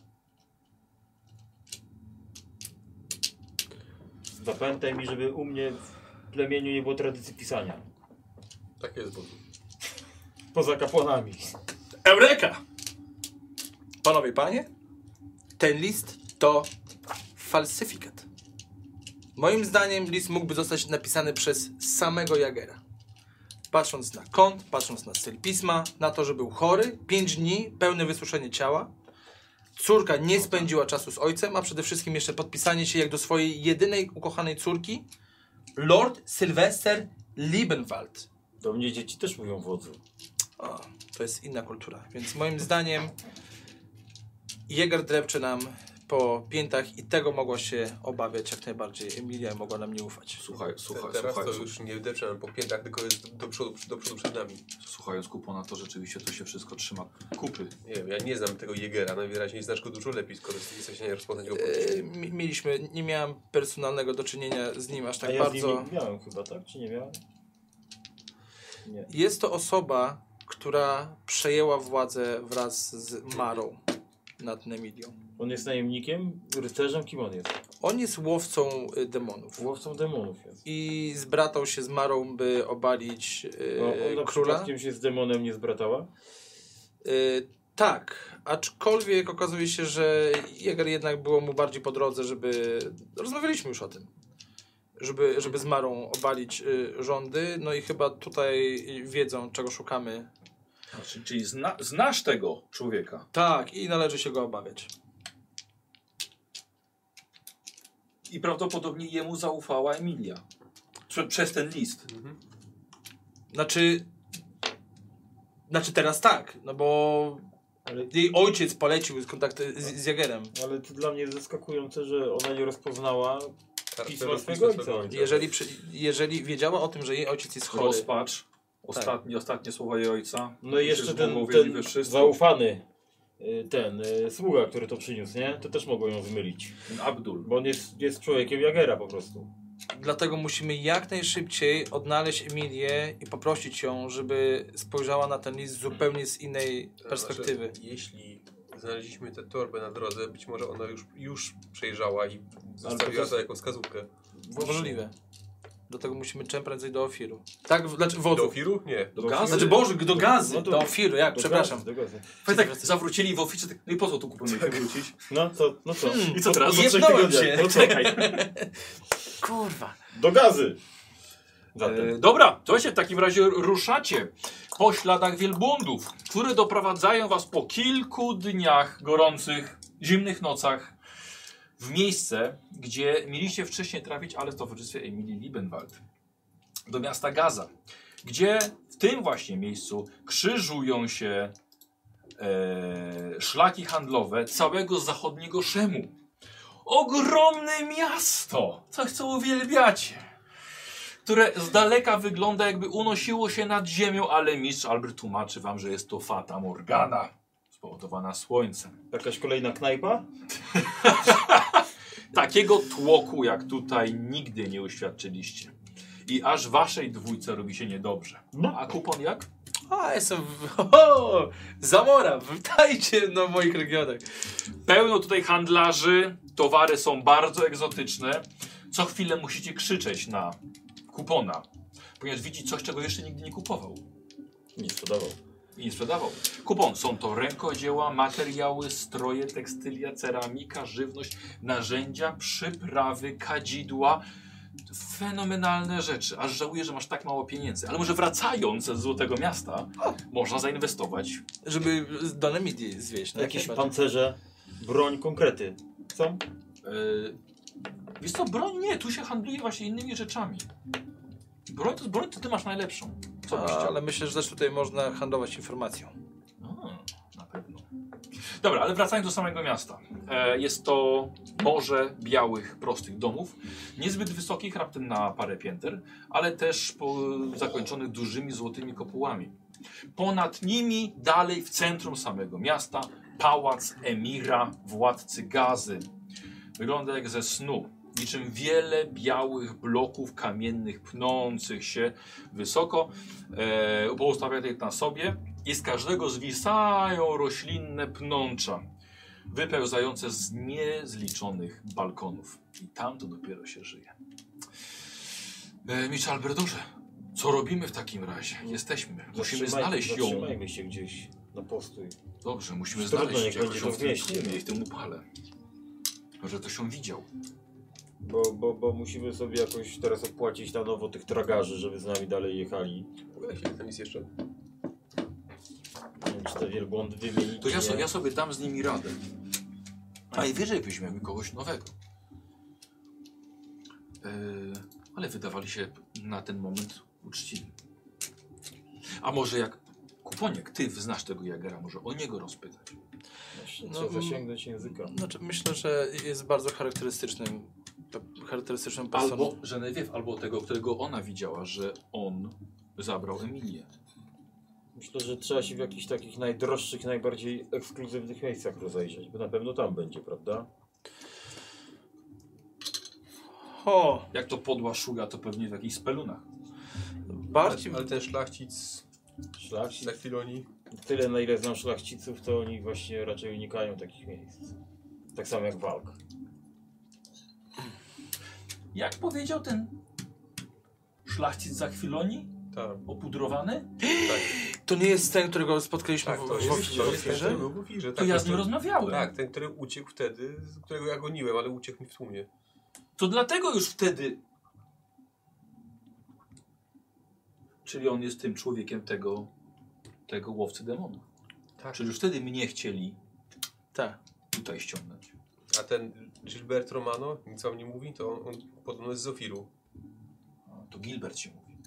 Speaker 7: Zapamiętaj mi, żeby u mnie w plemieniu nie było tradycji pisania.
Speaker 4: Tak jest, bo
Speaker 7: Poza kapłanami.
Speaker 1: Eureka!
Speaker 3: Panowie, panie, ten list to falsyfikat. Moim zdaniem list mógłby zostać napisany przez samego Jagera. patrząc na kąt, patrząc na styl pisma, na to, że był chory, 5 dni, pełne wysuszenie ciała. Córka nie spędziła czasu z ojcem, a przede wszystkim jeszcze podpisanie się jak do swojej jedynej ukochanej córki, Lord Sylwester Liebenwald.
Speaker 7: Do mnie dzieci też mówią wodzu.
Speaker 3: O, to jest inna kultura. Więc moim zdaniem Jäger drepcze nam po piętach i tego mogła się obawiać jak najbardziej. Emilia mogła nam nie ufać.
Speaker 1: Słuchaj, słuchaj,
Speaker 4: Teraz
Speaker 1: słuchaj,
Speaker 4: to już nie depczemy po piętach, tylko jest do przodu, do przodu przed nami.
Speaker 1: słuchając kupona, to rzeczywiście to się wszystko trzyma kupy.
Speaker 4: Nie wiem, ja nie znam tego Jegera, najwyraźniej znasz go dużo lepiej, skoro jesteś w stanie rozpoznać go po
Speaker 3: E, mi- mieliśmy, nie miałem personalnego do czynienia z nim aż tak
Speaker 7: A ja z
Speaker 3: bardzo.
Speaker 7: nimi miałem chyba, tak? Czy nie miałem? Nie.
Speaker 3: Jest to osoba, która przejęła władzę wraz z Marą nad Nemilią.
Speaker 7: On jest najemnikiem, rycerzem, kim on jest?
Speaker 3: On jest łowcą y, demonów.
Speaker 7: Łowcą demonów jest.
Speaker 3: I zbratał się z Marą, by obalić y,
Speaker 7: No, ona
Speaker 3: króla.
Speaker 7: przypadkiem się z demonem nie zbratała?
Speaker 3: Y, tak, aczkolwiek okazuje się, że Jäger jednak było mu bardziej po drodze, żeby. Rozmawialiśmy już o tym. Żeby, żeby z Marą obalić y, rządy. No i chyba tutaj wiedzą, czego szukamy.
Speaker 1: Znaczy, czyli zna, znasz tego człowieka.
Speaker 3: Tak, i należy się go obawiać.
Speaker 1: I prawdopodobnie jemu zaufała Emilia. Prze, przez ten list.
Speaker 3: Znaczy. Znaczy teraz tak, no bo
Speaker 7: Ale,
Speaker 3: jej ojciec polecił kontakt z, z Jagerem.
Speaker 7: ale to dla mnie jest zaskakujące, że ona nie rozpoznała pisma swego
Speaker 4: swego
Speaker 7: ojca.
Speaker 3: Jeżeli, przy, jeżeli wiedziała o tym, że jej ojciec jest chory.
Speaker 1: Rozpacz. Ostatnie, ostatnie słowa jej ojca.
Speaker 7: No i jeszcze ten, ten
Speaker 1: Zauf...
Speaker 7: zaufany y, ten y, sługa, który to przyniósł, nie? To też mogło ją zmylić.
Speaker 1: Ten Abdul.
Speaker 7: Bo on jest, jest człowiekiem Jagera po prostu.
Speaker 3: Dlatego musimy jak najszybciej odnaleźć Emilię i poprosić ją, żeby spojrzała na ten list zupełnie z innej perspektywy.
Speaker 4: Znaczy, jeśli znaleźliśmy tę torbę na drodze, być może ona już, już przejrzała i zostawiła to jako wskazówkę.
Speaker 3: Możliwe. Dlatego musimy czym prędzej do Ofiru. Tak, w- znaczy
Speaker 4: Do
Speaker 3: wodu.
Speaker 4: Ofiru? Nie.
Speaker 1: Do gazy.
Speaker 3: Znaczy, Boże, do gazy,
Speaker 7: no to-
Speaker 3: do Ofiru, jak,
Speaker 7: Do
Speaker 3: Tak, przepraszam.
Speaker 7: gazy, do gazy.
Speaker 1: Powiedz tak, zawrócili w oficie, tak, no i po co tu kupujemy tak. wrócić?
Speaker 7: No co, no co?
Speaker 3: Hmm,
Speaker 7: I co teraz?
Speaker 3: jebnąłem
Speaker 7: trzech tygodniach?
Speaker 3: się.
Speaker 7: No czekaj.
Speaker 3: Kurwa.
Speaker 7: Do gazy! Zatem.
Speaker 3: Yy.
Speaker 1: E, dobra, słuchajcie, w takim razie ruszacie po śladach wielbłądów, które doprowadzają was po kilku dniach gorących, zimnych nocach w miejsce, gdzie mieliście wcześniej trafić, ale w towarzystwie Emilii Liebenwald, do miasta Gaza, gdzie w tym właśnie miejscu krzyżują się e, szlaki handlowe całego zachodniego Szemu. Ogromne miasto! Coś, co uwielbiacie które z daleka wygląda jakby unosiło się nad ziemią, ale mistrz Albert tłumaczy wam, że jest to Fata Morgana spowodowana słońcem.
Speaker 7: Jakaś kolejna knajpa?
Speaker 1: Takiego tłoku jak tutaj nigdy nie uświadczyliście. I aż waszej dwójce robi się niedobrę. A kupon jak?
Speaker 3: A, jestem w... O, Zamora, witajcie na moich regionach.
Speaker 1: Pełno tutaj handlarzy, towary są bardzo egzotyczne. Co chwilę musicie krzyczeć na kupona, ponieważ widzi coś, czego jeszcze nigdy nie kupował.
Speaker 7: Nie sprzedawał.
Speaker 1: i nie sprzedawał. Kupon są to rękodzieła, materiały, stroje, tekstylia, ceramika, żywność, narzędzia, przyprawy, kadzidła. Fenomenalne rzeczy. Aż żałuję, że masz tak mało pieniędzy. Ale może wracając z Złotego Miasta, można zainwestować. E,
Speaker 3: Żeby z- do Nemidii zwieść. No,
Speaker 7: Jakieś
Speaker 3: jak najbardziej.
Speaker 7: pancerze, broń, konkrety. Co?
Speaker 1: Yy, wiesz co, broń nie, tu się handluje właśnie innymi rzeczami. Broń to, broń to ty masz najlepszą. Co byś
Speaker 3: A,
Speaker 1: chciał?
Speaker 3: ale myślę, że też tutaj można handlować informacją.
Speaker 1: A, Hmm, na pewno. Dobra, ale wracając do samego miasta. E, jest to morze białych, prostych domów. Niezbyt wysokich, raptem na parę pięter, ale też po, zakończonych dużymi złotymi kopułami. Ponad nimi, dalej w centrum samego miasta, pałac emira, władcy gazy. Wygląda jak ze snu. Niczym wiele białych bloków kamiennych pnących się wysoko. E, poustawia je na sobie i z każdego zwisają roślinne pnącza, wypełzające z niezliczonych balkonów. I tam to dopiero się żyje. E, Mistrz Albertorze, co robimy w takim razie? Jesteśmy. Musimy
Speaker 7: Zatrzymaj-
Speaker 1: znaleźć ją.
Speaker 7: Zatrzymajmy się gdzieś na postój.
Speaker 1: Dobrze, musimy
Speaker 7: Trudno,
Speaker 1: znaleźć
Speaker 7: niech
Speaker 1: jakoś
Speaker 7: będzie
Speaker 1: ją
Speaker 7: to
Speaker 1: w tym
Speaker 7: wieść, nie?
Speaker 1: tłumie i w tym upale. Może ktoś ją widział.
Speaker 7: Bo, bo, bo musimy sobie jakoś teraz opłacić na nowo tych tragarzy, żeby z nami dalej jechali.
Speaker 4: Uda się, tam jest jeszcze.
Speaker 7: Nie wiem, czy te wielbłądy wymienili.
Speaker 1: To
Speaker 7: czy
Speaker 1: ja,
Speaker 7: nie.
Speaker 1: so, ja sobie dam z nimi radę. A i wyżej byśmy mieli kogoś nowego. Yy, ale wydawali się na ten moment uczciwi. A może jak kuponiek, ty znasz tego Jagera, może o niego rozpytać. Tak
Speaker 7: Właśnie,
Speaker 3: No,
Speaker 7: Trzeba
Speaker 3: mm.
Speaker 7: zasięgnąć języka.
Speaker 3: Znaczy, myślę, że jest bardzo charakterystycznym, charakterystyczną personą.
Speaker 1: Albo Genevieve, albo tego, którego ona widziała, że on zabrał Emilię.
Speaker 7: Myślę, że trzeba się w jakichś takich najdroższych, najbardziej ekskluzywnych miejscach rozejrzeć, bo na pewno tam będzie, prawda?
Speaker 3: O,
Speaker 1: Jak to podła szuga, to pewnie w jakichś spelunach.
Speaker 3: bardziej...
Speaker 5: Ale ten szlachcic
Speaker 7: Szlachcic.
Speaker 1: Tak.
Speaker 5: na chwiloni.
Speaker 7: Tyle na ile znam szlachciców, to oni właśnie raczej unikają takich miejsc. Tak samo jak walk.
Speaker 20: Jak powiedział ten szlachcic za chwiloni?
Speaker 5: Tak.
Speaker 20: Opudrowany?
Speaker 1: Tak.
Speaker 3: To nie jest ten, którego spotkaliśmy
Speaker 5: Tak,
Speaker 3: w,
Speaker 5: to jest,
Speaker 3: w,
Speaker 5: to
Speaker 3: w,
Speaker 5: jest ten, który był w ofirze.
Speaker 20: To
Speaker 5: Tak,
Speaker 20: ja
Speaker 5: ten,
Speaker 20: z nim
Speaker 5: który-
Speaker 20: rozmawiałem.
Speaker 5: Tak, ten, który uciekł wtedy, z którego ja goniłem, ale uciekł mi w tłumie.
Speaker 20: To dlatego już wtedy.
Speaker 1: Czyli on jest tym człowiekiem tego, tego łowcy demonów.
Speaker 5: Tak.
Speaker 1: Czyli już wtedy mnie chcieli
Speaker 3: Tak.
Speaker 1: tutaj ściągnąć.
Speaker 5: A ten Gilbert Romano, nic wam nie mówi, to on, on podobno jest z Zofiru.
Speaker 1: A, To Gilbert ci mówi.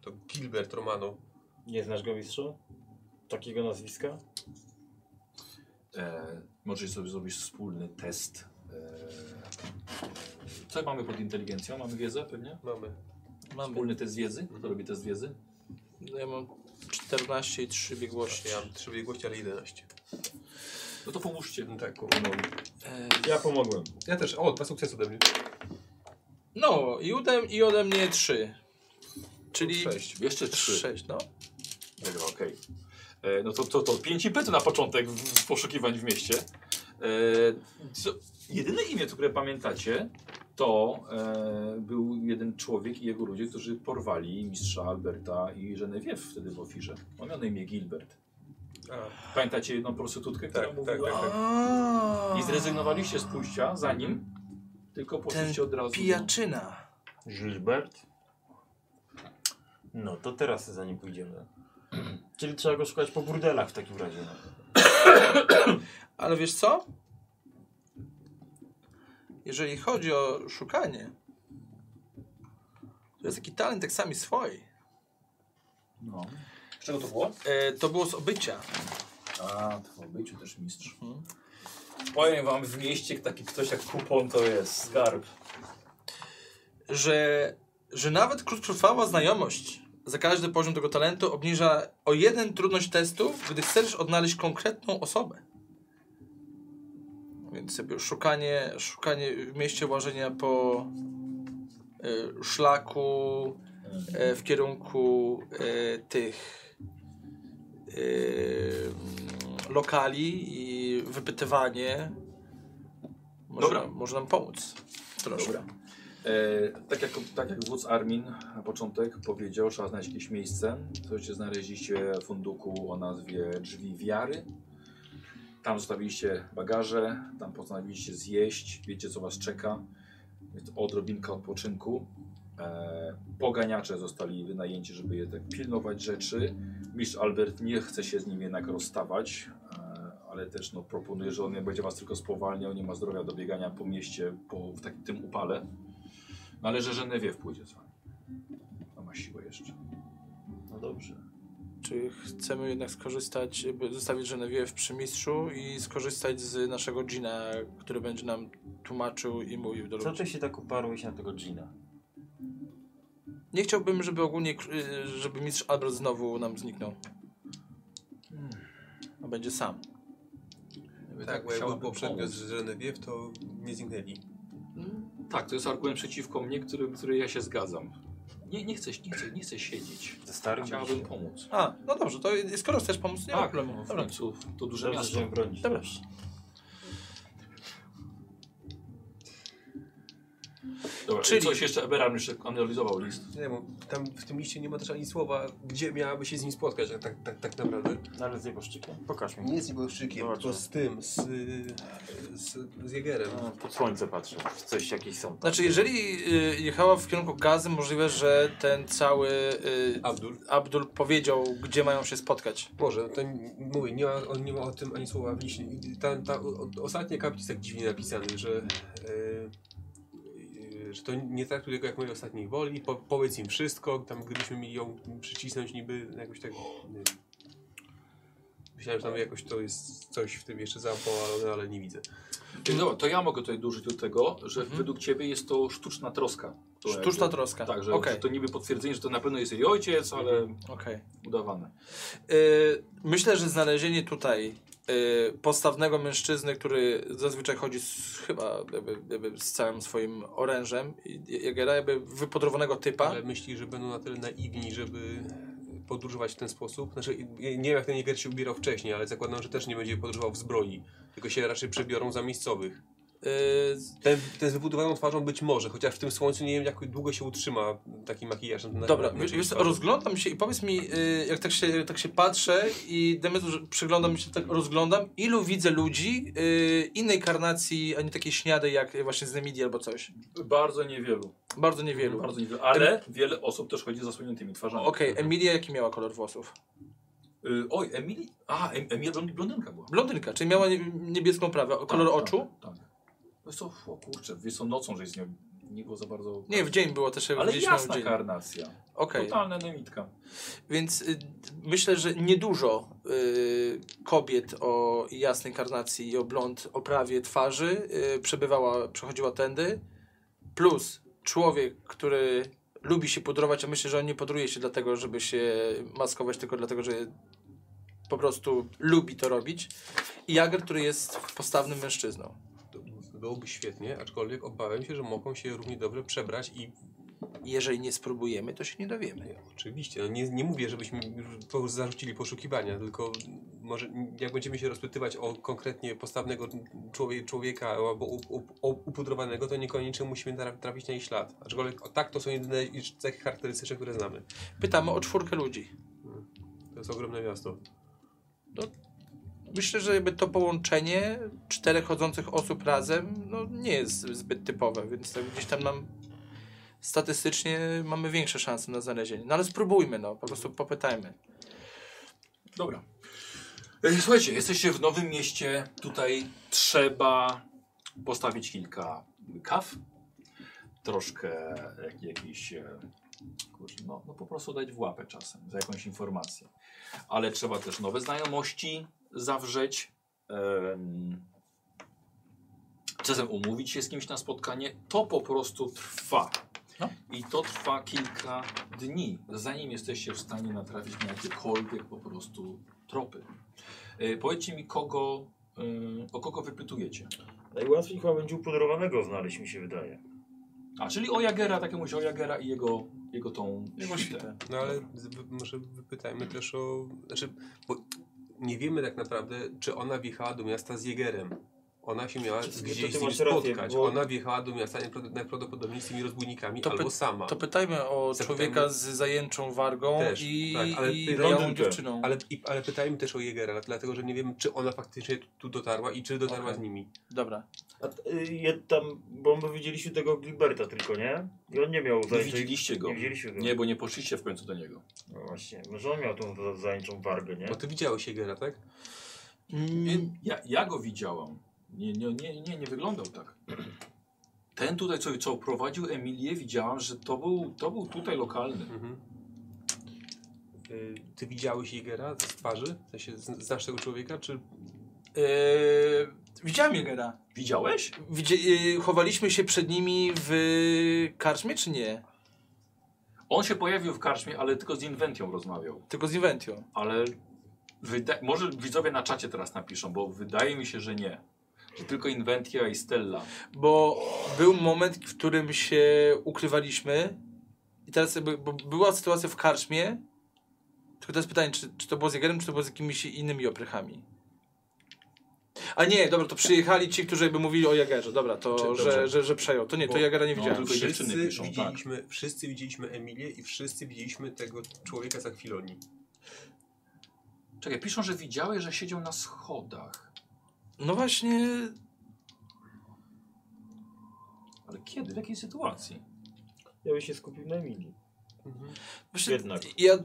Speaker 5: To Gilbert Romano.
Speaker 7: Nie znasz go mistrzu? Takiego nazwiska?
Speaker 1: E, możesz sobie zrobić wspólny test. E, co mamy pod inteligencją? Mamy wiedzę pewnie?
Speaker 5: Mamy.
Speaker 3: Mamy.
Speaker 1: Wspólny test wiedzy? Kto robi test wiedzy?
Speaker 3: No Ja mam 14 i 3 biegłości.
Speaker 5: Ja mam trzy biegłości, ale 11.
Speaker 1: No to pomóżcie.
Speaker 5: No tak,
Speaker 3: E,
Speaker 7: Ja pomogłem.
Speaker 5: Ja też. O, dwa sukcesy ode mnie.
Speaker 3: No, i ode, i ode mnie 3. Czyli
Speaker 5: Sześć.
Speaker 1: Jeszcze trzy. Tak.
Speaker 3: 6, no.
Speaker 1: Dobra, okej. E, No to, to, to pięć impetu na początek w, w poszukiwań w mieście. E, co, jedyne imię, które pamiętacie, to e, był jeden człowiek i jego ludzie, którzy porwali mistrza Alberta i Genevieve wtedy w ofirze. On miał na imię Gilbert.
Speaker 5: A,
Speaker 1: Pamiętacie jedną prostytutkę, która
Speaker 5: tak, tak,
Speaker 1: mówiła...
Speaker 5: tak, tak.
Speaker 3: A,
Speaker 1: I zrezygnowaliście z pójścia za nim, tylko poszliście od razu...
Speaker 3: Pijaczyna.
Speaker 2: Gilbert?
Speaker 7: No to teraz zanim pójdziemy. Czyli trzeba go szukać po burdelach w takim razie. no.
Speaker 3: Ale wiesz co? Jeżeli chodzi o szukanie, to jest taki talent tak sami swoi.
Speaker 1: No. Z czego to było?
Speaker 3: E, to było z obycia.
Speaker 1: A, to w obyciu też mistrz. Mhm. Powiem wam, w mieście taki ktoś jak kupon to jest skarb.
Speaker 3: że, że nawet krótkotrwała znajomość za każdy poziom tego talentu obniża o jeden trudność testu, gdy chcesz odnaleźć konkretną osobę. Więc sobie szukanie, szukanie w mieście łażenia po y, szlaku y, w kierunku y, tych y, lokali i wypytywanie może,
Speaker 1: Dobra.
Speaker 3: może nam pomóc. Troszkę.
Speaker 1: Dobra. E, tak, jak, tak jak wódz Armin na początek powiedział, trzeba znaleźć jakieś miejsce. Słuchajcie, znaleźliście funduku o nazwie Drzwi Wiary. Tam zostawiliście bagaże, tam postanowiliście zjeść, wiecie co was czeka. Jest odrobinka odpoczynku. E, poganiacze zostali wynajęci, żeby je tak pilnować rzeczy. Mistrz Albert nie chce się z nim jednak rozstawać, e, ale też no, proponuje, że on nie będzie was tylko spowalniał, nie ma zdrowia do biegania po mieście po, w takim tym upale. No ale że Genevieve pójdzie z wami. No ma siłę jeszcze. No dobrze.
Speaker 3: Czy chcemy jednak skorzystać, by zostawić Genevieve przy mistrzu i skorzystać z naszego Gina, który będzie nam tłumaczył i mówił do
Speaker 7: Co
Speaker 3: ludzi?
Speaker 7: ty się tak uparłeś na tego dżina?
Speaker 3: Nie chciałbym, żeby ogólnie, kr- y, żeby mistrz Albert znowu nam zniknął. A będzie sam.
Speaker 5: Tak, bo jak był poprzednio z Genevieve, to nie zniknęli.
Speaker 1: Tak, to jest argument przeciwko mnie, który, który ja się zgadzam. Nie, nie, chcę, nie, chcę, nie chcę siedzieć.
Speaker 7: Ze starym
Speaker 1: Chciałabym pomóc.
Speaker 3: A, no dobrze, to i- skoro chcesz pomóc, nie ma
Speaker 1: Tak,
Speaker 3: problemu.
Speaker 1: w
Speaker 3: Dobra.
Speaker 1: końcu to duże
Speaker 7: Dobrze,
Speaker 1: miasto.
Speaker 7: że bronić.
Speaker 3: Dobra.
Speaker 1: Dobra,
Speaker 3: Czyli-
Speaker 1: Czyli coś jeszcze Eberam jeszcze analizował list.
Speaker 4: Nie, bo tam w tym liście nie ma też ani słowa, gdzie miałaby się z nim spotkać, tak, tak, tak, tak naprawdę.
Speaker 7: No, Ale z jego szczykiem. Pokaż mi.
Speaker 21: Nie z Nieboszczykiem,
Speaker 7: Zobaczmy.
Speaker 21: tylko z tym, z, z, z Jagerem.
Speaker 7: No, Pod słońce patrzę, czy coś jakieś są.
Speaker 3: Znaczy, jeżeli y, jechała w kierunku gazy, możliwe, że ten cały y,
Speaker 4: Abdul.
Speaker 3: Abdul powiedział, gdzie mają się spotkać.
Speaker 4: Może, no to m- mówię, nie ma, on nie ma o tym ani słowa w liście. I Ta, ta, o, ostatnia kapit jest tak dziwnie napisany, że, e, e, że to nie traktuj tego jak mojej ostatniej woli, po, powiedz im wszystko, tam gdybyśmy mieli ją przycisnąć niby jakoś tak, nie wiem. Myślałem, że tam jakoś to jest coś w tym jeszcze zaopalone, ale nie widzę.
Speaker 1: Czyli dobra, to ja mogę tutaj dłużyć do tego, że według ciebie jest to sztuczna troska. To
Speaker 3: Mhm. Sztuczna
Speaker 1: jakby-
Speaker 3: troska.
Speaker 1: Tak, że,
Speaker 3: Okej, Mhm.
Speaker 1: że to niby potwierdzenie, że to na pewno jest jej ojciec, ale
Speaker 3: okej.
Speaker 1: udawane.
Speaker 3: Y, myślę, że znalezienie tutaj y, postawnego mężczyzny, który zazwyczaj chodzi z, chyba jakby, jakby z całym swoim orężem, i- Jagera, jakby wypodrowanego typa.
Speaker 4: Ale myśli, że będą na tyle naiwni, żeby podróżować w ten sposób? Znaczy, nie wiem jak ten Jäger się ubierał wcześniej, ale zakładam, że też nie będzie podróżował w zbroi, tylko się raczej przebiorą za miejscowych.
Speaker 3: Y,
Speaker 4: Ten, ten z wybudowaną twarzą być może, chociaż w tym słońcu nie wiem jak długo się utrzyma taki makijaż. na- na-
Speaker 3: Dobra,
Speaker 4: na-
Speaker 3: wiesz,
Speaker 4: na-
Speaker 3: wiesz, co, rozglądam się i powiedz mi, y, jak tak się, tak się patrzę i Demetrus, przyglądam się, tak rozglądam, ilu widzę ludzi y, innej karnacji, a nie takiej śniadej jak właśnie z Nemidii albo coś.
Speaker 1: Bardzo niewielu.
Speaker 3: Bardzo niewielu.
Speaker 1: Bardzo niewielu. Ale wiele osób też chodzi z zasłoniętymi twarzami.
Speaker 3: Okej, Emilia jaki miała kolor włosów?
Speaker 1: Y, oj, Emily? A, em, Emilia blond- blondynka była.
Speaker 3: Blondynka, czyli miała nie- niebieską prawę. O, Kolor
Speaker 1: Tak,
Speaker 3: oczu?
Speaker 1: Tak. tak. Wiesz co, o kurczę, wiesz co, nocą, że jest nie, nie było za bardzo...
Speaker 3: Nie, w dzień było też.
Speaker 1: Ale
Speaker 3: widzieliśmy ją w
Speaker 1: jasna No
Speaker 3: dzień.
Speaker 1: karnacja.
Speaker 3: Okej,
Speaker 1: Totalna nemitka.
Speaker 3: więc y, myślę, że niedużo y, kobiet o jasnej karnacji i o blond oprawie twarzy y, przebywała, przechodziła tędy. Plus człowiek, który lubi się pudrować, a myślę, że on nie pudruje się dlatego, żeby się maskować, tylko dlatego, że po prostu lubi to robić. I Jager, który jest postawnym mężczyzną.
Speaker 4: Byłoby świetnie, aczkolwiek obawiam się, że mogą się równie dobrze przebrać i
Speaker 3: Jeżeli nie spróbujemy, to się nie dowiemy.
Speaker 4: Nie, Oczywiście, no nie, nie mówię, żebyśmy już po- zarzucili poszukiwania, tylko może jak będziemy się rozpytywać o konkretnie postawnego człowie, człowieka albo up, up, up, upudrowanego, to niekoniecznie musimy tra- trafić na ich ślad. Aczkolwiek o, tak to są jedyne iż- cechy charakterystyczne, które znamy.
Speaker 3: Pytamy o czwórkę ludzi.
Speaker 4: To jest ogromne miasto.
Speaker 3: Myślę, że jakby to połączenie czterech chodzących osób razem no, nie jest zbyt typowe, więc tak gdzieś tam nam statystycznie mamy większe szanse na znalezienie. No ale spróbujmy, no, po prostu popytajmy.
Speaker 1: Dobra. E, Słuchajcie, jesteście w nowym mieście. Tutaj trzeba postawić kilka kaw, troszkę jak- jakiś. e, Kurczę, no, no po prostu dać w łapę czasem za jakąś informację. Ale trzeba też nowe znajomości zawrzeć. em, Czasem umówić się z kimś na spotkanie. To po prostu trwa. I to trwa kilka dni, zanim jesteście w stanie natrafić na jakiekolwiek po prostu tropy. E, powiedzcie mi, kogo, e, o kogo wypytujecie.
Speaker 7: Najłatwiej chyba będzie upudrowanego znaleźć, mi się wydaje.
Speaker 1: A, czyli o Jagera, takiemuś o Jagera i jego, jego tą
Speaker 3: Jego
Speaker 1: świtę.
Speaker 4: No ale z, wy- może wypytajmy też o... Znaczy, bo nie wiemy tak naprawdę, czy ona wjechała do miasta z Jegerem. Ona się miała
Speaker 7: to
Speaker 4: gdzieś
Speaker 7: ty
Speaker 4: z nim
Speaker 7: masz rację,
Speaker 4: spotkać.
Speaker 7: bo-
Speaker 4: Ona wjechała do miasta najprawd- najprawdopodobniej z tymi rozbójnikami
Speaker 3: To
Speaker 4: albo
Speaker 3: py-
Speaker 4: sama.
Speaker 3: To pytajmy o
Speaker 4: Zapytajmy-
Speaker 3: człowieka z zajęczą wargą
Speaker 4: Też,
Speaker 3: i,
Speaker 4: tak, ale
Speaker 3: i
Speaker 4: ty-
Speaker 3: białą
Speaker 7: Londynkę.
Speaker 3: dziewczyną.
Speaker 4: Ale, i, ale pytajmy też o Jegera, dlatego że nie wiem, czy ona faktycznie tu dotarła i czy dotarła
Speaker 3: Okej.
Speaker 4: z nimi.
Speaker 3: Dobra.
Speaker 7: A t- y, je tam, bo my widzieliśmy tego Gilberta tylko, nie? I on nie miał
Speaker 1: Nie
Speaker 7: zajęcia.
Speaker 1: widzieliście go.
Speaker 7: Nie widzieliśmy go.
Speaker 1: Nie, bo nie poszliście w końcu do niego.
Speaker 7: No właśnie, może on miał tą za- zajęczą wargę, nie?
Speaker 4: Bo ty widziałeś Jegera, tak?
Speaker 1: Nie,
Speaker 3: Mm,
Speaker 1: E, ja, ja go widziałam. Nie, nie, nie, nie, nie wyglądał tak. Ten tutaj, co, co prowadził Emilię, widziałam, że to był, to był tutaj lokalny.
Speaker 4: Mhm. Y, Ty widziałeś Jegera z twarzy? W sensie zn- znasz tego człowieka? Czy
Speaker 3: yy, widziałem Jagera.
Speaker 1: Widziałeś?
Speaker 3: Widzia yy, chowaliśmy się przed nimi w karczmie, czy nie?
Speaker 1: On się pojawił w karczmie, ale tylko z Inventią rozmawiał.
Speaker 3: Tylko z Inventią.
Speaker 1: ale wyda- może widzowie na czacie teraz napiszą, bo wydaje mi się, że nie. Że tylko Inventia i Stella.
Speaker 3: bo był moment, w którym się ukrywaliśmy i teraz jakby, bo była sytuacja w karczmie, tylko teraz pytanie, czy, czy to było z Jagerem, czy to było z jakimiś innymi oprychami. A nie, dobra, to przyjechali ci, którzy by mówili o Jagerze. Dobra, to
Speaker 1: Dobrze.
Speaker 3: że, że, że przejął. To nie, to
Speaker 5: Bo-
Speaker 3: Jagera
Speaker 1: no,
Speaker 3: nie widziałem.
Speaker 1: tylko dziewczyny
Speaker 5: Wszyscy
Speaker 1: piszą, tak.
Speaker 5: widzieliśmy, wszyscy widzieliśmy Emilię i wszyscy widzieliśmy tego człowieka z Akwilonii.
Speaker 20: Czekaj, piszą, że widziałeś, że siedział na schodach.
Speaker 3: No właśnie,
Speaker 1: Ale kiedy? W jakiej sytuacji?
Speaker 7: Ja bym się skupił na Emilii.
Speaker 3: Mhm. właśnie
Speaker 7: Jednak.
Speaker 3: ja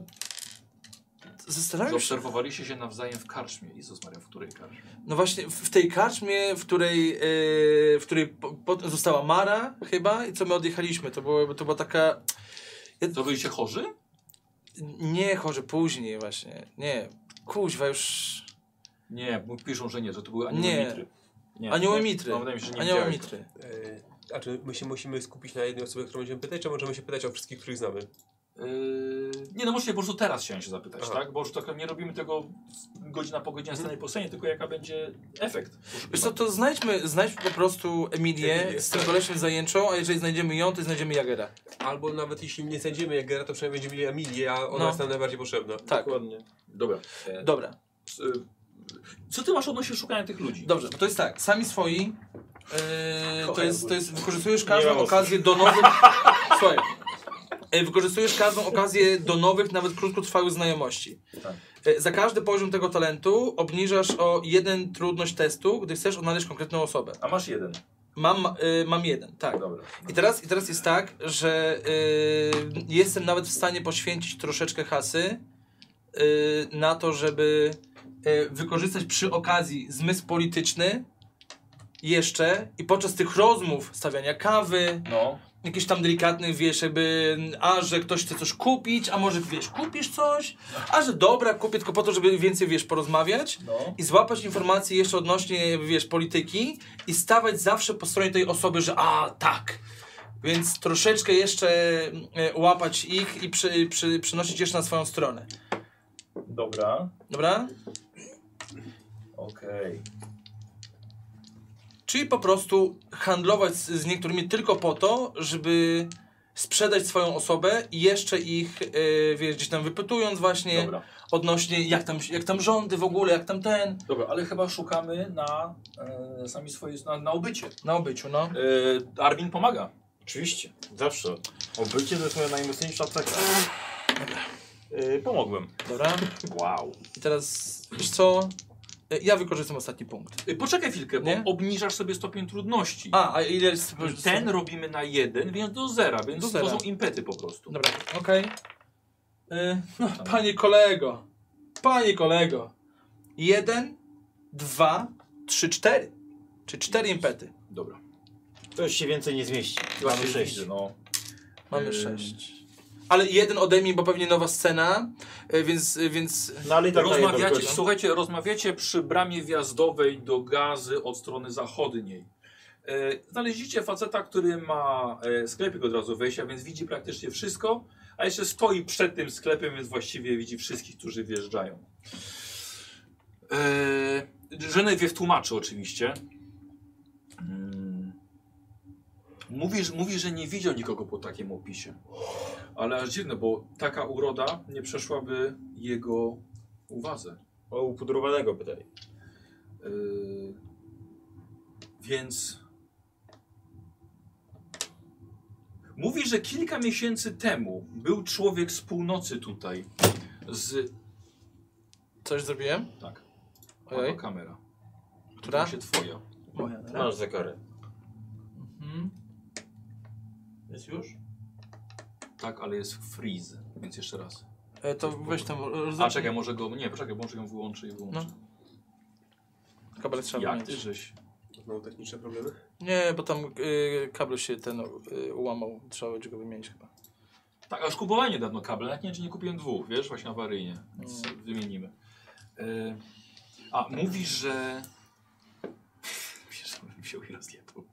Speaker 3: zastanawiam się,
Speaker 1: Zaobserwowaliście się nawzajem w karczmie. Jezus Maria, w której karczmie?
Speaker 3: no właśnie w w tej karczmie, w której, e, w której po, po, została Mara chyba i co my odjechaliśmy, to, było, to była taka,
Speaker 1: To byliście chorzy?
Speaker 3: nie chorzy, później właśnie, nie, kuźwa już,
Speaker 1: Nie, bo piszą, że nie, że to były
Speaker 3: Nie.
Speaker 1: anioły mitry. Nie,
Speaker 3: Anioły
Speaker 1: nie,
Speaker 3: mitry.
Speaker 1: No, wydaje mi się, że nie
Speaker 3: anioła
Speaker 1: widziałeś.
Speaker 3: mitry.
Speaker 5: E, a czy my się musimy skupić na jednej osobie, którą będziemy pytać, czy możemy się pytać o wszystkich, których znamy?
Speaker 1: Yy, nie, no możecie po prostu teraz chciałem się zapytać,
Speaker 5: Aha.
Speaker 1: tak? Bo już tak nie robimy tego godzina po godzinie, sceny po scenie, tylko jaka będzie efekt.
Speaker 3: Wiesz co, to znajdźmy, znajdźmy po prostu Emilię
Speaker 5: Emilię.
Speaker 3: z tym koleśnym zajęczą, a jeżeli znajdziemy ją, to znajdziemy Jagera.
Speaker 5: Albo nawet jeśli nie sędziemy Jagera, to przynajmniej będziemy mieli Emilię, a ona
Speaker 3: No.
Speaker 5: jest nam najbardziej potrzebna.
Speaker 3: Tak,
Speaker 7: Dokładnie.
Speaker 1: Dobra. E,
Speaker 3: dobra.
Speaker 1: s- e, Co ty masz odnośnie szukania tych ludzi?
Speaker 3: Dobrze, bo to jest tak, sami swoi. Yy, to, jest, to jest, wykorzystujesz każdą
Speaker 7: Nie mam
Speaker 3: okazję do nowych... Słuchaj. Yy, Wykorzystujesz każdą okazję do nowych, nawet krótkotrwałych znajomości.
Speaker 1: Tak.
Speaker 3: Yy, Za każdy poziom tego talentu obniżasz o jeden trudność testu, gdy chcesz odnaleźć konkretną osobę.
Speaker 1: A masz jeden.
Speaker 3: Mam, yy, mam jeden, tak.
Speaker 1: Dobra.
Speaker 3: I teraz, I teraz jest tak, że y, jestem nawet w stanie poświęcić troszeczkę kasy y, na to, żeby y, wykorzystać przy okazji zmysł polityczny jeszcze i podczas tych rozmów, stawiania kawy,
Speaker 1: No,
Speaker 3: jakichś tam delikatnych, wiesz, jakby, a że ktoś chce coś kupić, a może wiesz, kupisz coś, a że dobra, kupię tylko po to, żeby więcej, wiesz, porozmawiać
Speaker 1: no.
Speaker 3: i złapać informacje jeszcze odnośnie, wiesz, polityki i stawać zawsze po stronie tej osoby, że a, tak. Więc troszeczkę jeszcze e, łapać ich i przy, przy, przynosić jeszcze na swoją stronę.
Speaker 1: Dobra.
Speaker 3: Dobra?
Speaker 1: Okej.
Speaker 3: Czyli po prostu handlować z, z niektórymi tylko po to, żeby sprzedać swoją osobę i jeszcze ich, e, wiesz, gdzieś tam wypytując właśnie
Speaker 1: Dobra.
Speaker 3: odnośnie jak tam, jak tam rządy w ogóle, jak tam ten,
Speaker 1: Dobra, ale chyba szukamy na e, sami swoje, na, na obycie.
Speaker 3: na obyciu, no.
Speaker 1: E, Armin pomaga.
Speaker 2: Oczywiście, zawsze. Obycie to jest moja najmocniejsza cecha. Yy, pomogłem.
Speaker 3: Dobra?
Speaker 1: Wow.
Speaker 3: I teraz, wiesz co? E, Ja wykorzystam ostatni punkt.
Speaker 1: E, poczekaj chwilkę, bo
Speaker 3: Nie?
Speaker 1: obniżasz sobie stopień trudności.
Speaker 3: A, a ile jest...
Speaker 1: Ten robimy na jeden, więc do zera, No. więc
Speaker 3: Do zera.
Speaker 1: to są impety po prostu.
Speaker 3: Dobra, okej. Y, no, panie kolego. Panie kolego. Jeden, dwa, trzy, cztery. Czy cztery impety.
Speaker 1: Dobra.
Speaker 2: To już się więcej nie zmieści. Mamy
Speaker 1: Właśnie
Speaker 2: sześć.
Speaker 1: widzę, No.
Speaker 3: Mamy
Speaker 1: Ym.
Speaker 3: sześć. Ale jeden odejmij, bo pewnie nowa scena, y, więc, y, więc
Speaker 2: No ale i tak daje
Speaker 1: Rozmawiacie,
Speaker 2: wielkość.
Speaker 1: słuchajcie, rozmawiacie przy bramie wjazdowej do gazy od strony zachodniej. E, Znaleźliście faceta, który ma e, sklepik od razu wejścia, więc widzi praktycznie wszystko, a jeszcze stoi przed tym sklepem, więc właściwie widzi wszystkich, którzy wjeżdżają. Żenewie tłumaczy oczywiście. Mm. Mówi, że- mówi, że nie widział nikogo po takim opisie. Ale aż dziwne, bo taka uroda nie przeszłaby jego uwadze.
Speaker 2: O upudrowanego pytaj.
Speaker 1: Yy, więc mówi, że kilka miesięcy temu był człowiek z północy tutaj. Z.
Speaker 3: coś zrobiłem.
Speaker 1: Tak.
Speaker 3: Ojej.
Speaker 1: Ojej. kamera.
Speaker 3: Która?
Speaker 1: To się twoja.
Speaker 3: Moja,
Speaker 2: Tak.
Speaker 3: dobra.
Speaker 7: Masz za karę.
Speaker 3: Mhm. Jest już?
Speaker 1: Tak, ale jest freeze. Więc jeszcze raz.
Speaker 3: E, to weź tam...
Speaker 1: A czekaj, może go. Nie, poczekaj, może ją wyłączy i wyłączy.
Speaker 3: Kabel No, trzeba
Speaker 1: Jak ty
Speaker 3: wymienić.
Speaker 1: żeś.
Speaker 5: Znowu techniczne problemy?
Speaker 3: Nie, bo tam y, kabel się ten y, ułamał. Trzeba będzie go wymienić chyba.
Speaker 1: Tak, aż kupowałem niedawno kable. Nawet nie wiem, czy nie kupiłem dwóch, wiesz, właśnie awaryjnie. Więc
Speaker 2: No.
Speaker 1: wymienimy. Yy, a, mówi, że... Wiesz, co bym wziął i rozjebał.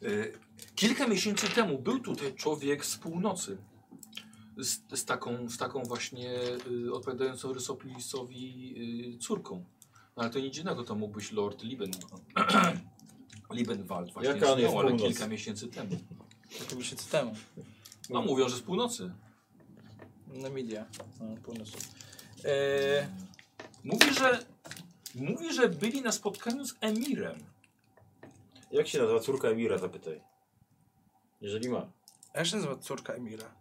Speaker 1: Yy, kilka miesięcy temu był tutaj człowiek z północy. Z, z, taką, z taką właśnie yy, odpowiadającą rysopisowi yy, córką. No, ale to nic dziwnego, to mógł być Lord Liben. Liebenwald właśnie
Speaker 2: Jaka on jest
Speaker 1: zginął, ale
Speaker 2: północ?
Speaker 1: kilka miesięcy temu.
Speaker 3: Kilka miesięcy temu.
Speaker 1: No mówią, że z północy.
Speaker 3: Namidia. No, północ. E,
Speaker 1: Mówi, że Mówi, że byli na spotkaniu z emirem.
Speaker 2: Jak się nazywa córka Emira, zapytaj. Jeżeli ma.
Speaker 3: A jak się nazywa córka Emira?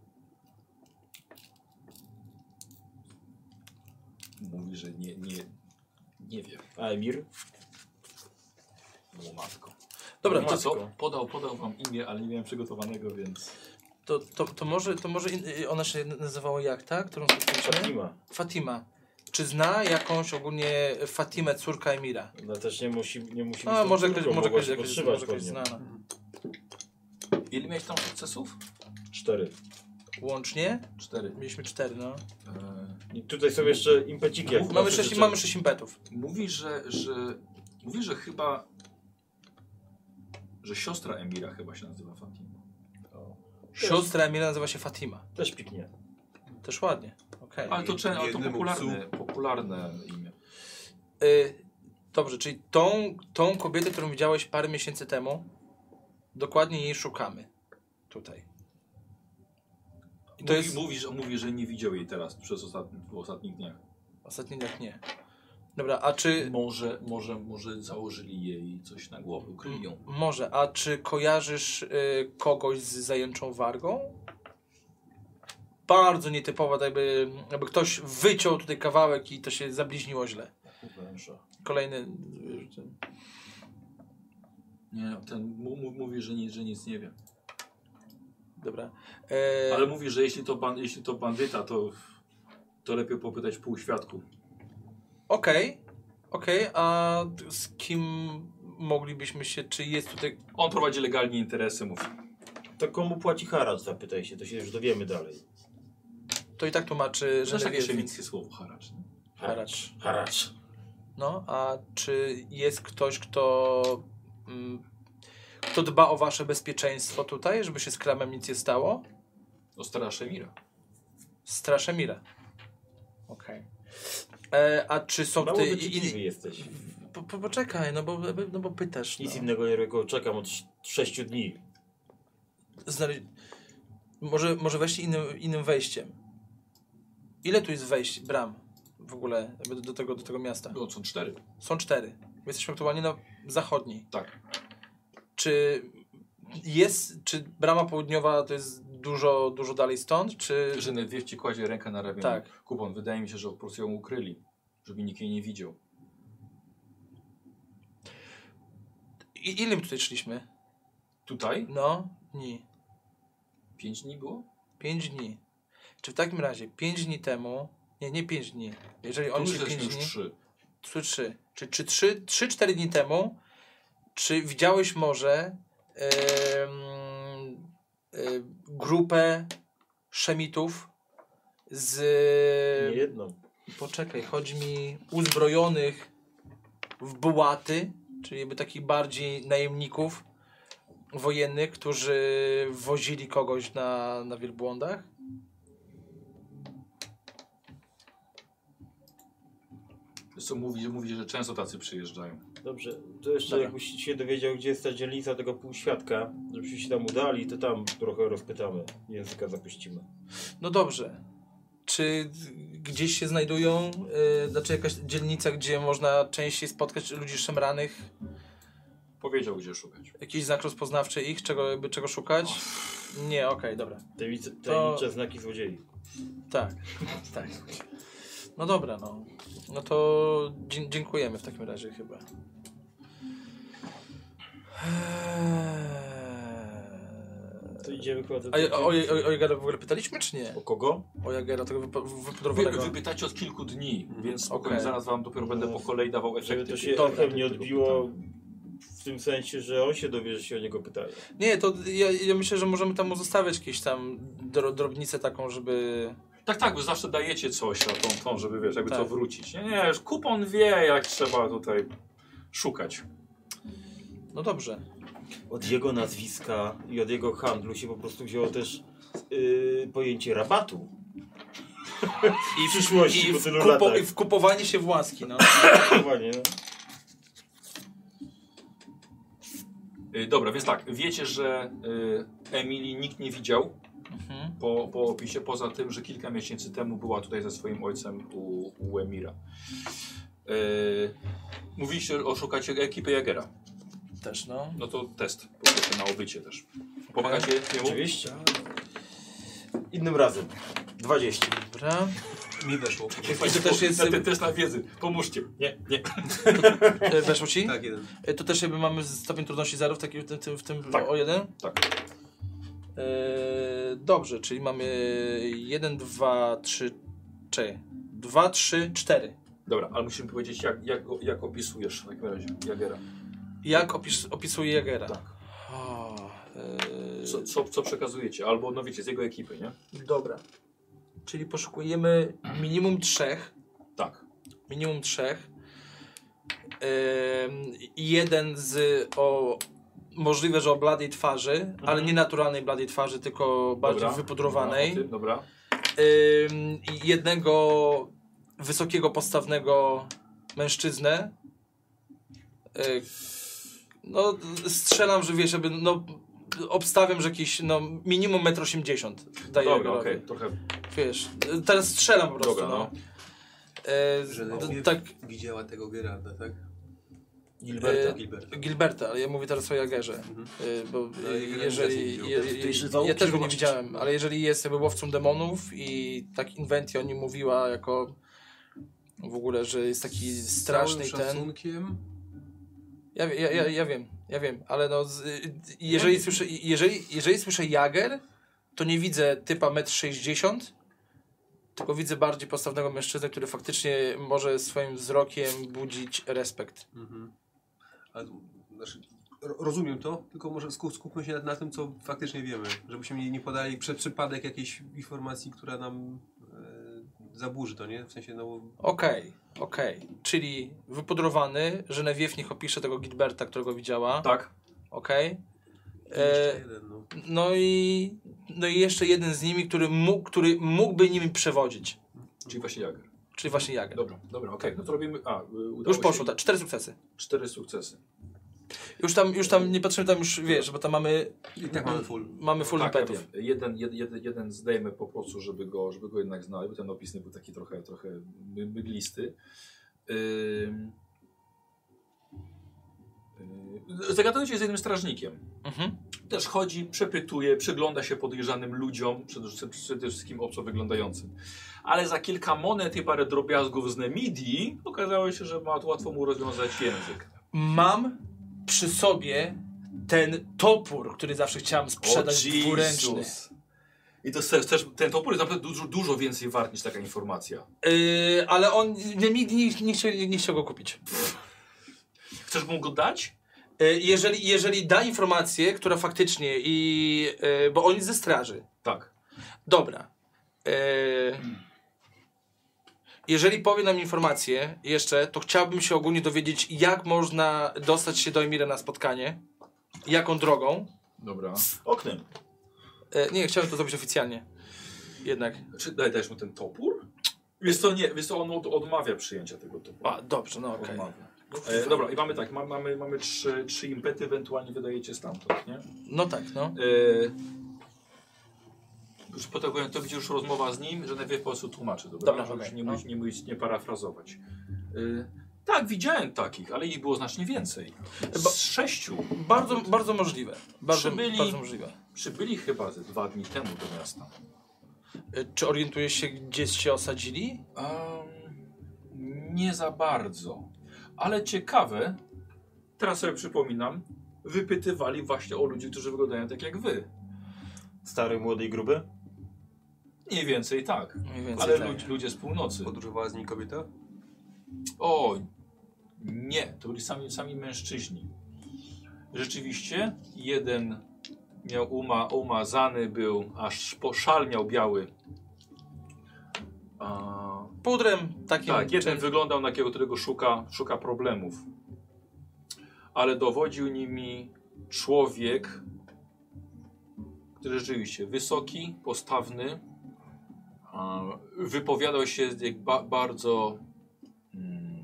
Speaker 1: Mówi, że nie, nie, nie wie.
Speaker 2: A Emir?
Speaker 1: Było matko.
Speaker 3: Dobra,
Speaker 1: Było
Speaker 3: to-
Speaker 1: matko. Podał, podał wam imię, ale nie miałem przygotowanego, więc...
Speaker 3: To, to, to może, to może in- y, ona się nazywała jak ta, którą spotkaliśmy?
Speaker 2: Fatima.
Speaker 3: Fatima. Czy zna jakąś ogólnie Fatimę, córka Emira?
Speaker 7: No
Speaker 2: Ona też nie musi, nie musi
Speaker 3: A,
Speaker 2: tą
Speaker 3: może
Speaker 2: córką,
Speaker 3: ktoś, może
Speaker 2: mogła
Speaker 3: ktoś,
Speaker 2: się
Speaker 3: jakaś-
Speaker 2: podszywać
Speaker 3: może ktoś no.
Speaker 2: pod nią.
Speaker 3: znana.
Speaker 1: Ile miałeś tam sukcesów?
Speaker 2: Cztery.
Speaker 3: Łącznie?
Speaker 1: Cztery.
Speaker 3: Mieliśmy cztery, no.
Speaker 1: E,
Speaker 2: I tutaj są jeszcze impeciki. jak
Speaker 3: Mamy
Speaker 2: macie
Speaker 3: sześć,
Speaker 2: życzę.
Speaker 3: mamy sześć impetów.
Speaker 1: mówi, że, że... Mówi, że chyba... Że siostra emira chyba się nazywa Fatima.
Speaker 3: Siostra Emira nazywa się Fatima.
Speaker 2: Też piknie.
Speaker 3: Też ładnie. Okej.
Speaker 1: Ale to, czę- ale to
Speaker 21: Jednemu
Speaker 1: popularne, popularne imię.
Speaker 3: Y, dobrze, czyli tą, tą kobietę, którą widziałeś parę miesięcy temu, dokładnie jej szukamy. Tutaj. I to
Speaker 1: mówi,
Speaker 3: jest...
Speaker 1: mówi, że, mówi, że nie widział jej teraz przez ostatni, w ostatnich dniach.
Speaker 3: Ostatni jak nie. Dobra, a czy...
Speaker 1: Może, może, może założyli jej coś na głowę, ukryli ją.
Speaker 3: Może, a czy kojarzysz y, kogoś z zajęczą wargą? Bardzo nietypowa, tak jakby, jakby ktoś wyciął tutaj kawałek i to się zabliźniło źle. Kolejny. y, ten-
Speaker 1: Nie, ten mu, mu, mówi, że nic, że nic nie wie.
Speaker 3: Dobra. E,
Speaker 1: Ale mówi, że jeśli to, ban, jeśli to bandyta, to, to lepiej popytać pół świadku.
Speaker 3: Okej, okej, a t- z kim moglibyśmy się, czy jest tutaj...
Speaker 1: On prowadzi legalnie interesy, mówi.
Speaker 2: To komu płaci haracz, zapytaj się, to się już dowiemy dalej.
Speaker 3: To i tak tłumaczy, że
Speaker 1: Znasz takie
Speaker 3: nie wiem.
Speaker 1: szemickie słowo, haracz. nie?
Speaker 3: Haracz.
Speaker 2: Haracz.
Speaker 3: No, a czy jest ktoś, kto, mm, kto dba o wasze bezpieczeństwo tutaj, żeby się z kramem nic nie stało?
Speaker 1: To stara Szemira.
Speaker 3: Straszę Mira. Okej. E, A czy są
Speaker 2: Mało
Speaker 3: tutaj...
Speaker 2: wyczytliwy jesteś.
Speaker 3: po, po, poczekaj, no bo, no bo pytasz.
Speaker 2: Nic
Speaker 3: no.
Speaker 2: innego nie robię, czekam od sz- sześciu dni.
Speaker 3: Znale... Może, może weźcie innym, innym wejściem. Ile tu jest wejść, bram w ogóle jakby do, do, tego, do tego miasta?
Speaker 1: No, są cztery.
Speaker 3: Są cztery. My Jesteśmy aktualnie na zachodniej.
Speaker 1: Tak.
Speaker 3: Czy jest, czy brama południowa to jest dużo, dużo dalej stąd, czy...
Speaker 1: Że Nedwiew ci kładzie rękę na ramię.
Speaker 3: Tak.
Speaker 1: Kupon, wydaje mi się, że po prostu ją ukryli. Żeby nikt jej nie widział.
Speaker 3: I, ile my tutaj szliśmy?
Speaker 1: Tutaj?
Speaker 3: No, dni.
Speaker 1: Pięć dni było?
Speaker 3: Pięć dni. Czy w takim razie pięć dni temu... Nie, nie pięć dni. Jeżeli
Speaker 1: Tu
Speaker 3: oni
Speaker 1: już
Speaker 3: się
Speaker 1: jesteśmy
Speaker 3: pięć
Speaker 1: już
Speaker 3: dni...
Speaker 1: trzy.
Speaker 3: Trzy, trzy. Czy, czy trzy, trzy, cztery dni temu, czy widziałeś może em, e, grupę szemitów z...
Speaker 2: Nie jedną.
Speaker 3: Poczekaj, chodzi mi uzbrojonych w bułaty, czyli jakby takich bardziej najemników wojennych, którzy wozili kogoś na, na wielbłądach?
Speaker 1: Wiesz Co mówi, mówi, że często tacy przyjeżdżają.
Speaker 2: Dobrze, to jeszcze
Speaker 3: Dobra.
Speaker 2: jakbyś się dowiedział, gdzie jest ta dzielnica tego półświadka, żebyśmy się tam udali, to tam trochę rozpytamy. Języka zapuścimy.
Speaker 3: No dobrze. Czy gdzieś się znajdują, y, znaczy jakaś dzielnica, gdzie można częściej spotkać ludzi szemranych?
Speaker 1: Powiedział, gdzie szukać.
Speaker 3: Jakiś znak rozpoznawczy ich, czego, jakby czego szukać? Nie, okej, dobra.
Speaker 2: Tajemnice, tajemnicze znaki złodziei.
Speaker 3: Tak, tak. No dobra, no. No to dzie- dziękujemy w takim razie chyba.
Speaker 2: To idziemy chyba do...
Speaker 3: A je- o, Je- o, o Jagera w ogóle pytaliśmy, czy nie?
Speaker 2: O kogo?
Speaker 3: O Jagera, tego wypo-
Speaker 1: Wy,
Speaker 3: wypudrowanego.
Speaker 1: wy pytacie od kilku dni, więc spokojnie,
Speaker 3: Okej.
Speaker 1: zaraz wam dopiero będę po kolei dawał efekty.
Speaker 2: Żeby to się
Speaker 3: Dobra.
Speaker 2: echem nie odbiło w tym sensie, że on się dowie, że się o niego pytają.
Speaker 3: Nie, to ja, ja myślę, że możemy tam zostawiać jakieś tam dro, drobnicę taką, żeby...
Speaker 1: Tak, tak, wy zawsze dajecie coś na tą, tą żeby wiesz, jakby
Speaker 3: Tak.
Speaker 1: to wrócić. Nie, nie, już kupon wie, jak trzeba tutaj szukać.
Speaker 3: No dobrze.
Speaker 2: Od jego nazwiska i od jego handlu się po prostu wzięło też yy, pojęcie rabatu.
Speaker 3: I w
Speaker 2: przyszłości,
Speaker 3: i
Speaker 2: po
Speaker 3: w
Speaker 2: tylu
Speaker 3: kupo-
Speaker 2: latach.
Speaker 3: I w kupowanie się w łaski, no.
Speaker 2: Dokładnie, no.
Speaker 1: Y, dobra, więc tak, wiecie, że y, Emilii nikt nie widział
Speaker 3: Mhm.
Speaker 1: po, po opisie, poza tym, że kilka miesięcy temu była tutaj ze swoim ojcem u, u Emira. E, mówiliście, że oszukacie ekipę Jagera.
Speaker 3: Też, no.
Speaker 1: No to test. po prostu Na obycie też. Pomagacie jemu?
Speaker 7: Oczywiście. Innym razem. 20.
Speaker 3: Dobra.
Speaker 22: Mi weszło.
Speaker 1: Słuchajcie,
Speaker 3: to też
Speaker 1: po-
Speaker 3: jest-
Speaker 1: na ten test na wiedzy. Pomóżcie. Nie, nie.
Speaker 3: E, Weszło ci?
Speaker 22: Tak, jeden.
Speaker 3: E, To też jakby mamy stopień trudności zero w, taki, w tym, tym, w tym
Speaker 1: Tak.
Speaker 3: o jeden?
Speaker 1: Tak.
Speaker 3: E, dobrze, czyli mamy 1, 2, 3, 4. 2, 3, 4.
Speaker 1: Dobra, ale musimy powiedzieć, jak, jak, go- jak opisujesz w takim razie Jagera.
Speaker 3: Jak opis, opisuje Jagera?
Speaker 1: Tak.
Speaker 3: O, e,
Speaker 1: Co, co, co przekazujecie? Albo, no wiecie, z jego ekipy, nie?
Speaker 3: Dobra. Czyli poszukujemy minimum trzech.
Speaker 1: Tak.
Speaker 3: Minimum trzech. Em, jeden z o możliwe, że o bladej twarzy, ale nie naturalnej bladej twarzy, tylko bardziej
Speaker 1: Dobra.
Speaker 3: wypudrowanej.
Speaker 1: Dobra, o tym, Dobra.
Speaker 3: Ym, i jednego wysokiego, postawnego mężczyznę. Y, No, strzelam, że wiesz, żeby, no, obstawiam, że jakiś, no, minimum 1,80 m daje.
Speaker 1: Dobra,
Speaker 3: Jagorowi.
Speaker 1: okej, trochę.
Speaker 3: Wiesz, y, teraz strzelam po prostu,
Speaker 1: Dobra,
Speaker 3: no.
Speaker 1: no.
Speaker 3: Y,
Speaker 4: Że
Speaker 3: d-
Speaker 4: najpierw
Speaker 3: tak,
Speaker 4: widziała tego Gerarda, tak?
Speaker 3: Gilberta.
Speaker 4: Gilberta.
Speaker 3: Gilberta, ale ja mówię teraz o Jagerze. Y, Bo
Speaker 4: No,
Speaker 3: y,
Speaker 4: Jagera
Speaker 3: jeżeli.
Speaker 4: też nie
Speaker 3: Je,
Speaker 4: widział.
Speaker 3: je, ja też go nie widziałem, ale jeżeli jest jakby łowcą demonów i tak Inventi o nim mówiła jako w ogóle, że jest taki
Speaker 4: Z
Speaker 3: straszny i
Speaker 4: całym
Speaker 3: ten.
Speaker 4: szacunkiem,
Speaker 3: Ja, wie- ja, ja, ja wiem, ja wiem, ale no z, y, jeżeli, słyszę, jeżeli, jeżeli słyszę Jager, to nie widzę typa 1,60 m, tylko widzę bardziej postawnego mężczyznę, który faktycznie może swoim wzrokiem budzić respekt.
Speaker 4: Mhm. A, znaczy, ro- rozumiem to, tylko może sku- skupmy się na, na tym, co faktycznie wiemy. Żebyśmy nie, nie podali przez przypadek jakiejś informacji, która nam e, zaburzy to, nie? W sensie, no...
Speaker 3: Okej, okej. Czyli wypudrowany, Żenewiew niech opisze tego Gilberta, którego widziała.
Speaker 1: Tak.
Speaker 3: Okej.
Speaker 4: Jeszcze
Speaker 3: E,
Speaker 4: jeden, no.
Speaker 3: No i, no i jeszcze jeden z nimi, który, mógł, który mógłby nimi przewodzić.
Speaker 1: Czyli właśnie Jager.
Speaker 3: Czyli właśnie Jager.
Speaker 1: Dobra, dobra, okej. No to robimy. A, y, udało
Speaker 3: Już poszło,
Speaker 1: się.
Speaker 3: tak, cztery sukcesy.
Speaker 1: Cztery sukcesy.
Speaker 3: Już tam, już tam nie patrzymy, tam już wiesz, bo tam mamy,
Speaker 4: I tak mamy full.
Speaker 3: mamy full
Speaker 1: tak, ja
Speaker 3: impetów.
Speaker 1: wiem. jeden, jed, jed, jeden zdejmę po prostu, żeby go, żeby go jednak znali, bo ten opisny był taki trochę, trochę my- myglisty. Ym... Yy, Zagadujecie się z jednym strażnikiem.
Speaker 3: Mhm.
Speaker 1: Też chodzi, przepytuje, przygląda się podejrzanym ludziom, przede, wszystkim- przede wszystkim obco wyglądającym. Ale za kilka monet i parę drobiazgów z Nemidii okazało się, że ma łatwo mu rozwiązać język.
Speaker 3: Mam przy sobie ten topór, który zawsze chciałem sprzedać
Speaker 1: O, Jezus.
Speaker 3: dwuręczny.
Speaker 1: I to też, też ten topór jest naprawdę dużo, dużo więcej wart niż taka informacja.
Speaker 3: Yy, ale on nie, nie, nie, nie, chciał, nie, nie chciał go kupić.
Speaker 1: Chcesz mu go dać?
Speaker 3: E, Jeżeli, jeżeli da informację, która faktycznie i. e, Bo oni ze straży.
Speaker 1: Tak.
Speaker 3: Dobra. E, Jeżeli powie nam informację jeszcze, to chciałbym się ogólnie dowiedzieć, jak można dostać się do Emira na spotkanie. Jaką drogą.
Speaker 1: Dobra.
Speaker 7: Oknem.
Speaker 3: E, Nie, chciałem to zrobić oficjalnie. Jednak.
Speaker 1: Czy daj, dajesz mu ten topór? Wiesz co, nie, wiesz co, on od, odmawia przyjęcia tego toporu.
Speaker 3: A, dobrze, no okej.
Speaker 1: Odmawia. E, dobra, i mamy tak, ma, mamy, mamy trzy, trzy impety, ewentualnie wydajecie stamtąd, nie?
Speaker 3: No tak, no.
Speaker 1: E, już po tego, to będzie już rozmowa z nim, że najpierw po prostu tłumaczy, dobra?
Speaker 3: Dobra,
Speaker 1: Żeby
Speaker 3: okej,
Speaker 1: się nie,
Speaker 3: no.
Speaker 1: mówić, nie, mówić, nie parafrazować. E, tak, widziałem takich, ale ich było znacznie więcej.
Speaker 3: Bo-
Speaker 1: Z sześciu.
Speaker 3: Bardzo, bardzo możliwe. Bardzo,
Speaker 1: Przybyli-
Speaker 3: bardzo możliwe.
Speaker 1: Przybyli chyba ze dwa dni temu do miasta.
Speaker 3: E, Czy orientujesz się, gdzie się osadzili?
Speaker 1: Em, nie za bardzo. Ale ciekawe, teraz sobie przypominam, wypytywali właśnie o ludzi, którzy wyglądają tak jak wy.
Speaker 7: Stary, młody i gruby?
Speaker 1: Mniej więcej tak.
Speaker 3: Mniej więcej
Speaker 1: Ale
Speaker 3: tak.
Speaker 1: lud, ludzie z północy.
Speaker 4: Podróżowała z nim kobieta?
Speaker 1: O, nie, to byli sami, sami mężczyźni. Rzeczywiście, jeden miał uma, umazany był, aż po szal miał biały. A,
Speaker 3: Pudrem takim.
Speaker 1: Tak, jeden
Speaker 3: czym-
Speaker 1: wyglądał na takiego, którego szuka, szuka problemów. Ale dowodził nimi człowiek, który rzeczywiście wysoki, postawny. a, Wypowiadał się jak ba bardzo. mm,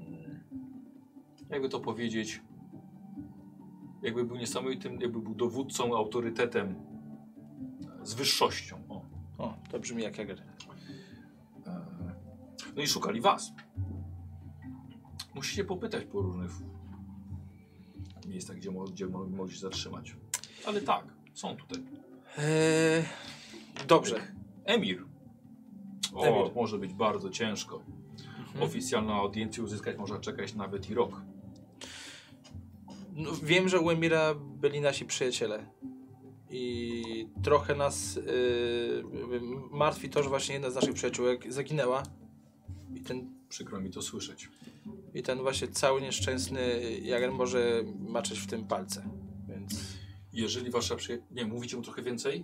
Speaker 1: Jakby to powiedzieć. Jakby był niesamowitym, jakby był dowódcą, autorytetem. Z wyższością. O.
Speaker 3: O, to brzmi jak Jager.
Speaker 1: E, No i szukali was. Musicie popytać po różnych miejscach, gdzie, mo- gdzie mo- mogli się zatrzymać. Ale tak, są tutaj.
Speaker 3: Eee, dobrze.
Speaker 1: Emir. O,
Speaker 3: Emir. Mhm.
Speaker 1: może być bardzo ciężko. Oficjalną audiencję uzyskać można czekać nawet i rok.
Speaker 3: No, wiem, że u Emira byli nasi przyjaciele. I trochę nas yy, martwi to, że właśnie jedna z naszych przyjaciółek zaginęła. I ten,
Speaker 1: Przykro mi to słyszeć.
Speaker 3: I ten właśnie cały nieszczęsny Jager może maczeć w tym palce. Więc
Speaker 1: Jeżeli wasza przyjaciół... Nie, mówicie mu trochę więcej?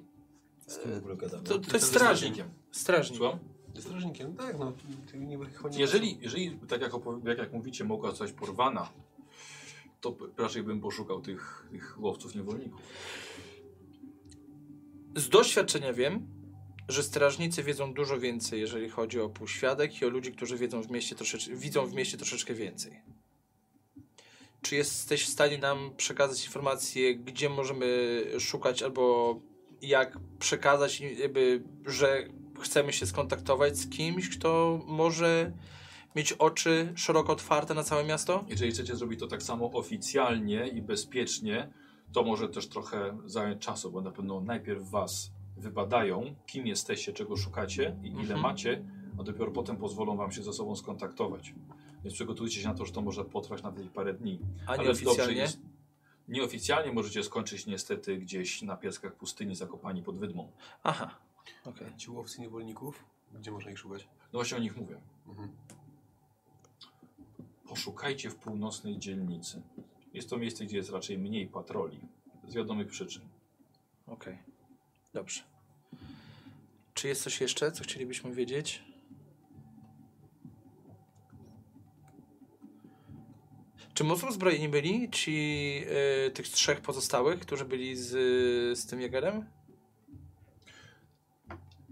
Speaker 2: Z kim w ogóle gadamy?
Speaker 3: No, to, to jest
Speaker 1: Jestem
Speaker 3: strażnik.
Speaker 1: strażnikiem.
Speaker 3: Strażnik.
Speaker 1: Słucham?
Speaker 4: Strażnikiem, tak, no. Ty nie wychodzi-
Speaker 1: Jeżeli, jeżeli tak jak, opowi- jak, jak mówicie, mogła zostać porwana, to p- raczej bym poszukał tych, tych łowców niewolników.
Speaker 3: Z doświadczenia wiem, że strażnicy wiedzą dużo więcej, jeżeli chodzi o półświadek i o ludzi, którzy wiedzą w mieście troszecz- widzą w mieście troszeczkę więcej. Czy jesteś w stanie nam przekazać informacje, gdzie możemy szukać, albo jak przekazać, jakby, że chcemy się skontaktować z kimś, kto może mieć oczy szeroko otwarte na całe miasto?
Speaker 1: Jeżeli chcecie zrobić to tak samo oficjalnie i bezpiecznie, to może też trochę zająć czasu, bo na pewno najpierw was wybadają, kim jesteście, czego szukacie i ile
Speaker 3: Mhm.
Speaker 1: macie, a dopiero potem pozwolą wam się ze sobą skontaktować. Więc przygotujcie się na to, że to może potrwać nawet i parę dni.
Speaker 3: A
Speaker 1: Ale
Speaker 3: nie
Speaker 1: dobrze
Speaker 3: oficjalnie?
Speaker 1: jest- Nieoficjalnie możecie skończyć niestety gdzieś na piaskach pustyni zakopani pod wydmą.
Speaker 3: Aha, okej.
Speaker 4: Ci łowcy niewolników, gdzie można ich szukać?
Speaker 1: No właśnie o nich mówię.
Speaker 4: Mhm.
Speaker 1: Poszukajcie w północnej dzielnicy. Jest to miejsce, gdzie jest raczej mniej patroli. Z wiadomych przyczyn.
Speaker 3: Okej, dobrze. Czy jest coś jeszcze, co chcielibyśmy wiedzieć? Czy mocno zbrojeni byli ci y, tych trzech pozostałych, którzy byli z, z tym Jagerem?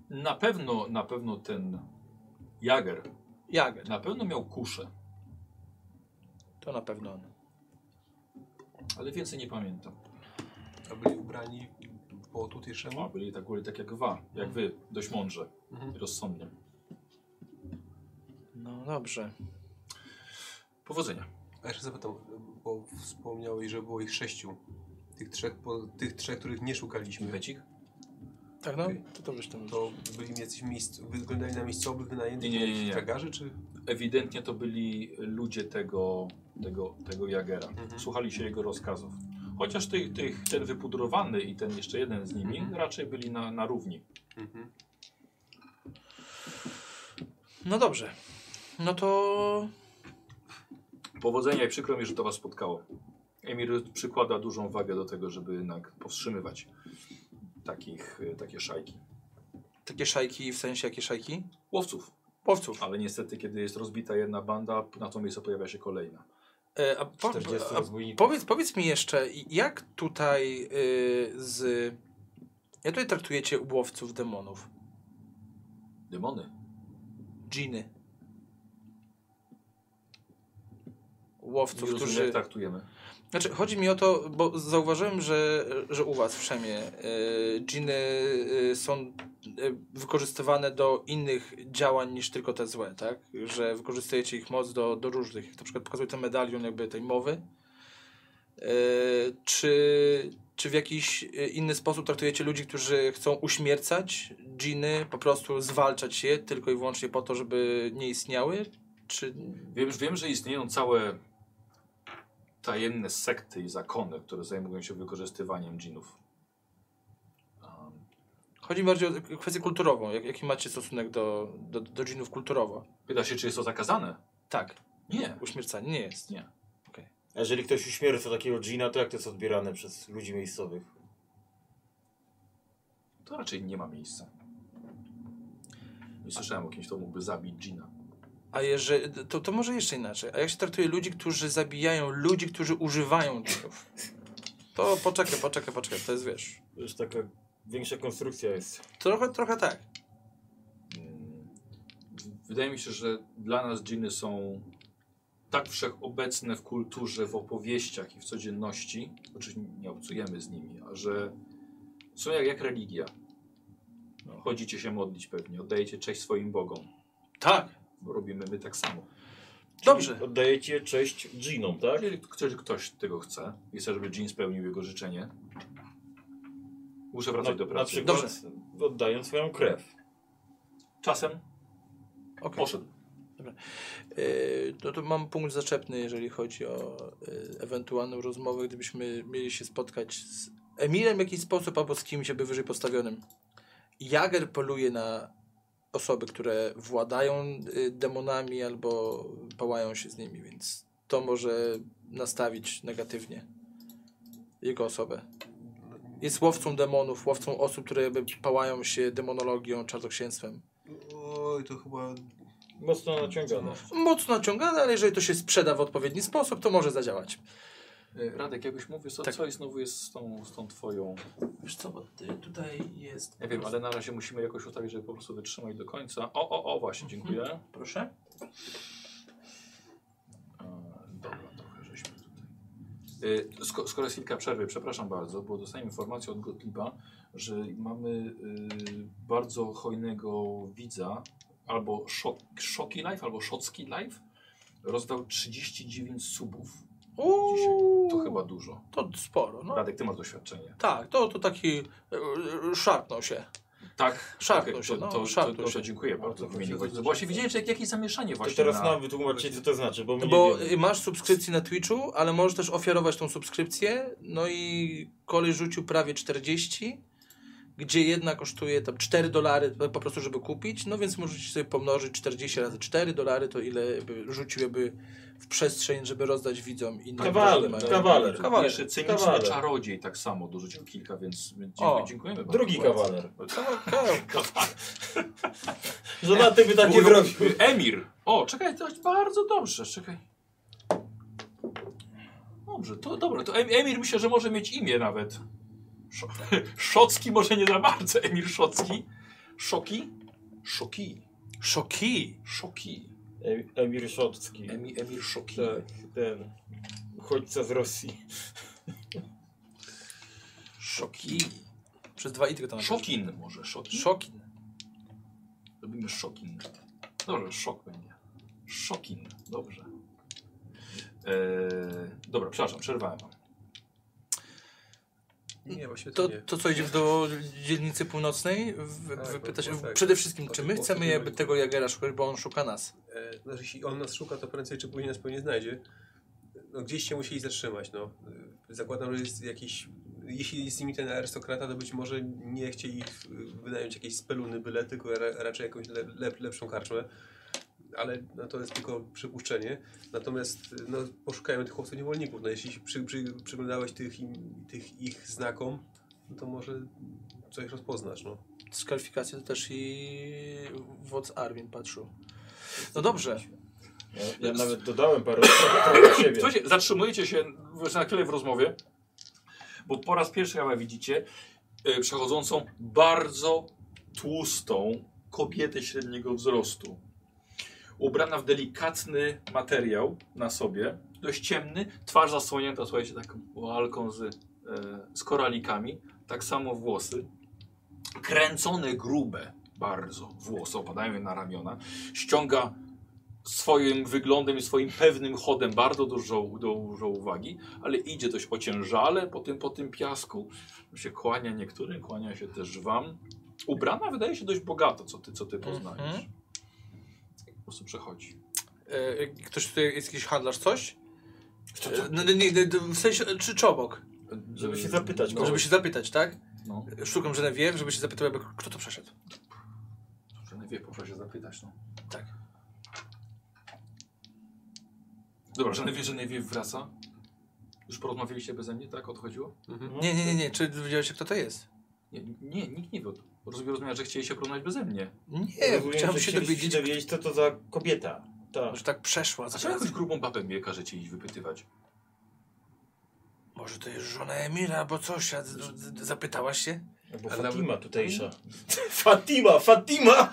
Speaker 1: Na pewno, na pewno ten Jager,
Speaker 3: Jager,
Speaker 1: na pewno miał kuszę,
Speaker 3: to na pewno on.
Speaker 1: ale więcej nie pamiętam.
Speaker 4: A byli ubrani po tutejszemu?
Speaker 1: A byli tak, byli tak jak wa, jak wy, dość mądrze
Speaker 4: Mhm.
Speaker 1: i rozsądnie.
Speaker 3: No dobrze.
Speaker 1: Powodzenia.
Speaker 4: A jeszcze zapytam, bo wspomniałeś, że było ich sześciu. Tych trzech, po, tych trzech których nie szukaliśmy.
Speaker 1: Becik?
Speaker 3: Tak no,
Speaker 4: Okej.
Speaker 3: to dobrze tam.
Speaker 4: To byli jacyś miejsc, wyglądali na miejscowych wynajętych
Speaker 1: Nie, nie, nie,
Speaker 4: jakichś
Speaker 1: nie.
Speaker 4: tragarzy, czy
Speaker 1: Ewidentnie to byli ludzie tego, tego, tego Jagera.
Speaker 4: Mhm.
Speaker 1: Słuchali się jego rozkazów. Chociaż tych, tych, ten wypudrowany i ten jeszcze jeden z nimi
Speaker 4: Mhm.
Speaker 1: raczej byli na, na równi.
Speaker 4: mhm.
Speaker 3: No dobrze. No to
Speaker 1: Powodzenia i przykro mi, że to was spotkało. Emir przykłada dużą wagę do tego, żeby jednak powstrzymywać takich, y, takie szajki.
Speaker 3: takie szajki, w sensie jakie szajki?
Speaker 1: Łowców.
Speaker 3: Powców.
Speaker 1: Ale niestety, kiedy jest rozbita jedna banda, na to miejsce pojawia się kolejna.
Speaker 3: E, a, po,
Speaker 2: 40
Speaker 3: a,
Speaker 2: rozbójników.
Speaker 3: Powiedz, powiedz mi jeszcze, jak tutaj y, z. Jak tutaj traktujecie ubłowców demonów?
Speaker 1: Demony.
Speaker 3: Dżiny.
Speaker 1: Nie
Speaker 3: Łowców,
Speaker 1: rozumiem,
Speaker 3: którzy.
Speaker 1: jak tak traktujemy.
Speaker 3: Znaczy, chodzi mi o to, bo zauważyłem, że, że u Was w Szemie y, dżiny y, są y, wykorzystywane do innych działań niż tylko te złe, tak? Że wykorzystujecie ich moc do, do różnych. Na przykład pokazuję ten medalion jakby tej mowy. Y, czy, czy w jakiś y, inny sposób traktujecie ludzi, którzy chcą uśmiercać dżiny, po prostu zwalczać je tylko i wyłącznie po to, żeby nie istniały? Czy...
Speaker 1: Wiem, wiem, że istnieją całe tajemne sekty i zakony, które zajmują się wykorzystywaniem dżinów. Um,
Speaker 3: Chodzi mi bardziej o kwestię kulturową. Jak, jaki macie stosunek do, do, do dżinów kulturowo?
Speaker 1: Pyta się, czy jest to zakazane?
Speaker 3: Tak,
Speaker 1: Nie.
Speaker 3: uśmiercanie nie jest.
Speaker 1: Nie.
Speaker 2: A jeżeli ktoś uśmierca takiego dżina, to jak to jest odbierane przez ludzi miejscowych?
Speaker 1: To raczej nie ma miejsca. Nie słyszałem o kimś, kto mógłby zabić dżina.
Speaker 3: A jeżeli, to, to może jeszcze inaczej. A jak się traktuje ludzi, którzy zabijają ludzi, którzy używają dżinów? To poczekaj, poczekaj, poczekaj. To jest, wiesz,
Speaker 2: To już taka większa konstrukcja jest.
Speaker 3: trochę, trochę tak.
Speaker 1: Mm, Wydaje mi się, że dla nas dżiny są tak wszechobecne w kulturze, w opowieściach i w codzienności, oczywiście nie obcujemy z nimi, a że są jak, jak religia. No, chodzicie się modlić pewnie, oddajecie cześć swoim bogom.
Speaker 3: Tak.
Speaker 1: Robimy my tak samo.
Speaker 23: Dobrze.
Speaker 7: Oddajecie cześć dżinom, tak?
Speaker 1: Jeżeli ktoś, ktoś tego chce i chce, żeby Jean spełnił jego życzenie, muszę wracać do
Speaker 7: No, na
Speaker 1: pracy.
Speaker 7: przykład oddają swoją krew.
Speaker 1: Czasem
Speaker 3: Okej.
Speaker 1: poszedł.
Speaker 3: Yy, No to mam punkt zaczepny, jeżeli chodzi o yy, ewentualną rozmowę, gdybyśmy mieli się spotkać z Emilem w jakiś sposób albo z kimś jakby wyżej postawionym. Jager poluje na osoby, które władają yy, demonami albo pałają się z nimi, więc to może nastawić negatywnie jego osobę. Jest łowcą demonów, łowcą osób, które jakby pałają się demonologią, czarnoksięstwem.
Speaker 24: Oj, to chyba
Speaker 7: Mocno naciągane.
Speaker 3: mocno naciągane, ale jeżeli to się sprzeda w odpowiedni sposób, to może zadziałać.
Speaker 1: Y, Radek, jakoś mówisz,
Speaker 7: Tak.
Speaker 1: co, co jest znowu jest z tą, z tą twoją...
Speaker 3: Wiesz co, bo ty tutaj jest...
Speaker 1: Nie wiem, ale na razie musimy jakoś ustawić, żeby po prostu wytrzymać do końca. O, o, o, właśnie,
Speaker 7: Mhm.
Speaker 1: dziękuję.
Speaker 3: Proszę.
Speaker 1: E, Dobra, trochę żeśmy tutaj. E, Sko skoro jest chwilka przerwy, przepraszam bardzo, bo dostałem informację od Gottlieba, że mamy y, bardzo hojnego widza, albo Szok- Szoki Live, albo Szocki Live. Rozdał 39 subów dzisiaj. To chyba dużo.
Speaker 3: To sporo, no.
Speaker 1: Radek, ty masz doświadczenie.
Speaker 3: Tak, to, to taki... e, e, szarpnął się.
Speaker 1: Tak,
Speaker 3: Szarpnął
Speaker 1: Okej,
Speaker 3: się,
Speaker 1: to,
Speaker 3: no,
Speaker 1: to, to,
Speaker 3: szarpnął
Speaker 1: to,
Speaker 3: się.
Speaker 1: dziękuję bardzo w imieniu Gottlieba. Właśnie widziałem, że jak, jakie zamieszanie
Speaker 7: To
Speaker 1: właśnie
Speaker 7: teraz
Speaker 1: na-
Speaker 7: nam wytłumaczcie, co to znaczy, bo my
Speaker 3: Bo
Speaker 7: nie
Speaker 3: y,
Speaker 7: wiemy.
Speaker 3: masz subskrypcję na Twitchu, ale możesz też ofiarować tą subskrypcję. No i kolej rzucił prawie 40, gdzie jedna kosztuje tam 4 dolary e, po prostu, żeby kupić. No więc możecie sobie pomnożyć 40 razy 4 dolary, to ile by rzucił jakby w przestrzeń, żeby rozdać widzom. innym, którzy
Speaker 7: Kawaler,
Speaker 1: no.
Speaker 3: mają.
Speaker 7: kawaler.
Speaker 3: Kawaler.
Speaker 1: Jeszcze cyniczny
Speaker 7: Kawaler.
Speaker 1: e, czarodziej tak samo dorzucił kilka, więc dziękuję,
Speaker 3: O,
Speaker 1: dziękujemy bardzo.
Speaker 7: Drugi kawaler.
Speaker 3: Kawaler.
Speaker 7: Żonaty by tak nie zrobił.
Speaker 1: Emir! O, czekaj, to jest bardzo dobrze, czekaj. Dobrze, to dobra, to Em- Emir myślę, że może mieć imię nawet. Sz Szocki może nie za bardzo, Emir Szocki. Szoki? Szoki.
Speaker 3: Szoki.
Speaker 1: Szoki.
Speaker 7: Em- Emir Szotcki.
Speaker 1: Emi, Emir Szoki.
Speaker 7: Tak, ten. Uchodźca z Rosji.
Speaker 3: Szoki. Przez dwa i tylko tam.
Speaker 1: Szokin może, Szokin.
Speaker 3: Szokin.
Speaker 1: Robimy szokin. Dobrze, szok będzie. Szokin, dobrze. Eee, dobra, przepraszam, przerwałem wam.
Speaker 4: Nie, właśnie to,
Speaker 3: To,
Speaker 4: nie.
Speaker 3: to co idziemy do dzielnicy północnej? W,
Speaker 4: Tak,
Speaker 3: wypytać,
Speaker 4: bo- bo tak.
Speaker 3: przede wszystkim, czy my
Speaker 4: Bo- bo-
Speaker 3: chcemy
Speaker 4: bo-
Speaker 3: jakby tego Jagera szukać, bo on szuka nas.
Speaker 4: E, znaczy, jeśli on nas szuka, to prędzej czy później nas pewnie znajdzie. No, gdzieś się musieli zatrzymać. No. E, Zakładam, że jest jakiś. Jeśli jest z nimi ten arystokrata, to być może nie chcieli e, wynająć jakiejś speluny byle, tylko ra, raczej jakąś le, lep- lepszą karczmę. Ale no, to jest tylko przypuszczenie. Natomiast e, no, poszukajmy tych chłopców niewolników. No, jeśli się przy, przy, przyglądałeś tych, im, tych ich znakom, no, to może coś rozpoznasz. No.
Speaker 3: Dyskwalifikację to też i wodz Armin patrzył. No dobrze.
Speaker 7: Ja, ja nawet dodałem parę słów od siebie.
Speaker 1: Słuchajcie, zatrzymujecie się już na chwilę w rozmowie, bo po raz pierwszy chyba widzicie e, przechodzącą bardzo tłustą kobietę średniego wzrostu. Ubrana w delikatny materiał na sobie, dość ciemny, twarz zasłonięta, słuchajcie, taką łalką z, e, z koralikami, tak samo włosy, kręcone grube bardzo włosy, opadają na ramiona, ściąga swoim wyglądem i swoim pewnym chodem bardzo dużo, dużo uwagi, ale idzie dość ociężale po tym, po tym piasku. Się kłania niektórym, kłania się też wam. Ubrana wydaje się dość bogato, co ty, co ty poznajesz.
Speaker 3: Mhm.
Speaker 1: Po prostu przechodzi.
Speaker 3: E, ktoś tutaj jest jakiś handlarz, coś? E, No, nie, nie, w sensie, e, czy czobok?
Speaker 4: No
Speaker 7: Żeby się zapytać
Speaker 1: No,
Speaker 7: kogoś.
Speaker 3: Żeby się zapytać, tak?
Speaker 1: No,
Speaker 3: Szukam Genevieve, żeby się zapytał, jakby, kto to przeszedł.
Speaker 1: dobrze, nie wie, proszę się zapytać. No.
Speaker 3: Tak.
Speaker 1: Dobra, że nie wie, że nie wie, wraca. Już porozmawialiście beze mnie, tak? Odchodziło?
Speaker 3: Nie, nie, nie, nie. Czy dowiedziałeś się, kto to jest?
Speaker 1: Nie, nie nikt nie wie. Rozumiem, rozumiem, że chcieli się porównać beze mnie.
Speaker 3: Nie, chciałbym
Speaker 7: Rozumiem, że
Speaker 3: się
Speaker 7: chcieliście
Speaker 3: dowiedzieć,
Speaker 7: dowiedzieć, co to za kobieta. Tak.
Speaker 3: że tak przeszła.
Speaker 1: A
Speaker 3: za
Speaker 1: czemu jakąś
Speaker 3: granicę.
Speaker 1: grubą babę mnie każecie iść wypytywać?
Speaker 3: Może to jest żona Emira, bo coś, a z- z- zapytałaś się?
Speaker 7: Albo
Speaker 1: Ale
Speaker 7: Fatima
Speaker 1: nawet-
Speaker 7: tutejsza. Fatima, Fatima!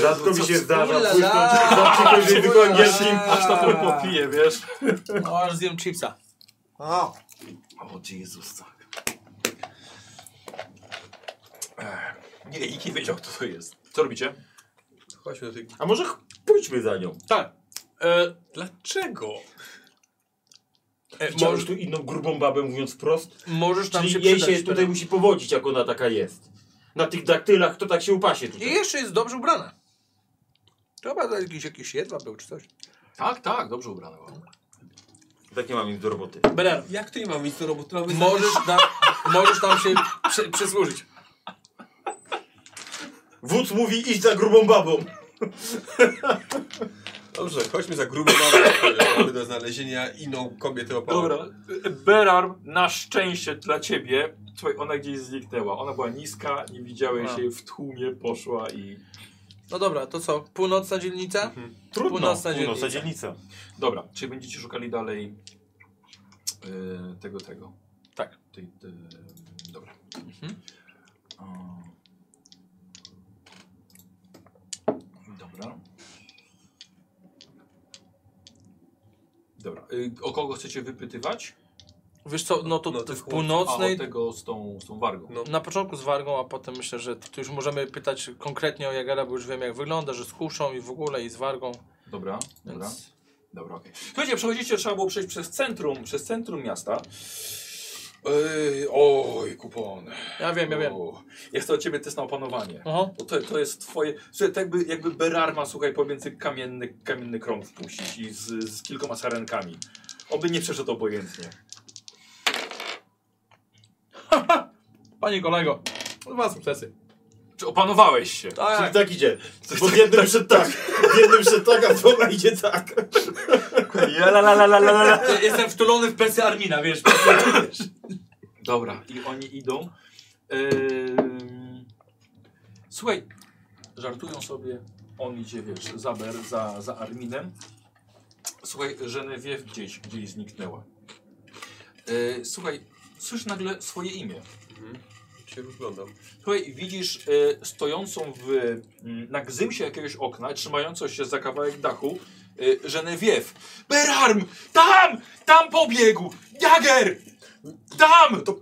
Speaker 25: Rzadko mi się zdarza
Speaker 3: Ulala.
Speaker 25: pójść do kogoś tylko angielskim.
Speaker 1: Aż na to popiję, wiesz?
Speaker 3: O, aż zjem chipsa.
Speaker 1: O Jezus, tak. Nie, nikt nie wiedział, kto to jest. Co robicie?
Speaker 4: Chodźmy do tej...
Speaker 2: A może ch- pójdźmy za nią.
Speaker 20: Tak. E,
Speaker 4: Dlaczego?
Speaker 3: E,
Speaker 2: Chciałeś
Speaker 3: moż-
Speaker 2: tu inną grubą babę mówiąc wprost?
Speaker 3: możesz nam
Speaker 2: Czyli
Speaker 3: się
Speaker 2: jej
Speaker 3: przydać.
Speaker 2: się tutaj
Speaker 3: teraz.
Speaker 2: musi powodzić, jak ona taka jest. Na tych daktylach to tak się upasie
Speaker 3: I
Speaker 2: tutaj.
Speaker 3: jeszcze jest dobrze ubrana. Chyba za jakiś, jakiś jedwab był czy coś.
Speaker 1: Tak, tak, dobrze ubrana była.
Speaker 3: tak
Speaker 2: Takie mam ich do roboty.
Speaker 3: Beler,
Speaker 4: Jak to nie mam nic do roboty? Mamy
Speaker 3: możesz, na, możesz nam się przy, przysłużyć.
Speaker 2: Wódz mówi iść za grubą babą.
Speaker 5: Dobrze, chodźmy za grubą mamy do znalezienia inną kobietę opałą.
Speaker 20: Dobra, Berarm, na szczęście dla ciebie, słuchaj, ona gdzieś zniknęła. Ona była niska, nie widziałeś
Speaker 3: A.
Speaker 20: jej, w tłumie poszła i...
Speaker 3: No dobra, to co? Północna dzielnica?
Speaker 2: Trudno.
Speaker 3: Północna dzielnica.
Speaker 2: dzielnica.
Speaker 1: Dobra, czy będziecie szukali dalej e, tego, tego? Tak. Tej, te, dobra.
Speaker 3: Mhm.
Speaker 1: O. Dobra. Dobra. y, O kogo chcecie wypytywać?
Speaker 3: Wiesz co, no to
Speaker 5: No to
Speaker 3: w
Speaker 5: chłop-
Speaker 1: A o
Speaker 3: północnej...
Speaker 1: tego z tą, z tą wargą.
Speaker 5: No.
Speaker 3: Na początku z Wargą, a potem myślę, że tu już możemy pytać konkretnie o Jagera, bo już wiem jak wygląda, że z kuszą i w ogóle i z Wargą.
Speaker 1: Dobra,
Speaker 3: Więc...
Speaker 1: dobra. Dobra, okej. Słuchajcie, przechodzicie, trzeba było przejść przez centrum, przez centrum miasta. Ej, oj, kupon.
Speaker 3: Ja wiem, ja wiem.
Speaker 1: O, Ja chcę od ciebie test na opanowanie.
Speaker 3: Aha.
Speaker 1: Bo No to, to jest twoje. Słuchaj, tak jakby, jakby Berarma, słuchaj, pomiędzy kamienny, kamienny krąg wpuścić i z, z kilkoma sarenkami. Oby nie przeszedł obojętnie.
Speaker 3: Panie kolego, dwa sukcesy.
Speaker 1: Czy opanowałeś się?
Speaker 2: Czyli
Speaker 3: Tak,
Speaker 2: tak idzie. Bo w jednym szedł tak, w jednym szedł tak, a w dwoma idzie tak.
Speaker 3: jestem wtulony w plecy Armina, wiesz.
Speaker 1: Dobra, i oni idą. Ym... Słuchaj, żartują sobie. On idzie, wiesz, za, Ber, za, za Arminem. Słuchaj, Genevieve gdzieś, gdzieś zniknęła. Yy, słuchaj, słysz nagle swoje imię.
Speaker 5: Się rozglądam.
Speaker 1: Słuchaj, widzisz e, stojącą w, m, na gzymsie jakiegoś okna, trzymającą się za kawałek dachu, e, Genevieve. Berarm! Tam! Tam pobiegł! Jager! Tam!
Speaker 5: No To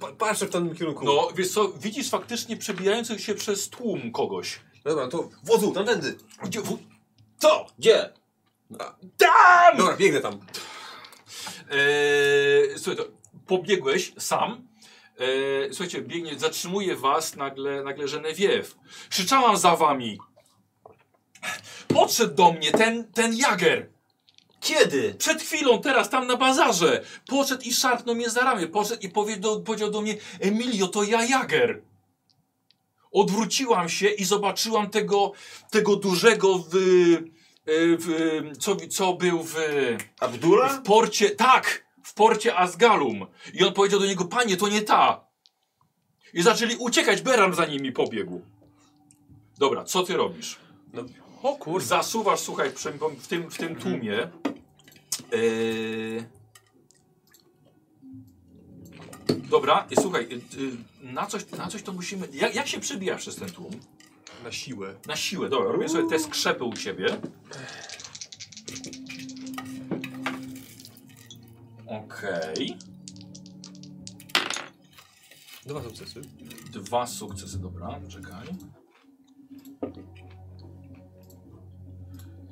Speaker 5: pa- patrzę w tamtym kierunku. No.
Speaker 1: No, wiesz co, widzisz faktycznie przebijających się przez tłum kogoś.
Speaker 5: Dobra, to wozu, tamtędy.
Speaker 1: Gdzie, w, co?
Speaker 5: Gdzie?
Speaker 1: Tam!
Speaker 5: Dobra, biegnę tam.
Speaker 1: Eee, słuchaj, to pobiegłeś sam. Eee, słuchajcie, biegnie, zatrzymuje was nagle, nagle Genevieve. Krzyczałam za wami. Podszedł do mnie ten, ten Jager.
Speaker 2: Kiedy?
Speaker 1: Przed chwilą, teraz, tam na bazarze. Podszedł i szarpnął mnie za ramię. Podszedł i powiedział, powiedział do mnie, Emilio, to ja Jager. Odwróciłam się i zobaczyłam tego, tego dużego w, w, co, co był w...
Speaker 2: Abdullah?
Speaker 1: W porcie, tak, w porcie Asgalum. I on powiedział do niego, panie, to nie ta. I zaczęli uciekać, Beram za nimi pobiegł. Dobra, co ty robisz?
Speaker 3: O kur...
Speaker 1: Zasuwasz, słuchaj, przy- w tym, w tym tłumie. Yy... Dobra, i słuchaj, y, y, na coś, na coś to musimy... Jak, jak się przebija przez ten tłum?
Speaker 5: Na siłę.
Speaker 1: Na siłę, dobra, robię sobie test krzepy u siebie. Okej.
Speaker 5: Dwa sukcesy.
Speaker 1: Dwa sukcesy, dobra, czekaj.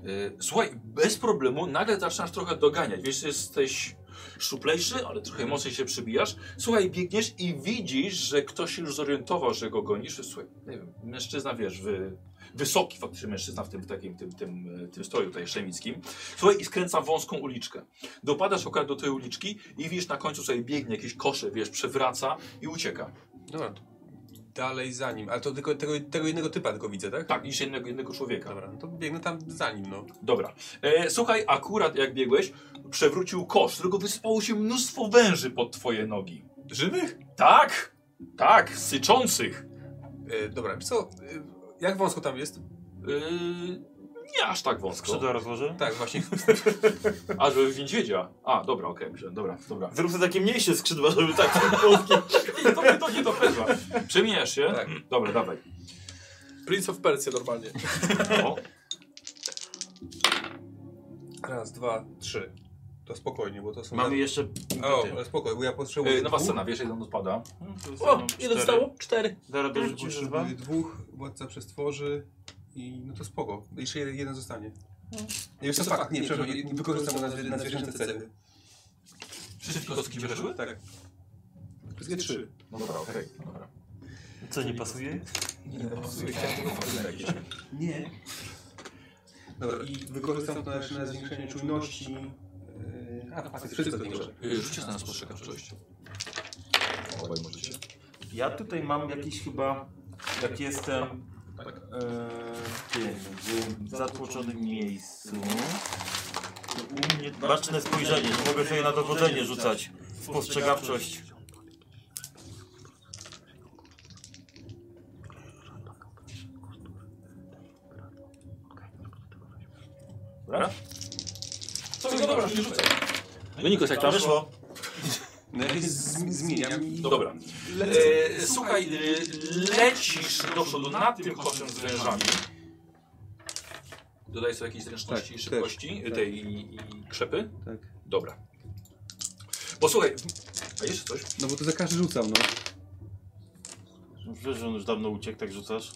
Speaker 1: Yy, Słuchaj, bez problemu nagle zaczynasz trochę doganiać. Wiesz, jesteś szczuplejszy, ale trochę mocniej się przybijasz. Słuchaj, biegniesz i widzisz, że ktoś się już zorientował, że go gonisz. Słuchaj, nie wiem, mężczyzna, wiesz, wy, wysoki faktycznie mężczyzna w tym takim, tym, tym, e, tym stroju tutaj szemickim. Słuchaj, i skręca wąską uliczkę. Dopadasz akurat do tej uliczki i widzisz na końcu sobie biegnie jakieś kosze, wiesz, przewraca i ucieka.
Speaker 5: Dobra. to Dalej za nim. Ale to tylko tego, tego jednego typa tylko widzę, tak?
Speaker 1: Tak, niż jednego, jednego człowieka.
Speaker 5: Dobra, no to biegnę tam za nim, no.
Speaker 1: Dobra. E, słuchaj, akurat jak biegłeś, przewrócił kosz, z którego wysypało się mnóstwo węży pod twoje nogi.
Speaker 5: Żywych?
Speaker 1: Tak! Tak, syczących.
Speaker 5: E, dobra, wiesz co? E, jak wąsko tam jest?
Speaker 1: Yy, nie aż tak wąsko.
Speaker 2: Skrzydła rozłożę?
Speaker 5: Tak, właśnie.
Speaker 1: A, żeby w niedźwiedzia. A, dobra, okej, myślałem, dobra, dobra.
Speaker 2: Zrób sobie takie mniejsze skrzydła, żeby tak polskie.
Speaker 1: Nie, to nie, to nie, to pewna. Przemijasz się?
Speaker 5: Tak.
Speaker 1: Dobra, dawaj.
Speaker 3: Prince of Persia normalnie.
Speaker 1: O,
Speaker 5: Raz, dwa, trzy.
Speaker 26: To spokojnie, bo to są...
Speaker 2: Mamy jeszcze
Speaker 26: O,
Speaker 2: impety.
Speaker 26: ale spokojnie, bo ja potrzebuję
Speaker 1: Yy, nowa
Speaker 26: dwóch.
Speaker 1: scena, wiesz, jeden odpada.
Speaker 3: O, ile zostało? no, Cztery.
Speaker 2: Zaraz dorzucisz dwa?
Speaker 26: Potrzebuję dwóch, władca przestworzy i no to spoko. Jeszcze jeden, jeden zostanie. Nie, to fakt, nie, przepraszam, nie, wykorzystam go na, zwier- na zwierzęce cele.
Speaker 27: Wszystkie kostki wyszły?
Speaker 26: Tak. Wszystkie trzy.
Speaker 1: No dobra, okej. no dobra.
Speaker 2: Co nie pasuje?
Speaker 4: Nie.
Speaker 26: Dobra, i wykorzystam to
Speaker 4: też
Speaker 26: jeszcze
Speaker 4: na zwiększenie czujności.
Speaker 26: Yy, A, facet, wszystko zwiększę.
Speaker 27: Yy, Rzućcie na spostrzegawczość.
Speaker 1: Obaj możecie.
Speaker 2: Ja tutaj mam jakiś chyba, jak jestem e, w tym, w zatłoczonym miejscu. to U mnie baczne spojrzenie, nie mogę sobie na dowodzenie rzucać. Spostrzegawczość.
Speaker 1: Dobra?
Speaker 27: Co no dobra, nie rzucaj.
Speaker 2: Wynikus, jak tam wyszło?
Speaker 26: No ja z- zmieniam i...
Speaker 1: Dobra. E, słuchaj, e, lecisz do przodu na tym koszem z wężami. Dodaj sobie jakieś zręczności i szybkości e, tej i, i krzepy.
Speaker 4: Tak.
Speaker 1: Dobra. Posłuchaj, a jeszcze coś?
Speaker 4: No bo to za każdy rzucam, no.
Speaker 2: Wiesz, że on już dawno uciekł, tak rzucasz?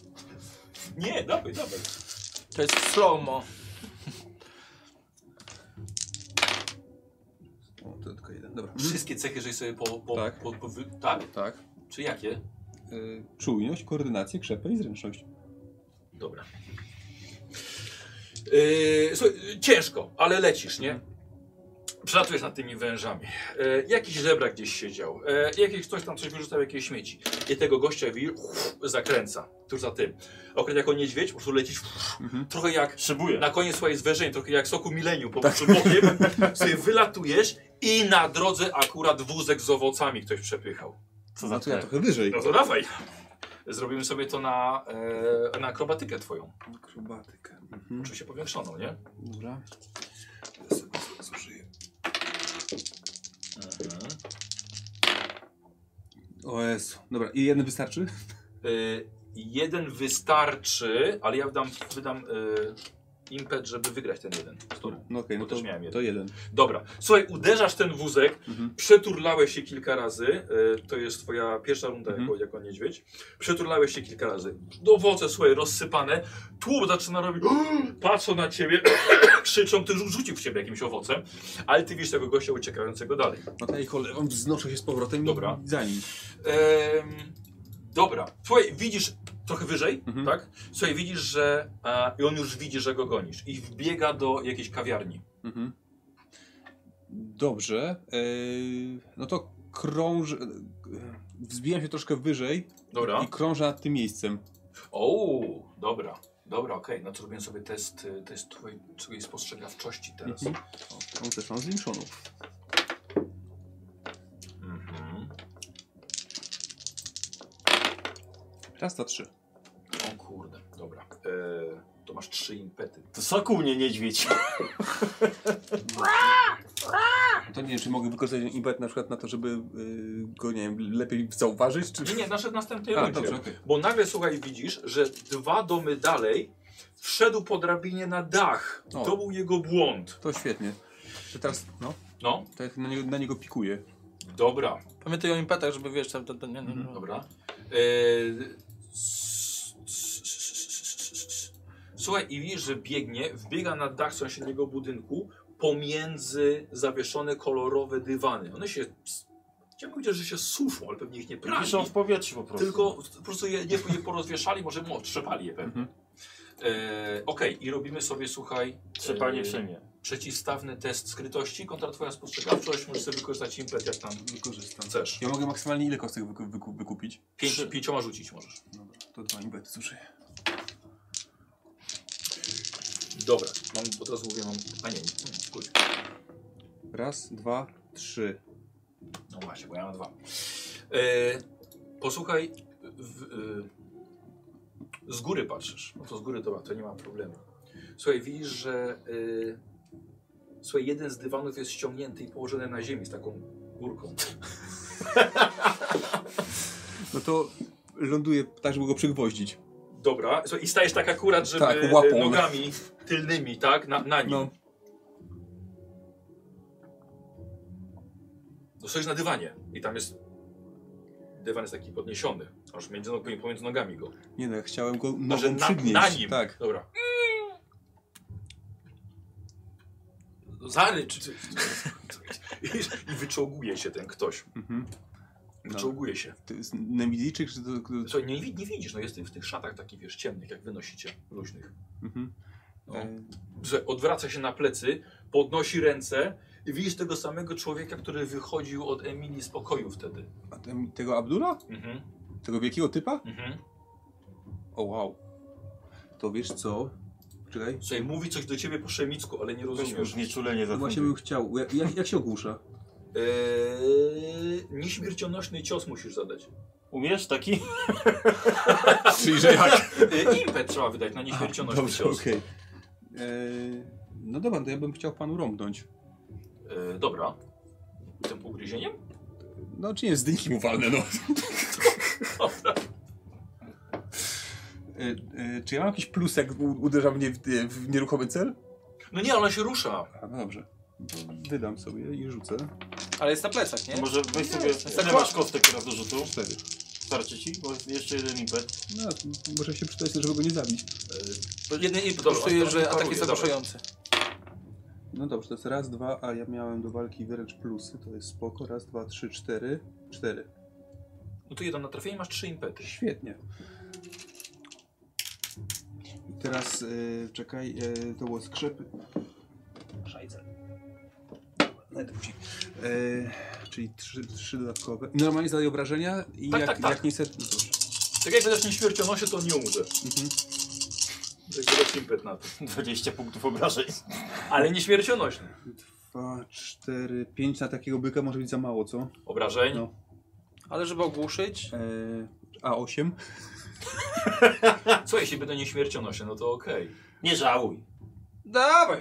Speaker 1: Nie, dawaj, dawaj.
Speaker 3: To jest slow-mo.
Speaker 26: O, to tylko jeden, dobra.
Speaker 27: Wszystkie cechy, żeś sobie po... po,
Speaker 4: Tak.
Speaker 27: po, po wy... tak?
Speaker 4: Tak.
Speaker 27: Czy jakie?
Speaker 26: E,
Speaker 4: Y, czujność, koordynację, krzepę i zręczność.
Speaker 1: Dobra. Yy, słuchaj, yy, ciężko, ale lecisz, nie? Przelatujesz nad tymi wężami. E, jakiś żebrak gdzieś siedział. E, jakiś ktoś tam coś wyrzucał, jakieś śmieci. I tego gościa wir uff, zakręca. Tuż za tym. Okret jako niedźwiedź, po prostu lecisz. Uff, Trochę jak
Speaker 2: Szybuję.
Speaker 1: na koniec swojej zwierzeń, trochę jak soku milenium. Po prostu bokiem sobie wylatujesz i na drodze akurat wózek z owocami ktoś przepychał.
Speaker 2: Co za
Speaker 4: To ja
Speaker 2: cel?
Speaker 4: trochę wyżej.
Speaker 1: No to dawaj. Zrobimy sobie to na, e, na akrobatykę twoją.
Speaker 26: Akrobatykę.
Speaker 1: Oczywiście powiększoną, nie?
Speaker 4: Dobra.
Speaker 26: Ja sobie sobie zużyję.
Speaker 4: Mhm. O Jezu. Dobra, i jeden wystarczy?
Speaker 1: Y, jeden wystarczy, ale ja wydam, wydam y, impet, żeby wygrać ten jeden. Który?
Speaker 4: No okej,
Speaker 1: Bo
Speaker 4: no to,
Speaker 1: też miałem jeden.
Speaker 4: to jeden.
Speaker 1: Dobra. Słuchaj, uderzasz ten wózek,
Speaker 4: Mhm.
Speaker 1: przeturlałeś się kilka razy. y, to jest twoja pierwsza runda
Speaker 4: Mhm.
Speaker 1: jako, jako niedźwiedź. Przeturlałeś się kilka razy. Owoce, słuchaj, rozsypane. Tłum zaczyna robić. Patrzą na ciebie, krzyczą, ty rzu- rzucił w ciebie jakimś owocem, ale ty widzisz tego gościa uciekającego dalej.
Speaker 4: Okej, cholewą wznoszę się z powrotem
Speaker 1: Dobra.
Speaker 4: i za nim.
Speaker 1: Em, dobra, słuchaj, widzisz trochę wyżej,
Speaker 4: Mhm.
Speaker 1: tak? Słuchaj, widzisz, że. e, I on już widzi, że go gonisz. I wbiega do jakiejś kawiarni.
Speaker 4: Mhm. Dobrze. Yy, no to krążę... Yy, wzbijam się troszkę wyżej
Speaker 1: Dobra.
Speaker 4: i krążę nad tym miejscem.
Speaker 1: O, dobra, dobra, okej. No to robimy sobie test, y, test twojej, twojej spostrzegawczości teraz.
Speaker 4: Mhm. O, tą też mam zwiększoną.
Speaker 1: Mhm.
Speaker 4: Raz, dwa, trzy.
Speaker 1: O kurde, dobra. E, to masz trzy impety.
Speaker 2: To soku mnie niedźwiedź.
Speaker 4: To nie wiem, czy mogę wykorzystać impet na przykład na to, żeby yy, go, nie wiem, lepiej zauważyć, czy...
Speaker 1: Nie, nie, nasze następnej
Speaker 4: A,
Speaker 1: rundzie.
Speaker 4: dobrze, okej.
Speaker 1: Bo nagle słuchaj, widzisz, że dwa domy dalej wszedł po drabinie na dach.
Speaker 4: O.
Speaker 1: To był jego błąd.
Speaker 4: To świetnie. To teraz, no,
Speaker 1: No,
Speaker 4: to jak na niego, na niego pikuje.
Speaker 1: dobra.
Speaker 3: Pamiętaj o impetach, żeby wiesz, tam to, to nie, nie, nie.
Speaker 1: Dobra. Eee, s- s- s- Słuchaj, i widzisz, że biegnie, wbiega na dach sąsiedniego budynku pomiędzy zawieszone kolorowe dywany. One się, chciałbym powiedzieć, że się suszą, ale pewnie ich nie prali.
Speaker 2: Piszą w powietrzu po prostu.
Speaker 1: Tylko po prostu je, nie, nie porozwieszali, może mu otrzepali je
Speaker 2: Mhm.
Speaker 1: pewnie. Eee, Okej, i robimy sobie, słuchaj,
Speaker 2: Trzepanie
Speaker 1: eee,
Speaker 2: wszędzie.
Speaker 1: przeciwstawny test skrytości kontra twoja spostrzegawczość. Możesz sobie wykorzystać impet jak tam
Speaker 4: Wykorzystam.
Speaker 1: chcesz.
Speaker 4: Ja mogę maksymalnie ile kostek wyku, wyku, wykupić?
Speaker 1: Pięć, pięcioma rzucić możesz.
Speaker 4: Dobra, to dwa impety zużyję.
Speaker 1: Dobra, mam, bo teraz mówię, mam... A nie, nie, nie, kurczę.
Speaker 4: Raz, dwa, trzy.
Speaker 1: No właśnie, bo ja mam dwa. E, posłuchaj, w, e, z góry patrzysz. No to z góry dobra, to nie ma problemu. Słuchaj, widzisz, że e, słuchaj, jeden z dywanów jest ściągnięty i położony na ziemi z taką górką.
Speaker 4: No to ląduję tak, żeby go przygwoździć.
Speaker 1: Dobra, słuchaj, i stajesz tak akurat, żeby
Speaker 4: Tak, łapą.
Speaker 1: e, nogami tylnymi, tak, na, na nim.
Speaker 4: No.
Speaker 1: No stoisz na dywanie i tam jest... Dywan jest taki podniesiony, aż między, nogami, pomiędzy nogami go.
Speaker 4: Nie no, ja chciałem go
Speaker 1: Może
Speaker 4: nogą
Speaker 1: na,
Speaker 4: przygnieść.
Speaker 1: na nim.
Speaker 4: Tak.
Speaker 1: Dobra. No, Zarycz. I wyczołguje się ten ktoś.
Speaker 4: Mhm.
Speaker 1: Wyczołguje się.
Speaker 4: To jest Nemidijczyk, czy to... to
Speaker 1: Słuchaj, nie, wi- nie widzisz, no jestem w tych szatach takich, wiesz, ciemnych, jak wynosicie, luźnych.
Speaker 4: mhm.
Speaker 1: No.
Speaker 4: E,
Speaker 1: Słuchaj, odwraca się na plecy, podnosi ręce i widzisz tego samego człowieka, który wychodził od Emilii z pokoju wtedy.
Speaker 4: a ten, tego Abdula?
Speaker 1: Mhm,
Speaker 4: Tego wielkiego typa?
Speaker 1: mhm.
Speaker 4: O wow. To wiesz co? Czekaj.
Speaker 1: Słuchaj, mówi coś do ciebie po szemicku, ale nie
Speaker 7: Weźmy
Speaker 1: rozumiesz.
Speaker 7: już nieczulenie za
Speaker 4: Właśnie bym chciał. Jak, jak, jak się ogłusza?
Speaker 1: Eee, nieśmiercionośny cios musisz zadać.
Speaker 7: Umiesz taki?
Speaker 4: Czyli że jak?
Speaker 1: Eee, impet trzeba wydać na nieśmiercionośny
Speaker 4: Dobrze,
Speaker 1: cios.
Speaker 4: okej. Eee, No dobra, to ja bym chciał panu rąbnąć.
Speaker 1: Eee, dobra. Tym półgryzieniem?
Speaker 4: No czy nie, z dynki mu walnę, no.
Speaker 1: Dobra.
Speaker 4: E, e, czy ja mam jakiś plus, jak u- uderza mnie w, w nieruchomy cel?
Speaker 1: No nie, ona się rusza.
Speaker 4: A, no dobrze. Wydam sobie i rzucę.
Speaker 3: Ale jest na plecach, nie?
Speaker 7: Może weź sobie... Ile masz kostek teraz do rzutu?
Speaker 4: Cztery.
Speaker 7: Starczy ci? Bo jest jeszcze jeden impet.
Speaker 4: No, to może się przydać, żeby go nie zabić.
Speaker 3: Jeden i
Speaker 1: Dobra,
Speaker 3: kosztuje,
Speaker 1: dobra,
Speaker 3: że atak
Speaker 1: dobra,
Speaker 3: jest
Speaker 1: dobra.
Speaker 3: zapraszający.
Speaker 4: No dobrze, to jest raz, dwa, a ja miałem do walki wręcz plusy, to jest spoko. Raz, dwa, trzy, cztery. Cztery.
Speaker 1: No tu jeden na trafienie, masz trzy impety.
Speaker 4: Świetnie. I teraz, e, czekaj, e, to było skrzepy. Szajce. Nawet musi. E, czyli trzy, trzy dodatkowe. Normalnie zadaję obrażenia i
Speaker 1: Tak,
Speaker 4: jak,
Speaker 1: tak, tak.
Speaker 4: jak nie chcę... no dobrze.
Speaker 1: Tak jak wydasz nieśmiercionośny, to nie umrze.
Speaker 4: Mhm.
Speaker 1: Tak wydasz impet na to.
Speaker 7: 20 punktów obrażeń.
Speaker 1: Ale nieśmiercionośny.
Speaker 4: Dwa, cztery, pięć na takiego byka może być za mało, co?
Speaker 1: Obrażeń.
Speaker 4: No.
Speaker 3: Ale żeby ogłuszyć,
Speaker 4: E, a osiem? No.
Speaker 1: Co jeśli będą nieśmiercionośne, no to okej.
Speaker 7: Nie żałuj.
Speaker 3: dawaj!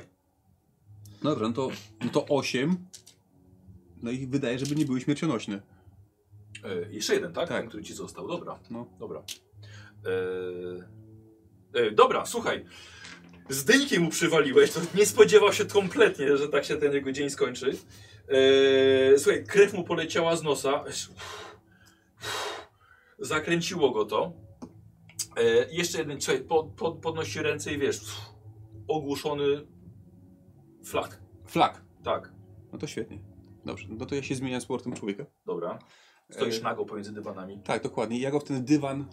Speaker 4: No dobrze, no to, no to osiem. No i wydaje, żeby nie były śmiercionośne.
Speaker 1: E, Jeszcze jeden, tak?
Speaker 4: Tak.
Speaker 1: Ten, który ci został. Dobra.
Speaker 4: No.
Speaker 1: Dobra. E, e, dobra, słuchaj. Z dynki mu przywaliłeś, to nie spodziewał się kompletnie, że tak się ten jego dzień skończy. E, słuchaj, krew mu poleciała z nosa. Zakręciło go to. E, jeszcze jeden, słuchaj, pod, pod, podnosi ręce i wiesz, ogłuszony flak.
Speaker 4: Flak.
Speaker 1: Tak,
Speaker 4: No to świetnie. Dobrze, no to ja się zmieniam z portem człowieka.
Speaker 1: dobra. Stoisz
Speaker 4: E,
Speaker 1: nago pomiędzy dywanami.
Speaker 4: Tak, dokładnie. Ja go w ten dywan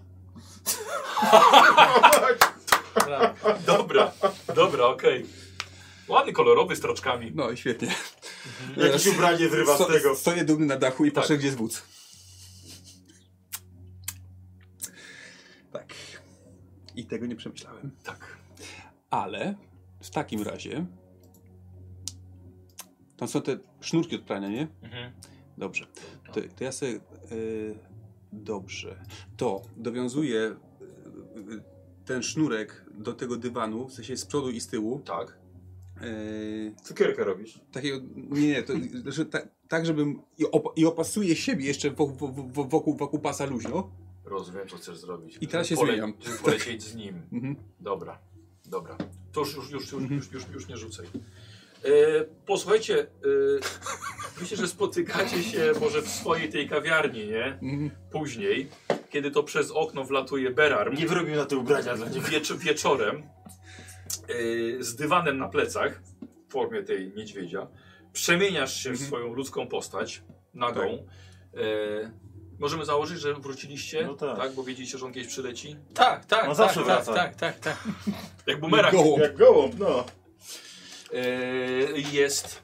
Speaker 1: Dobra, dobra, okej. Ładny, kolorowy, z troczkami.
Speaker 4: No i świetnie.
Speaker 7: Mhm. Jakieś ubranie zrywa z
Speaker 4: Sto,
Speaker 7: tego.
Speaker 4: stoję dumny na dachu i
Speaker 1: Tak.
Speaker 4: patrzę, gdzie jest wódz. Tak. I tego nie przemyślałem.
Speaker 1: Tak.
Speaker 4: Ale w takim razie. Tam są te sznurki od prania, nie?
Speaker 1: Mhm.
Speaker 4: Dobrze. To, to ja sobie. y, dobrze. To dowiązuję y, y, ten sznurek do tego dywanu, w sensie z przodu i z tyłu.
Speaker 1: Tak.
Speaker 4: y,
Speaker 7: Cukierkę robisz.
Speaker 4: Takiego, nie, nie, to, znaczy, ta, tak żebym i, op, i opasuję siebie jeszcze wo- wo- wo- wokół, wokół pasa luźno.
Speaker 1: Rozumiem, co chcesz zrobić.
Speaker 4: I teraz się
Speaker 1: Pole-
Speaker 4: zmieniam.
Speaker 1: żeby Polecieć z nim.
Speaker 4: Mhm.
Speaker 1: Dobra, dobra. To już, już, już, już, już, już, już nie rzucaj. E, posłuchajcie, e, myślę, że spotykacie się może w swojej tej kawiarni, nie?
Speaker 4: Mhm.
Speaker 1: Później, kiedy to przez okno wlatuje Berarm.
Speaker 7: Nie wyrobił na te ubrania dla niego.
Speaker 1: Wiecz, wieczorem e, z dywanem na plecach w formie tej niedźwiedzia przemieniasz się
Speaker 7: Mhm.
Speaker 1: w swoją ludzką postać nagą. E, możemy założyć, że wróciliście,
Speaker 7: Tak. No tak.
Speaker 1: tak? Bo wiedzieliście, że on kiedyś przyleci.
Speaker 3: Tak, tak,
Speaker 7: On
Speaker 3: tak,
Speaker 7: zawsze
Speaker 3: tak,
Speaker 7: wraca.
Speaker 3: tak, tak, tak.
Speaker 1: Jak bumerang.
Speaker 4: Gołąb.
Speaker 7: Jak gołąb, no.
Speaker 1: E, jest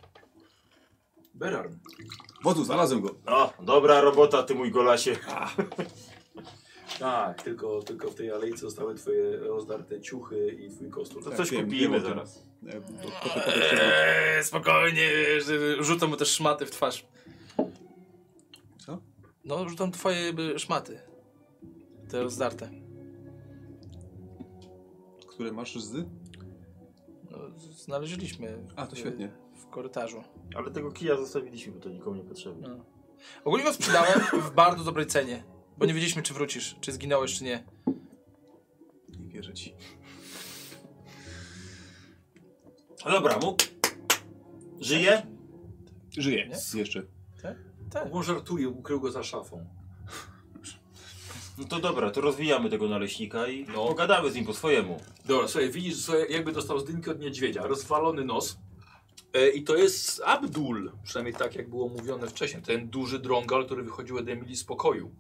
Speaker 1: Berarm.
Speaker 4: Wodzu, znalazłem go.
Speaker 7: No, dobra robota, ty mój golasie.
Speaker 1: Tak, tylko, tylko w tej alejce zostały twoje rozdarte ciuchy i twój kostur.
Speaker 7: To
Speaker 4: Tak,
Speaker 7: No coś
Speaker 4: wiem,
Speaker 7: kupimy
Speaker 4: wiem o tym.
Speaker 7: zaraz.
Speaker 4: E, bo- po- po- po- po-
Speaker 3: Eee, spokojnie, wiesz, rzucam mu też szmaty w twarz.
Speaker 4: Co?
Speaker 3: No, rzucam twoje jakby, szmaty. Te rozdarte.
Speaker 4: Które masz z?
Speaker 3: No, znaleźliśmy.
Speaker 4: A, to świetnie.
Speaker 3: W korytarzu.
Speaker 7: Ale tego kija zostawiliśmy, bo to nikomu nie potrzebne.
Speaker 3: No. Ogólnie go sprzedałem w bardzo dobrej cenie. Bo nie wiedzieliśmy, czy wrócisz, czy zginąłeś, czy nie.
Speaker 4: Nie wierzę ci.
Speaker 7: Dobra, mu. Żyje?
Speaker 4: Żyje.
Speaker 3: Nie?
Speaker 4: Jeszcze.
Speaker 1: On żartuje, ukrył go za szafą.
Speaker 7: No to dobra, to rozwijamy tego naleśnika i pogadamy z nim po swojemu.
Speaker 1: Dobra, słuchaj, widzisz, słuchaj, jakby dostał zdynki od niedźwiedzia, rozwalony nos. E, I to jest Abdul, przynajmniej tak jak było mówione wcześniej, ten duży drągal, który wychodził od Emilii z pokoju.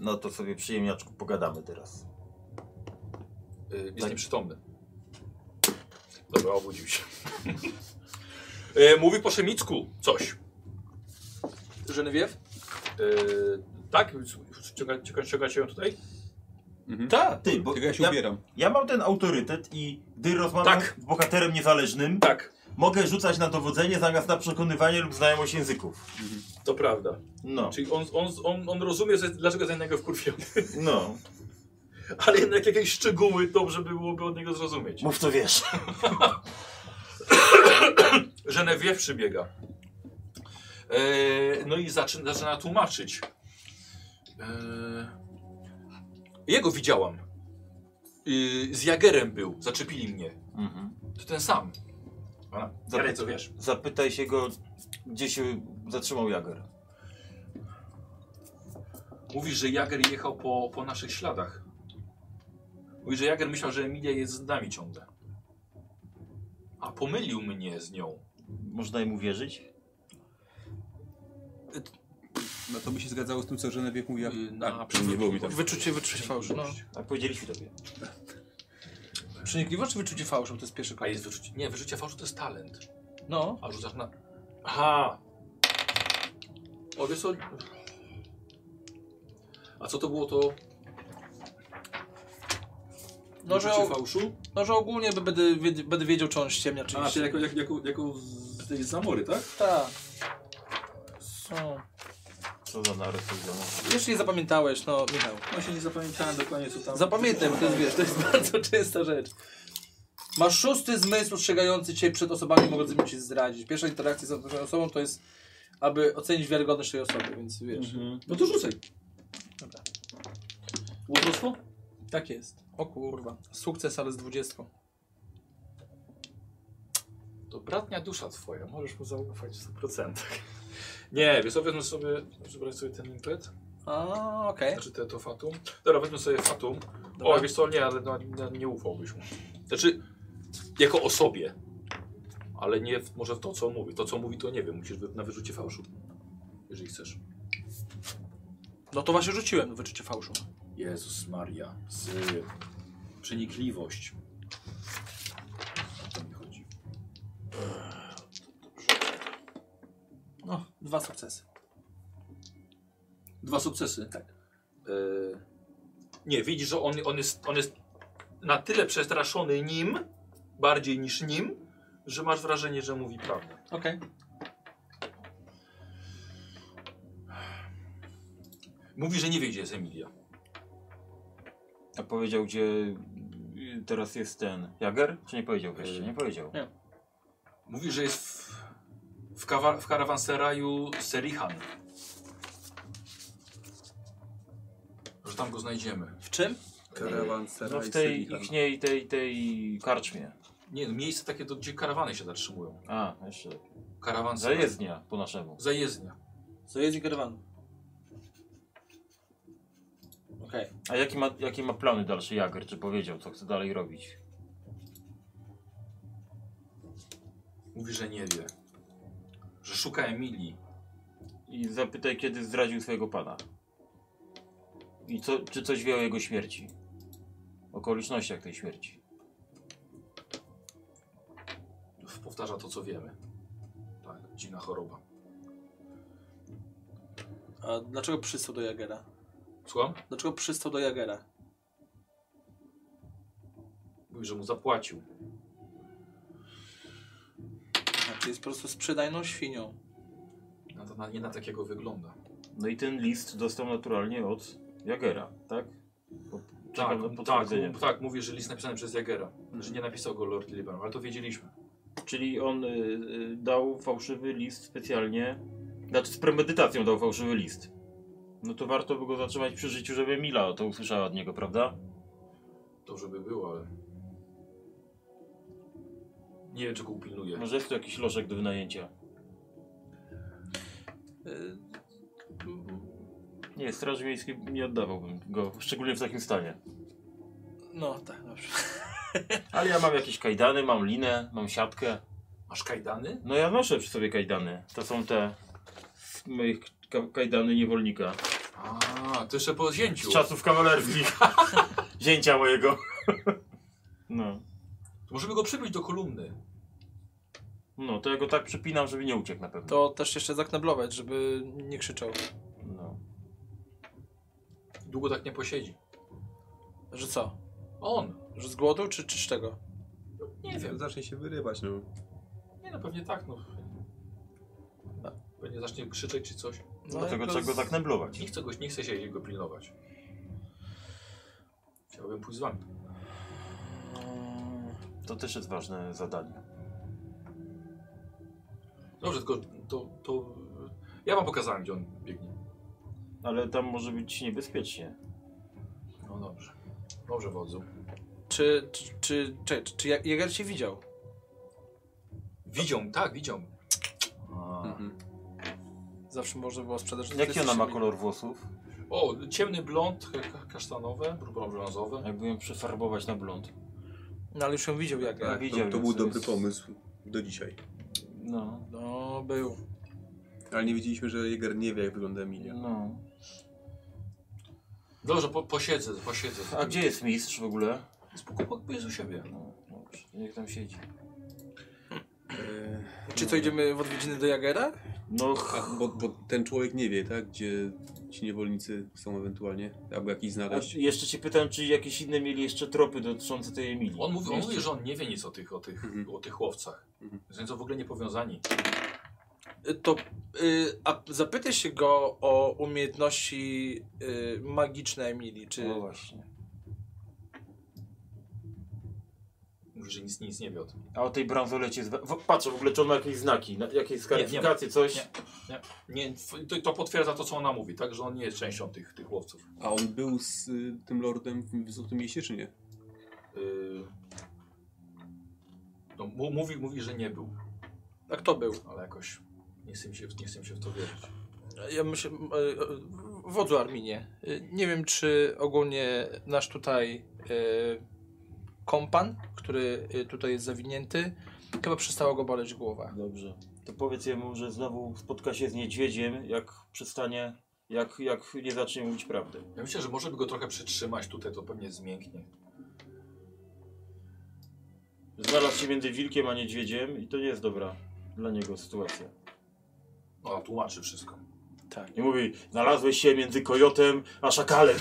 Speaker 7: No to sobie przyjemniaczku pogadamy teraz.
Speaker 1: E, Jest
Speaker 7: Tak.
Speaker 1: nieprzytomny. Dobra, obudził się. e, mówi po szemicku coś. Genevieve? E, tak? Ciąga- ciąga- Ciągacie ją tutaj?
Speaker 7: Tak, ty, bo
Speaker 4: Tylko ja się ubieram.
Speaker 7: Ja mam ten autorytet i gdy rozmawiam
Speaker 1: Tak.
Speaker 7: z bohaterem niezależnym,
Speaker 1: Tak,
Speaker 7: mogę rzucać na dowodzenie zamiast na przekonywanie lub znajomość języków.
Speaker 1: to prawda.
Speaker 7: No,
Speaker 1: Czyli on, on, on, on rozumie, że- dlaczego za innego wkurwiony,
Speaker 7: no.
Speaker 1: ale jednak jakieś szczegóły dobrze by byłoby od niego zrozumieć.
Speaker 7: Mów co wiesz.
Speaker 1: Genevieve przybiega. Eee, no i zaczyna, zaczyna tłumaczyć. Eee, jego widziałam. Yy, z Jagerem był, zaczepili mnie.
Speaker 7: Mhm.
Speaker 1: To ten sam. Ona, Jarek, co wiesz?
Speaker 7: Zapytaj się go, gdzie się zatrzymał Jager.
Speaker 1: Mówisz, że Jager jechał po, po naszych śladach. Mówisz, że Jager myślał, że Emilia jest z nami ciągle. A pomylił mnie z nią.
Speaker 7: Można im uwierzyć?
Speaker 4: No to by się zgadzało z tym, co Genevieve mówiła.
Speaker 1: Yy, na
Speaker 4: nie było mi tam.
Speaker 3: Wyczucie, wyczucie fałszu. No.
Speaker 7: Tak powiedzieliśmy tobie.
Speaker 3: Przenikliwość czy wyczucie fałszu? To jest pierwszy
Speaker 1: A
Speaker 3: krok.
Speaker 1: jest wyczucie. Nie, wyczucie fałszu to jest talent.
Speaker 3: No.
Speaker 1: A rzucasz na... Aha! O, wiesz co? A co to było to?
Speaker 3: No, że,
Speaker 1: Wyczucie fałszu?
Speaker 3: no, że ogólnie b- będę, wiedz- będę wiedział, czy on ściemnia, czy nie
Speaker 1: A, czyli
Speaker 3: ściemnia.
Speaker 1: jako, jako, jako, jako z tej zamory, tak?
Speaker 3: Tak. So.
Speaker 7: Co za naród to za naród.
Speaker 3: Jeszcze nie zapamiętałeś, no Michał.
Speaker 1: No się nie zapamiętałem dokładnie co tam...
Speaker 3: Zapamiętaj, bo to jest, wiesz, to jest bardzo częsta rzecz. Masz szósty zmysł ostrzegający cię przed osobami mogącymi cię zdradzić. Pierwsza interakcja z tą osobą to jest, aby ocenić wiarygodność tej osoby, więc wiesz.
Speaker 1: No to rzucaj.
Speaker 3: Dobra.
Speaker 1: Łotrostwo?
Speaker 3: Tak jest. O kurwa. Sukces, ale z dwudziestką.
Speaker 1: To bratnia dusza twoja, możesz mu zaufać w 100%. Nie, wiesz co, wezmę sobie, wybrać sobie ten impet,
Speaker 3: A, okej.
Speaker 1: znaczy te, to fatum. Dobra, wezmę sobie fatum. O, wiesz co, nie, ale no, nie, nie ufałbyś mu. Znaczy, jako osobie. Ale nie, w, może w to, co on mówi. To, co mówi, to nie wiem, musisz wy, na wyrzucie fałszu. Jeżeli chcesz.
Speaker 3: No to właśnie rzuciłem no, wyczucie fałszu.
Speaker 1: Jezus Maria, z przenikliwość. O to mi chodzi.
Speaker 3: No, dwa sukcesy.
Speaker 1: Dwa sukcesy. Tak. nie, widzisz, że on, on, jest, on jest na tyle przestraszony nim, bardziej niż nim, że masz wrażenie, że mówi prawdę.
Speaker 3: Okej.
Speaker 1: Mówi, że nie wie, gdzie jest Emilia.
Speaker 7: A powiedział, gdzie y, teraz jest ten Jager? Czy nie powiedział jeszcze? Nie powiedział.
Speaker 1: Mówi, że jest w, w, kawa, w karawanseraju Serihan. Że tam go znajdziemy. E,
Speaker 3: W czym?
Speaker 28: Karawan,
Speaker 7: No
Speaker 28: seraj,
Speaker 7: w tej ichniej, tej, tej karczmie.
Speaker 1: Nie, no, miejsce takie, do, gdzie karawany się zatrzymują.
Speaker 7: A, jeszcze.
Speaker 1: Karawanseraj.
Speaker 7: Zajezdnia po naszemu.
Speaker 1: Zajezdnia.
Speaker 3: Co jest Gerwan? Okej.
Speaker 7: A jakie ma, jakie ma plany dalszy Jager? Czy powiedział, co chce dalej robić?
Speaker 1: Mówi, że nie wie. Że szuka Emilii.
Speaker 7: I zapytaj, kiedy zdradził swojego pana. I co, czy coś wie o jego śmierci? Okolicznościach tej śmierci.
Speaker 1: Powtarza to, co wiemy. Tak, dziwna choroba.
Speaker 3: A dlaczego przystał do Jagera?
Speaker 1: Słucham?
Speaker 3: Dlaczego przystał do Jagera?
Speaker 1: Mówi, że mu zapłacił.
Speaker 3: Znaczy jest po prostu sprzedajną świnią.
Speaker 1: No to na, nie na takiego wygląda.
Speaker 7: No i ten list dostał naturalnie od Jagera, tak? Bo
Speaker 1: Tak,
Speaker 7: Czekam na
Speaker 1: tak,
Speaker 7: potwierdzenie.
Speaker 1: tak, mówi, że list napisany przez Jagera. Że nie napisał go Lord Liban, ale to wiedzieliśmy.
Speaker 7: Czyli on y, y, dał fałszywy list specjalnie. Znaczy z premedytacją dał fałszywy list. No to warto by go zatrzymać przy życiu, żeby Mila to usłyszała od niego, prawda?
Speaker 1: Dobrze by było, ale... Nie wiem, czy go upilnuje.
Speaker 7: Może jest tu jakiś lożek do wynajęcia.
Speaker 3: Y,
Speaker 7: Nie, Straży Miejskiej nie oddawałbym go, szczególnie w takim stanie.
Speaker 3: No tak, dobrze.
Speaker 7: Ale ja mam jakieś kajdany, mam linę, mam siatkę.
Speaker 1: Masz kajdany?
Speaker 7: No ja noszę przy sobie kajdany. To są te z moich ka- kajdany niewolnika.
Speaker 1: A, to jeszcze po
Speaker 7: Z
Speaker 1: zdjęciu.
Speaker 7: czasów kawalerskich. Zięcia mojego. No.
Speaker 1: To Możemy go przybić do kolumny.
Speaker 7: No, to ja go tak przypinam, żeby nie uciekł na pewno.
Speaker 3: To też jeszcze zakneblować, żeby nie krzyczał.
Speaker 7: No.
Speaker 1: Długo tak nie posiedzi.
Speaker 3: Że co?
Speaker 1: On.
Speaker 3: Że z głodu czy, czy z czego?
Speaker 1: Nie wiem.
Speaker 4: Zacznie się wyrywać, no.
Speaker 1: Nie no, pewnie tak, no. Pewnie zacznie krzyczeć czy coś.
Speaker 3: No,
Speaker 7: Dlatego
Speaker 3: jako
Speaker 7: trzeba go
Speaker 3: z-
Speaker 7: zakneblować.
Speaker 1: Nie chcę, go, nie chcę się go pilnować. Chciałbym pójść z wami.
Speaker 7: To też jest ważne zadanie.
Speaker 1: Dobrze, tylko to, to... Ja wam pokazałem, gdzie on biegnie.
Speaker 7: Ale tam może być niebezpiecznie.
Speaker 1: No dobrze. Dobrze, wodzu.
Speaker 3: Czy, czy, czy, czy, czy, czy Ja- Jager cię widział?
Speaker 1: Widział, tak, widział.
Speaker 4: Mhm.
Speaker 3: Zawsze można było sprzedać. że
Speaker 7: Jaki
Speaker 3: jesteś
Speaker 7: ona ma
Speaker 3: siebie-
Speaker 7: kolor włosów?
Speaker 1: O, ciemny blond, k- k- kasztanowe, bró- brązowe.
Speaker 7: Jakby ją przefarbować na blond.
Speaker 3: No ale już ją widział Jager.
Speaker 4: to,
Speaker 7: Tak, widziałem,
Speaker 4: to był
Speaker 7: więc
Speaker 4: dobry
Speaker 7: jest-
Speaker 4: pomysł do dzisiaj.
Speaker 7: No.
Speaker 3: No, był.
Speaker 4: Ale nie wiedzieliśmy, że Jäger nie wie, jak wygląda Emilia.
Speaker 7: no.
Speaker 1: Dobrze, po, posiedzę, posiedzę.
Speaker 7: A gdzie jest mistrz w ogóle?
Speaker 1: Spokojnie jest u siebie.
Speaker 7: No, dobrze. Niech tam siedzi.
Speaker 3: Czy co, idziemy w odwiedziny do Jagera?
Speaker 7: No,
Speaker 4: E, A, bo, bo ten człowiek nie wie, tak? Gdzie ci niewolnicy są ewentualnie, albo jak ich
Speaker 7: a
Speaker 4: znaleźć.
Speaker 7: jeszcze cię pytam, czy jakieś inne mieli jeszcze tropy dotyczące tej Emilii.
Speaker 1: On mówi, on mówi, że on nie wie nic o tych, o tych, o tych chłopcach.
Speaker 4: Mhm.
Speaker 1: Więc są w ogóle niepowiązani.
Speaker 3: Y, To y, a zapytaj się go o umiejętności y, magiczne Emilii. Czy
Speaker 7: No właśnie.
Speaker 1: Mówi, że nic, nic nie wie o tym.
Speaker 7: A o tej bransolecie... Z... w- Patrzę w ogóle, czy on ma jakieś znaki, na- jakieś skaryfikacje, coś.
Speaker 1: Nie. Nie, to, to potwierdza to, co ona mówi, tak? Że on nie jest częścią tych, tych chłopców.
Speaker 4: A on był z y, tym lordem w Złotym Mieście, czy nie?
Speaker 1: Yy... No, mu- mówi, mówi, że nie był,
Speaker 3: a kto był?
Speaker 1: ale jakoś nie chcę mi się, w- nie chcę mi się w to wierzyć.
Speaker 3: Ja myślę, y, y, wodzu Arminie, y, nie wiem czy ogólnie nasz tutaj y, kompan, który y, tutaj jest zawinięty, chyba przestała go boleć głowa.
Speaker 7: Dobrze. To powiedz jemu, że znowu spotka się z niedźwiedziem, jak przestanie, jak, jak nie zacznie mówić prawdy.
Speaker 1: Ja myślę, że może by go trochę przytrzymać tutaj, to pewnie zmięknie.
Speaker 7: Znalazł się między wilkiem a niedźwiedziem i to nie jest dobra dla niego sytuacja.
Speaker 1: No, tłumaczy wszystko.
Speaker 7: I mówi, znalazłeś się między kojotem a szakalem.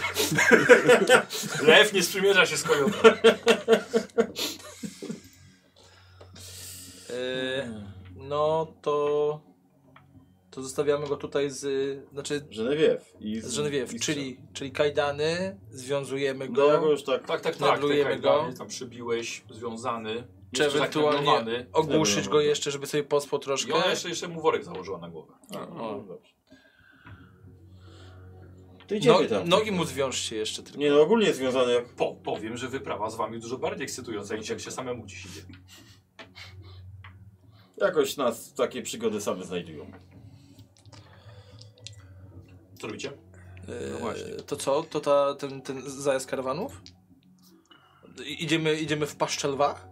Speaker 1: Lew nie sprzymierza się z kojotem.
Speaker 3: Y, no to, to zostawiamy go tutaj z, znaczy
Speaker 7: Żenewiew. I
Speaker 3: z Genevieve, czyli, czyli kajdany, związujemy
Speaker 7: No ja
Speaker 3: go,
Speaker 7: go już tak...
Speaker 1: Tak, tak, tak.
Speaker 3: Nablujemy
Speaker 1: tak,
Speaker 3: go.
Speaker 1: tak, Tam przybiłeś, związany.
Speaker 3: czy
Speaker 1: jeszcze
Speaker 3: ewentualnie
Speaker 1: zakneblowany.
Speaker 3: ogłuszyć
Speaker 7: Dobra,
Speaker 3: go
Speaker 7: dobra.
Speaker 3: jeszcze, żeby sobie pospał
Speaker 1: I
Speaker 3: troszkę.
Speaker 1: ona jeszcze, jeszcze mu worek założyła na głowę.
Speaker 7: A, no, dobrze. To
Speaker 3: No,
Speaker 7: idziemy tam.
Speaker 3: nogi mu zwiążcie jeszcze tylko.
Speaker 7: Nie no, ogólnie związane jak...
Speaker 1: Po, powiem, że wyprawa z wami dużo bardziej ekscytująca niż jak się samemu dziś idzie.
Speaker 7: Jakoś nas takie przygody same znajdują.
Speaker 1: Co robicie?
Speaker 3: E,
Speaker 1: właśnie.
Speaker 3: to co? To ta, ten, ten zajazd karawanów? I- Idziemy, idziemy w paszczę lwa?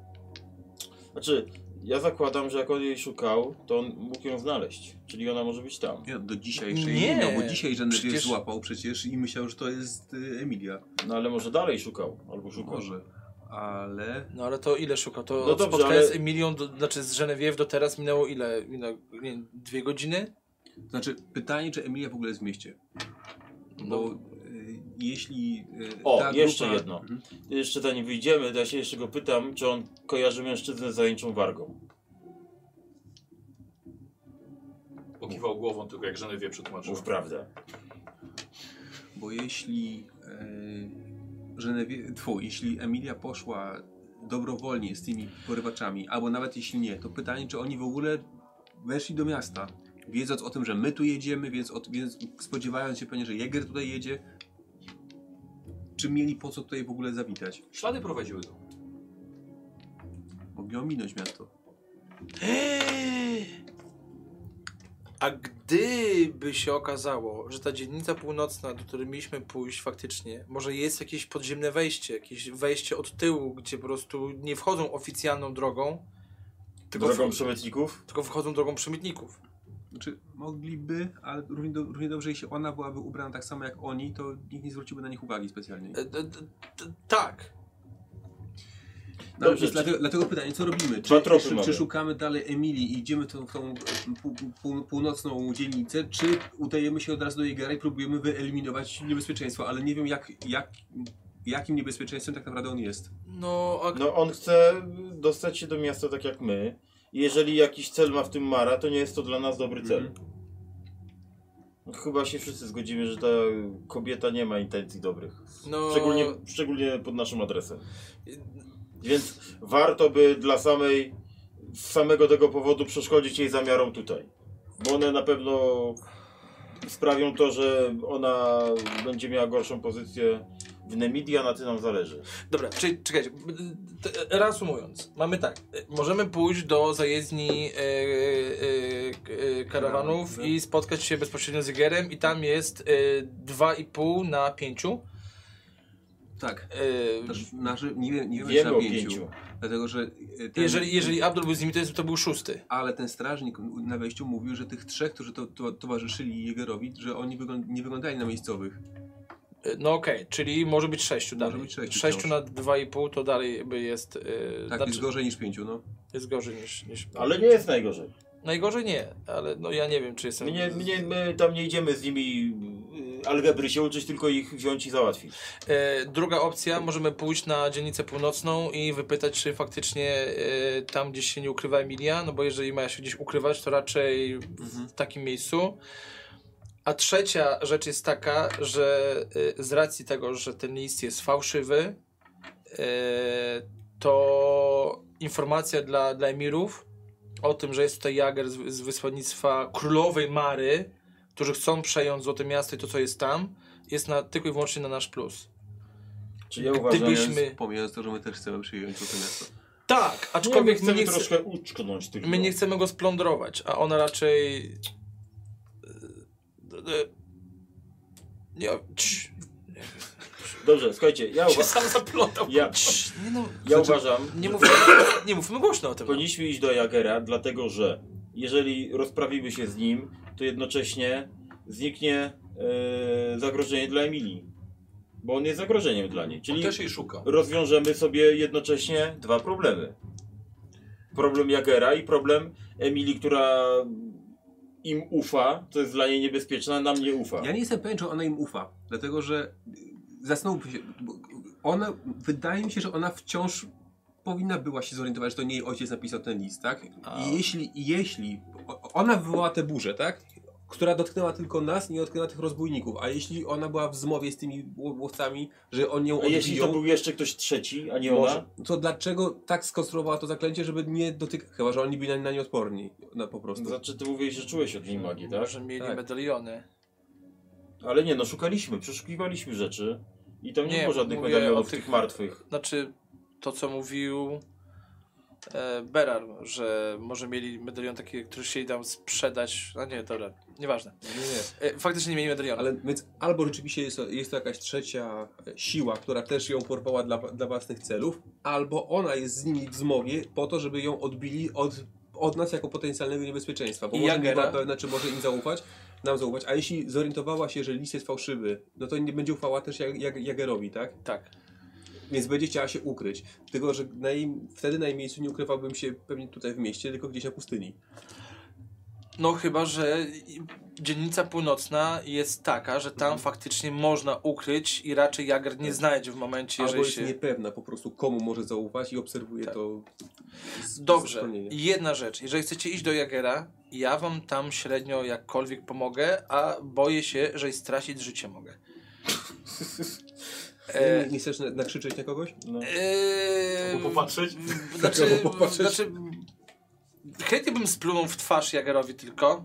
Speaker 7: Znaczy, ja zakładam, że jak on jej szukał, to on mógł ją znaleźć. Czyli ona może być tam.
Speaker 4: Ja do dzisiaj jeszcze
Speaker 3: Nie,
Speaker 4: nie, nie bo dzisiaj żaden
Speaker 3: przecież-
Speaker 4: przecież... złapał przecież i myślał, że to jest y, Emilia.
Speaker 7: No ale może dalej szukał, albo szukał.
Speaker 4: Może. Ale...
Speaker 3: No ale to ile szuka? To
Speaker 7: No
Speaker 3: od
Speaker 7: dobrze,
Speaker 3: spotkania z
Speaker 7: ale-
Speaker 3: Emilią, do, znaczy z Genevieve do teraz minęło ile? Minęło, nie, wiem, dwie godziny?
Speaker 4: Znaczy, pytanie, czy Emilia w ogóle jest w mieście?
Speaker 3: No.
Speaker 4: Bo y, jeśli... y,
Speaker 7: No. O,
Speaker 4: ta
Speaker 7: jeszcze
Speaker 4: grupa-
Speaker 7: jedno.
Speaker 4: Mhm.
Speaker 7: Jeszcze zanim wyjdziemy, to ja się jeszcze go pytam, czy on kojarzy mężczyznę z zajęczą wargą.
Speaker 1: Pokiwał głową tylko jak żony wie przetłumaczył.
Speaker 7: Mów prawdę.
Speaker 4: Bo jeśli e, Genewie, tfu, jeśli Emilia poszła dobrowolnie z tymi porywaczami, albo nawet jeśli nie, to pytanie, czy oni w ogóle weszli do miasta, wiedząc o tym, że my tu jedziemy, więc, od, więc spodziewając się pewnie, że Jäger tutaj jedzie, czy mieli po co tutaj w ogóle zawitać?
Speaker 1: Ślady prowadziły do.
Speaker 4: Mogli ominąć miasto.
Speaker 3: A gdyby się okazało, że ta dzielnica północna, do której mieliśmy pójść faktycznie, może jest jakieś podziemne wejście, jakieś wejście od tyłu, gdzie po prostu nie wchodzą oficjalną drogą, tylko,
Speaker 7: Drogą
Speaker 3: drogą.
Speaker 7: przemytników?
Speaker 3: tylko wchodzą drogą przemytników.
Speaker 4: Znaczy, mogliby, ale równie, do, równie dobrze, jeśli ona byłaby ubrana tak samo jak oni, to nikt nie zwróciłby na nich uwagi specjalnie.
Speaker 3: E, d- d- d- tak.
Speaker 4: No, więc
Speaker 7: Dobrze, czy-
Speaker 4: dlatego, dlatego pytanie, co robimy?
Speaker 7: Dwa
Speaker 4: Czy,
Speaker 7: tropy
Speaker 4: czy,
Speaker 7: mamy.
Speaker 4: czy szukamy dalej Emilii i idziemy tą, tą e, pół, pół, północną dzielnicę, czy udajemy się od razu do Jegera i próbujemy wyeliminować niebezpieczeństwo, ale nie wiem jak, jak, jakim niebezpieczeństwem tak naprawdę on jest.
Speaker 3: No, a
Speaker 7: No on chce dostać się do miasta tak jak my. Jeżeli jakiś cel ma w tym Mara, to nie jest to dla nas dobry cel.
Speaker 4: Mhm.
Speaker 7: Chyba się wszyscy zgodzimy, że ta kobieta nie ma intencji dobrych.
Speaker 3: No-
Speaker 7: Szczególnie, szczególnie pod naszym adresem.
Speaker 4: No.
Speaker 7: Więc warto by dla samej, z samego tego powodu przeszkodzić jej zamiarom tutaj. Bo one na pewno sprawią to, że ona będzie miała gorszą pozycję w Nemidii, a na tym nam zależy.
Speaker 3: Dobra, czyli czekajcie. b- d- t- e, Reasumując, mamy tak. e, Możemy pójść do zajezdni e, e, k- e, karawanów i spotkać się bezpośrednio z Jagierem i tam jest e, 2,5 na 5.
Speaker 4: Tak.
Speaker 3: E,
Speaker 4: Też nasze, nie, wiem- nie wiemy, czy
Speaker 7: Wiemy
Speaker 4: na
Speaker 7: o
Speaker 4: pięciu.
Speaker 7: pięciu.
Speaker 4: Dlatego, że e, ten,
Speaker 3: jeżeli, jeżeli Abdul był z nimi, to, jest, to był szósty.
Speaker 4: Ale ten strażnik na wejściu mówił, że tych trzech, którzy to, to, towarzyszyli Jegerowi, że oni wyglą nie wyglądali na miejscowych.
Speaker 3: E, No okej, czyli może być sześciu
Speaker 4: Może
Speaker 3: dalej.
Speaker 4: być sześciu
Speaker 3: sześciu
Speaker 4: wciąż.
Speaker 3: na 2,5 to dalej jakby jest. e,
Speaker 4: Tak,
Speaker 3: znaczy,
Speaker 4: jest gorzej niż pięciu, no.
Speaker 3: jest gorzej niż. niż
Speaker 7: Ale nie jest najgorzej.
Speaker 3: Najgorzej nie, ale no ja nie wiem, czy jestem.
Speaker 7: Mnie, mnie, my tam nie idziemy z nimi y, algebry się uczyć, tylko ich wziąć i załatwić.
Speaker 3: E, druga opcja, możemy pójść na dzielnicę północną i wypytać, czy faktycznie e, tam gdzieś się nie ukrywa Emilia, no bo jeżeli ma się gdzieś ukrywać, to raczej w takim miejscu. A trzecia rzecz jest taka, że e, z racji tego, że ten list jest fałszywy, e, to informacja dla, dla emirów o tym, że jest tutaj Jager z, z wysłannictwa królowej Mary, którzy chcą przejąć Złote Miasto i to, co jest tam, jest na, tylko i wyłącznie na nasz plus.
Speaker 7: Czy ja uważam,
Speaker 3: Gdybyśmy- My-
Speaker 4: Pomijając to, że my też chcemy przyjąć to miasto.
Speaker 3: Tak,
Speaker 7: nie, my
Speaker 3: aczkolwiek my
Speaker 7: chcemy
Speaker 3: nie, chce,
Speaker 7: troszkę uczknąć tylko.
Speaker 3: my nie chcemy go splądrować, a ona raczej. e, e, Nie, cii,
Speaker 7: Dobrze, słuchajcie, ja,
Speaker 3: się
Speaker 7: uwa-
Speaker 3: sam zaplątał.
Speaker 7: ja,
Speaker 3: Cii, Nie, no,
Speaker 7: ja uważam,
Speaker 3: nie, mówmy, nie mówmy głośno o tym. No.
Speaker 7: powinniśmy iść do Jagera, dlatego że jeżeli rozprawimy się z nim, to jednocześnie zniknie y, zagrożenie dla Emilii. Bo on jest zagrożeniem dla niej. Czyli
Speaker 1: Też jej szuka.
Speaker 7: rozwiążemy sobie jednocześnie dwa problemy. Problem Jagera i problem Emilii, która im ufa, to jest dla niej niebezpieczne, nam nie ufa.
Speaker 4: Ja nie jestem pewien, czy ona im ufa, dlatego że zasnąłby się. bo Ona, wydaje mi się, że ona wciąż powinna była się zorientować, że to nie jej ojciec napisał ten list, tak? I jeśli, i jeśli o- ona wywołała tę burzę, tak? Która dotknęła tylko nas, nie dotknęła tych rozbójników. A jeśli ona była w zmowie z tymi ł- łowcami, że oni ją
Speaker 7: A jeśli to
Speaker 4: odbiją,
Speaker 7: był jeszcze ktoś trzeci, a nie
Speaker 4: może,
Speaker 7: ona,
Speaker 4: to dlaczego tak skonstruowała to zaklęcie, żeby nie dotykać? Chyba, że oni byli na, na nie odporni, na, po prostu.
Speaker 7: znaczy ty mówiłeś, że czułeś od niej magię, tak?
Speaker 3: Że mieli
Speaker 4: Tak.
Speaker 3: medaliony.
Speaker 7: Ale nie, no szukaliśmy, przeszukiwaliśmy rzeczy i tam nie,
Speaker 3: Nie,
Speaker 7: było żadnych
Speaker 3: mówię
Speaker 7: medalionów
Speaker 3: o
Speaker 7: tych
Speaker 3: tych-
Speaker 7: martwych.
Speaker 3: Znaczy, to co mówił e, Berar, że może mieli medalion taki, który chcieli tam sprzedać. A nie, dobra, nieważne.
Speaker 4: Nie, nie.
Speaker 3: E, faktycznie nie mieli medalionu.
Speaker 4: Ale więc albo rzeczywiście jest, jest to jakaś trzecia siła, która też ją porwała dla, dla własnych celów, albo ona jest z nimi w zmowie po to, żeby ją odbili od, od nas jako potencjalnego niebezpieczeństwa. Bo
Speaker 3: I
Speaker 4: może nie
Speaker 3: Jagera?
Speaker 4: była pewna, czy może im zaufać, nam zaufać. A jeśli zorientowała się, że list jest fałszywy, no to nie będzie ufała też Jag- Jag- Jagerowi, tak?
Speaker 3: Tak.
Speaker 4: Więc będzie chciała się ukryć. Tylko, że na jej, wtedy na jej miejscu nie ukrywałbym się pewnie tutaj w mieście, tylko gdzieś na pustyni.
Speaker 3: No chyba, że i- dzielnica północna jest taka, że tam
Speaker 4: Mhm.
Speaker 3: faktycznie można ukryć i raczej Jager nie znajdzie w momencie,
Speaker 4: Tak. Albo
Speaker 3: jeżeli
Speaker 4: jest
Speaker 3: się...
Speaker 4: niepewna po prostu, komu może zaufać i obserwuje
Speaker 3: Tak.
Speaker 4: to. z-
Speaker 3: Dobrze,
Speaker 4: schronienia.
Speaker 3: jedna rzecz. Jeżeli chcecie iść do Jagera, ja wam tam średnio jakkolwiek pomogę, a boję się, że i stracić życie mogę.
Speaker 4: Nie,
Speaker 3: E,
Speaker 4: nie chcesz na- nakrzyczeć na kogoś?
Speaker 7: No.
Speaker 3: e,
Speaker 29: Albo popatrzeć.
Speaker 3: Znaczy,
Speaker 4: Albo popatrzeć.
Speaker 3: znaczy, chętnie bym splunął w twarz Jagerowi tylko,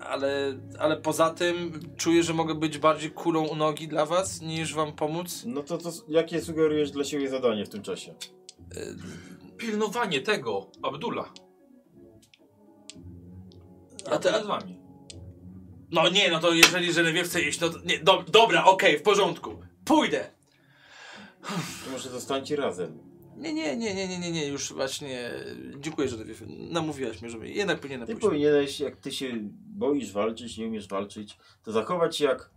Speaker 3: ale, ale poza tym czuję, że mogę być bardziej kulą u nogi dla was, niż wam pomóc.
Speaker 7: No to, to jakie sugerujesz dla siebie zadanie w tym czasie?
Speaker 1: Pilnowanie tego, Abdula. A teraz z wami.
Speaker 3: No nie, no to jeżeli Żelewie chce iść, no to nie, do, dobra, okej, w porządku. Pójdę.
Speaker 7: Może zostańcie razem.
Speaker 3: Nie, nie, nie, nie, nie, nie, nie, już właśnie. Dziękuję, Żelewie. Namówiłaś mnie, żeby jednak powinienem
Speaker 7: Ty
Speaker 3: pójść.
Speaker 7: powinieneś, jak ty się boisz walczyć, nie umiesz walczyć, to zachować się jak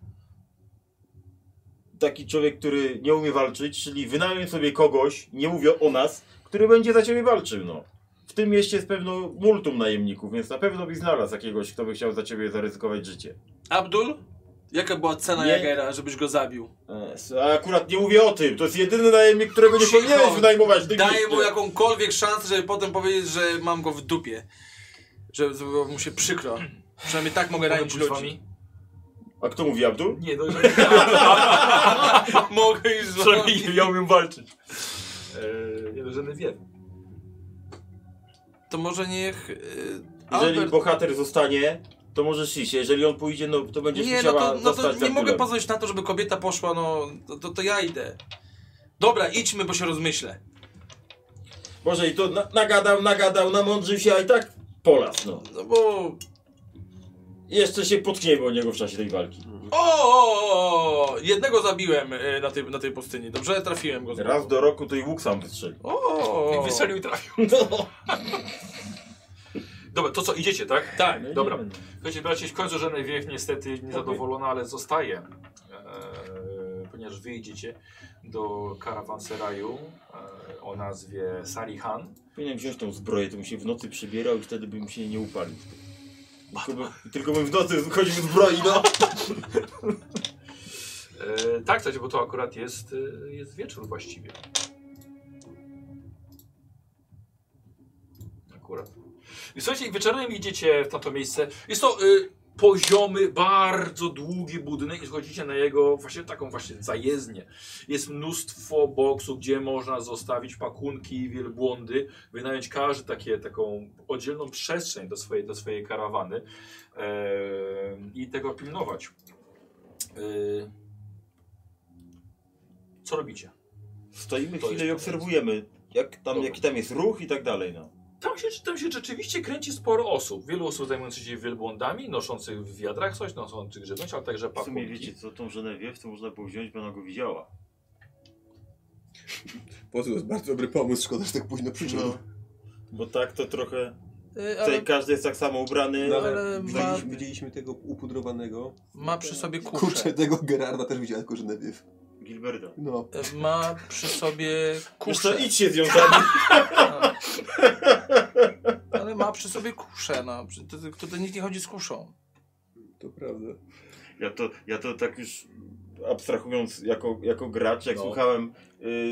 Speaker 7: taki człowiek, który nie umie walczyć, czyli wynajmij sobie kogoś, nie mówię o nas, który będzie za ciebie walczył, no. W tym mieście jest pewno multum najemników, więc na pewno byś znalazł jakiegoś, kto by chciał za ciebie zaryzykować życie.
Speaker 3: Abdul? Jaka była cena
Speaker 7: Nie.
Speaker 3: Jagera, żebyś go zabił?
Speaker 7: E, A akurat nie mówię o tym, to jest jedyny najemnik, którego nie
Speaker 3: Cicho.
Speaker 7: powinieneś wynajmować. w tym
Speaker 3: Daję
Speaker 7: mieście.
Speaker 3: mu jakąkolwiek szansę, żeby potem powiedzieć, że mam go w dupie. Że zrobiło mu się przykro. Przynajmniej tak mogę
Speaker 1: Mogę
Speaker 3: ranić
Speaker 1: pójść z
Speaker 3: ludzi.
Speaker 1: wami?
Speaker 7: A kto mówi, Abdul?
Speaker 1: Nie, no
Speaker 3: Tak Mogę iść z wami.
Speaker 1: nie miałbym walczyć. Eee, nie, no, żadne wie.
Speaker 3: To może niech... y,
Speaker 7: Jeżeli
Speaker 3: Albert-
Speaker 7: bohater zostanie, to możesz iść, jeżeli on pójdzie, no to będziesz
Speaker 3: Nie, no
Speaker 7: musiała
Speaker 3: to, no to
Speaker 7: zostać
Speaker 3: nie
Speaker 7: za
Speaker 3: mogę
Speaker 7: królem.
Speaker 3: pozwolić na to, żeby kobieta poszła, no to, to, to ja idę. Dobra, idźmy, bo się rozmyślę.
Speaker 7: Może i to na, nagadał, nagadał, namądrzył się, a i tak polas, no.
Speaker 3: No bo...
Speaker 7: Jeszcze się potkniemy o niego w czasie tej walki.
Speaker 3: O, o, o, o, jednego zabiłem y, na tej, na tej pustyni, dobrze? Trafiłem go. znowu.
Speaker 7: Raz do roku to i łuk sam wystrzeli.
Speaker 3: O, o, o.
Speaker 1: Wystrzelił i trafił.
Speaker 7: No.
Speaker 1: Dobra, to co, idziecie, tak?
Speaker 3: Tak.
Speaker 7: No
Speaker 1: Dobra. Słuchajcie, bracie, w końcu żadnej wiew niestety niezadowolona, ale zostaje. Eee, ponieważ wyjdziecie do karawanseraju eee, o nazwie Sarihan.
Speaker 7: Powinienem wziąć tą zbroję, to bym się w nocy przybierał i wtedy bym się nie upalił. Tylko, by, tylko bym w nocy chodził w zbroi, no.
Speaker 1: Eee, tak, słuchajcie, bo to akurat jest, e, jest wieczór właściwie. Akurat. I słuchajcie, wieczorem idziecie w tamto miejsce. Jest to y, poziomy, bardzo długi budynek i schodzicie na jego właśnie taką właśnie zajezdnię. Jest mnóstwo boksów, gdzie można zostawić pakunki i wielbłądy, wynająć każdy takie, taką oddzielną przestrzeń do swojej, do swojej karawany e, i tego pilnować. E, co robicie?
Speaker 7: Stoimy
Speaker 1: To
Speaker 7: chwilę i
Speaker 1: jest-
Speaker 7: obserwujemy, jak tam,
Speaker 1: Dobra.
Speaker 7: jaki tam jest ruch i tak dalej, no.
Speaker 1: Tam się, tam się rzeczywiście kręci sporo osób. Wielu osób zajmujących się wielbłądami, noszących w wiadrach coś, noszących żywność, ale także
Speaker 7: W sumie
Speaker 1: pakunki.
Speaker 7: wiecie co, tą Genevieve to można było wziąć, bo ona go widziała.
Speaker 4: Bo to jest bardzo dobry pomysł, szkoda, że tak późno przyszedł.
Speaker 7: No. Bo tak to trochę...
Speaker 3: Y,
Speaker 7: Tutaj
Speaker 3: ale
Speaker 7: każdy jest tak samo ubrany.
Speaker 2: No,
Speaker 3: ale
Speaker 2: ale
Speaker 3: ma-
Speaker 4: tak.
Speaker 2: widzieliśmy, widzieliśmy tego upudrowanego.
Speaker 3: ma przy sobie
Speaker 4: Kurczę,
Speaker 3: kuszę.
Speaker 4: tego Gerarda też widziałem, tylko że najpierw.
Speaker 7: Gilberta.
Speaker 4: No.
Speaker 3: Y, Ma przy sobie
Speaker 7: Wiesz co,
Speaker 3: kuszę.
Speaker 7: idź się z nią zabić.
Speaker 3: No. Ale ma przy sobie kuszę, no. Przy- To, to, to nikt nie chodzi z kuszą.
Speaker 4: To prawda.
Speaker 7: Ja to, ja to tak już abstrahując jako, jako gracz, jak
Speaker 1: No.
Speaker 7: słuchałem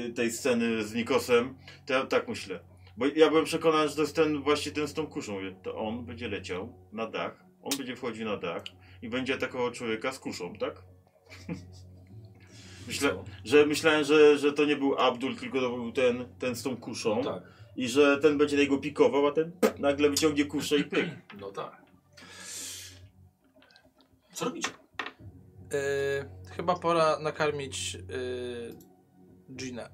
Speaker 7: y, tej sceny z Nikosem, to ja tak myślę. Bo ja byłem przekonany, że to jest ten właśnie ten z tą kuszą. Mówię, To on będzie leciał na dach, on będzie wchodził na dach i będzie atakował człowieka z kuszą, tak? Myślę, że myślałem, że, że to nie był Abdul, tylko to był ten, ten z tą kuszą.
Speaker 1: Tak.
Speaker 7: I że ten będzie na niego pikował, a ten nagle wyciągnie kuszę i pyk.
Speaker 1: No tak. Co robicie?
Speaker 3: Y, chyba pora nakarmić y, Gina.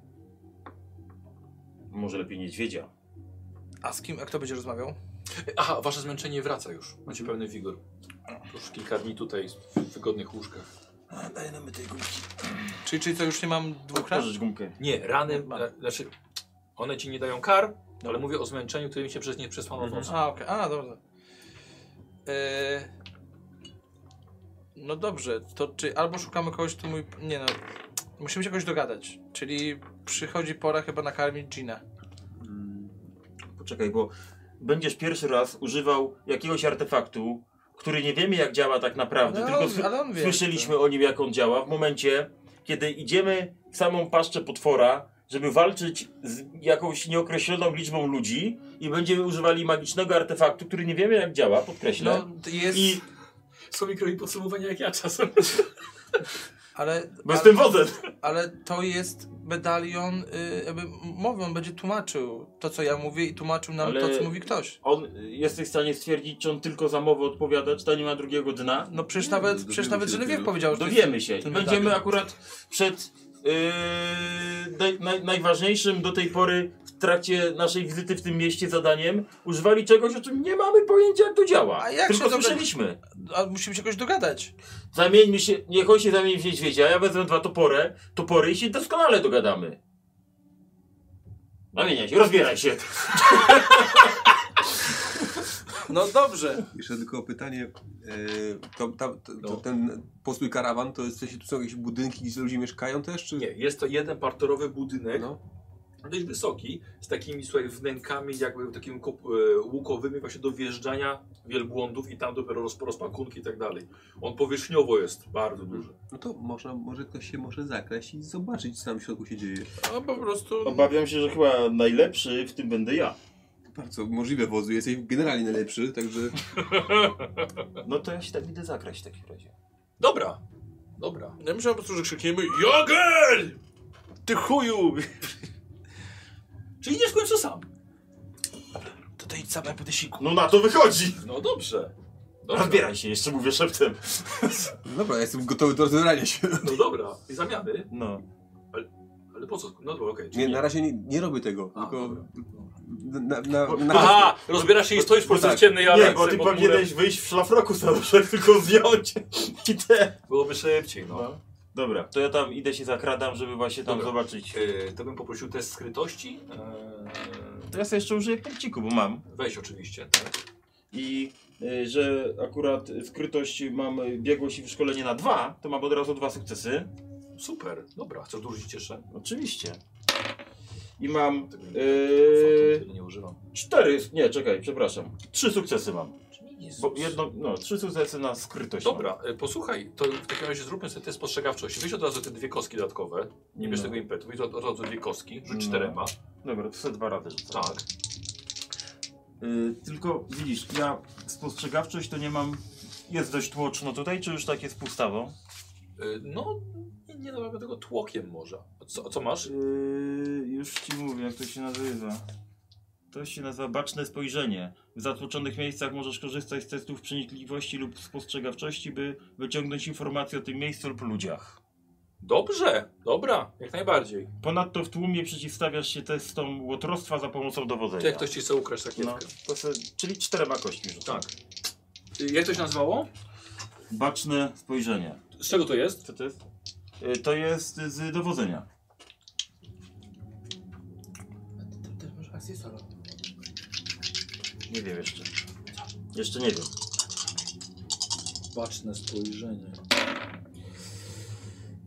Speaker 7: Może lepiej niedźwiedzia.
Speaker 3: A z kim? A kto będzie rozmawiał?
Speaker 1: Aha, wasze zmęczenie wraca już. Macie pełny wigor. Już kilka dni tutaj w wygodnych łóżkach.
Speaker 3: Czyli, czyli to już nie mam dwóch ran?
Speaker 7: Pożycz gumkę.
Speaker 1: Nie, rany,
Speaker 3: Mam.
Speaker 1: e, znaczy one ci nie dają kar, ale mówię o zmęczeniu, którym się przez nie przesłano w nocy.
Speaker 3: A, okej, a, dobrze. E... No dobrze, to czy albo szukamy kogoś, kto mój. Nie no, musimy się jakoś dogadać. Czyli przychodzi pora chyba nakarmić Gina.
Speaker 7: Mm, Poczekaj, bo będziesz pierwszy raz używał jakiegoś artefaktu, który nie wiemy jak działa tak naprawdę,
Speaker 3: Ale
Speaker 7: tylko
Speaker 3: on-
Speaker 7: sły-
Speaker 3: No, ale on wie,
Speaker 7: słyszeliśmy o nim jak on działa w momencie, kiedy idziemy w samą paszczę potwora, żeby walczyć z jakąś nieokreśloną liczbą ludzi i będziemy używali magicznego artefaktu, który nie wiemy jak działa, podkreślę.
Speaker 3: No to jest.
Speaker 7: I
Speaker 1: Są mikro podsumowania jak ja czasem.
Speaker 3: Ale,
Speaker 7: bo z
Speaker 3: ale,
Speaker 7: tym wodzem.
Speaker 3: ale to jest medalion, y, jakby mowy, on będzie tłumaczył to, co ja mówię, i tłumaczył nam
Speaker 7: Ale-
Speaker 3: to, co mówi ktoś.
Speaker 7: On y, jesteś w stanie stwierdzić, czy on tylko za mowę odpowiada, czy to nie ma drugiego dna?
Speaker 3: No przecież nawet,
Speaker 4: dowiemy
Speaker 3: przecież nawet
Speaker 4: się
Speaker 3: Genevieve
Speaker 4: dopiero.
Speaker 3: powiedział, że to jest
Speaker 7: Dowiemy się.
Speaker 2: tak
Speaker 3: ten
Speaker 7: Będziemy
Speaker 3: medalion.
Speaker 7: akurat przed yy, naj, naj, najważniejszym do tej pory trakcie naszej wizyty w tym mieście zadaniem używali czegoś, o czym nie mamy pojęcia, jak to działa.
Speaker 3: A jak
Speaker 7: Tylko
Speaker 3: się doga-
Speaker 7: słyszeliśmy.
Speaker 3: A musimy się jakoś dogadać.
Speaker 7: Zamieńmy się, niech on się zamieni w niedźwiedzia, ja wezmę dwa topory, topory i się doskonale dogadamy. Zamieniaj się, rozbieraj się.
Speaker 3: No dobrze.
Speaker 4: Jeszcze tylko pytanie. e, To, ta, to, to ten postój karawan, to jest, w sensie, tu są jakieś budynki, gdzie ludzie mieszkają też? Czy...
Speaker 1: Nie, jest to jeden parterowy budynek.
Speaker 4: No.
Speaker 1: Dość wysoki, z takimi słuchaj, wnękami, jakby takimi kop- e, łukowymi, właśnie do wjeżdżania wielbłądów i tam dopiero roz, rozpakunki i tak dalej. On powierzchniowo jest bardzo duży.
Speaker 4: No to można, może ktoś się może zakraść i zobaczyć, co tam w środku się dzieje.
Speaker 3: No po prostu...
Speaker 2: Obawiam się, że chyba najlepszy w tym będę ja.
Speaker 4: Bardzo możliwe wozu, jesteś generalnie najlepszy, także...
Speaker 2: No to ja się tak idę zagrać w takim razie.
Speaker 1: Dobra, dobra.
Speaker 30: Ja myślałem po prostu, że krzykniemy Jogel!
Speaker 7: Ty chuju!
Speaker 1: Czyli idziesz w końcu sam.
Speaker 3: To to idź sam, ja będę siku.
Speaker 2: No na to wychodzi!
Speaker 1: No dobrze. Dobra.
Speaker 2: Rozbieraj się, jeszcze mówię szeptem.
Speaker 4: No Dobra, ja jestem gotowy do rozebrania się.
Speaker 1: No dobra, i zamiany.
Speaker 2: No.
Speaker 1: Ale po co? No dobra, okej.
Speaker 4: Nie, na razie nie, nie robię tego,
Speaker 1: A,
Speaker 4: tylko...
Speaker 1: dobra.
Speaker 4: Na, na, na,
Speaker 1: Aha, rozbierasz się i stoisz po prostu
Speaker 4: tak.
Speaker 1: w ciemnej
Speaker 2: Nie,
Speaker 1: alance.
Speaker 2: bo ty
Speaker 1: pod murem.
Speaker 2: powinieneś wyjść w szlafroku zawsze, tylko zdjąć i te.
Speaker 1: Byłoby szybciej, no.
Speaker 2: Dobra, to ja tam idę się zakradam, żeby właśnie tam
Speaker 1: Dobra.
Speaker 2: zobaczyć.
Speaker 1: E, to bym poprosił test skrytości. E,
Speaker 2: To ja sobie jeszcze użyję punkciku, bo mam.
Speaker 1: weź oczywiście. Tak?
Speaker 2: I y, że akurat skrytość mam y, biegłość i wyszkolenie na dwa, to mam od razu dwa sukcesy.
Speaker 1: Super, dobra. Chcesz dłużyć jeszcze?
Speaker 2: Oczywiście. I mam
Speaker 1: Tego Yy,
Speaker 2: y,
Speaker 1: nie używam.
Speaker 2: cztery, nie czekaj, przepraszam, trzy sukcesy mam. Bo
Speaker 1: Jezus.
Speaker 2: jedno, no, trzy sukcesy na skrytość
Speaker 1: Dobra, e, posłuchaj, to w takim razie zróbmy sobie test spostrzegawczości. Weź od razu te dwie kostki dodatkowe. Nie bierz
Speaker 2: No.
Speaker 1: tego impetu, weź od, od razu dwie kostki, rzuć
Speaker 2: No.
Speaker 1: czterema.
Speaker 2: mam. Dobra, to sobie dwa razy rzucę.
Speaker 1: Tak.
Speaker 2: Y, tylko widzisz, ja spostrzegawczość to nie mam. Jest dość tłoczno tutaj, czy już tak jest pustawą?
Speaker 1: E, No, nie, nie nazywamy tego tłokiem może. A Co, a co masz?
Speaker 2: Yy, Y, już ci mówię, jak to się nazywa. To się nazywa baczne spojrzenie. W zatłoczonych miejscach możesz korzystać z testów przenikliwości lub spostrzegawczości, by wyciągnąć informacje o tym miejscu lub ludziach.
Speaker 1: Dobrze, dobra, jak najbardziej.
Speaker 2: Ponadto w tłumie przeciwstawiasz się testom łotrostwa za pomocą dowodzenia.
Speaker 1: To jak ktoś ci chce ukraść
Speaker 2: no,
Speaker 1: rakietkę.
Speaker 2: to se, czyli czterema kośćmi rzucam.
Speaker 1: Tak. E, Jak to się nazywało?
Speaker 2: Baczne spojrzenie.
Speaker 1: Z czego to jest?
Speaker 2: Tak. Co to jest? Yy, to jest z dowodzenia.
Speaker 3: Też masz akcję solo.
Speaker 2: Nie wiem jeszcze. Jeszcze nie wiem.
Speaker 1: Baczne spojrzenie.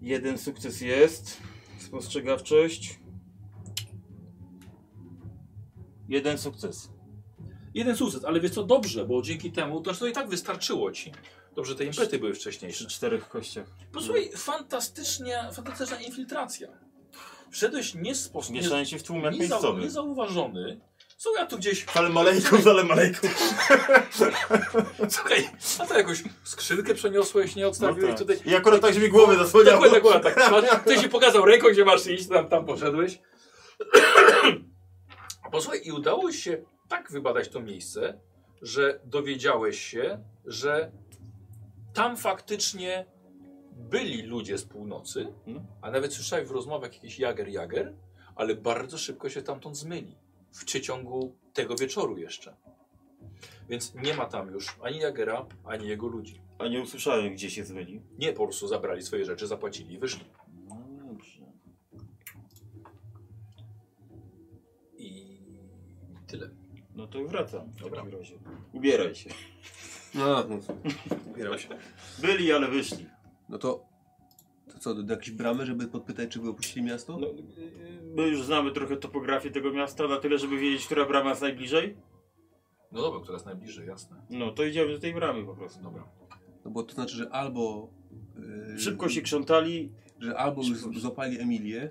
Speaker 2: Jeden sukces jest. Spostrzegawczość. Jeden sukces.
Speaker 1: Jeden sukces, ale wiesz co, dobrze, bo dzięki temu, to, to i tak wystarczyło ci. Dobrze, te impety były
Speaker 2: Przy
Speaker 1: wcześniejsze.
Speaker 2: czterech kościach.
Speaker 1: Posłuchaj, fantastycznie, fantastyczna infiltracja. Wszedłeś niespostrzegawczy.
Speaker 2: Mieszanie się w tłumie jak
Speaker 1: Niezau-
Speaker 2: miejscowy.
Speaker 1: niezauważony. Co ja tu gdzieś.
Speaker 2: Ale malejków, ale malejków.
Speaker 1: Słuchaj, a to jakąś skrzynkę przeniosłeś, nie odstawiłeś
Speaker 2: No tak.
Speaker 1: tutaj.
Speaker 2: I akurat tak, że mi głowę zasłaniało.
Speaker 1: Dokładnie, dokładnie tak. Ty się pokazał ręką, gdzie masz iść, tam, tam poszedłeś. Posłuchaj, i udało się tak wybadać to miejsce, że dowiedziałeś się, że tam faktycznie byli ludzie z północy,
Speaker 2: No.
Speaker 1: a nawet słyszałeś w rozmowach jakiś jager-jager, ale bardzo szybko się tamtąd zmyli. W przeciągu tego wieczoru jeszcze. Więc nie ma tam już ani jagera, ani jego ludzi.
Speaker 2: A nie usłyszałem, gdzie się zmyli.
Speaker 1: Nie po prostu zabrali swoje rzeczy, zapłacili i wyszli.
Speaker 2: No dobrze.
Speaker 1: I tyle.
Speaker 2: No to wracam. W
Speaker 1: Dobra.
Speaker 2: takim razie. Ubieraj się.
Speaker 4: No, no, ubierał się.
Speaker 2: Byli, ale wyszli.
Speaker 4: No to... To co, do jakiejś bramy, żeby podpytać, czy by opuścili miasto?
Speaker 3: y,
Speaker 2: No, yy, my już znamy trochę topografię tego miasta, na tyle, żeby wiedzieć, która brama jest najbliżej.
Speaker 1: No dobra, która jest najbliżej, jasne.
Speaker 2: No to idziemy do tej bramy po prostu.
Speaker 1: Dobra.
Speaker 4: No bo to znaczy, że albo... e,
Speaker 2: Szybko się krzątali,
Speaker 4: Że albo już
Speaker 2: Szybko.
Speaker 4: złapali Emilię,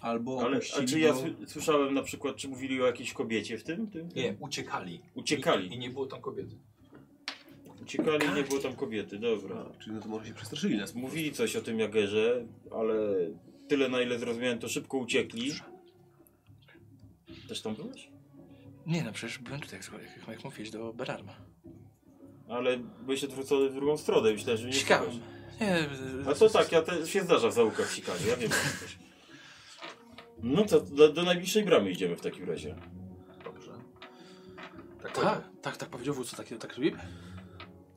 Speaker 4: albo
Speaker 2: Ale, a
Speaker 4: opuścili
Speaker 2: czy ja
Speaker 4: go...
Speaker 2: sły- słyszałem na przykład, czy mówili o jakiejś kobiecie w tym? tym?
Speaker 1: Nie, uciekali. I, I
Speaker 2: Uciekali.
Speaker 1: nie było tam kobiety.
Speaker 2: Uciekali, nie było tam kobiety, dobra.
Speaker 4: A, czyli no to może się przestraszyli nas.
Speaker 2: Mówili coś o tym Jagerze, ale tyle na ile zrozumiałem, to szybko uciekli. Też tam byłeś?
Speaker 3: Nie no, przecież byłem tutaj, jak, jak, jak mówiłeś, do Berarma.
Speaker 2: Ale byłeś odwrócony w drugą stronę, myślałem, że nie
Speaker 3: Sikałem. Nie, y,
Speaker 7: No
Speaker 2: A to tak, ja te, się zdarza w zaułkach w Chicago, ja wiem. że jesteś.
Speaker 7: No to do, do najbliższej bramy idziemy w takim razie.
Speaker 1: Dobrze. Tak,
Speaker 3: Tak, tak, tak powiedział wódz, tak, tak robimy.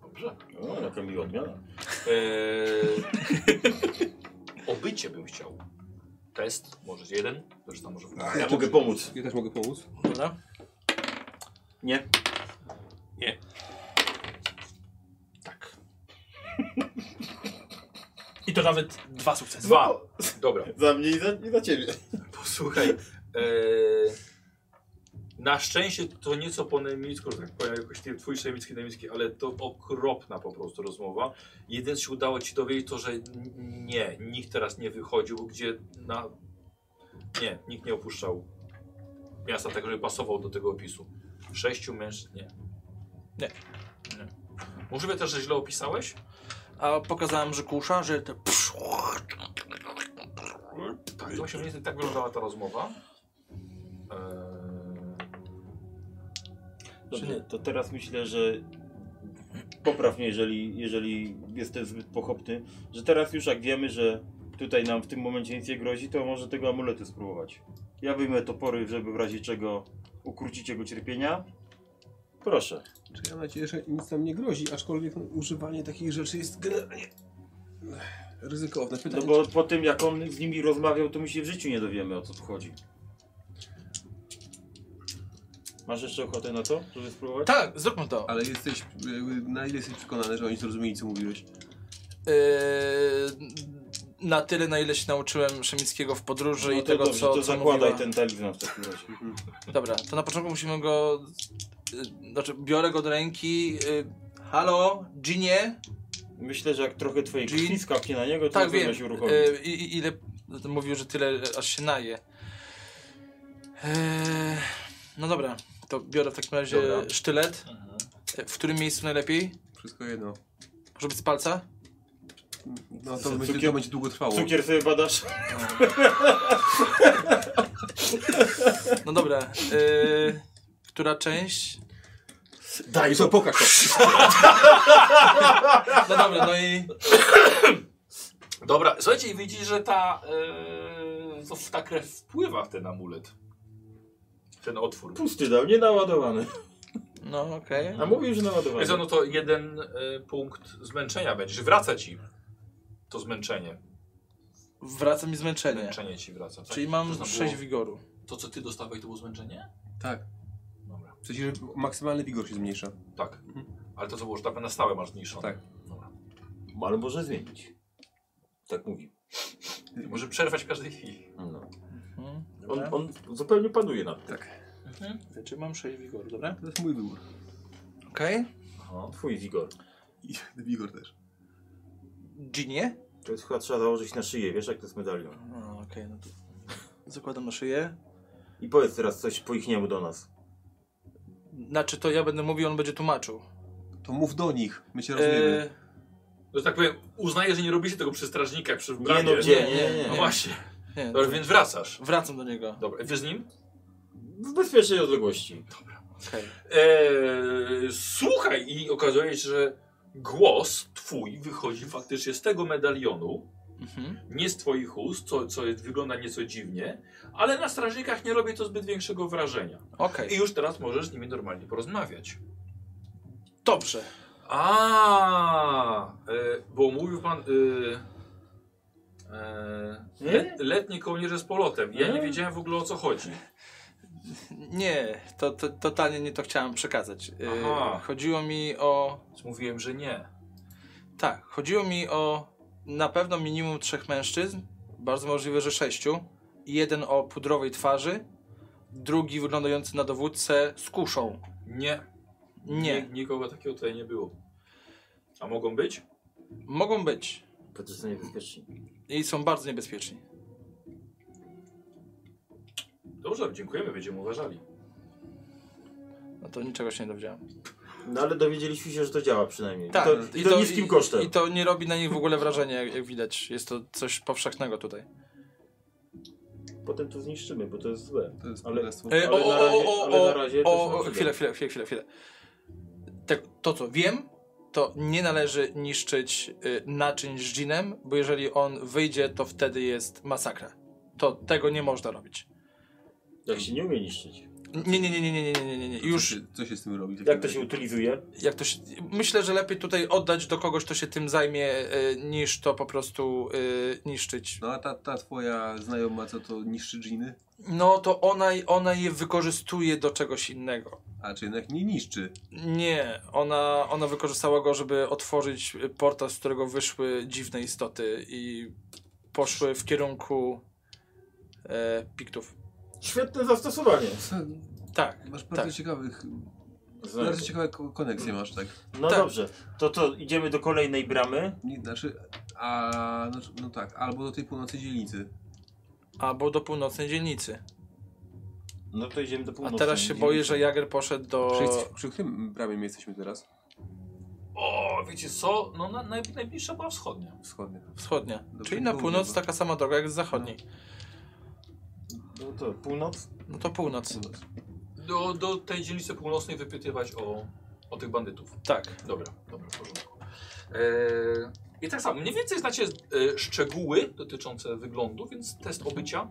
Speaker 1: Dobrze.
Speaker 7: O, jaka miła odmiana.
Speaker 1: Eee, obycie bym chciał. Test, może jeden, zresztą może
Speaker 7: Ja, mogę pomóc.
Speaker 31: Ja też mogę pomóc.
Speaker 3: Dobra.
Speaker 7: Nie.
Speaker 3: Tak. I to nawet dwa sukcesy.
Speaker 1: Dwa. Dobra.
Speaker 7: Za mnie i za, i za ciebie.
Speaker 1: Posłuchaj. E, na szczęście to nieco po niemiecku, że tak powiem, jakoś ty- twój niemiecki, niemiecki, ale to okropna po prostu rozmowa. Jeden się udało ci dowiedzieć to, że n- nie, nikt teraz nie wychodził, gdzie na... Nie, nikt nie opuszczał miasta, tak żeby pasował do tego opisu. Sześciu mężczyzn, nie.
Speaker 3: Nie.
Speaker 1: nie. Możliwe też, że źle opisałeś?
Speaker 3: A pokazałem, że kusza, że te...
Speaker 1: Tak, właśnie mniej więcej tak wyglądała ta rozmowa. Eee...
Speaker 7: Dobrze, to teraz myślę, że popraw mnie, jeżeli, jeżeli jestem zbyt pochopny, że teraz już jak wiemy, że tutaj nam w tym momencie nic nie grozi, to może tego amuletu spróbować. Ja wyjmę topory, żeby w razie czego ukrócić jego cierpienia. Proszę.
Speaker 21: Czy ja mam nadzieję, że nic nam nie grozi, aczkolwiek no, używanie takich rzeczy jest generalnie ech, ryzykowne.
Speaker 7: No
Speaker 21: Pytanie,
Speaker 7: bo po tym jak on z nimi rozmawiał, to my się w życiu nie dowiemy o co tu chodzi. Masz jeszcze ochotę na to, żeby spróbować?
Speaker 3: Tak, zróbmy to.
Speaker 31: Ale jesteś, jakby, na ile jesteś przekonany, że oni zrozumieli, co mówiłeś?
Speaker 3: Yy, na tyle, na ile się nauczyłem Szemickiego w podróży
Speaker 7: No
Speaker 3: Tak, i
Speaker 7: to
Speaker 3: tego,
Speaker 7: dobrze,
Speaker 3: co,
Speaker 7: to
Speaker 3: co
Speaker 7: zakładaj
Speaker 3: mówiła.
Speaker 7: ten talizman w takim razie.
Speaker 3: Dobra, to na początku musimy go... Yy, znaczy, biorę go do ręki. Yy, halo, Ginie?
Speaker 7: Myślę, że jak trochę twojej
Speaker 3: Czyli-
Speaker 7: krwi skapnie na niego, to
Speaker 3: Tak,
Speaker 7: tak,
Speaker 3: wiem.
Speaker 7: wiem. się uruchomi.
Speaker 3: Yy, i- i- ile... Mówił, że tyle, e, aż się naje. Yy, no dobra, to biorę w takim razie
Speaker 1: Dobra.
Speaker 3: sztylet. Yy, W którym miejscu najlepiej?
Speaker 31: Wszystko jedno.
Speaker 3: Może być z palca?
Speaker 31: No to,
Speaker 7: Cukier-
Speaker 31: będzie, to będzie długo trwało.
Speaker 7: Cukier sobie badasz.
Speaker 3: No dobra. Yy, która część?
Speaker 31: Daj co, pokaż to.
Speaker 3: No dobra, no i.
Speaker 1: Dobra, słuchajcie, i widzisz, że ta, e, to w- ta krew wpływa w ten amulet. W Ten otwór.
Speaker 7: Pusty dał, nie naładowany.
Speaker 3: No okej.
Speaker 7: A mówił, że naładowany.
Speaker 1: Więc no to jeden e, punkt zmęczenia będziesz. Wraca ci to zmęczenie.
Speaker 3: Wraca mi zmęczenie.
Speaker 1: Zmęczenie ci wraca. tak?
Speaker 3: Czyli
Speaker 1: To
Speaker 3: mam
Speaker 1: znowu
Speaker 3: 6 wigoru.
Speaker 1: było- To, co ty dostawałeś, to było zmęczenie?
Speaker 31: Tak.
Speaker 1: Dobra.
Speaker 31: W sensie, że maksymalny wigor się zmniejsza.
Speaker 1: Tak. Ale to, co było, że tak na stałe masz zmniejszone.
Speaker 31: Tak.
Speaker 1: Dobra.
Speaker 7: Ale może zmienić. Tak mówi.
Speaker 1: Może przerwać w każdej chwili.
Speaker 7: No.
Speaker 3: Mhm.
Speaker 7: On,
Speaker 3: Dobra.
Speaker 7: on zupełnie panuje nad tym.
Speaker 3: Mhm. Czyli mam 6 wigoru, dobra?
Speaker 31: To jest mój wybór.
Speaker 3: Okej.
Speaker 7: Twój wigor.
Speaker 31: I wigor też.
Speaker 3: Ginie?
Speaker 7: To jest chyba trzeba założyć na szyję, wiesz jak to jest medalion.
Speaker 3: No, okej, no to. Zakładam na szyję.
Speaker 7: I powiedz teraz coś po ich niemu do nas.
Speaker 3: Znaczy to ja będę mówił, on będzie tłumaczył.
Speaker 31: To mów do nich, my się rozumiemy.
Speaker 7: Eee,
Speaker 3: Yy,
Speaker 1: No, że tak powiem, uznaję, że nie robicie tego przy strażnikach, przy
Speaker 7: Nie
Speaker 1: bramie.
Speaker 7: no, gdzie? Nie,
Speaker 3: nie,
Speaker 7: nie,
Speaker 1: No
Speaker 7: nie.
Speaker 1: właśnie.
Speaker 3: nie,
Speaker 1: Dobra, więc wracasz.
Speaker 3: wracam do niego.
Speaker 1: Dobra, wy z nim?
Speaker 7: W bezpiecznej odległości.
Speaker 3: Okej.
Speaker 1: Eee, E, słuchaj, i okazuje się, że głos twój wychodzi faktycznie z tego medalionu,
Speaker 3: Mhm.
Speaker 1: nie z twoich ust, co, co jest, wygląda nieco dziwnie, ale na strażnikach nie robi to zbyt większego wrażenia.
Speaker 3: Okej.
Speaker 1: I już teraz możesz z nimi normalnie porozmawiać.
Speaker 3: Dobrze.
Speaker 1: A, e, bo mówił pan e, e, le, letni kołnierze z polotem. Ja nie wiedziałem w ogóle o co chodzi.
Speaker 3: Nie, to, to totalnie nie to chciałem przekazać. Yy,
Speaker 1: Aha.
Speaker 3: chodziło mi o.
Speaker 1: Więc Mówiłem, że nie.
Speaker 3: Tak, chodziło mi o na pewno minimum trzech mężczyzn, bardzo możliwe, że sześciu. Jeden o pudrowej twarzy, drugi wyglądający na dowódcę z kuszą.
Speaker 1: Nie,
Speaker 3: Nie,
Speaker 1: Nik- Nikogo takiego tutaj nie było. A mogą być?
Speaker 3: mogą być
Speaker 7: Bo to jest niebezpieczni.
Speaker 3: i są bardzo niebezpieczni.
Speaker 1: Dobrze, dziękujemy, będziemy uważali.
Speaker 3: No to niczego się nie dowiedziałem.
Speaker 7: No ale dowiedzieliśmy się, że to działa przynajmniej.
Speaker 3: Tak,
Speaker 7: I to, i to niskim kosztem.
Speaker 3: I to nie robi na nich w ogóle wrażenia, jak, jak widać. Jest to coś powszechnego tutaj.
Speaker 7: Potem to zniszczymy, bo to jest złe.
Speaker 31: To jest
Speaker 7: ale-
Speaker 31: królestwo.
Speaker 3: E,
Speaker 7: Ale na razie- ale na razie to
Speaker 3: o,
Speaker 7: są
Speaker 3: chwilę, chwilę, chwilę, chwilę, chwilę. Te, to co wiem, to nie należy niszczyć y, naczyń z dżinem, bo jeżeli on wyjdzie, to wtedy jest masakra. To tego nie można robić.
Speaker 7: Jak się nie umie niszczyć.
Speaker 3: Nie, nie, nie, nie, nie, nie, nie, nie, nie. Już
Speaker 4: Co się z tym robi?
Speaker 7: Jak to się utylizuje?
Speaker 3: jak to się, myślę, że lepiej tutaj oddać do kogoś, kto się tym zajmie, y, niż to po prostu y, niszczyć.
Speaker 4: No a ta, ta twoja znajoma, co to niszczy dżiny?
Speaker 3: No to ona, ona je wykorzystuje do czegoś innego.
Speaker 4: A czy jednak nie niszczy?
Speaker 3: Nie, ona, ona wykorzystała go, żeby otworzyć y, portal, z którego wyszły dziwne istoty i poszły w kierunku e, piktów.
Speaker 7: Świetne zastosowanie.
Speaker 3: Tak.
Speaker 4: Masz bardzo
Speaker 3: Tak.
Speaker 4: ciekawych...
Speaker 7: Znaczy-
Speaker 4: Bardzo ciekawe ko- koneksje masz, tak?
Speaker 7: No
Speaker 3: Tak.
Speaker 7: dobrze, to to idziemy do kolejnej bramy.
Speaker 4: Nie, Znaczy, a... Znaczy, no tak, albo do tej północy dzielnicy.
Speaker 3: Albo do północnej dzielnicy.
Speaker 7: No to idziemy do
Speaker 3: A
Speaker 7: północy.
Speaker 3: teraz się boję, że Jager poszedł do.
Speaker 4: Przy, przy którym bramie my jesteśmy teraz?
Speaker 1: O, wiecie co? No na, naj, najbliższa była wschodnia.
Speaker 4: Wschodnie.
Speaker 3: Wschodnia.
Speaker 4: Do
Speaker 3: Czyli na
Speaker 4: południa,
Speaker 3: północ
Speaker 4: bo-
Speaker 3: taka sama droga jak z zachodniej.
Speaker 7: No to północ.
Speaker 3: No to północ.
Speaker 1: Do, do tej dzielnicy północnej wypytywać o, o tych bandytów.
Speaker 3: Tak.
Speaker 1: Dobra, dobra, w porządku. E, I tak samo, mniej więcej znacie e, szczegóły dotyczące wyglądu, więc test obycia.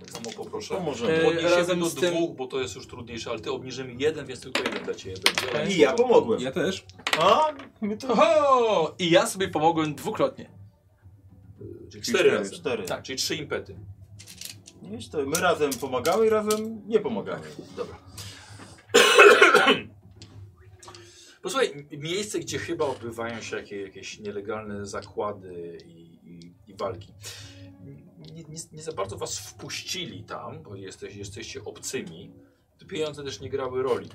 Speaker 1: Tak samo
Speaker 7: To
Speaker 1: poproszę.
Speaker 7: może.
Speaker 3: E,
Speaker 1: Odniesiemy
Speaker 3: razem
Speaker 1: do
Speaker 3: z tym-
Speaker 1: dwóch, bo to jest już trudniejsze, ale ty obniżymy jeden, więc tylko jeden dla ciebie będzie.
Speaker 7: I ja pomogłem.
Speaker 4: Ja też.
Speaker 7: A, my to...
Speaker 3: Oho! I ja sobie pomogłem dwukrotnie.
Speaker 1: Czyli cztery razy.
Speaker 7: Cztery.
Speaker 1: Tak, czyli trzy impety.
Speaker 7: Wiesz, to my razem pomagamy i razem nie pomagamy.
Speaker 1: Dobra. Posłuchaj, m- miejsce, gdzie chyba odbywają się jakie, jakieś nielegalne zakłady i, i, i walki. Nie, nie, nie za bardzo was wpuścili tam, bo jesteś, jesteście obcymi. Te Pieniądze też nie grały roli.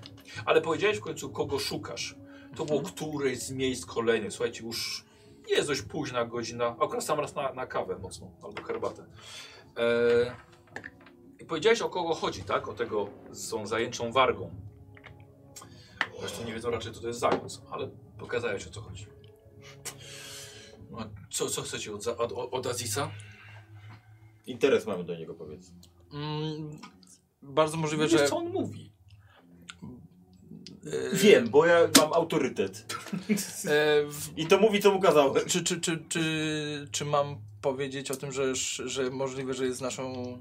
Speaker 1: Ale powiedziałeś w końcu, kogo szukasz. To było któreś z miejsc kolejnych. Słuchajcie, już jest dość późna godzina. Akurat sam raz na, na kawę mocno, albo herbatę. E, i powiedziałeś o kogo chodzi, tak? O tego z tą zajęczą wargą. Zresztą nie wiedzą raczej, co to jest zając, ale pokazałeś o co chodzi. No, a co, co chcecie od, za- od, od Azisa?
Speaker 7: Interes mamy do niego, powiedz.
Speaker 3: Mm, bardzo możliwe,
Speaker 1: Wiesz,
Speaker 3: że.
Speaker 1: co on mówi.
Speaker 3: e,
Speaker 7: Wiem, bo ja mam autorytet.
Speaker 3: e, w-
Speaker 7: I to mówi, co mu kazałem.
Speaker 3: czy, czy, czy, czy, czy mam powiedzieć o tym, że, że możliwe, że jest naszą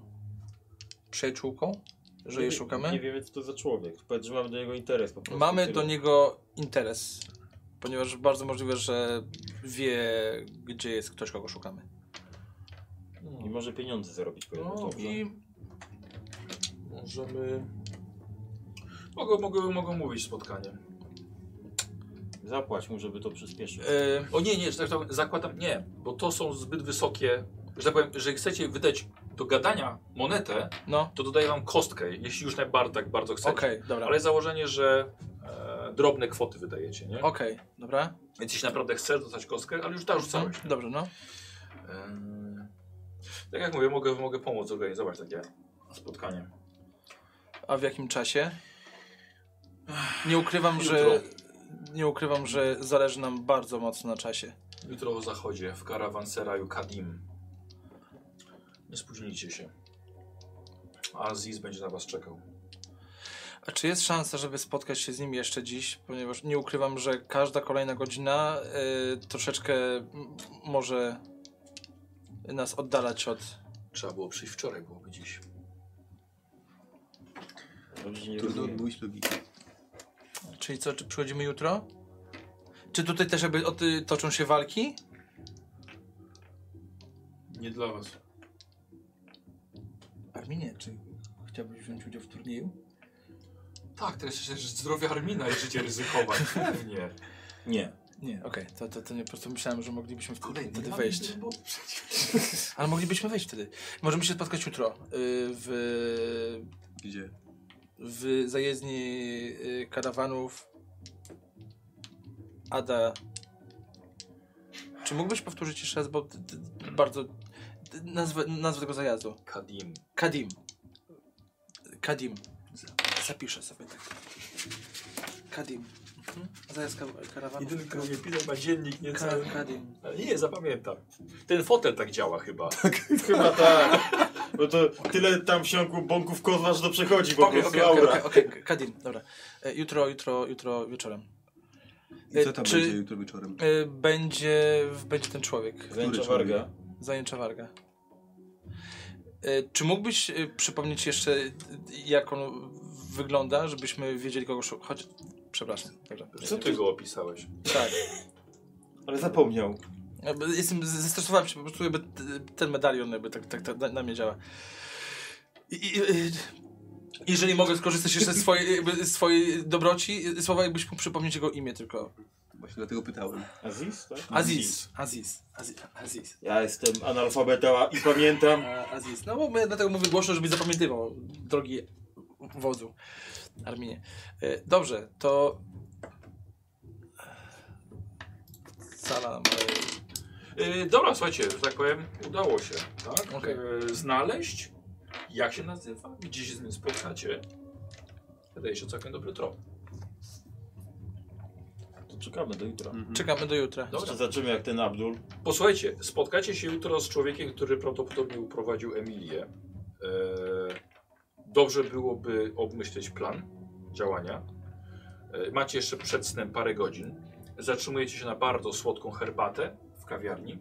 Speaker 3: przyjaciółką? Że jej
Speaker 7: Nie
Speaker 3: szukamy?
Speaker 7: wiemy, co to za człowiek. Powiedz, że mamy do niego interes po prostu.
Speaker 3: Mamy do
Speaker 7: Tyle.
Speaker 3: niego interes, ponieważ bardzo możliwe, że wie, gdzie jest ktoś, kogo szukamy.
Speaker 7: I może pieniądze zarobić po jednym.
Speaker 1: No
Speaker 7: dobrze.
Speaker 1: i możemy... Mogą, mogą, mogą mówić spotkaniem.
Speaker 7: Zapłać mu, żeby to przyspieszyć.
Speaker 3: E,
Speaker 1: O nie, nie, że tak to zakładam, nie, bo to są zbyt wysokie, że tak powiem, że chcecie wydać do gadania monetę,
Speaker 3: no,
Speaker 1: to dodaję wam kostkę, jeśli już najbardziej tak bardzo chcecie.
Speaker 3: okej, dobra.
Speaker 1: Ale założenie, że e, drobne kwoty wydajecie, nie?
Speaker 3: Okej, dobra.
Speaker 1: Więc jeśli naprawdę chcesz dostać kostkę, ale już ta rzucałeś.
Speaker 3: Mhm, Dobrze, no.
Speaker 1: Em, tak jak mówię, mogę, mogę pomóc zorganizować takie spotkanie.
Speaker 3: A w jakim czasie? Nie ukrywam, że.
Speaker 1: Jutro.
Speaker 3: Nie ukrywam, że zależy nam bardzo mocno na czasie.
Speaker 1: Jutro o zachodzie w karawanseraju Kadim. Nie spóźnijcie się. Aziz będzie na was czekał.
Speaker 3: A czy jest szansa, żeby spotkać się z nim jeszcze dziś? Ponieważ nie ukrywam, że każda kolejna godzina y, troszeczkę m, może nas oddalać od.
Speaker 1: Trzeba było przyjść wczoraj, byłoby dziś.
Speaker 7: Dobrze, nie
Speaker 4: Trudno
Speaker 7: rozumiem.
Speaker 4: odmówić logiki.
Speaker 3: Czyli co, czy przychodzimy jutro? Czy tutaj też jakby od, y, toczą się walki?
Speaker 1: Nie dla was.
Speaker 32: Arminie, czy chciałbyś wziąć udział w turnieju?
Speaker 1: Tak, teraz jeszcze zdrowie Armina i życie ryzykować. Pewnie.
Speaker 7: Nie.
Speaker 3: Nie, okej, to, to, to nie, po prostu myślałem, że moglibyśmy w
Speaker 1: Kolejny
Speaker 3: wtedy
Speaker 1: dla
Speaker 3: wejść.
Speaker 1: mnie, bo przecież-
Speaker 3: Ale moglibyśmy wejść wtedy. Możemy się spotkać jutro y, w,
Speaker 4: Gdzie?
Speaker 3: w zajezdni y, karawanów Ada. Czy mógłbyś powtórzyć jeszcze raz, bo ty, ty, bardzo ty, nazwę, nazwę tego zajazdu.
Speaker 1: Kadim.
Speaker 3: Kadim. Kadim. Zapiszę sobie tak. Kadim. Mhm. Zajazd ka- karawanów.
Speaker 1: Jedyny, kto mnie pisał, ma dziennik niecały.
Speaker 3: Ka- Kadim.
Speaker 1: Ale Nie, zapamiętam. Ten fotel tak działa chyba.
Speaker 7: Chyba tak. Bo to tyle tam wsiąku bąków kozła, że to przechodzi po
Speaker 3: Okej,
Speaker 7: prostu
Speaker 3: okej,
Speaker 7: aura.
Speaker 3: okej, okej, okej, Kadim, dobra. E, Jutro, jutro, jutro wieczorem.
Speaker 4: I
Speaker 7: E,
Speaker 4: co tam
Speaker 3: Czy-
Speaker 4: będzie jutro wieczorem?
Speaker 3: E, Będzie, będzie ten człowiek,
Speaker 7: Zajęcza
Speaker 4: Który człowiek?
Speaker 7: warga.
Speaker 3: zajęcza warga. E, Czy mógłbyś e, przypomnieć jeszcze, e, jak on wygląda, żebyśmy wiedzieli, kogo szukać? Choć... Przepraszam. Dobra.
Speaker 1: Co ty go opisałeś?
Speaker 3: Tak.
Speaker 7: Ale zapomniał.
Speaker 3: Jakby Jestem, z- zestresowałem się, po prostu jakby t- ten medalion jakby tak, tak, tak na- na mnie działa. I, i, i- jeżeli mogę skorzystać jeszcze z swojej, jakby z swojej dobroci, y, słowa jakbyś mógł przypomnieć jego imię tylko.
Speaker 4: Właśnie dlatego pytałem.
Speaker 7: Aziz, tak?
Speaker 3: Aziz. Aziz. Aziz. Aziz.
Speaker 7: Ja jestem analfabeta i pamiętam.
Speaker 3: A, Aziz. No bo my, dlatego mówię głośno, żebyś zapamiętywał, drogi wodzu Arminie. Y, Dobrze, to... Salam.
Speaker 1: Yy, dobra, słuchajcie, że tak powiem, udało się, tak?
Speaker 3: Okej.
Speaker 1: Yy, znaleźć, jak się nazywa, gdzie się z nim spotkacie. Wydaje się całkiem dobry trop.
Speaker 7: To czekamy do jutra.
Speaker 3: E, Czekamy do jutra.
Speaker 1: Dobra.
Speaker 7: Zobaczymy jak ten Abdul.
Speaker 1: Posłuchajcie, spotkacie się jutro z człowiekiem, który prawdopodobnie uprowadził Emilię. Eee, dobrze byłoby obmyśleć plan działania. Eee, macie jeszcze przed snem parę godzin. Zatrzymujecie się na bardzo słodką herbatę w kawiarni.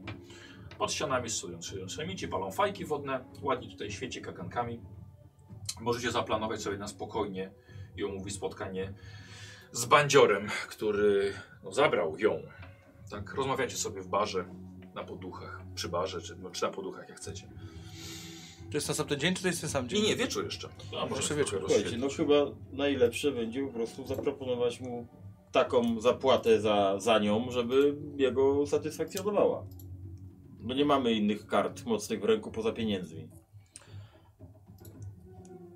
Speaker 1: Pod ścianami stoją stoją semici, palą fajki wodne. Ładnie tutaj świeci kagankami. Możecie zaplanować sobie na spokojnie i omówić spotkanie z bandziorem, który no, zabrał ją. Tak, rozmawiacie sobie w barze, na poduchach, przy barze, czy, no, czy na poduchach, jak chcecie.
Speaker 3: To jest następny dzień, czy to jest ten sam dzień?
Speaker 1: I nie, wieczór jeszcze. A, może
Speaker 3: Jeszcze
Speaker 1: się
Speaker 3: wieczór.
Speaker 1: wieczór
Speaker 7: Słuchajcie, no chyba najlepsze będzie po prostu zaproponować mu taką zapłatę za, za nią, żeby jego satysfakcjonowała. Bo nie mamy innych kart mocnych w ręku poza pieniędzmi.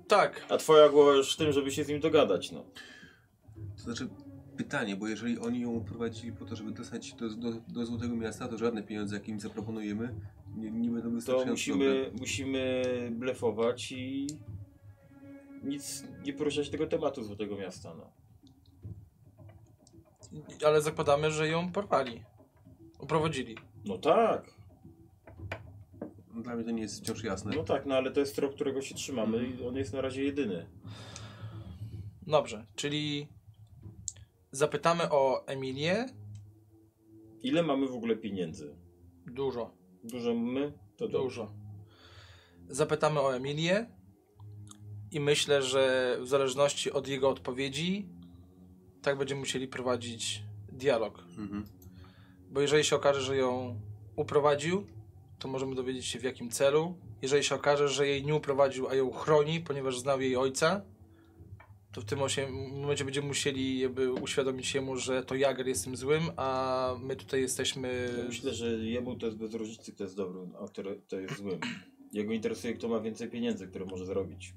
Speaker 3: Tak.
Speaker 7: A twoja głowa już w tym, żeby się z nim dogadać, no.
Speaker 4: To znaczy pytanie, bo jeżeli oni ją prowadzili po to, żeby dostać się do, do, do Złotego Miasta, to żadne pieniądze, jakie im zaproponujemy, nie, nie będą
Speaker 7: To
Speaker 4: wystarczające.
Speaker 7: musimy, musimy blefować i nic nie poruszać tego tematu Złotego Miasta, no.
Speaker 3: Ale zakładamy, że ją porwali. Uprowadzili.
Speaker 7: No tak,
Speaker 4: dobre. Dla mnie to nie jest wciąż jasne.
Speaker 7: no tak, no ale to jest trop, którego się trzymamy i on jest na razie jedyny.
Speaker 3: Dobrze, czyli zapytamy o Emilię.
Speaker 7: Ile mamy w ogóle pieniędzy?
Speaker 3: Dużo,
Speaker 7: Dużo my? To dobrze.
Speaker 3: dużo. Zapytamy o Emilię i myślę, że w zależności od jego odpowiedzi tak będziemy musieli prowadzić dialog.
Speaker 4: Mhm.
Speaker 3: Bo jeżeli się okaże, że ją uprowadził, to możemy dowiedzieć się w jakim celu. Jeżeli się okaże, że jej nie uprowadził, a ją chroni, ponieważ znał jej ojca, to w tym osie- momencie będziemy musieli jakby uświadomić jemu, że to Jager jest tym złym, a my tutaj jesteśmy...
Speaker 7: Ja Myślę, że jemu to jest bez różnicy, kto jest dobrym, a kto to jest złym. Jego interesuje, kto ma więcej pieniędzy, które może zarobić.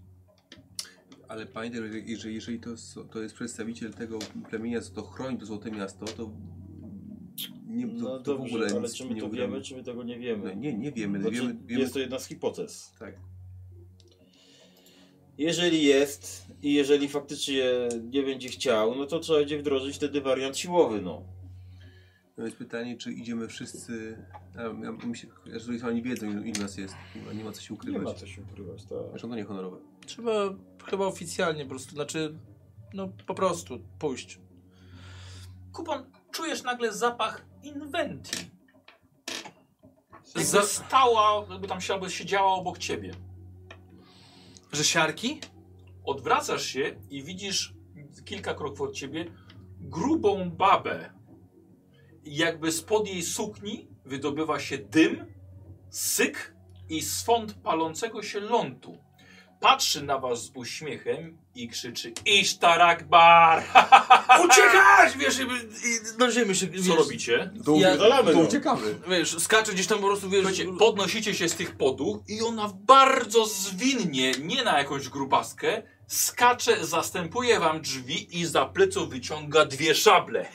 Speaker 4: Ale pamiętaj, że jeżeli, jeżeli to, s- to jest przedstawiciel tego plemienia, co to chroni to Złote Miasto, to nie to,
Speaker 7: No
Speaker 4: to w
Speaker 7: dobrze,
Speaker 4: ogóle
Speaker 7: ale
Speaker 4: nic
Speaker 7: czy my
Speaker 4: nie
Speaker 7: to
Speaker 4: ugramy.
Speaker 7: wiemy, czy my tego nie
Speaker 4: No,
Speaker 7: wiemy?
Speaker 4: nie, nie wiemy.
Speaker 7: Znaczy,
Speaker 4: wiemy, wiemy
Speaker 7: Jest to jedna z hipotez.
Speaker 4: Tak.
Speaker 7: Jeżeli jest i jeżeli faktycznie nie będzie chciał, no to trzeba będzie wdrożyć wtedy wariant siłowy, no.
Speaker 4: No jest pytanie, czy idziemy wszyscy. Ja, ja myślę, że oni wiedzą, ilu, ilu nas jest. Nie ma, nie ma co się
Speaker 7: Nie ma
Speaker 4: ukrywać.
Speaker 7: co się ukrywać, tak.
Speaker 4: Zresztą to niehonorowe.
Speaker 3: Trzeba chyba oficjalnie po prostu, znaczy, no po prostu pójść. no-
Speaker 33: Kupon, czujesz nagle zapach inwenty.
Speaker 1: Jakby
Speaker 3: Za-
Speaker 1: stała, jakby tam się albo siedziała obok ciebie.
Speaker 3: Że siarki?
Speaker 1: Odwracasz się i widzisz kilka kroków od ciebie grubą babę. I Jakby spod jej sukni wydobywa się dym, syk i swąd palącego się lądu. Patrzy na was z uśmiechem i krzyczy Isztar Akbar!
Speaker 3: Uciekać! Wiesz, jakby, i do ziemi się...
Speaker 1: Co
Speaker 3: wiesz,
Speaker 1: robicie?
Speaker 7: To
Speaker 3: Ja-
Speaker 7: upierdalamy, no.
Speaker 4: uciekamy.
Speaker 3: Wiesz, skacze gdzieś tam po prostu, wiesz...
Speaker 1: Słuchajcie, podnosicie się z tych poduch i ona bardzo zwinnie, nie na jakąś grubaskę, skacze, zastępuje wam drzwi i za pleców wyciąga dwie szable.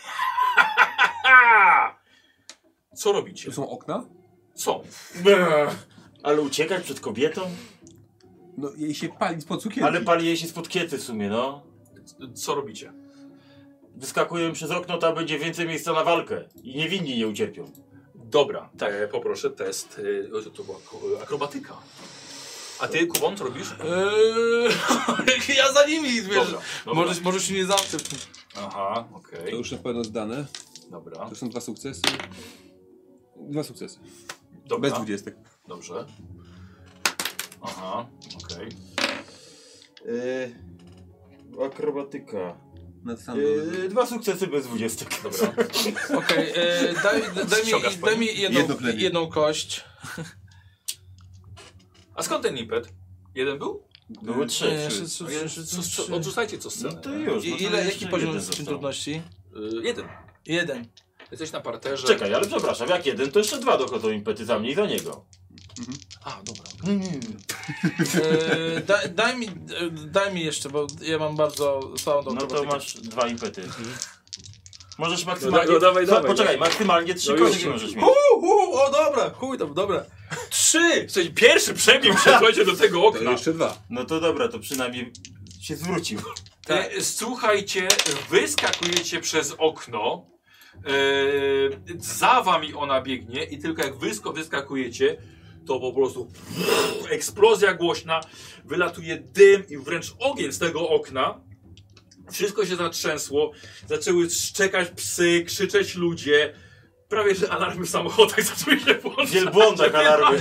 Speaker 1: Co robicie?
Speaker 4: Tu są okna?
Speaker 1: Co?
Speaker 7: Ale uciekać przed kobietą?
Speaker 4: No jej się pali spod cukierki.
Speaker 7: Ale pali jej się spod kiety w sumie, no.
Speaker 1: Co robicie?
Speaker 7: Wyskakują przez okno, tam będzie więcej miejsca na walkę. I niewinni nie ucierpią.
Speaker 1: Dobra, tak. e, poproszę test. E, to- to była ko- akrobatyka. A ty, Kubon, co robisz?
Speaker 3: Eee, ja za nimi, wiesz.
Speaker 1: Dobra, dobra.
Speaker 3: Może, może się nie zawsze...
Speaker 1: Aha,
Speaker 4: To
Speaker 1: okej,
Speaker 4: już na pewno zdane.
Speaker 1: dobra,
Speaker 4: To są dwa sukcesy. Dwa sukcesy.
Speaker 1: dobra,
Speaker 4: Bez dwudziestek.
Speaker 1: dobrze.
Speaker 34: Aha, okej.
Speaker 7: E,
Speaker 2: Yy, akrobatyka.
Speaker 4: Nad sam
Speaker 2: Yy, dwa sukcesy bez dwudziestek. Dobra.
Speaker 3: Okej, e, daj, daj, mi- daj mi jedną,
Speaker 4: Jedno plemię.
Speaker 3: jedną kość.
Speaker 1: A skąd ten impet? Jeden był?
Speaker 2: Były trzy.
Speaker 3: E,
Speaker 2: trzy.
Speaker 3: s- s-
Speaker 1: A jeden-
Speaker 3: s-
Speaker 1: co- co-
Speaker 3: trzy.
Speaker 1: Odrzucajcie co scenę.
Speaker 2: No to już.
Speaker 3: I-
Speaker 2: no to
Speaker 3: Ile,
Speaker 2: jeszcze
Speaker 3: jaki poziom
Speaker 2: jeden
Speaker 3: z czym
Speaker 2: został.
Speaker 3: trudności?
Speaker 1: Y, jeden.
Speaker 3: Jeden.
Speaker 1: Jesteś na parterze.
Speaker 2: Czekaj, ale przepraszam, jak jeden, to jeszcze dwa dochodzą impety za mnie i za niego.
Speaker 1: A, dobra.
Speaker 3: E, da, daj, mi, e, daj mi jeszcze, bo ja mam bardzo słabą
Speaker 2: No to
Speaker 3: akrobatykę.
Speaker 2: masz dwa impety. Możesz
Speaker 1: No
Speaker 2: maksymalnie...
Speaker 1: da- no dawaj,
Speaker 2: Słuchaj,
Speaker 1: dawaj,
Speaker 2: Poczekaj,
Speaker 1: dawaj.
Speaker 2: maksymalnie trzy
Speaker 1: No już.
Speaker 2: kości możesz mieć.
Speaker 3: U, u, o dobra, chuj tam, dobra. Trzy!
Speaker 1: Słuchaj, pierwszy przebił się słuchajcie, do tego
Speaker 35: To
Speaker 1: okna.
Speaker 35: jeszcze dwa.
Speaker 2: No to dobra, to przynajmniej się zwrócił.
Speaker 1: E, Słuchajcie, wyskakujecie przez okno. E, za wami ona biegnie i tylko jak wysko wyskakujecie, to po prostu eksplozja głośna, wylatuje dym i wręcz ogień z tego okna. Wszystko się zatrzęsło, zaczęły szczekać psy, krzyczeć ludzie. Prawie, że alarmy w samochodach zaczęły się włączać.
Speaker 2: Wielbłądek alarmy.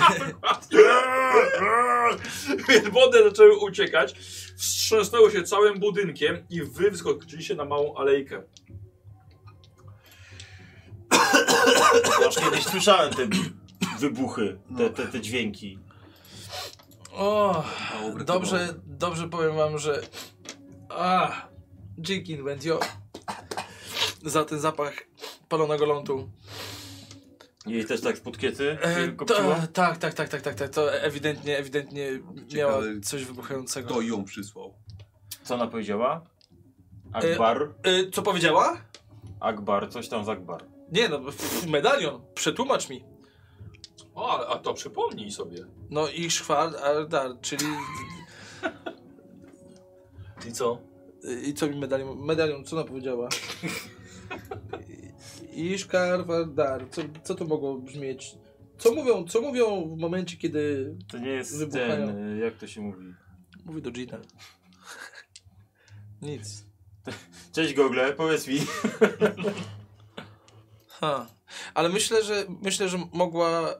Speaker 1: Wielbłądy zaczęły uciekać. Wstrząsnęło się całym budynkiem i wy wyskoczyliście na małą alejkę.
Speaker 2: Ja już kiedyś słyszałem te wybuchy, te, te, te dźwięki.
Speaker 3: O, dobrze, dobrze powiem wam, że... A, dzięki Inventio za ten zapach palonego lądu.
Speaker 2: Jej też tak spod kiety
Speaker 3: E,
Speaker 2: kopciło?
Speaker 3: ta, tak, tak, tak, tak, tak, tak, to ewidentnie, ewidentnie miała
Speaker 4: Ciekawe,
Speaker 3: coś wybuchającego.
Speaker 4: Kto ją przysłał?
Speaker 2: Co ona powiedziała? Akbar?
Speaker 3: E, co powiedziała?
Speaker 2: Akbar, coś tam z Akbar.
Speaker 3: Nie no, pff, medalion, przetłumacz mi.
Speaker 1: O, ale- a to przypomnij sobie.
Speaker 3: No i szwar, ardar, czyli...
Speaker 1: I co?
Speaker 3: I co mi medalion, medalion, co ona powiedziała? Iszkar, Vardar, co, co to mogło brzmieć? Co mówią, co mówią w momencie, kiedy...
Speaker 2: To nie jest
Speaker 3: Wybuchają.
Speaker 2: ten, y, jak to się mówi?
Speaker 3: Mówi do Gina. Nic.
Speaker 2: Cześć Google, powiedz mi.
Speaker 3: Ha. Ale myślę, że myślę, że mogła e,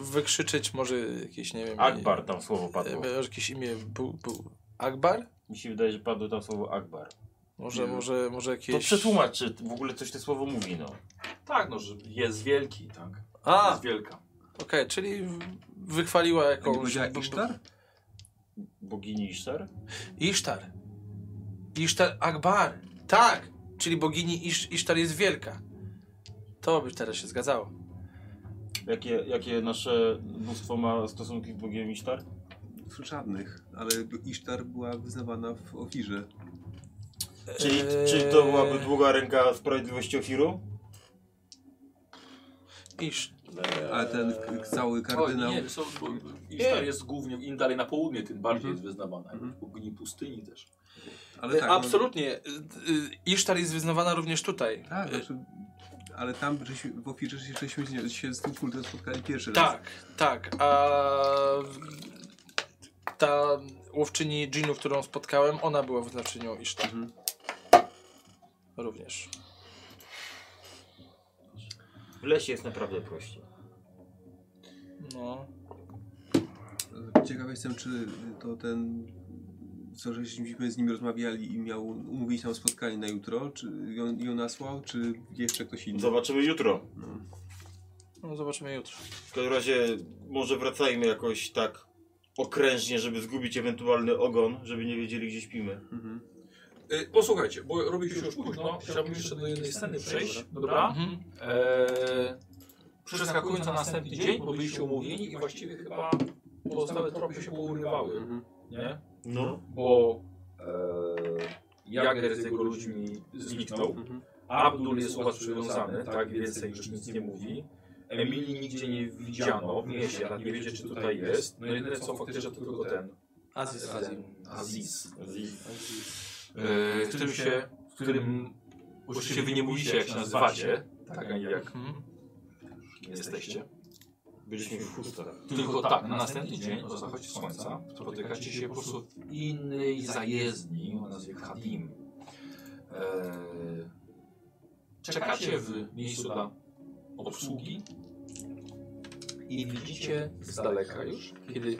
Speaker 3: wykrzyczeć może jakieś, nie wiem...
Speaker 2: Akbar tam słowo padło.
Speaker 3: E, jakieś imię był, był Akbar?
Speaker 2: Mi się wydaje, że padło tam słowo Akbar.
Speaker 3: Może,
Speaker 4: Nie wiem.
Speaker 3: może, może
Speaker 2: To
Speaker 3: jakieś...
Speaker 2: przetłumacz, czy w ogóle coś to słowo mówi, no.
Speaker 1: Tak, no, że jest wielki, tak.
Speaker 3: A,
Speaker 1: Jest wielka.
Speaker 3: okej, czyli w- wychwaliła
Speaker 4: A nie
Speaker 3: jakąś...
Speaker 4: powiedziała
Speaker 3: b- b-
Speaker 4: Isztar?
Speaker 2: Bogini Isztar?
Speaker 3: Isztar. Isztar Akbar. Tak, czyli bogini Isz, Isztar jest wielka. To by teraz się zgadzało.
Speaker 2: Jakie, jakie nasze bóstwo ma stosunki z Bogiem Isztar?
Speaker 4: Żadnych, ale Isztar była wyznawana w Ofirze.
Speaker 2: Czyli,
Speaker 3: Eee,
Speaker 2: czy to byłaby długa ręka sprawiedliwości Ofiru?
Speaker 3: Isz...
Speaker 4: A ten k- cały
Speaker 1: O,
Speaker 4: kardynał...
Speaker 1: nie, są, bo Isztar jest głównie, im dalej na południe, tym bardziej jest wyznawana.
Speaker 4: Mhm.
Speaker 1: W ogóle pustyni też.
Speaker 4: Ale tak, no-
Speaker 3: Absolutnie. y, y, Isztar jest wyznawana również tutaj.
Speaker 4: Tak, znaczy, ale tam żeśmy, w Ofirze się- żeśmy się- się z tym kultem spotkali pierwszy raz.
Speaker 3: Tak, tak. A ta łowczyni dżinu, którą spotkałem, ona była wyznaczynią Isztar.
Speaker 4: Mhm.
Speaker 3: Również.
Speaker 2: W lesie jest naprawdę prościej.
Speaker 3: No.
Speaker 4: Ciekawy jestem, czy to ten, co żeśmy z nim rozmawiali i miał umówić nam spotkanie na jutro, czy ją, ją nasłał, czy jeszcze ktoś inny.
Speaker 2: Zobaczymy jutro.
Speaker 3: no zobaczymy jutro.
Speaker 2: W każdym razie może wracajmy jakoś tak okrężnie, żeby zgubić ewentualny ogon, żeby nie wiedzieli gdzie śpimy.
Speaker 4: Mhm.
Speaker 1: Y, posłuchajcie, bo robi się już późno. Chciałbym jeszcze do jednej sceny przejść, dobra?
Speaker 3: Mhm.
Speaker 1: Eee, przeskakując na następny dzień, bo byliście umówieni i właściwie chyba pozostałe tropy się pourywały,
Speaker 4: Mhm.
Speaker 1: nie?
Speaker 2: No.
Speaker 1: Bo eee, Jager z jego ludźmi zniknął,
Speaker 4: Mhm.
Speaker 1: Abdul jest u was przywiązany, tak? Więcej już nic nie mówi. Emilii nigdzie nie widziano w mieście, nawet nie wiecie czy tutaj jest. No jedyne co faktycznie to tylko ten
Speaker 3: Aziz.
Speaker 1: Aziz. Yy,
Speaker 3: Y,
Speaker 1: w którym się, w którym oczywiście wy nie mówicie jak się nazywacie, tak ani jak
Speaker 3: Mhm.
Speaker 1: jesteście.
Speaker 2: Byliśmy w chustach.
Speaker 1: Tylko tak, na następny dzień o zachodzie słońca spotykacie się po prostu w innej zajezdni o nazwie Kadim. Eee, czekacie w miejscu dla obsługi i widzicie z daleka już, kiedy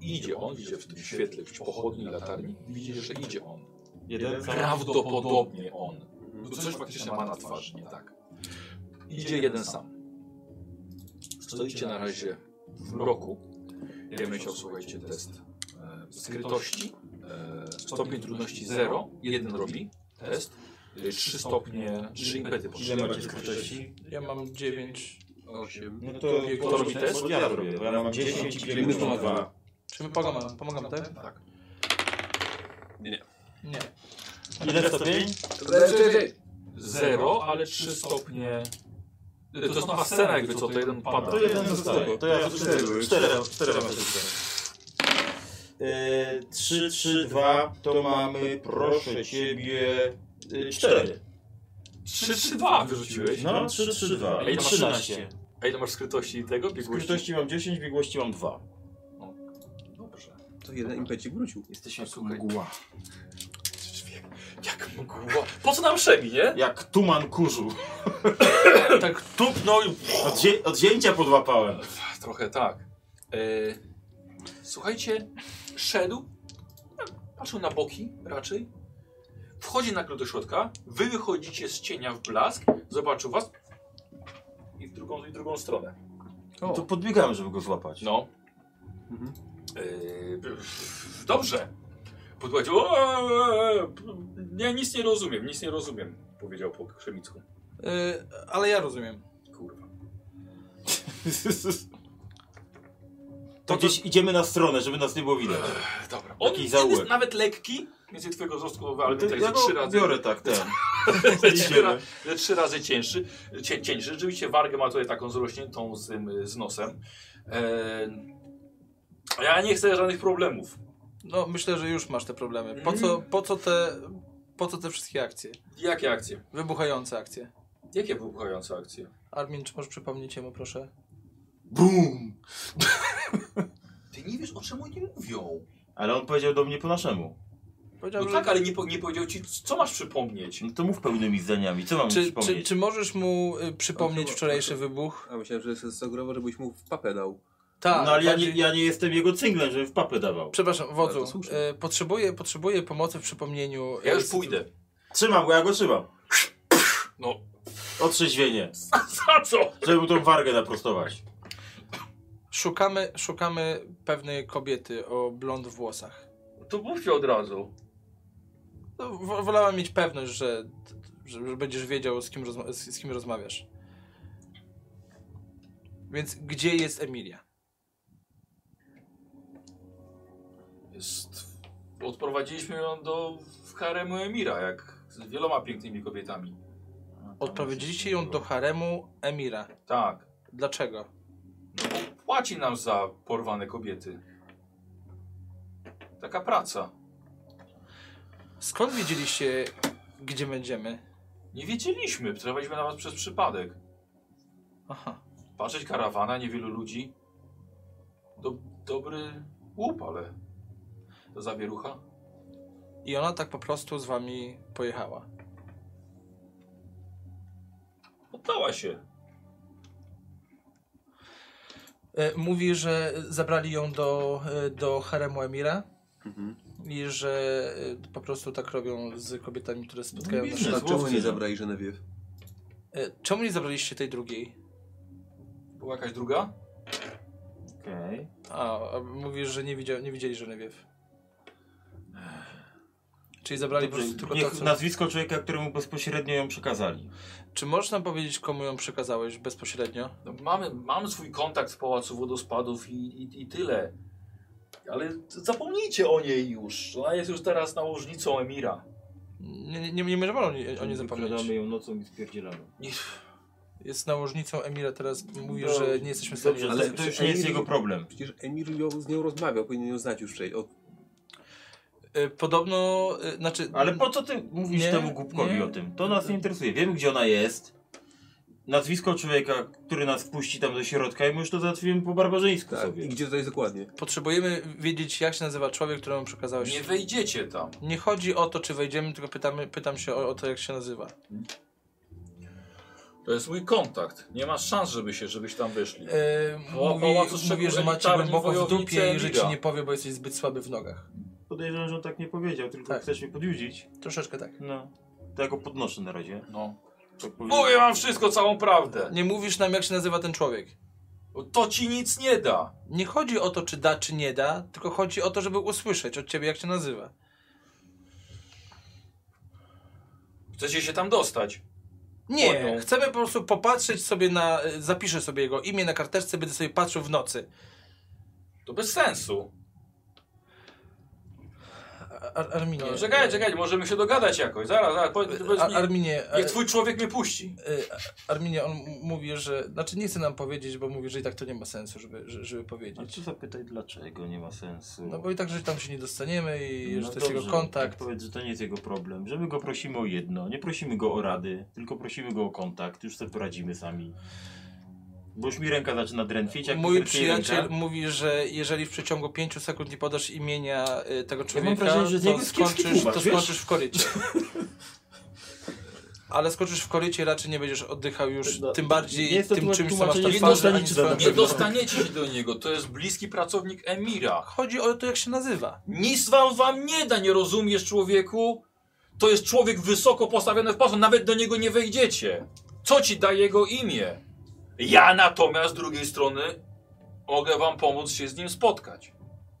Speaker 1: Idzie on, idzie w tym świetle, w pochodni latarni. Widzicie, że idzie on.
Speaker 7: Jeden
Speaker 1: Prawdopodobnie on. Bo No coś faktycznie ma na twarzy, nie tak. Idzie jeden sam. Stoicie na razie w roku. Ja bym chciał, słuchajcie, test e, skrytości. E, stopień trudności 0. Jeden robi test. 3 stopnie, 3 impety potrzebne.
Speaker 9: Ja mam 9.
Speaker 4: 8.
Speaker 2: No to
Speaker 1: Kto robi test?
Speaker 2: to ja robię, bo ja mam 10 i
Speaker 9: Minus
Speaker 2: biegnę
Speaker 9: pomaga.
Speaker 2: 2.
Speaker 9: Czy my pomagamy? Pomagam, tak?
Speaker 1: Tak.
Speaker 9: Nie.
Speaker 2: Ile stopień?
Speaker 4: znaczy,
Speaker 1: 0, ale 3 stopnie. To jest nowa scena, jakby co, to jeden pada.
Speaker 2: To jeden zostaje. No To ja cztery, cztery, cztery mam Eee, 3, 3, 2 to mamy, proszę ciebie, 4.
Speaker 1: 3, 3, 2 wyrzuciłeś.
Speaker 2: No, 3, 3, 2.
Speaker 1: Ej,
Speaker 2: I
Speaker 1: masz
Speaker 2: 13.
Speaker 1: A ile masz skrytości tego? Biegłości?
Speaker 2: Skrytości mam 10, biegłości mam 2.
Speaker 1: Dobrze.
Speaker 31: To jeden impecik wrócił.
Speaker 1: Jesteśmy słuchaj. Mgła. Jak mgła? Po co nam szemi, nie?
Speaker 2: Jak tuman kurzu.
Speaker 1: Tak tupnął i
Speaker 2: Odzie odzięcia podłapałem.
Speaker 1: Trochę tak. E, słuchajcie, szedł, patrzył na boki raczej, wchodzi nagle do środka, wy wychodzicie z cienia w blask, zobaczył was i w drugą, i w drugą stronę.
Speaker 2: To podbiegałem, żeby go złapać.
Speaker 1: No. E, pff, dobrze. Podpowiedział, "O, e, nie, nic nie rozumiem, nic nie rozumiem, powiedział po krzemicku.
Speaker 3: Y, ale ja rozumiem.
Speaker 1: Kurwa.
Speaker 2: To gdzieś idziemy na stronę, żeby nas nie było widać.
Speaker 1: Dobra. No On
Speaker 2: Taki
Speaker 1: jest
Speaker 2: zaułek.
Speaker 1: nawet lekki, więcej twojego wzrostu, ale tutaj jest
Speaker 2: ja
Speaker 1: tak, trzy razy.
Speaker 2: biorę tak, ten.
Speaker 1: Ze trzy, ra- ze trzy razy cięższy. Cię, cieńszy. Rzeczywiście wargę ma tutaj taką zrośniętą z, tym, y, z nosem. Eee, ja nie chcę żadnych problemów.
Speaker 3: No myślę, że już masz te problemy. Po
Speaker 1: Mm.
Speaker 3: co, po co, te, po co te wszystkie akcje?
Speaker 1: Jakie akcje?
Speaker 3: Wybuchające akcje.
Speaker 1: Jakie wybuchające akcje?
Speaker 3: Armin, czy możesz przypomnieć jemu, proszę?
Speaker 2: Bum!
Speaker 1: Ty nie wiesz o czym oni mówią.
Speaker 2: Ale on powiedział do mnie po naszemu.
Speaker 3: Powiedział,
Speaker 1: No
Speaker 3: że...
Speaker 1: tak, ale nie, po, nie powiedział ci, co masz przypomnieć.
Speaker 2: No to mów pełnymi zdaniami, co mam
Speaker 3: Czy, czy,
Speaker 2: przypomnieć?
Speaker 3: czy możesz mu y, przypomnieć
Speaker 31: Chyba-
Speaker 3: wczorajszy wybuch?
Speaker 31: A myślałem, że jest sogrowo, żebyś mu w papę dał.
Speaker 3: Tak,
Speaker 2: no ale ja nie,
Speaker 3: bardziej-
Speaker 2: ja nie jestem jego cynglem, żeby w papę dawał.
Speaker 3: Przepraszam,
Speaker 31: Ale
Speaker 3: wodzu,
Speaker 31: to słuszne.
Speaker 3: y, potrzebuję, potrzebuję pomocy w przypomnieniu...
Speaker 1: Ja
Speaker 3: y,
Speaker 1: już
Speaker 3: z-
Speaker 1: pójdę.
Speaker 2: Trzymam go, ja go trzymam.
Speaker 1: No.
Speaker 2: Otrzeźwienie.
Speaker 1: Za co?
Speaker 2: Żeby mu tą wargę naprostować.
Speaker 3: Szukamy, szukamy pewnej kobiety o blond włosach.
Speaker 1: To mówcie od razu.
Speaker 3: No, wo- wolałem mieć pewność, że, że, że będziesz wiedział, z kim, rozma- z, z kim rozmawiasz. Więc gdzie jest Emilia?
Speaker 1: Jest... Odprowadziliśmy ją do w haremu Emira, jak z wieloma pięknymi kobietami.
Speaker 3: Odprowadziliście ją do haremu Emira.
Speaker 1: Tak.
Speaker 3: Dlaczego?
Speaker 1: No bo płaci nam za porwane kobiety. Taka praca.
Speaker 3: Skąd wiedzieliście, gdzie będziemy?
Speaker 1: Nie wiedzieliśmy, trafiliśmy na was przez przypadek.
Speaker 3: Aha.
Speaker 1: Patrzeć karawana, niewielu ludzi. Do, dobry łup, ale to zawierucha.
Speaker 3: I ona tak po prostu z wami pojechała.
Speaker 1: Poddała się.
Speaker 3: E, mówi, że zabrali ją do, e, do haremu Emira. I że e, po prostu tak robią z kobietami, które spotkają na
Speaker 2: biznes.
Speaker 3: szlaku.
Speaker 31: A czemu nie
Speaker 2: łowcy.
Speaker 31: zabrali Genevieve?
Speaker 3: E, Czemu nie zabraliście tej drugiej?
Speaker 1: Była jakaś druga?
Speaker 2: Okej.
Speaker 3: A, a mówisz, że nie, widział, nie widzieli Genewiew. Czyli zabrali po prostu tylko to,
Speaker 2: Niech
Speaker 3: co...
Speaker 2: nazwisko człowieka, któremu bezpośrednio ją przekazali.
Speaker 3: Czy możesz nam powiedzieć, komu ją przekazałeś bezpośrednio?
Speaker 1: No, mamy, mam swój kontakt z Pałacu Wodospadów i, i, i tyle. Ale zapomnijcie o niej już. Ona jest już teraz nałożnicą Emira.
Speaker 3: Nie, nie, nie, nie możemy o niej, o niej zapomnieć.
Speaker 2: Wykradamy ją nocą i spierdzielamy.
Speaker 3: Jest nałożnicą Emira, teraz mówi,
Speaker 2: No,
Speaker 3: że nie jesteśmy w stanie...
Speaker 2: Dobrze,
Speaker 3: jej
Speaker 2: ale
Speaker 3: odzyskać.
Speaker 2: to już nie jest jego problem.
Speaker 31: Przecież Emir ją, z nią rozmawiał, powinien ją znać już wcześniej. Od...
Speaker 3: E, Podobno, e, znaczy...
Speaker 2: Ale po co ty mówisz
Speaker 3: Nie,
Speaker 2: temu głupkowi
Speaker 3: nie.
Speaker 2: o tym? To nas nie interesuje. Wiemy, gdzie ona jest. Nazwisko człowieka, który nas wpuści tam do środka i my już to załatwimy po barbarzyńsku
Speaker 31: Tak.
Speaker 2: sobie.
Speaker 31: I gdzie to jest dokładnie?
Speaker 3: Potrzebujemy wiedzieć, jak się nazywa człowiek, któremu przekazałeś.
Speaker 1: Nie
Speaker 3: Nie,
Speaker 1: wejdziecie tam.
Speaker 3: chodzi o to, czy wejdziemy, tylko pytamy, pytam się o, o to, jak się nazywa.
Speaker 1: To jest mój kontakt. Nie masz szans, żeby się, żebyś tam wyszli.
Speaker 3: E,
Speaker 1: O-
Speaker 3: mówi,
Speaker 1: Pałacu
Speaker 3: mówi, że
Speaker 1: Szczególnej
Speaker 3: macie
Speaker 1: Czarni
Speaker 3: głęboko w
Speaker 1: Wojownicy
Speaker 3: dupie i że ci
Speaker 1: Liga.
Speaker 3: nie powie, bo jesteś zbyt słaby w nogach.
Speaker 2: Podejrzewam, że on tak nie powiedział, tylko
Speaker 3: Tak.
Speaker 2: chcesz mnie podjudzić.
Speaker 3: Troszeczkę tak.
Speaker 2: No. To ja go podnoszę na razie.
Speaker 1: No.
Speaker 2: Tak powiem.
Speaker 1: Mówię wam wszystko, całą prawdę.
Speaker 3: Nie mówisz nam, jak się nazywa ten człowiek.
Speaker 1: To ci nic nie da.
Speaker 3: Nie chodzi o to, czy da, czy nie da, tylko chodzi o to, żeby usłyszeć od ciebie, jak się nazywa.
Speaker 1: Chcecie się tam dostać.
Speaker 3: Nie,
Speaker 1: Płonią.
Speaker 3: chcemy po prostu popatrzeć sobie na. y, Zapiszę sobie jego imię na karteczce, będę sobie patrzył w nocy.
Speaker 1: To bez sensu.
Speaker 3: Ar Arminie.
Speaker 2: e,
Speaker 1: No, czekaj, czekaj, możemy się dogadać jakoś. Zaraz, zaraz. Powiedz, powiedz
Speaker 3: Ar
Speaker 1: mi,
Speaker 3: Arminie.
Speaker 2: e,
Speaker 3: Ar
Speaker 1: niech twój człowiek mnie puści.
Speaker 3: y, Arminie, on m- mówi, że. Znaczy, nie chce nam powiedzieć, bo mówi, że i tak to nie ma sensu, żeby, że- żeby
Speaker 2: A
Speaker 3: powiedzieć.
Speaker 2: ty zapytaj dlaczego, nie ma sensu.
Speaker 3: No bo i tak, że tam się nie dostaniemy i
Speaker 2: No
Speaker 3: że to jest jego
Speaker 2: dobrze,
Speaker 3: kontakt.
Speaker 2: tak Powiedz, że to nie jest jego problem, że my go prosimy o jedno. Nie prosimy go o rady, tylko prosimy go o kontakt. Już sobie poradzimy sami. Bo już mi ręka zaczyna drętwieć, jak mi
Speaker 3: Mój
Speaker 2: drętwieje
Speaker 3: przyjaciel
Speaker 2: ręka.
Speaker 3: mówi, że jeżeli w przeciągu 5 sekund nie podasz imienia y, tego człowieka,
Speaker 2: wrażenie, że z niego
Speaker 3: to,
Speaker 2: jest kiepski
Speaker 3: skończysz,
Speaker 2: kumasz,
Speaker 3: to
Speaker 2: wiesz?
Speaker 3: skończysz w korycie. Ale skończysz w korycie i raczej nie będziesz oddychał już
Speaker 2: No,
Speaker 3: tym
Speaker 2: nie
Speaker 3: bardziej
Speaker 2: jest to
Speaker 3: tym
Speaker 2: tłumacz-
Speaker 3: czymś, co masz na
Speaker 2: tłumaczenie, nie
Speaker 3: twarzy,
Speaker 2: dostaniecie
Speaker 3: ani
Speaker 2: za
Speaker 3: swoją
Speaker 2: to.
Speaker 1: Nie
Speaker 3: przed-
Speaker 1: dostaniecie się do niego. To jest bliski pracownik Emira.
Speaker 3: Chodzi o to, jak się nazywa.
Speaker 1: Nic wam, wam nie da, nie rozumiesz człowieku? To jest człowiek wysoko postawiony w pasu, nawet do niego nie wejdziecie. Co ci da jego imię? Ja natomiast z drugiej strony mogę wam pomóc się z nim spotkać.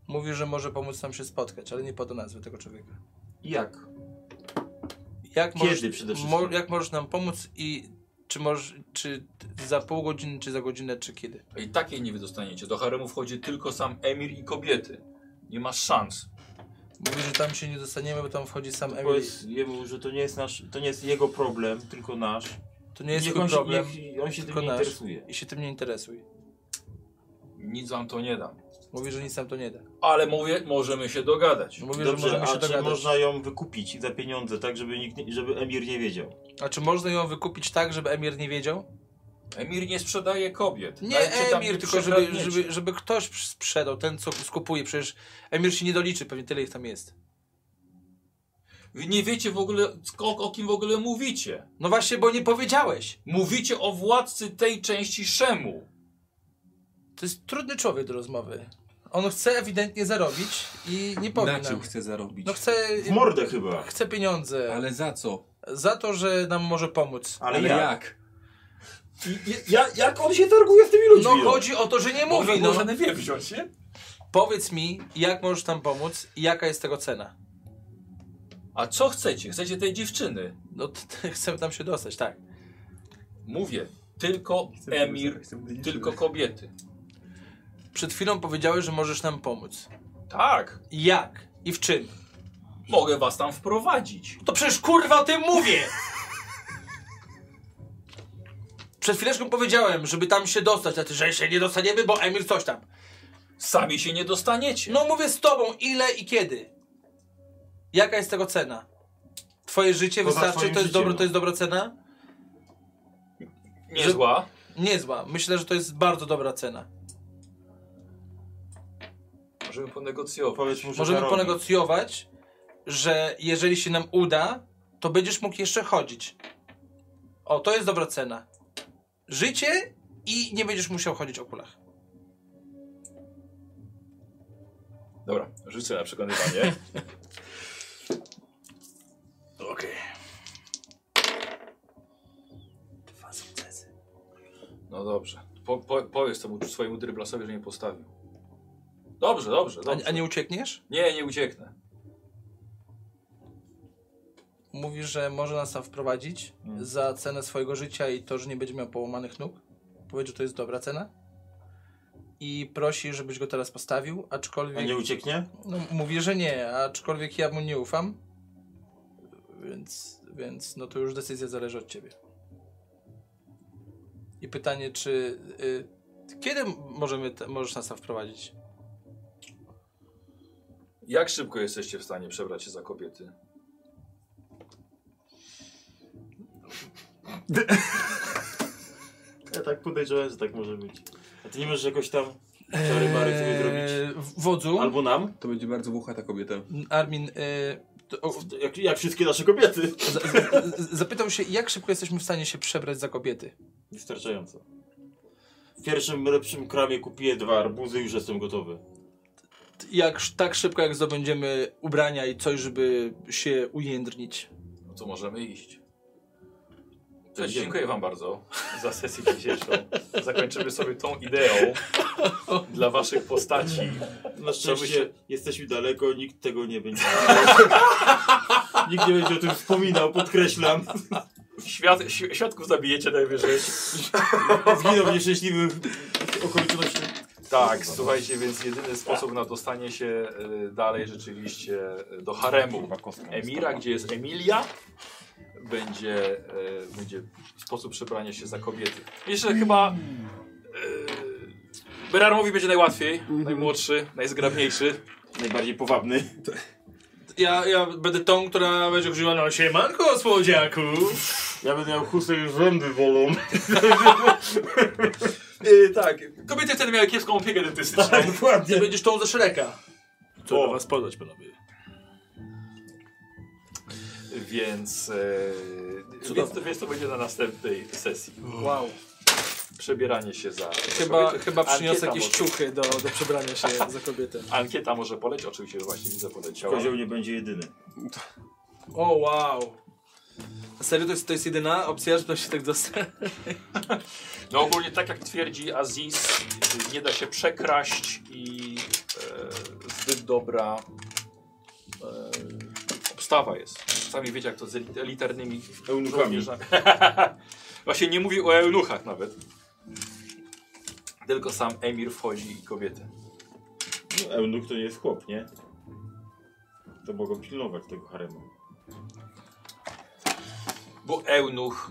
Speaker 3: Mówi, że może pomóc nam się spotkać, ale nie poda nazwy tego człowieka.
Speaker 2: Jak?
Speaker 3: Jak
Speaker 2: Kiedy
Speaker 3: możesz,
Speaker 2: przede wszystkim?
Speaker 3: mo- jak możesz nam pomóc i czy, możesz, czy za pół godziny, czy za godzinę, czy kiedy?
Speaker 1: I takiej nie wy dostaniecie. Do haremu wchodzi tylko sam emir i kobiety. Nie masz szans.
Speaker 3: Mówi, że tam się nie dostaniemy, bo tam wchodzi sam Emil.
Speaker 2: Powiedz jemu, że to nie jest nasz, to nie jest jego problem, tylko nasz.
Speaker 3: To nie jest
Speaker 2: Niech
Speaker 3: jego
Speaker 2: on się-
Speaker 3: problem.
Speaker 2: niech on się
Speaker 3: tylko
Speaker 2: tym nie
Speaker 3: nasz.
Speaker 2: interesuje.
Speaker 3: I się tym nie interesuj.
Speaker 1: Nic wam to nie dam.
Speaker 3: Mówi, że nic nam to nie da.
Speaker 1: Ale mówię, możemy się dogadać.
Speaker 3: Mówi, że
Speaker 2: Dobrze,
Speaker 3: możemy
Speaker 2: a
Speaker 3: się
Speaker 2: czy
Speaker 3: dogadać.
Speaker 2: można ją wykupić za pieniądze, tak żeby nikt, nie- żeby Emir nie wiedział?
Speaker 3: A czy można ją wykupić tak, żeby Emir nie wiedział?
Speaker 1: Emir nie sprzedaje kobiet.
Speaker 3: Nie
Speaker 1: Nawet cię tam
Speaker 3: Emir,
Speaker 1: nie
Speaker 3: tylko żeby,
Speaker 1: przekradniecie.
Speaker 3: żeby, żeby ktoś przy- sprzedał, ten co skupuje. Przecież Emir się nie doliczy, pewnie tyle ich tam jest.
Speaker 1: Wy nie wiecie w ogóle, o, o kim w ogóle mówicie.
Speaker 3: No właśnie, bo nie powiedziałeś.
Speaker 1: Mówicie o władcy tej części Szemu.
Speaker 3: To jest trudny człowiek do rozmowy. On chce ewidentnie zarobić i nie powie
Speaker 4: Na czym
Speaker 3: nam.
Speaker 4: chce zarobić?
Speaker 3: No chce,
Speaker 2: W mordę chyba.
Speaker 3: chce pieniądze
Speaker 4: Ale za co?
Speaker 3: za to, że nam może pomóc.
Speaker 2: Ale,
Speaker 4: Ale
Speaker 2: jak?
Speaker 4: jak?
Speaker 2: I- i- Ja, jak on się targuje z tymi ludźmi?
Speaker 3: No chodzi o to, że nie mówi. No.
Speaker 1: wie wziąć, nie?
Speaker 3: Powiedz mi, jak możesz tam pomóc i jaka jest tego cena.
Speaker 1: A co chcecie? Chcecie tej dziewczyny?
Speaker 3: No t- t- chcemy tam się dostać, tak.
Speaker 1: Mówię, tylko Emir, tylko kobiety.
Speaker 3: Przed chwilą powiedziałeś, że możesz nam pomóc.
Speaker 1: Tak,
Speaker 3: Jak? I w czym? No
Speaker 1: mogę was tam wprowadzić.
Speaker 3: To przecież kurwa o tym mówię! Przed chwileczką powiedziałem, żeby tam się dostać, a ty, że się nie dostaniemy, bo Emil coś tam.
Speaker 1: Sami się nie dostaniecie.
Speaker 3: No mówię z tobą, ile i kiedy? Jaka jest tego cena? Twoje życie
Speaker 2: Poza
Speaker 3: wystarczy?
Speaker 2: twoim
Speaker 3: To jest,
Speaker 2: życiem,
Speaker 3: dobro,
Speaker 2: no.
Speaker 3: to jest dobra cena?
Speaker 1: Niezła.
Speaker 3: Niezła. Myślę, że to jest bardzo dobra cena.
Speaker 1: Możemy ponegocjować.
Speaker 2: Powiedz mu, że
Speaker 3: Możemy
Speaker 2: zarobi.
Speaker 3: ponegocjować, że jeżeli się nam uda, to będziesz mógł jeszcze chodzić. O, to jest dobra cena. Życie i nie będziesz musiał chodzić o kulach.
Speaker 1: Dobra, rzucę na przekonywanie. Okej.
Speaker 3: Dwa sukcesy.
Speaker 1: No dobrze. Po, po, powiedz temu swojemu dryblasowi, że nie postawił. Dobrze, dobrze,
Speaker 3: A,
Speaker 1: dobrze.
Speaker 3: a nie uciekniesz?
Speaker 1: Nie, nie ucieknę.
Speaker 3: Mówi, że może nas tam wprowadzić
Speaker 2: Mm.
Speaker 3: za cenę swojego życia i to, że nie będzie miał połamanych nóg. Powiedział, że to jest dobra cena. I prosi, żebyś go teraz postawił,
Speaker 2: A
Speaker 3: aczkolwiek...
Speaker 2: nie ucieknie?
Speaker 3: No, mówię, że nie, aczkolwiek ja mu nie ufam. Więc, więc no to już decyzja zależy od ciebie. I pytanie, czy. Y, kiedy możemy, te- możesz nas tam wprowadzić?
Speaker 1: Jak szybko jesteście w stanie przebrać się za kobiety?
Speaker 2: Ja tak podejrzewałem, że tak może być. A ty nie możesz jakoś tam
Speaker 3: Eee,
Speaker 2: czary bary sobie zrobić?
Speaker 3: w wodzu,
Speaker 2: Albo nam?
Speaker 4: To będzie bardzo włóchata kobieta.
Speaker 3: Armin, y,
Speaker 36: to- o-
Speaker 2: Jak, jak wszystkie nasze kobiety.
Speaker 36: za- z- z- Zapytał się, jak szybko jesteśmy w stanie się przebrać za kobiety.
Speaker 2: Wystarczająco. W pierwszym lepszym kramie kupię dwa arbuzy i już jestem gotowy.
Speaker 36: Jak sz- tak szybko, jak zdobędziemy ubrania i coś, żeby się ujędrnić.
Speaker 1: No to możemy iść. Cześć,
Speaker 2: Będziemy.
Speaker 1: dziękuję Wam bardzo za sesję dzisiejszą. Zakończymy sobie tą ideą dla Waszych postaci.
Speaker 2: Na
Speaker 1: by
Speaker 2: szczęście
Speaker 1: się-
Speaker 2: jesteśmy daleko, nikt tego nie będzie. nikt nie będzie o tym wspominał, podkreślam.
Speaker 1: Świat, świ- świadków zabijecie najwyżej.
Speaker 2: Zginął w nieszczęśliwych okolicznościach.
Speaker 1: Tak, słuchajcie, więc jedyny sposób na dostanie się y, dalej rzeczywiście y, do haremu Emira, gdzie jest Emilia, będzie, y, będzie sposób przebrania się za kobiety. Jeszcze chyba y, Berarmowi będzie najłatwiej,
Speaker 3: Mhm.
Speaker 1: najmłodszy, najzgrabniejszy.
Speaker 2: Najbardziej powabny.
Speaker 36: Ja, ja będę tą, która będzie chodziła na siemanko, słodziaku.
Speaker 2: Ja będę miał chustę już rządy wolą.
Speaker 1: Y, tak, kobiety wtedy miały kiepską opiekę dentystyczną.
Speaker 3: Tak.
Speaker 36: Ty będziesz tą ze Shreka. Co
Speaker 1: O.
Speaker 36: was podać, panowie?
Speaker 1: Więc, e, więc, to, więc to będzie na następnej sesji.
Speaker 36: Wow.
Speaker 1: Przebieranie się za.
Speaker 3: Chyba, chyba
Speaker 1: Ankieta
Speaker 3: przyniosę jakieś
Speaker 1: może.
Speaker 3: ciuchy do, do przebrania się za kobietę.
Speaker 1: Ankieta może poleć, oczywiście właśnie widzę poleciała.
Speaker 2: Kozioł nie będzie jedyny.
Speaker 3: O, wow. A serio, to jest, to jest jedyna opcja, żeby się tak dostać?
Speaker 1: No ogólnie tak jak twierdzi Aziz, nie da się przekraść i e, zbyt dobra e, obstawa jest. Sami wiecie jak to z elit- elitarnymi
Speaker 2: Eunuchami.
Speaker 1: żołnierzami. Właśnie nie mówi o eunuchach nawet. Tylko sam emir wchodzi i kobiety.
Speaker 2: No, Eunuch to nie jest chłop, nie? To mogą pilnować tego haremu.
Speaker 1: Bo eunuch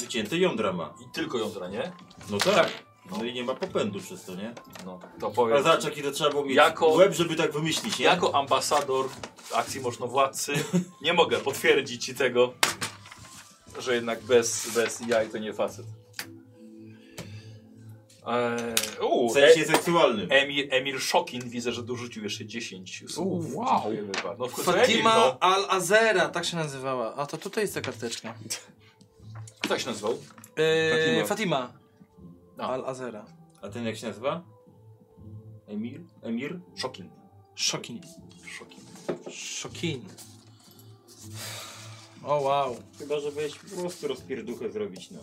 Speaker 2: Wycięte jądra ma.
Speaker 1: i tylko jądra, nie?
Speaker 2: No tak. No i nie ma popędu przez to, nie?
Speaker 1: No to
Speaker 2: A
Speaker 1: powiem.
Speaker 2: zobacz, jaki to trzeba było mieć
Speaker 1: Jako-
Speaker 2: łeb, żeby tak wymyślić, nie?
Speaker 1: Jako ambasador akcji Mocznowładcy nie mogę potwierdzić ci tego, że jednak bez, bez jaj to nie facet. Eee, u,
Speaker 2: W
Speaker 1: e,
Speaker 2: sensie seksualnym.
Speaker 1: Emir, Emir Szokin widzę, że dorzucił jeszcze 10 słów.
Speaker 36: wow.
Speaker 1: Dziękujemy bardzo. No, w końcu Emir,
Speaker 3: Fatima
Speaker 1: no.
Speaker 3: Al-Azera, tak się nazywała. A to tutaj jest ta karteczka.
Speaker 1: Kto się nazywał?
Speaker 3: Eee, Fatima. No.
Speaker 1: A.
Speaker 3: Al-Azera.
Speaker 2: A ten jak się nazywa? Emir? Emir?
Speaker 1: Szokin.
Speaker 3: Szokin.
Speaker 1: Szokin.
Speaker 3: Szokin. O, wow.
Speaker 2: Chyba, żebyś po prostu rozpierduchę zrobić, no.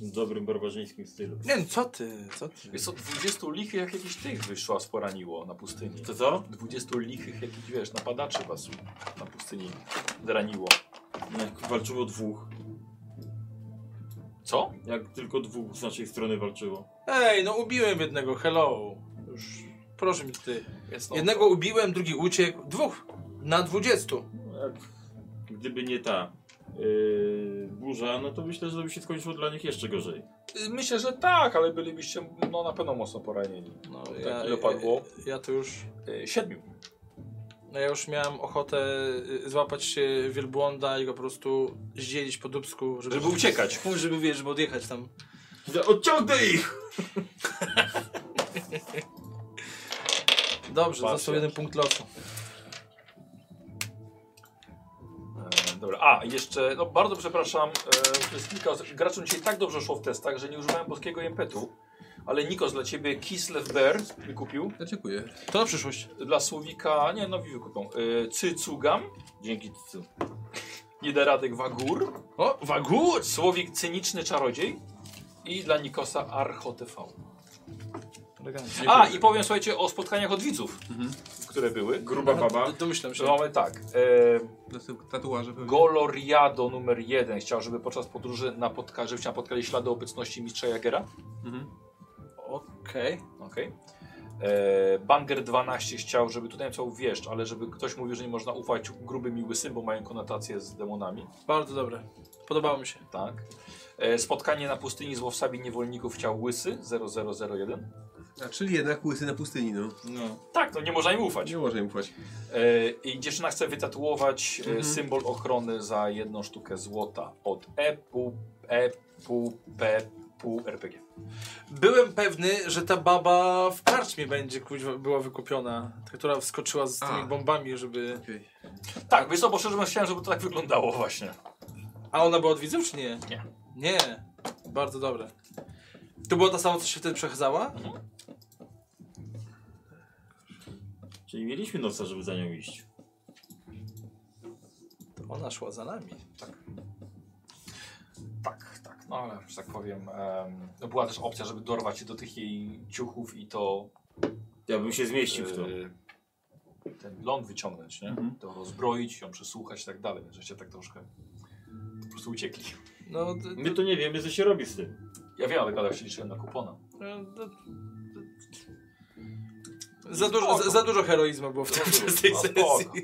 Speaker 2: W dobrym barbarzyńskim stylu.
Speaker 3: Nie no, co ty? Co ty?
Speaker 1: Jest od 20 lichych jak jakiś tych wyszła, sporaniło na pustyni.
Speaker 2: To co?
Speaker 1: 20 lichych jakichś, wiesz, napadaczy was na pustyni zraniło.
Speaker 2: No, Jak walczyło dwóch.
Speaker 1: Co?
Speaker 2: Jak tylko dwóch z naszej strony walczyło.
Speaker 3: Ej, no ubiłem jednego, hello. Już, proszę mi ty.
Speaker 1: Jest, no,
Speaker 3: Jednego ubiłem, drugi uciekł. Dwóch. Na dwudziestu.
Speaker 2: No, Jak gdyby nie ta yy, burza, no to myślę, że by się skończyło dla nich jeszcze gorzej.
Speaker 1: Myślę, że tak, ale bylibyście no, na pewno mocno poranieni. No, tak, ile padło?
Speaker 3: Ja, ja to już...
Speaker 1: E, siedmiu.
Speaker 3: No ja już miałem ochotę y, złapać się wielbłąda i go po prostu zdzielić po dubsku, żeby,
Speaker 1: Żeby uciekać.
Speaker 3: Żeby wiesz, żeby odjechać tam.
Speaker 2: Odciągnę ich!
Speaker 3: Dobrze,
Speaker 1: Patrz,
Speaker 3: został
Speaker 1: jak-
Speaker 3: jeden punkt losu.
Speaker 1: E, dobra, a jeszcze, no bardzo przepraszam, e, to jest kilka osób. Graczom dzisiaj tak dobrze szło w testach, że nie używałem polskiego impetu. Ale Nikos dla ciebie Kislev Bear wykupił.
Speaker 4: Ja dziękuję.
Speaker 3: To na przyszłość.
Speaker 1: Dla Słowika, nie, nowi wykupią. E, Cycugam.
Speaker 2: Dzięki Tsu.
Speaker 1: Niederadek Wagur.
Speaker 3: O,
Speaker 1: Wagur! Słowik Cyniczny Czarodziej. I dla Nikosa Archo TV.
Speaker 3: elegancko.
Speaker 1: A, i powiem słuchajcie o spotkaniach od widzów,
Speaker 3: Mhm.
Speaker 1: które były.
Speaker 2: Gruba baba.
Speaker 3: D- Domyślam się.
Speaker 1: Że mamy tak. E,
Speaker 4: Następne tatuaże pewnie.
Speaker 1: Goloriado numer jeden chciał, żeby podczas podróży napotka, żebyście napotkali ślady obecności mistrza Jagera.
Speaker 3: Okej.
Speaker 1: Okej. E, Banger 12 chciał, żeby tutaj chciał wieszcz, ale żeby ktoś mówił, że nie można ufać grubym i łysym, bo mają konotację z demonami.
Speaker 3: Bardzo dobre. Podobało mi się.
Speaker 1: Tak. E, spotkanie na pustyni z łowcami niewolników chciał łysy 0001.
Speaker 4: A, czyli jednak łysy na pustyni, no.
Speaker 2: No.
Speaker 1: Tak, no nie można im ufać.
Speaker 4: Nie można im płacić.
Speaker 1: E, I dziewczyna chce wytatuować e, symbol ochrony za jedną sztukę złota od e EPU, EPU, PEPU, RPG.
Speaker 3: Byłem pewny, że ta baba w karczmie będzie kuźwa, była wykupiona. Ta, która wskoczyła z tymi
Speaker 4: A.
Speaker 3: bombami, żeby...
Speaker 4: Okej.
Speaker 1: Tak, wiesz co, bo szczerze mówiąc chciałem, żeby to tak wyglądało właśnie.
Speaker 3: A ona była od widzów, czy nie?
Speaker 1: Nie.
Speaker 3: Nie. Bardzo dobre. To była ta sama, co się wtedy przechadzała?
Speaker 7: Czyli mieliśmy nosa, żeby za nią iść.
Speaker 3: To ona szła za nami.
Speaker 1: Tak, tak, no ale, że tak powiem, em, no była też opcja, żeby dorwać się do tych jej ciuchów i to...
Speaker 7: Ja bym się zmieścił w to.
Speaker 1: e, Ten ląd wyciągnąć, nie? To rozbroić, ją przesłuchać i tak dalej, więc żeście tak troszkę po prostu uciekli.
Speaker 3: No, d-
Speaker 7: My to nie wiemy, co się robi z tym.
Speaker 1: Ja wiem, ale gadał się liczyłem na kupona.
Speaker 3: d- d- d- za, dużo, za, za dużo heroizmu było w tej, w tej
Speaker 1: No,
Speaker 3: sesji.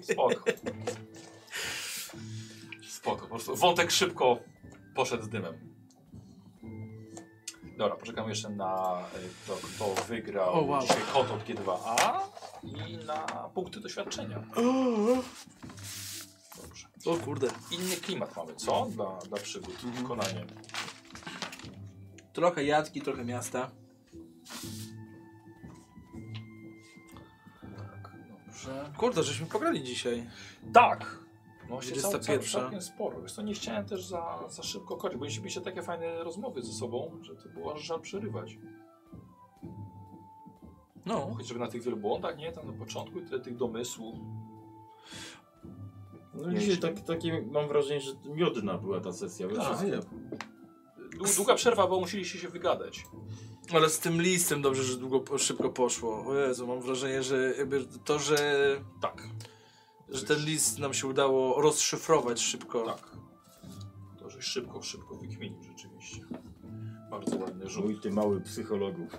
Speaker 1: spoko, spoko. Spoko, po prostu wątek szybko poszedł z dymem. Dobra, poczekamy jeszcze na e, to, kto wygrał
Speaker 3: O, wow.
Speaker 1: dzisiaj kod od G2A i na punkty doświadczenia. Dobrze.
Speaker 3: O kurde.
Speaker 1: Inny klimat mamy, co? Dla, dla przygód, wykonanie.
Speaker 3: Trochę jadki, trochę miasta.
Speaker 1: Tak, Dobrze.
Speaker 3: Kurde, żeśmy pograli dzisiaj.
Speaker 1: Tak! No się cał-
Speaker 3: 21.
Speaker 1: cał- całkiem sporo. Wiesz co, nie chciałem też za, za szybko kończyć, bo mieliśmy takie fajne rozmowy ze sobą, że to było aż żal przerywać.
Speaker 3: No.
Speaker 1: Chociażby na tych wielbłądach, nie? Tam na początku tyle tych domysłów.
Speaker 7: No i dzisiaj tak, takie mam wrażenie, że miodna była ta sesja. bo
Speaker 1: Tak.
Speaker 7: wszyscy-
Speaker 1: Dłu- Długa przerwa, bo musieliście się wygadać.
Speaker 3: Ale z tym listem dobrze, że długo, po- szybko poszło. O Jezu, mam wrażenie, że jakby to, że,
Speaker 1: Tak,
Speaker 3: że ten list nam się udało rozszyfrować szybko.
Speaker 1: tak. To żeś szybko, szybko wykminił rzeczywiście. Bardzo ładny rzut.
Speaker 7: Żółty mały psychologów.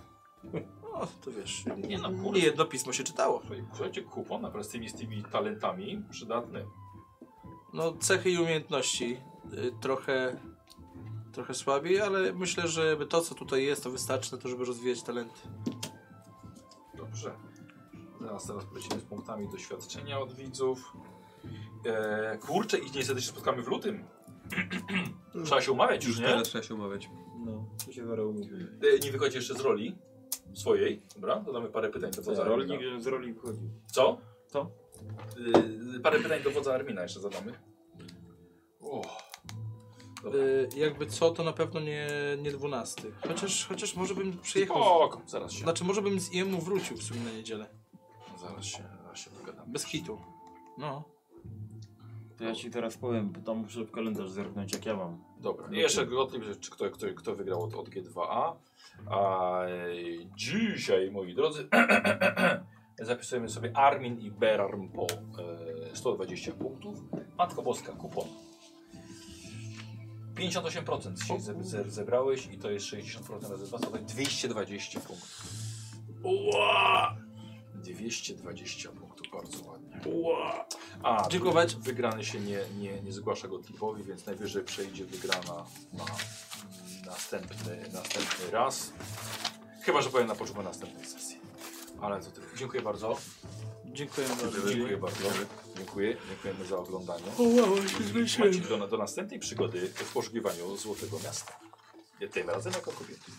Speaker 3: O, to wiesz,
Speaker 1: Nie no,
Speaker 3: nie
Speaker 1: kurde.
Speaker 3: jedno pismo się czytało.
Speaker 1: Słuchaj, Słuchajcie, kupon naprawdę z tymi, z tymi talentami przydatny.
Speaker 3: No, cechy i umiejętności y, trochę, trochę słabiej, ale myślę, że jakby to, co tutaj jest, to wystarczy na to, żeby rozwijać talenty.
Speaker 1: Dobrze. Zaraz teraz polecimy z punktami doświadczenia od widzów. Eee, kurczę, i niestety się spotkamy w lutym. Trzeba się umawiać już,
Speaker 31: Już
Speaker 1: nie?
Speaker 31: teraz trzeba się omawiać.
Speaker 7: No, to się zaraz umówimy.
Speaker 1: Eee, nie wychodzi jeszcze z roli swojej. Dobra, dodamy parę pytań do
Speaker 7: Tak,
Speaker 2: Tak,
Speaker 1: wodza Armina.
Speaker 7: Rolnik z roli wchodzi.
Speaker 1: Co?
Speaker 7: Co?
Speaker 1: Eee, parę pytań do wodza Armina jeszcze zadamy. O, Dobra.
Speaker 3: Y, jakby co, to na pewno nie, nie 12. Chociaż, chociaż może bym przyjechał.
Speaker 1: spoko, zaraz się.
Speaker 3: Znaczy, może bym z jemu wrócił w sumie na niedzielę.
Speaker 1: Zaraz się, zaraz się dogadamy.
Speaker 3: Bez hitu. No.
Speaker 7: To ja ci teraz powiem, bo tam muszę w kalendarz zerknąć, jak ja mam.
Speaker 1: Dobra. no I jeszcze gotlib, czy kto, kto, kto wygrał od, od G2A. A e, dzisiaj, moi drodzy, zapisujemy sobie Armin i Berarm po e, 120 punktów. Matko Boska, kupon. 58% dzisiaj ze, ze, zebrałeś i to jest 60% razy 2, to daje 220 punktów. Ua! 220 punktów, bardzo ładnie. Ua! A,
Speaker 3: Dziękować.
Speaker 1: Wygrany się nie, nie, nie zgłasza go typowi, więc najwyżej przejdzie wygrana na mm, następny, następny raz. Chyba, że powiem na początku następnej sesji. Ale to tyle. Dziękuję bardzo.
Speaker 3: Dziękuję bardzo.
Speaker 1: Dziękuję bardzo. Dziękuję. Dziękujemy za oglądanie.
Speaker 3: O wow, się
Speaker 1: Macie do, do następnej przygody w poszukiwaniu Złotego Miasta. Tym razem jako kobiety.